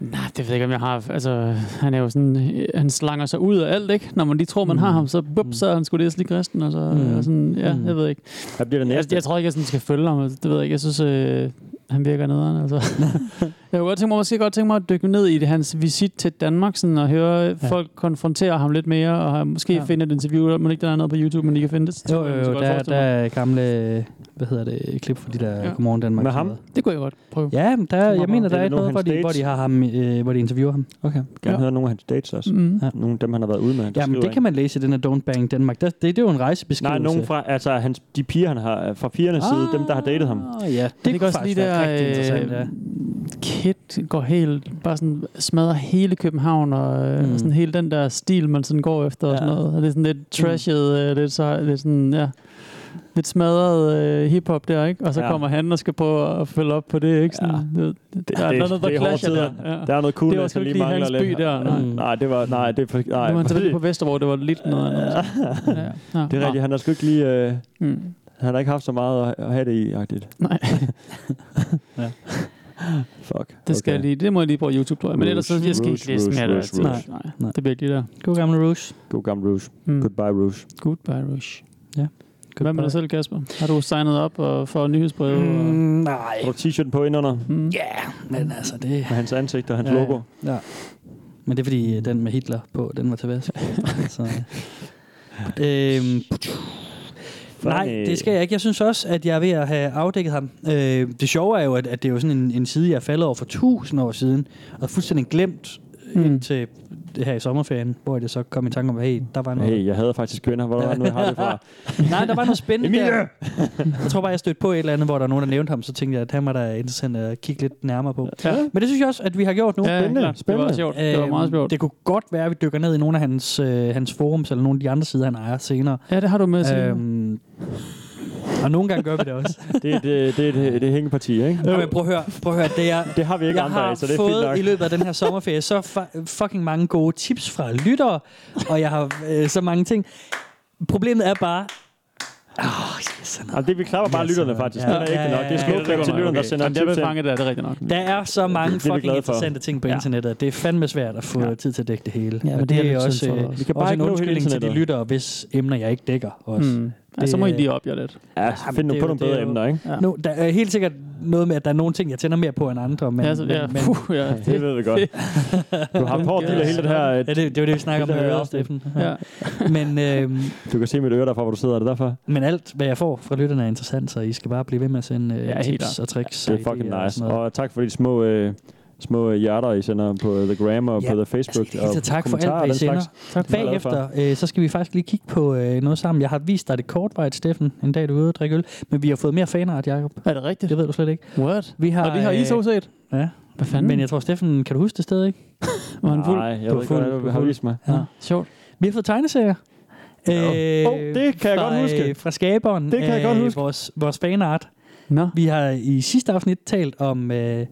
Speaker 4: Nej, det ved jeg ikke, om jeg har. Altså, han er jo sådan, øh, han slanger sig ud af alt, ikke? Når man lige tror, man har ham, så, bup, så er han sgu det lige kristen, og så
Speaker 3: Mm.
Speaker 4: mm. og sådan, ja,
Speaker 3: Mm.
Speaker 4: jeg ved ikke.
Speaker 2: Hvad bliver det
Speaker 4: Jeg,
Speaker 2: næste?
Speaker 4: jeg, tror ikke, jeg sådan skal følge ham, altså, det ved jeg ikke. Jeg synes, øh, han virker nederen, altså. jeg kunne godt tænke mig, måske godt tænke mig at dykke ned i det, hans visit til Danmark, sådan, og høre ja. folk konfrontere ham lidt mere, og måske
Speaker 3: Ja.
Speaker 4: ja. finde et interview, man ikke der er noget på YouTube, men I kan finde det.
Speaker 3: Jo,
Speaker 4: Det kunne jeg
Speaker 3: jo,
Speaker 4: måske
Speaker 3: jo
Speaker 4: godt
Speaker 3: der,
Speaker 4: forestille
Speaker 3: der
Speaker 4: mig.
Speaker 3: er gamle, hvad hedder det, klip fra de der ja.
Speaker 4: Ja.
Speaker 3: Godmorgen Danmark.
Speaker 2: Med ham?
Speaker 4: Det kunne jeg godt prøve.
Speaker 3: Ja, men der, jeg
Speaker 2: Godmorgen.
Speaker 3: mener, der er
Speaker 2: Eller
Speaker 3: et
Speaker 2: nogle
Speaker 3: noget, hvor
Speaker 2: hans
Speaker 3: de, hvor de,
Speaker 2: dates.
Speaker 3: har ham, øh, hvor de interviewer ham.
Speaker 2: Okay. Gerne
Speaker 4: Ja.
Speaker 2: ja. høre nogle af hans dates også.
Speaker 4: Mm.
Speaker 3: Ja.
Speaker 4: Ja.
Speaker 2: Nogle af dem, han har været ude med. der
Speaker 3: Jamen,
Speaker 2: skriver
Speaker 3: det kan man læse i den her Don't Bang Danmark. Der, det, det er jo en rejsebeskrivelse.
Speaker 2: Nej, nogen fra, altså hans, de piger, han har, fra pigernes ah. side, dem, der har datet ham.
Speaker 3: Ah, ja, det,
Speaker 4: Det,
Speaker 3: det
Speaker 4: kan
Speaker 3: kunne
Speaker 4: også
Speaker 3: faktisk
Speaker 4: lige
Speaker 3: lige være
Speaker 4: der,
Speaker 3: der, rigtig interessant,
Speaker 4: øh,
Speaker 3: ja.
Speaker 4: Kit går helt, bare sådan smadrer hele København, og, mm.
Speaker 3: Mm.
Speaker 4: og sådan hele den der stil, man sådan går efter ja. og sådan
Speaker 3: Ja.
Speaker 4: noget. Og det er sådan lidt trashet, mm. lidt, så, lidt sådan, ja, lidt smadret øh, hiphop der, ikke? Og så ja.
Speaker 2: Ja.
Speaker 4: kommer han og skal prøve at følge op på det, ikke? Sådan, ja. det, det, der er
Speaker 2: det-
Speaker 4: noget, der
Speaker 2: det er hårde
Speaker 4: clasher der.
Speaker 2: tider.
Speaker 4: Ja.
Speaker 2: Der er noget cool,
Speaker 4: Ah. Det var
Speaker 2: der
Speaker 4: sgu
Speaker 2: lige
Speaker 4: ikke lige
Speaker 2: mangler
Speaker 4: hans
Speaker 2: lidt.
Speaker 4: by der, nej.
Speaker 2: Mm. Nej, det var, nej, det er, for- nej,
Speaker 4: Nej, man tilbage
Speaker 2: det,
Speaker 4: på Vesterbro, det var lidt noget andet. Ja, ja. Ja.
Speaker 2: det er rigtigt. Han har sgu ikke lige, øh,
Speaker 4: Nå. Mm.
Speaker 2: han har ikke haft så meget at, at have det i, agtigt.
Speaker 4: Nej,
Speaker 2: Fuck.
Speaker 4: det skal jeg lige. Det må jeg lige prøve YouTube, tror jeg. Men ellers så jeg skal jeg ikke
Speaker 2: Rouge,
Speaker 4: læse
Speaker 2: rouge,
Speaker 4: mere. der.
Speaker 2: rouge,
Speaker 4: Nej,
Speaker 2: rouge.
Speaker 4: nej,
Speaker 3: Nej.
Speaker 4: det bliver ikke lige der.
Speaker 3: God gamle Rouge.
Speaker 2: God gammel Rouge.
Speaker 4: Mm.
Speaker 2: Goodbye, Rouge.
Speaker 4: Goodbye, Rush.
Speaker 3: Good
Speaker 4: Hvad med dig selv, Kasper? Har du signet op og får nyhedsbrev?
Speaker 2: Hmm.
Speaker 4: Mm.
Speaker 3: Mm, nej.
Speaker 2: Har du t-shirten på indenunder
Speaker 4: Mm.
Speaker 3: Ja, men altså det...
Speaker 2: med hans ansigt og hans
Speaker 3: Ja, ja.
Speaker 2: logo?
Speaker 3: Ja. Men det er fordi, øh, den med Hitler på, den var til vask. så, øh. øhm, nej, det skal jeg ikke. Jeg synes også, at jeg er ved at have afdækket ham. Øh, det sjove er jo, at, at det er jo sådan en, en side, jeg er faldet over for tusind år siden, og fuldstændig glemt
Speaker 4: Mm.
Speaker 3: mm. indtil det her i sommerferien, hvor jeg så kom i tanke om, hey, der var noget.
Speaker 2: Hey, jeg havde faktisk kvinder. Hvor er det nu, jeg har det fra?
Speaker 3: Nej, der var noget spændende
Speaker 2: Emilie!
Speaker 3: der. Jeg tror bare, jeg stødte på et eller andet, hvor der var nogen, der nævnte ham, så tænkte jeg, at han var da interessant at kigge lidt nærmere på.
Speaker 4: Ja.
Speaker 3: Men det synes jeg også, at vi har gjort nu.
Speaker 4: Ja,
Speaker 2: spændende,
Speaker 4: klart. Det var
Speaker 2: spændende.
Speaker 4: også sjovt. Det var meget
Speaker 3: Øhm,
Speaker 4: sjovt.
Speaker 3: Det kunne godt være, at vi dykker ned i nogle af hans, øh, hans forums, eller nogle af de andre sider, han ejer senere.
Speaker 4: Ja, det har du med til.
Speaker 3: Øhm, og nogle gange gør vi det også.
Speaker 2: Det, er- det, det, er et- det er hængeparti, ikke?
Speaker 3: Nå, men prøv at høre, prøv at høre det er,
Speaker 2: Det har vi ikke
Speaker 3: jeg
Speaker 2: andre
Speaker 3: har
Speaker 2: af, så det er
Speaker 3: fået
Speaker 2: fint nok.
Speaker 3: i løbet af den her sommerferie så fa- fucking mange gode tips fra lyttere, og jeg har øh, så mange ting. Problemet er bare... Oh, yes,
Speaker 2: Jamen, det, vi klapper bare
Speaker 3: Ja, så-
Speaker 2: lytterne, faktisk.
Speaker 3: ja.
Speaker 2: Det er ikke
Speaker 3: Ja,
Speaker 2: nok. Det er
Speaker 3: ja, ja,
Speaker 2: smukt
Speaker 3: ja, ja.
Speaker 2: til lytterne, der sender
Speaker 4: Jamen, det er
Speaker 2: tips
Speaker 4: blevet
Speaker 2: ind.
Speaker 4: fanget der, det er rigtigt nok.
Speaker 3: Der er så mange
Speaker 2: det er vi
Speaker 3: fucking
Speaker 2: glade for.
Speaker 3: interessante ting på
Speaker 4: Ja.
Speaker 3: internettet. Det er fandme svært at få ja. tid til at dække det hele.
Speaker 4: Ja, men
Speaker 3: Og
Speaker 4: det er lidt synd
Speaker 3: også,
Speaker 4: for
Speaker 3: øh,
Speaker 4: os.
Speaker 2: Vi kan bare
Speaker 3: også
Speaker 2: ikke nå
Speaker 3: en
Speaker 2: hele
Speaker 3: undskyldning til de
Speaker 2: internettet.
Speaker 3: lyttere, hvis emner jeg ikke dækker også. Mm.
Speaker 4: Mm. Ja, så må I lige op jer lidt.
Speaker 2: Ja, find nu
Speaker 3: det er
Speaker 2: på
Speaker 3: jo-
Speaker 2: nogle
Speaker 3: det er
Speaker 2: bedre
Speaker 3: jo-
Speaker 2: emner, ikke?
Speaker 4: Ja.
Speaker 3: Nu, der er helt sikkert noget med, at der er nogle ting, jeg tænder mere på end andre. Men,
Speaker 4: ja, så, ja,
Speaker 3: men, men,
Speaker 4: puh, ja,
Speaker 2: Det ved vi godt. Du har haft hårdt del af hele det her. øh,
Speaker 3: ja, det, det var det, vi snakker om
Speaker 2: Det
Speaker 3: med
Speaker 2: der er
Speaker 3: øret,
Speaker 2: også det.
Speaker 3: Steffen.
Speaker 4: ja.
Speaker 3: Men, øhm,
Speaker 2: Du kan se mit øre derfra, hvor du sidder. Er det derfor?
Speaker 3: men alt, hvad jeg får fra lytterne, er interessant, så I skal bare blive ved med at sende øh,
Speaker 4: Ja,
Speaker 3: ja,
Speaker 4: helt
Speaker 3: tips
Speaker 4: klart.
Speaker 3: og tricks.
Speaker 2: Det
Speaker 3: og
Speaker 2: er fucking
Speaker 3: idéer og
Speaker 2: nice.
Speaker 3: sådan noget.
Speaker 2: Og tak for de små... Øh, små øh, hjerter, I sender på øh, The Gram og
Speaker 3: Ja,
Speaker 2: på The Facebook.
Speaker 3: altså, i det hele taget
Speaker 2: og
Speaker 3: tak for alt,
Speaker 2: kommentarer og
Speaker 3: hvad
Speaker 2: den
Speaker 3: I
Speaker 2: slags.
Speaker 4: Tak for
Speaker 2: Hvad er det for?
Speaker 3: Bagefter, øh, så skal vi faktisk lige kigge på øh, noget sammen. Jeg har vist dig det kortvejt, Steffen, en dag du er ude og drikke øl. Men vi har fået mere fanart, Jacob.
Speaker 4: Er det rigtigt?
Speaker 3: Det ved du slet ikke.
Speaker 4: What?
Speaker 3: Vi har, øh,
Speaker 4: Og det har I to set?
Speaker 3: Ja.
Speaker 4: Hvad fanden?
Speaker 3: Men jeg tror, Steffen, kan du huske det sted, ikke?
Speaker 4: var han fuld?
Speaker 2: Nej, jeg
Speaker 4: Du
Speaker 2: ved
Speaker 4: var
Speaker 2: ikke,
Speaker 4: fuld.
Speaker 2: hvad
Speaker 4: Du
Speaker 2: du
Speaker 4: var
Speaker 2: har
Speaker 4: fuld.
Speaker 2: vist mig.
Speaker 4: Ja. Sjovt.
Speaker 3: Vi har fået tegneserier. Øh,
Speaker 2: Mm. Åh, det kan jeg
Speaker 3: fra,
Speaker 2: godt huske.
Speaker 3: øh, Fra skaberen
Speaker 2: Det kan jeg
Speaker 3: af
Speaker 2: godt huske.
Speaker 3: Vores, vores fanart.
Speaker 4: Nå.
Speaker 3: Vi har i sidste afsnit talt om øh,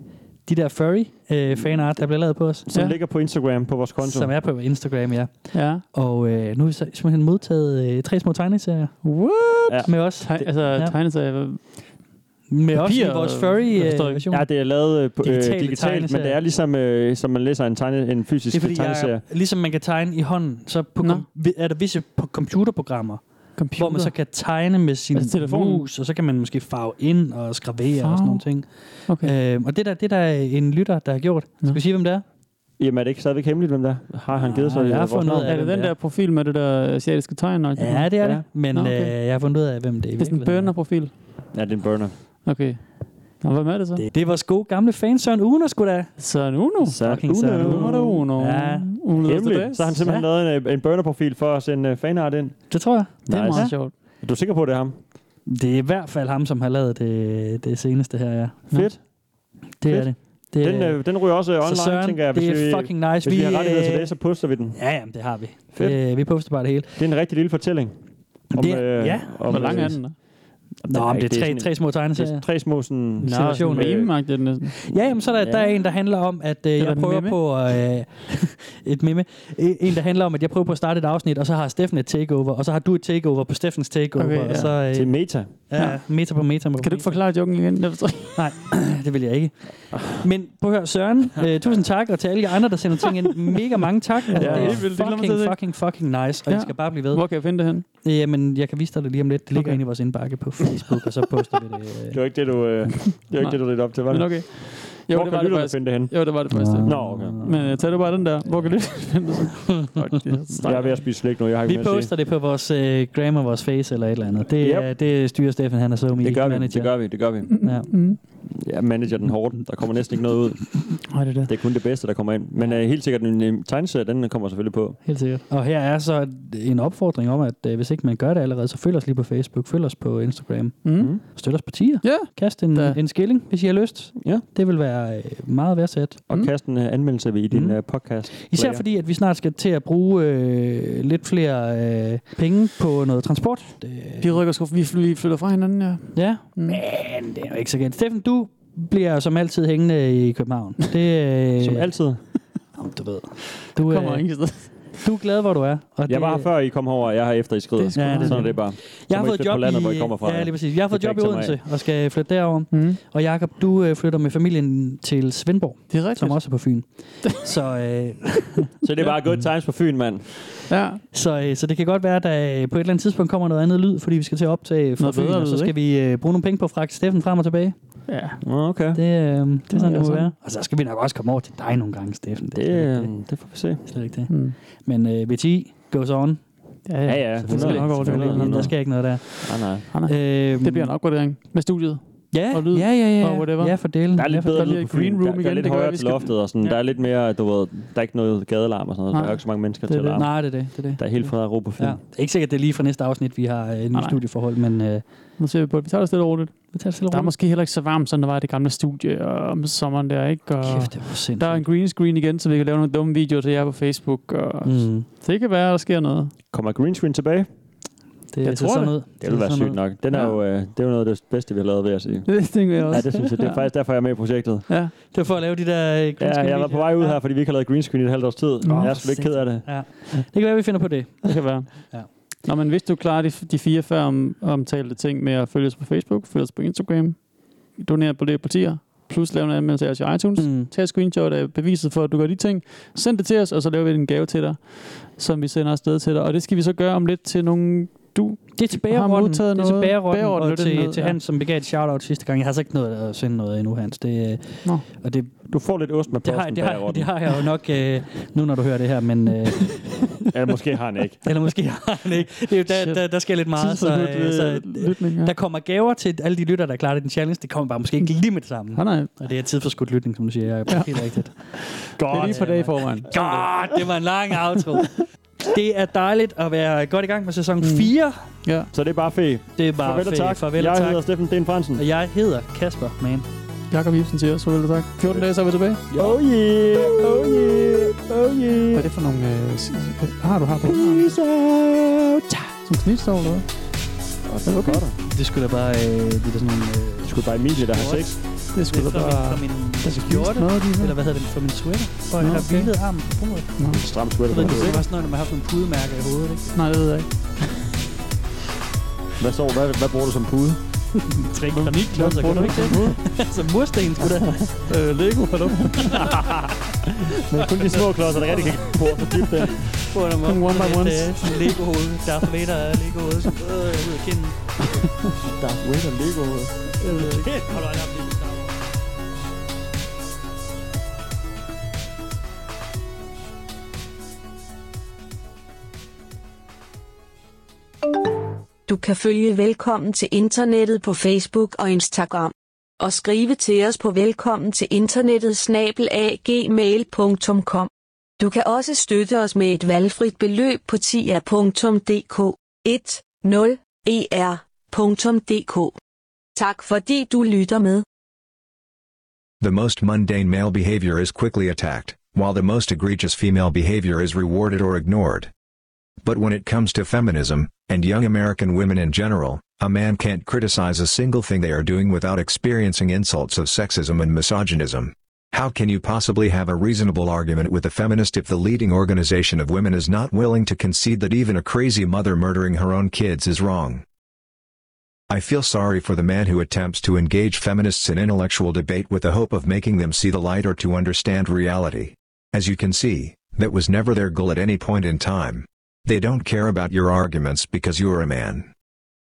Speaker 3: de der furry øh, fanart, der bliver lavet på os.
Speaker 2: Som
Speaker 4: Ja.
Speaker 2: ligger på Instagram på vores konto.
Speaker 3: Som er på Instagram, ja.
Speaker 4: Ja.
Speaker 3: Og øh, nu har vi så simpelthen modtaget øh, tre små tegneserier. What?
Speaker 2: Ja.
Speaker 3: Ja. Med os.
Speaker 4: Teg- altså,
Speaker 3: Ja.
Speaker 4: tegnet sig...
Speaker 3: Med os i
Speaker 4: Papir,
Speaker 3: vores
Speaker 4: øh,
Speaker 3: furry
Speaker 4: jeg
Speaker 3: øh,
Speaker 4: forstår ikke.
Speaker 3: version.
Speaker 2: Ja, det er lavet øh, på, øh,
Speaker 3: Digitale
Speaker 2: digitalt, men
Speaker 3: tegneserier.
Speaker 2: det er ligesom, øh, som man læser en, tegne, en fysisk
Speaker 3: det er fordi,
Speaker 2: tegneserie.
Speaker 3: jeg, ligesom man kan tegne i hånden, så på
Speaker 4: Nå.
Speaker 3: kom, vi- er der visse på computerprogrammer,
Speaker 4: Computer.
Speaker 3: hvor man så kan tegne med sin
Speaker 4: Altså
Speaker 3: altså,
Speaker 4: telefonen?
Speaker 3: mus, og så kan man måske farve ind og skravere
Speaker 4: Farve?
Speaker 3: og sådan nogle ting.
Speaker 4: Okay.
Speaker 3: Øhm, og det der, det der er en lytter, der har gjort.
Speaker 4: Nå.
Speaker 3: Skal vi sige, hvem det er?
Speaker 2: Jamen er det ikke stadigvæk hemmeligt, hvem der er? Har han givet sig?
Speaker 3: Nej,
Speaker 2: øh,
Speaker 3: Ah, jeg har
Speaker 2: vores
Speaker 3: fundet
Speaker 2: navn?
Speaker 3: ud af
Speaker 4: Er det
Speaker 3: hvem
Speaker 4: den
Speaker 3: det er.
Speaker 4: der profil med det der asiatiske tegn? og alt det der?
Speaker 3: Ja, det er
Speaker 2: Ja.
Speaker 3: det. Men
Speaker 4: Nå,
Speaker 3: Nå,
Speaker 4: okay.
Speaker 3: okay. øh, jeg har fundet ud af, hvem det er.
Speaker 4: Det er sådan en burner-profil.
Speaker 2: Ja, det er en burner.
Speaker 4: Okay. Nå, hvem er det så?
Speaker 3: Det, det er vores gode gamle fan, Søren Uno, sgu da.
Speaker 4: Søren Uno.
Speaker 2: Søren
Speaker 3: Uh, Fucking Søren
Speaker 2: Uno.
Speaker 4: Uno. Uno.
Speaker 3: Ja.
Speaker 4: Uno the
Speaker 2: Hemmeligt.
Speaker 4: best.
Speaker 2: Så har han simpelthen
Speaker 3: Ja.
Speaker 2: lavet en, øh, en burner-profil for at sende øh, fanart ind.
Speaker 3: Det tror jeg.
Speaker 4: Det er
Speaker 2: Nice.
Speaker 4: meget sjovt.
Speaker 2: Er du sikker på, det er ham?
Speaker 3: Det er i hvert fald ham, som har lavet det, det seneste her, ja.
Speaker 4: Nå.
Speaker 2: Fedt.
Speaker 3: Det
Speaker 2: Fedt.
Speaker 3: er det. det
Speaker 2: Den, øh, den ryger også øh, online,
Speaker 3: så Søren,
Speaker 2: tænker jeg. Hvis,
Speaker 3: det er
Speaker 2: vi,
Speaker 3: fucking nice.
Speaker 2: hvis vi, har rettigheder til
Speaker 3: øh,
Speaker 2: det, så poster vi den.
Speaker 3: Ja, jamen, det har vi.
Speaker 2: Fedt.
Speaker 3: Øh, vi poster bare det hele.
Speaker 2: Det er en rigtig lille fortælling. Om,
Speaker 3: Det-
Speaker 2: øh,
Speaker 3: ja.
Speaker 2: om,
Speaker 4: Hvor lang er
Speaker 2: øh,
Speaker 4: den? da?
Speaker 3: Nå, men
Speaker 2: ikke-
Speaker 3: det er
Speaker 2: sådan
Speaker 3: tre,
Speaker 2: en-
Speaker 3: tre små
Speaker 2: det er
Speaker 3: tegneserier.
Speaker 2: tre små sådan...
Speaker 4: Nå,
Speaker 3: situation,
Speaker 4: sådan
Speaker 2: øh,
Speaker 4: en meme-agtigt næsten.
Speaker 3: Ja, jamen, så er der,
Speaker 2: Ja.
Speaker 3: der er en, der handler om, at øh,
Speaker 4: der
Speaker 3: jeg
Speaker 4: et
Speaker 3: prøver
Speaker 4: meme?
Speaker 3: på at, øh, et meme. En, der handler om, at jeg prøver på at starte et afsnit, og så har Steffen et takeover, og så har du et takeover på Steffens takeover,
Speaker 4: Okay,
Speaker 3: okay, ja.
Speaker 4: ja.
Speaker 3: og så øh,
Speaker 2: Til meta.
Speaker 3: ja, meter på meter.
Speaker 4: Kan du ikke forklare Ah. joken igen? Jeg forstår ikke.
Speaker 3: Nej, det vil jeg ikke. Men på hør, Søren, øh, tusind tak, og til alle jer andre, der sender ting ind, mega mange tak. Altså,
Speaker 2: Ja,
Speaker 3: det er
Speaker 2: helt
Speaker 4: vildt. Det glæder mig til at
Speaker 3: fucking,
Speaker 4: se.
Speaker 3: fucking, fucking nice, og
Speaker 4: Ja.
Speaker 3: I skal bare blive ved.
Speaker 4: Hvor kan jeg finde det hen?
Speaker 3: Øh, Jamen, jeg kan vise dig det lige om lidt. Det ligger
Speaker 4: Okay.
Speaker 3: okay. inde i vores indbakke på Facebook, og så poster vi det. Øh.
Speaker 2: Det var ikke det, du, øh, det, var ikke det, du lidt op til, var det?
Speaker 4: Men okay. Jo,
Speaker 2: Hvor
Speaker 4: det
Speaker 2: kan
Speaker 4: var det
Speaker 2: lytterne
Speaker 4: faktisk.
Speaker 2: finde det hen?
Speaker 4: Jo, det var det første.
Speaker 2: Nå, okay.
Speaker 4: Men øh, tag du bare den der. Hvor kan lytterne finde det så? Fuck, det er
Speaker 2: Jeg er ved
Speaker 4: stejl.
Speaker 2: at spise slik nu, jeg har ikke
Speaker 3: Vi
Speaker 2: mere at sige.
Speaker 3: poster det på vores øh, gram og vores face eller et eller andet. Det,
Speaker 2: Yep.
Speaker 3: yep. det styrer Stefan, han er så
Speaker 2: Det gør vi,
Speaker 3: manager.
Speaker 2: det gør vi, det gør vi.
Speaker 3: Ja.
Speaker 4: Mm.
Speaker 2: Jeg manager den hårdt. Der kommer næsten ikke noget ud.
Speaker 4: Ej, det er det.
Speaker 2: Det er kun det bedste, der kommer ind. Men øh, helt sikkert, en øh, tegneserie, den kommer selvfølgelig på.
Speaker 4: Helt sikkert.
Speaker 3: Og her er så en opfordring om, at øh, hvis ikke man gør det allerede, så følg os lige på Facebook, følg os på Instagram,
Speaker 4: Mm.
Speaker 3: støt os på tier.
Speaker 4: Ja.
Speaker 3: Kast en,
Speaker 4: Da.
Speaker 3: en skilling, hvis I har lyst.
Speaker 2: Ja.
Speaker 3: Det vil være øh, meget værdsat.
Speaker 2: Og
Speaker 4: Mm.
Speaker 2: mm. kast en øh, anmeldelse i din
Speaker 3: Mm.
Speaker 2: øh, podcast.
Speaker 3: Især
Speaker 2: Player.
Speaker 3: fordi, at vi snart skal til at bruge øh, lidt flere øh, penge på noget transport. Det,
Speaker 4: Vi rykker sgu, vi, fly- vi flytter fra hinanden, ja.
Speaker 3: ja,
Speaker 4: Mm.
Speaker 3: men det er jo ikke så galt. Steffen, du bliver som altid hængende i København. Det, øh,
Speaker 2: Som altid.
Speaker 3: Jamen, du ved. Du,
Speaker 4: Kommer
Speaker 3: øh,
Speaker 4: ingen sted.
Speaker 3: du er glad, hvor du er. Og
Speaker 2: Jeg var her før, I kom herover, og jeg har efter, I skrider.
Speaker 4: Det er sgu
Speaker 3: Ja,
Speaker 4: meget.
Speaker 3: det-
Speaker 2: Sådan er det bare.
Speaker 3: Jeg har
Speaker 2: må I
Speaker 3: fået
Speaker 2: flytte
Speaker 3: job
Speaker 2: på landet,
Speaker 3: i,
Speaker 2: hvor I kommer fra,
Speaker 3: Ja,
Speaker 2: ja.
Speaker 3: lige præcis. Jeg har fået
Speaker 2: Det kan
Speaker 3: job i
Speaker 2: jeg ikke tage
Speaker 3: Odense
Speaker 2: mig
Speaker 3: og skal flytte derover.
Speaker 4: Mm.
Speaker 3: Og Jakob, du øh, flytter med familien til Svendborg,
Speaker 4: Det er rigtigt.
Speaker 3: som også er på Fyn. så, øh,
Speaker 2: Så det er bare good times på Fyn, mand.
Speaker 4: Ja.
Speaker 3: så, øh, så det kan godt være, at der øh, på et eller andet tidspunkt kommer noget andet lyd, fordi vi skal til at optage fra
Speaker 4: Noget
Speaker 3: Fyn,
Speaker 4: bedre
Speaker 3: og så
Speaker 4: lyd,
Speaker 3: skal vi øh, bruge nogle penge på at fragte Steffen frem og tilbage.
Speaker 4: ja.
Speaker 2: Nå, Okay.
Speaker 3: Det, øh, det er
Speaker 4: Ja,
Speaker 3: sådan, det må
Speaker 4: sådan.
Speaker 3: være. Og så skal vi nok også komme over til dig nogle gange, Steffen. Det
Speaker 2: Det,
Speaker 3: er slet ikke
Speaker 2: øh, det får vi se.
Speaker 3: det. Slet ikke det.
Speaker 4: Mm.
Speaker 3: Men øh, VTI goes on.
Speaker 4: Ja,
Speaker 2: Ja, ja.
Speaker 4: Det skal nok over det.
Speaker 2: Selvfølgelig.
Speaker 3: Der skal ikke noget der.
Speaker 2: Ah, nej.
Speaker 4: Ah, nej.
Speaker 3: Øhm,
Speaker 4: Det bliver en opgradering med studiet.
Speaker 3: Ja,
Speaker 4: og lyd,
Speaker 3: Øhm, ja, ja, ja.
Speaker 4: og whatever.
Speaker 3: Ja, for delen.
Speaker 2: Der er lidt
Speaker 3: ja, for
Speaker 2: bedre
Speaker 4: der
Speaker 2: lyd
Speaker 4: lige
Speaker 2: på Fyn.
Speaker 4: green room
Speaker 2: der, der
Speaker 4: igen,
Speaker 2: er lidt
Speaker 4: det gør,
Speaker 2: højere
Speaker 4: at vi
Speaker 2: til
Speaker 4: skal-
Speaker 2: loftet, og sådan.
Speaker 4: Ja.
Speaker 2: der er lidt mere, du ved, der er ikke noget gadelarm og sådan noget. så Der
Speaker 4: Nej.
Speaker 2: er jo ikke så mange mennesker
Speaker 4: Det er
Speaker 2: til at
Speaker 4: det.
Speaker 2: larme.
Speaker 3: Nej, det er det. det, er det.
Speaker 2: Der er helt fred og ro på Fyn.
Speaker 3: Ja. Det er ikke sikkert, det er lige fra næste afsnit, vi har øh, nye
Speaker 4: nej.
Speaker 3: studieforhold, men øh,
Speaker 4: Nu ser vi på det. Vi tager det stille og roligt.
Speaker 3: vi tager det stille
Speaker 4: Der er
Speaker 3: og roligt.
Speaker 4: måske heller ikke så varmt, som der var i det gamle studie og om sommeren der, ikke? Og
Speaker 3: Kæft, det var sindssygt.
Speaker 4: der er en green screen igen, så vi kan lave nogle dumme videoer til jer på Facebook. Og
Speaker 3: Mm.
Speaker 4: Det kan være, der sker noget.
Speaker 2: Kommer green screen tilbage?
Speaker 3: Det,
Speaker 4: Jeg
Speaker 3: ser
Speaker 4: tror
Speaker 3: sådan
Speaker 4: det.
Speaker 3: ud.
Speaker 2: Det ville være
Speaker 3: ser sådan
Speaker 2: sygt
Speaker 3: ud.
Speaker 2: nok. Den er
Speaker 4: Ja.
Speaker 2: jo, øh, det er jo noget af det bedste, vi har lavet, ved at sige.
Speaker 4: Det tænker jeg
Speaker 2: Ja,
Speaker 4: også.
Speaker 2: det synes jeg. Det er faktisk derfor, jeg er med i projektet.
Speaker 4: Ja.
Speaker 3: Det var for at lave de der øh, green
Speaker 2: Ja,
Speaker 3: screen
Speaker 2: jeg var på vej ud
Speaker 3: videoer.
Speaker 2: her, fordi vi ikke har lavet green screen i et halvt års tid. jeg er sgu lidt ked af det.
Speaker 3: Ja. ja. Det kan være, vi finder på det.
Speaker 4: Det kan være.
Speaker 3: Ja.
Speaker 4: Nå, men hvis du klarer de, de fire før om, omtalte ting med at følge os på Facebook, følge os på Instagram, donere på det partier, plus lave en anmeldelse af os i iTunes, mm.
Speaker 3: Mm.
Speaker 4: tag et screenshot af beviset for, at du gør de ting, send det til os, og så laver vi en gave til dig, som vi sender afsted til dig. Og det skal vi så gøre om lidt til nogle du
Speaker 3: Det er til
Speaker 4: har
Speaker 3: bagerrotten. Det
Speaker 4: modtaget
Speaker 3: er til
Speaker 4: noget.
Speaker 3: bagerrotten,
Speaker 4: Bagerrotten,
Speaker 3: og
Speaker 4: det er
Speaker 3: til,
Speaker 4: noget,
Speaker 3: til
Speaker 4: ja.
Speaker 3: Hans, som begav et shout-out sidste gang. Jeg har altså ikke noget at sende noget endnu, Hans. Det, øh,
Speaker 4: Nå.
Speaker 3: og det,
Speaker 2: Du får lidt ost med
Speaker 3: det, har,
Speaker 2: posten
Speaker 3: det, har,
Speaker 2: bagerotten.
Speaker 3: det har jeg jo nok øh, nu, når du hører det her, men... Øh,
Speaker 2: Eller måske har han ikke.
Speaker 3: eller måske har han ikke. Det er jo, der,
Speaker 4: Shit.
Speaker 3: der, der sker lidt meget, så,
Speaker 4: Tidsudnytt
Speaker 3: øh,
Speaker 4: ved
Speaker 3: så
Speaker 4: lytning, ja.
Speaker 3: der kommer gaver til alle de lytter, der klarer det den challenge. Det kommer bare måske ikke lige med det samme.
Speaker 4: Nej, nej.
Speaker 3: Og det er tid for skudt lytning, som du siger. Jeg er helt rigtigt.
Speaker 4: Det er lige på dag i forvejen.
Speaker 3: God, det var en lang outro. Det er dejligt at være godt i gang med sæson 4.
Speaker 4: Ja.
Speaker 2: Så det er bare fe.
Speaker 3: Det er bare
Speaker 2: Farvel og
Speaker 3: fedt.
Speaker 2: tak.
Speaker 3: Farvel
Speaker 2: jeg
Speaker 3: og tak.
Speaker 2: hedder Steffen Den Fransen.
Speaker 3: Og jeg hedder Kasper, man.
Speaker 4: Jakob Ibsen siger, så vel tak. 14 dage, så er vi tilbage.
Speaker 2: Oh yeah, oh yeah, oh
Speaker 4: Hvad
Speaker 2: yeah.
Speaker 4: er det for nogle... Øh, s- s- har du har på?
Speaker 2: Peace out.
Speaker 4: Som knivstår eller hvad?
Speaker 2: Og så okay. godt.
Speaker 3: Det skulle da bare... Øh, det er sådan nogle... Øh,
Speaker 2: Det skulle bare Emilie, der har sex.
Speaker 4: Det skulle da
Speaker 3: fra, min,
Speaker 4: bare...
Speaker 3: fra min
Speaker 4: Det er så
Speaker 3: skjorte.
Speaker 4: knivst noget, de
Speaker 3: Eller hvad hedder den? Fra min sweater. Hvor
Speaker 4: Nå,
Speaker 3: jeg har
Speaker 4: okay.
Speaker 3: hvilet armen på bordet.
Speaker 2: Stram
Speaker 3: Jeg
Speaker 2: sweater.
Speaker 3: ved ikke, det var sådan noget, når man har sådan en pudemærke i hovedet, ikke?
Speaker 4: Nej, det ved jeg ikke.
Speaker 2: Hvad, så, hvad, hvad bruger du som pude?
Speaker 3: Træk klamikklodser, kan du ikke det? Så mursten skulle da...
Speaker 2: Øh, Lego, hallo. Men kun de små klodser, der rigtig kan på så dybt den.
Speaker 3: På en måde.
Speaker 4: one by
Speaker 3: Sådan
Speaker 4: ones.
Speaker 3: et, øh, sådan et Lego-hoved. Darth Vader er Lego-hoved. Så, Øh, jeg ved kinden.
Speaker 2: Darth Vader Lego.
Speaker 3: Øh, Hold øje, der er blevet Star Wars.
Speaker 1: Du kan følge Velkommen til Internettet på Facebook og Instagram. Og skrive til os på velkommen til internettet snabelagmail.com. Du kan også støtte os med et valgfrit beløb på tia.dk E 10er.dk. Tak fordi du lytter med.
Speaker 5: The most mundane male behavior is quickly attacked, while the most egregious female behavior is rewarded or ignored. But when it comes to feminism, and young American women in general, a man can't criticize a single thing they are doing without experiencing insults of sexism and misogynism. How can you possibly have a reasonable argument with a feminist if the leading organization of women is not willing to concede that even a crazy mother murdering her own kids is wrong? I feel sorry for the man who attempts to engage feminists in intellectual debate with the hope of making them see the light or to understand reality. As you can see, that was never their goal at any point in time. They don't care about your arguments because you are a man.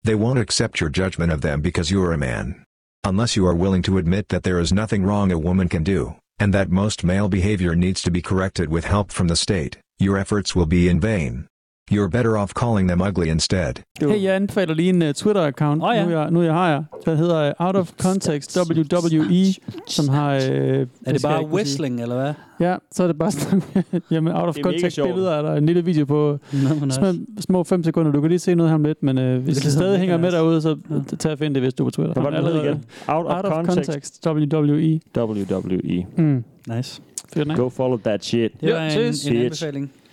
Speaker 5: They won't accept your judgment of them because you are a man. Unless you are willing to admit that there is nothing wrong a woman can do, and that most male behavior needs to be corrected with help from the state, your efforts will be in vain. You're better off calling them ugly instead.
Speaker 4: Hey, jeg anbefaler lige en uh, Twitter-account,
Speaker 3: Åh, ja.
Speaker 4: nu, jeg, nu jeg har jer. Der hedder uh, Out of Context WWE, som har... Uh, er
Speaker 3: Er det bare whistling, eller hvad?
Speaker 4: Ja, så er det bare sådan... Jamen, Out of
Speaker 2: Det er mega
Speaker 4: Context
Speaker 2: sjovt.
Speaker 4: billeder, er der en lille video på
Speaker 3: Nå, men
Speaker 4: små, små fem sekunder. Du kan lige se noget her om lidt, men uh, hvis
Speaker 3: Det
Speaker 4: du
Speaker 3: lyder
Speaker 4: stadig
Speaker 3: mega
Speaker 4: hænger med
Speaker 3: nice.
Speaker 4: derude, så t- tag og find det, hvis du er på Twitter.
Speaker 2: Hvad var det, den hed igen? Out of
Speaker 4: Out of
Speaker 2: context.
Speaker 4: Context Mm. WWE.
Speaker 2: WWE.
Speaker 4: Mm.
Speaker 3: Nice.
Speaker 4: Fedt, ikke?
Speaker 2: Go follow that shit.
Speaker 3: Det
Speaker 4: Jo,
Speaker 3: var
Speaker 4: ses.
Speaker 3: en, en
Speaker 2: Bitch.
Speaker 3: anbefaling.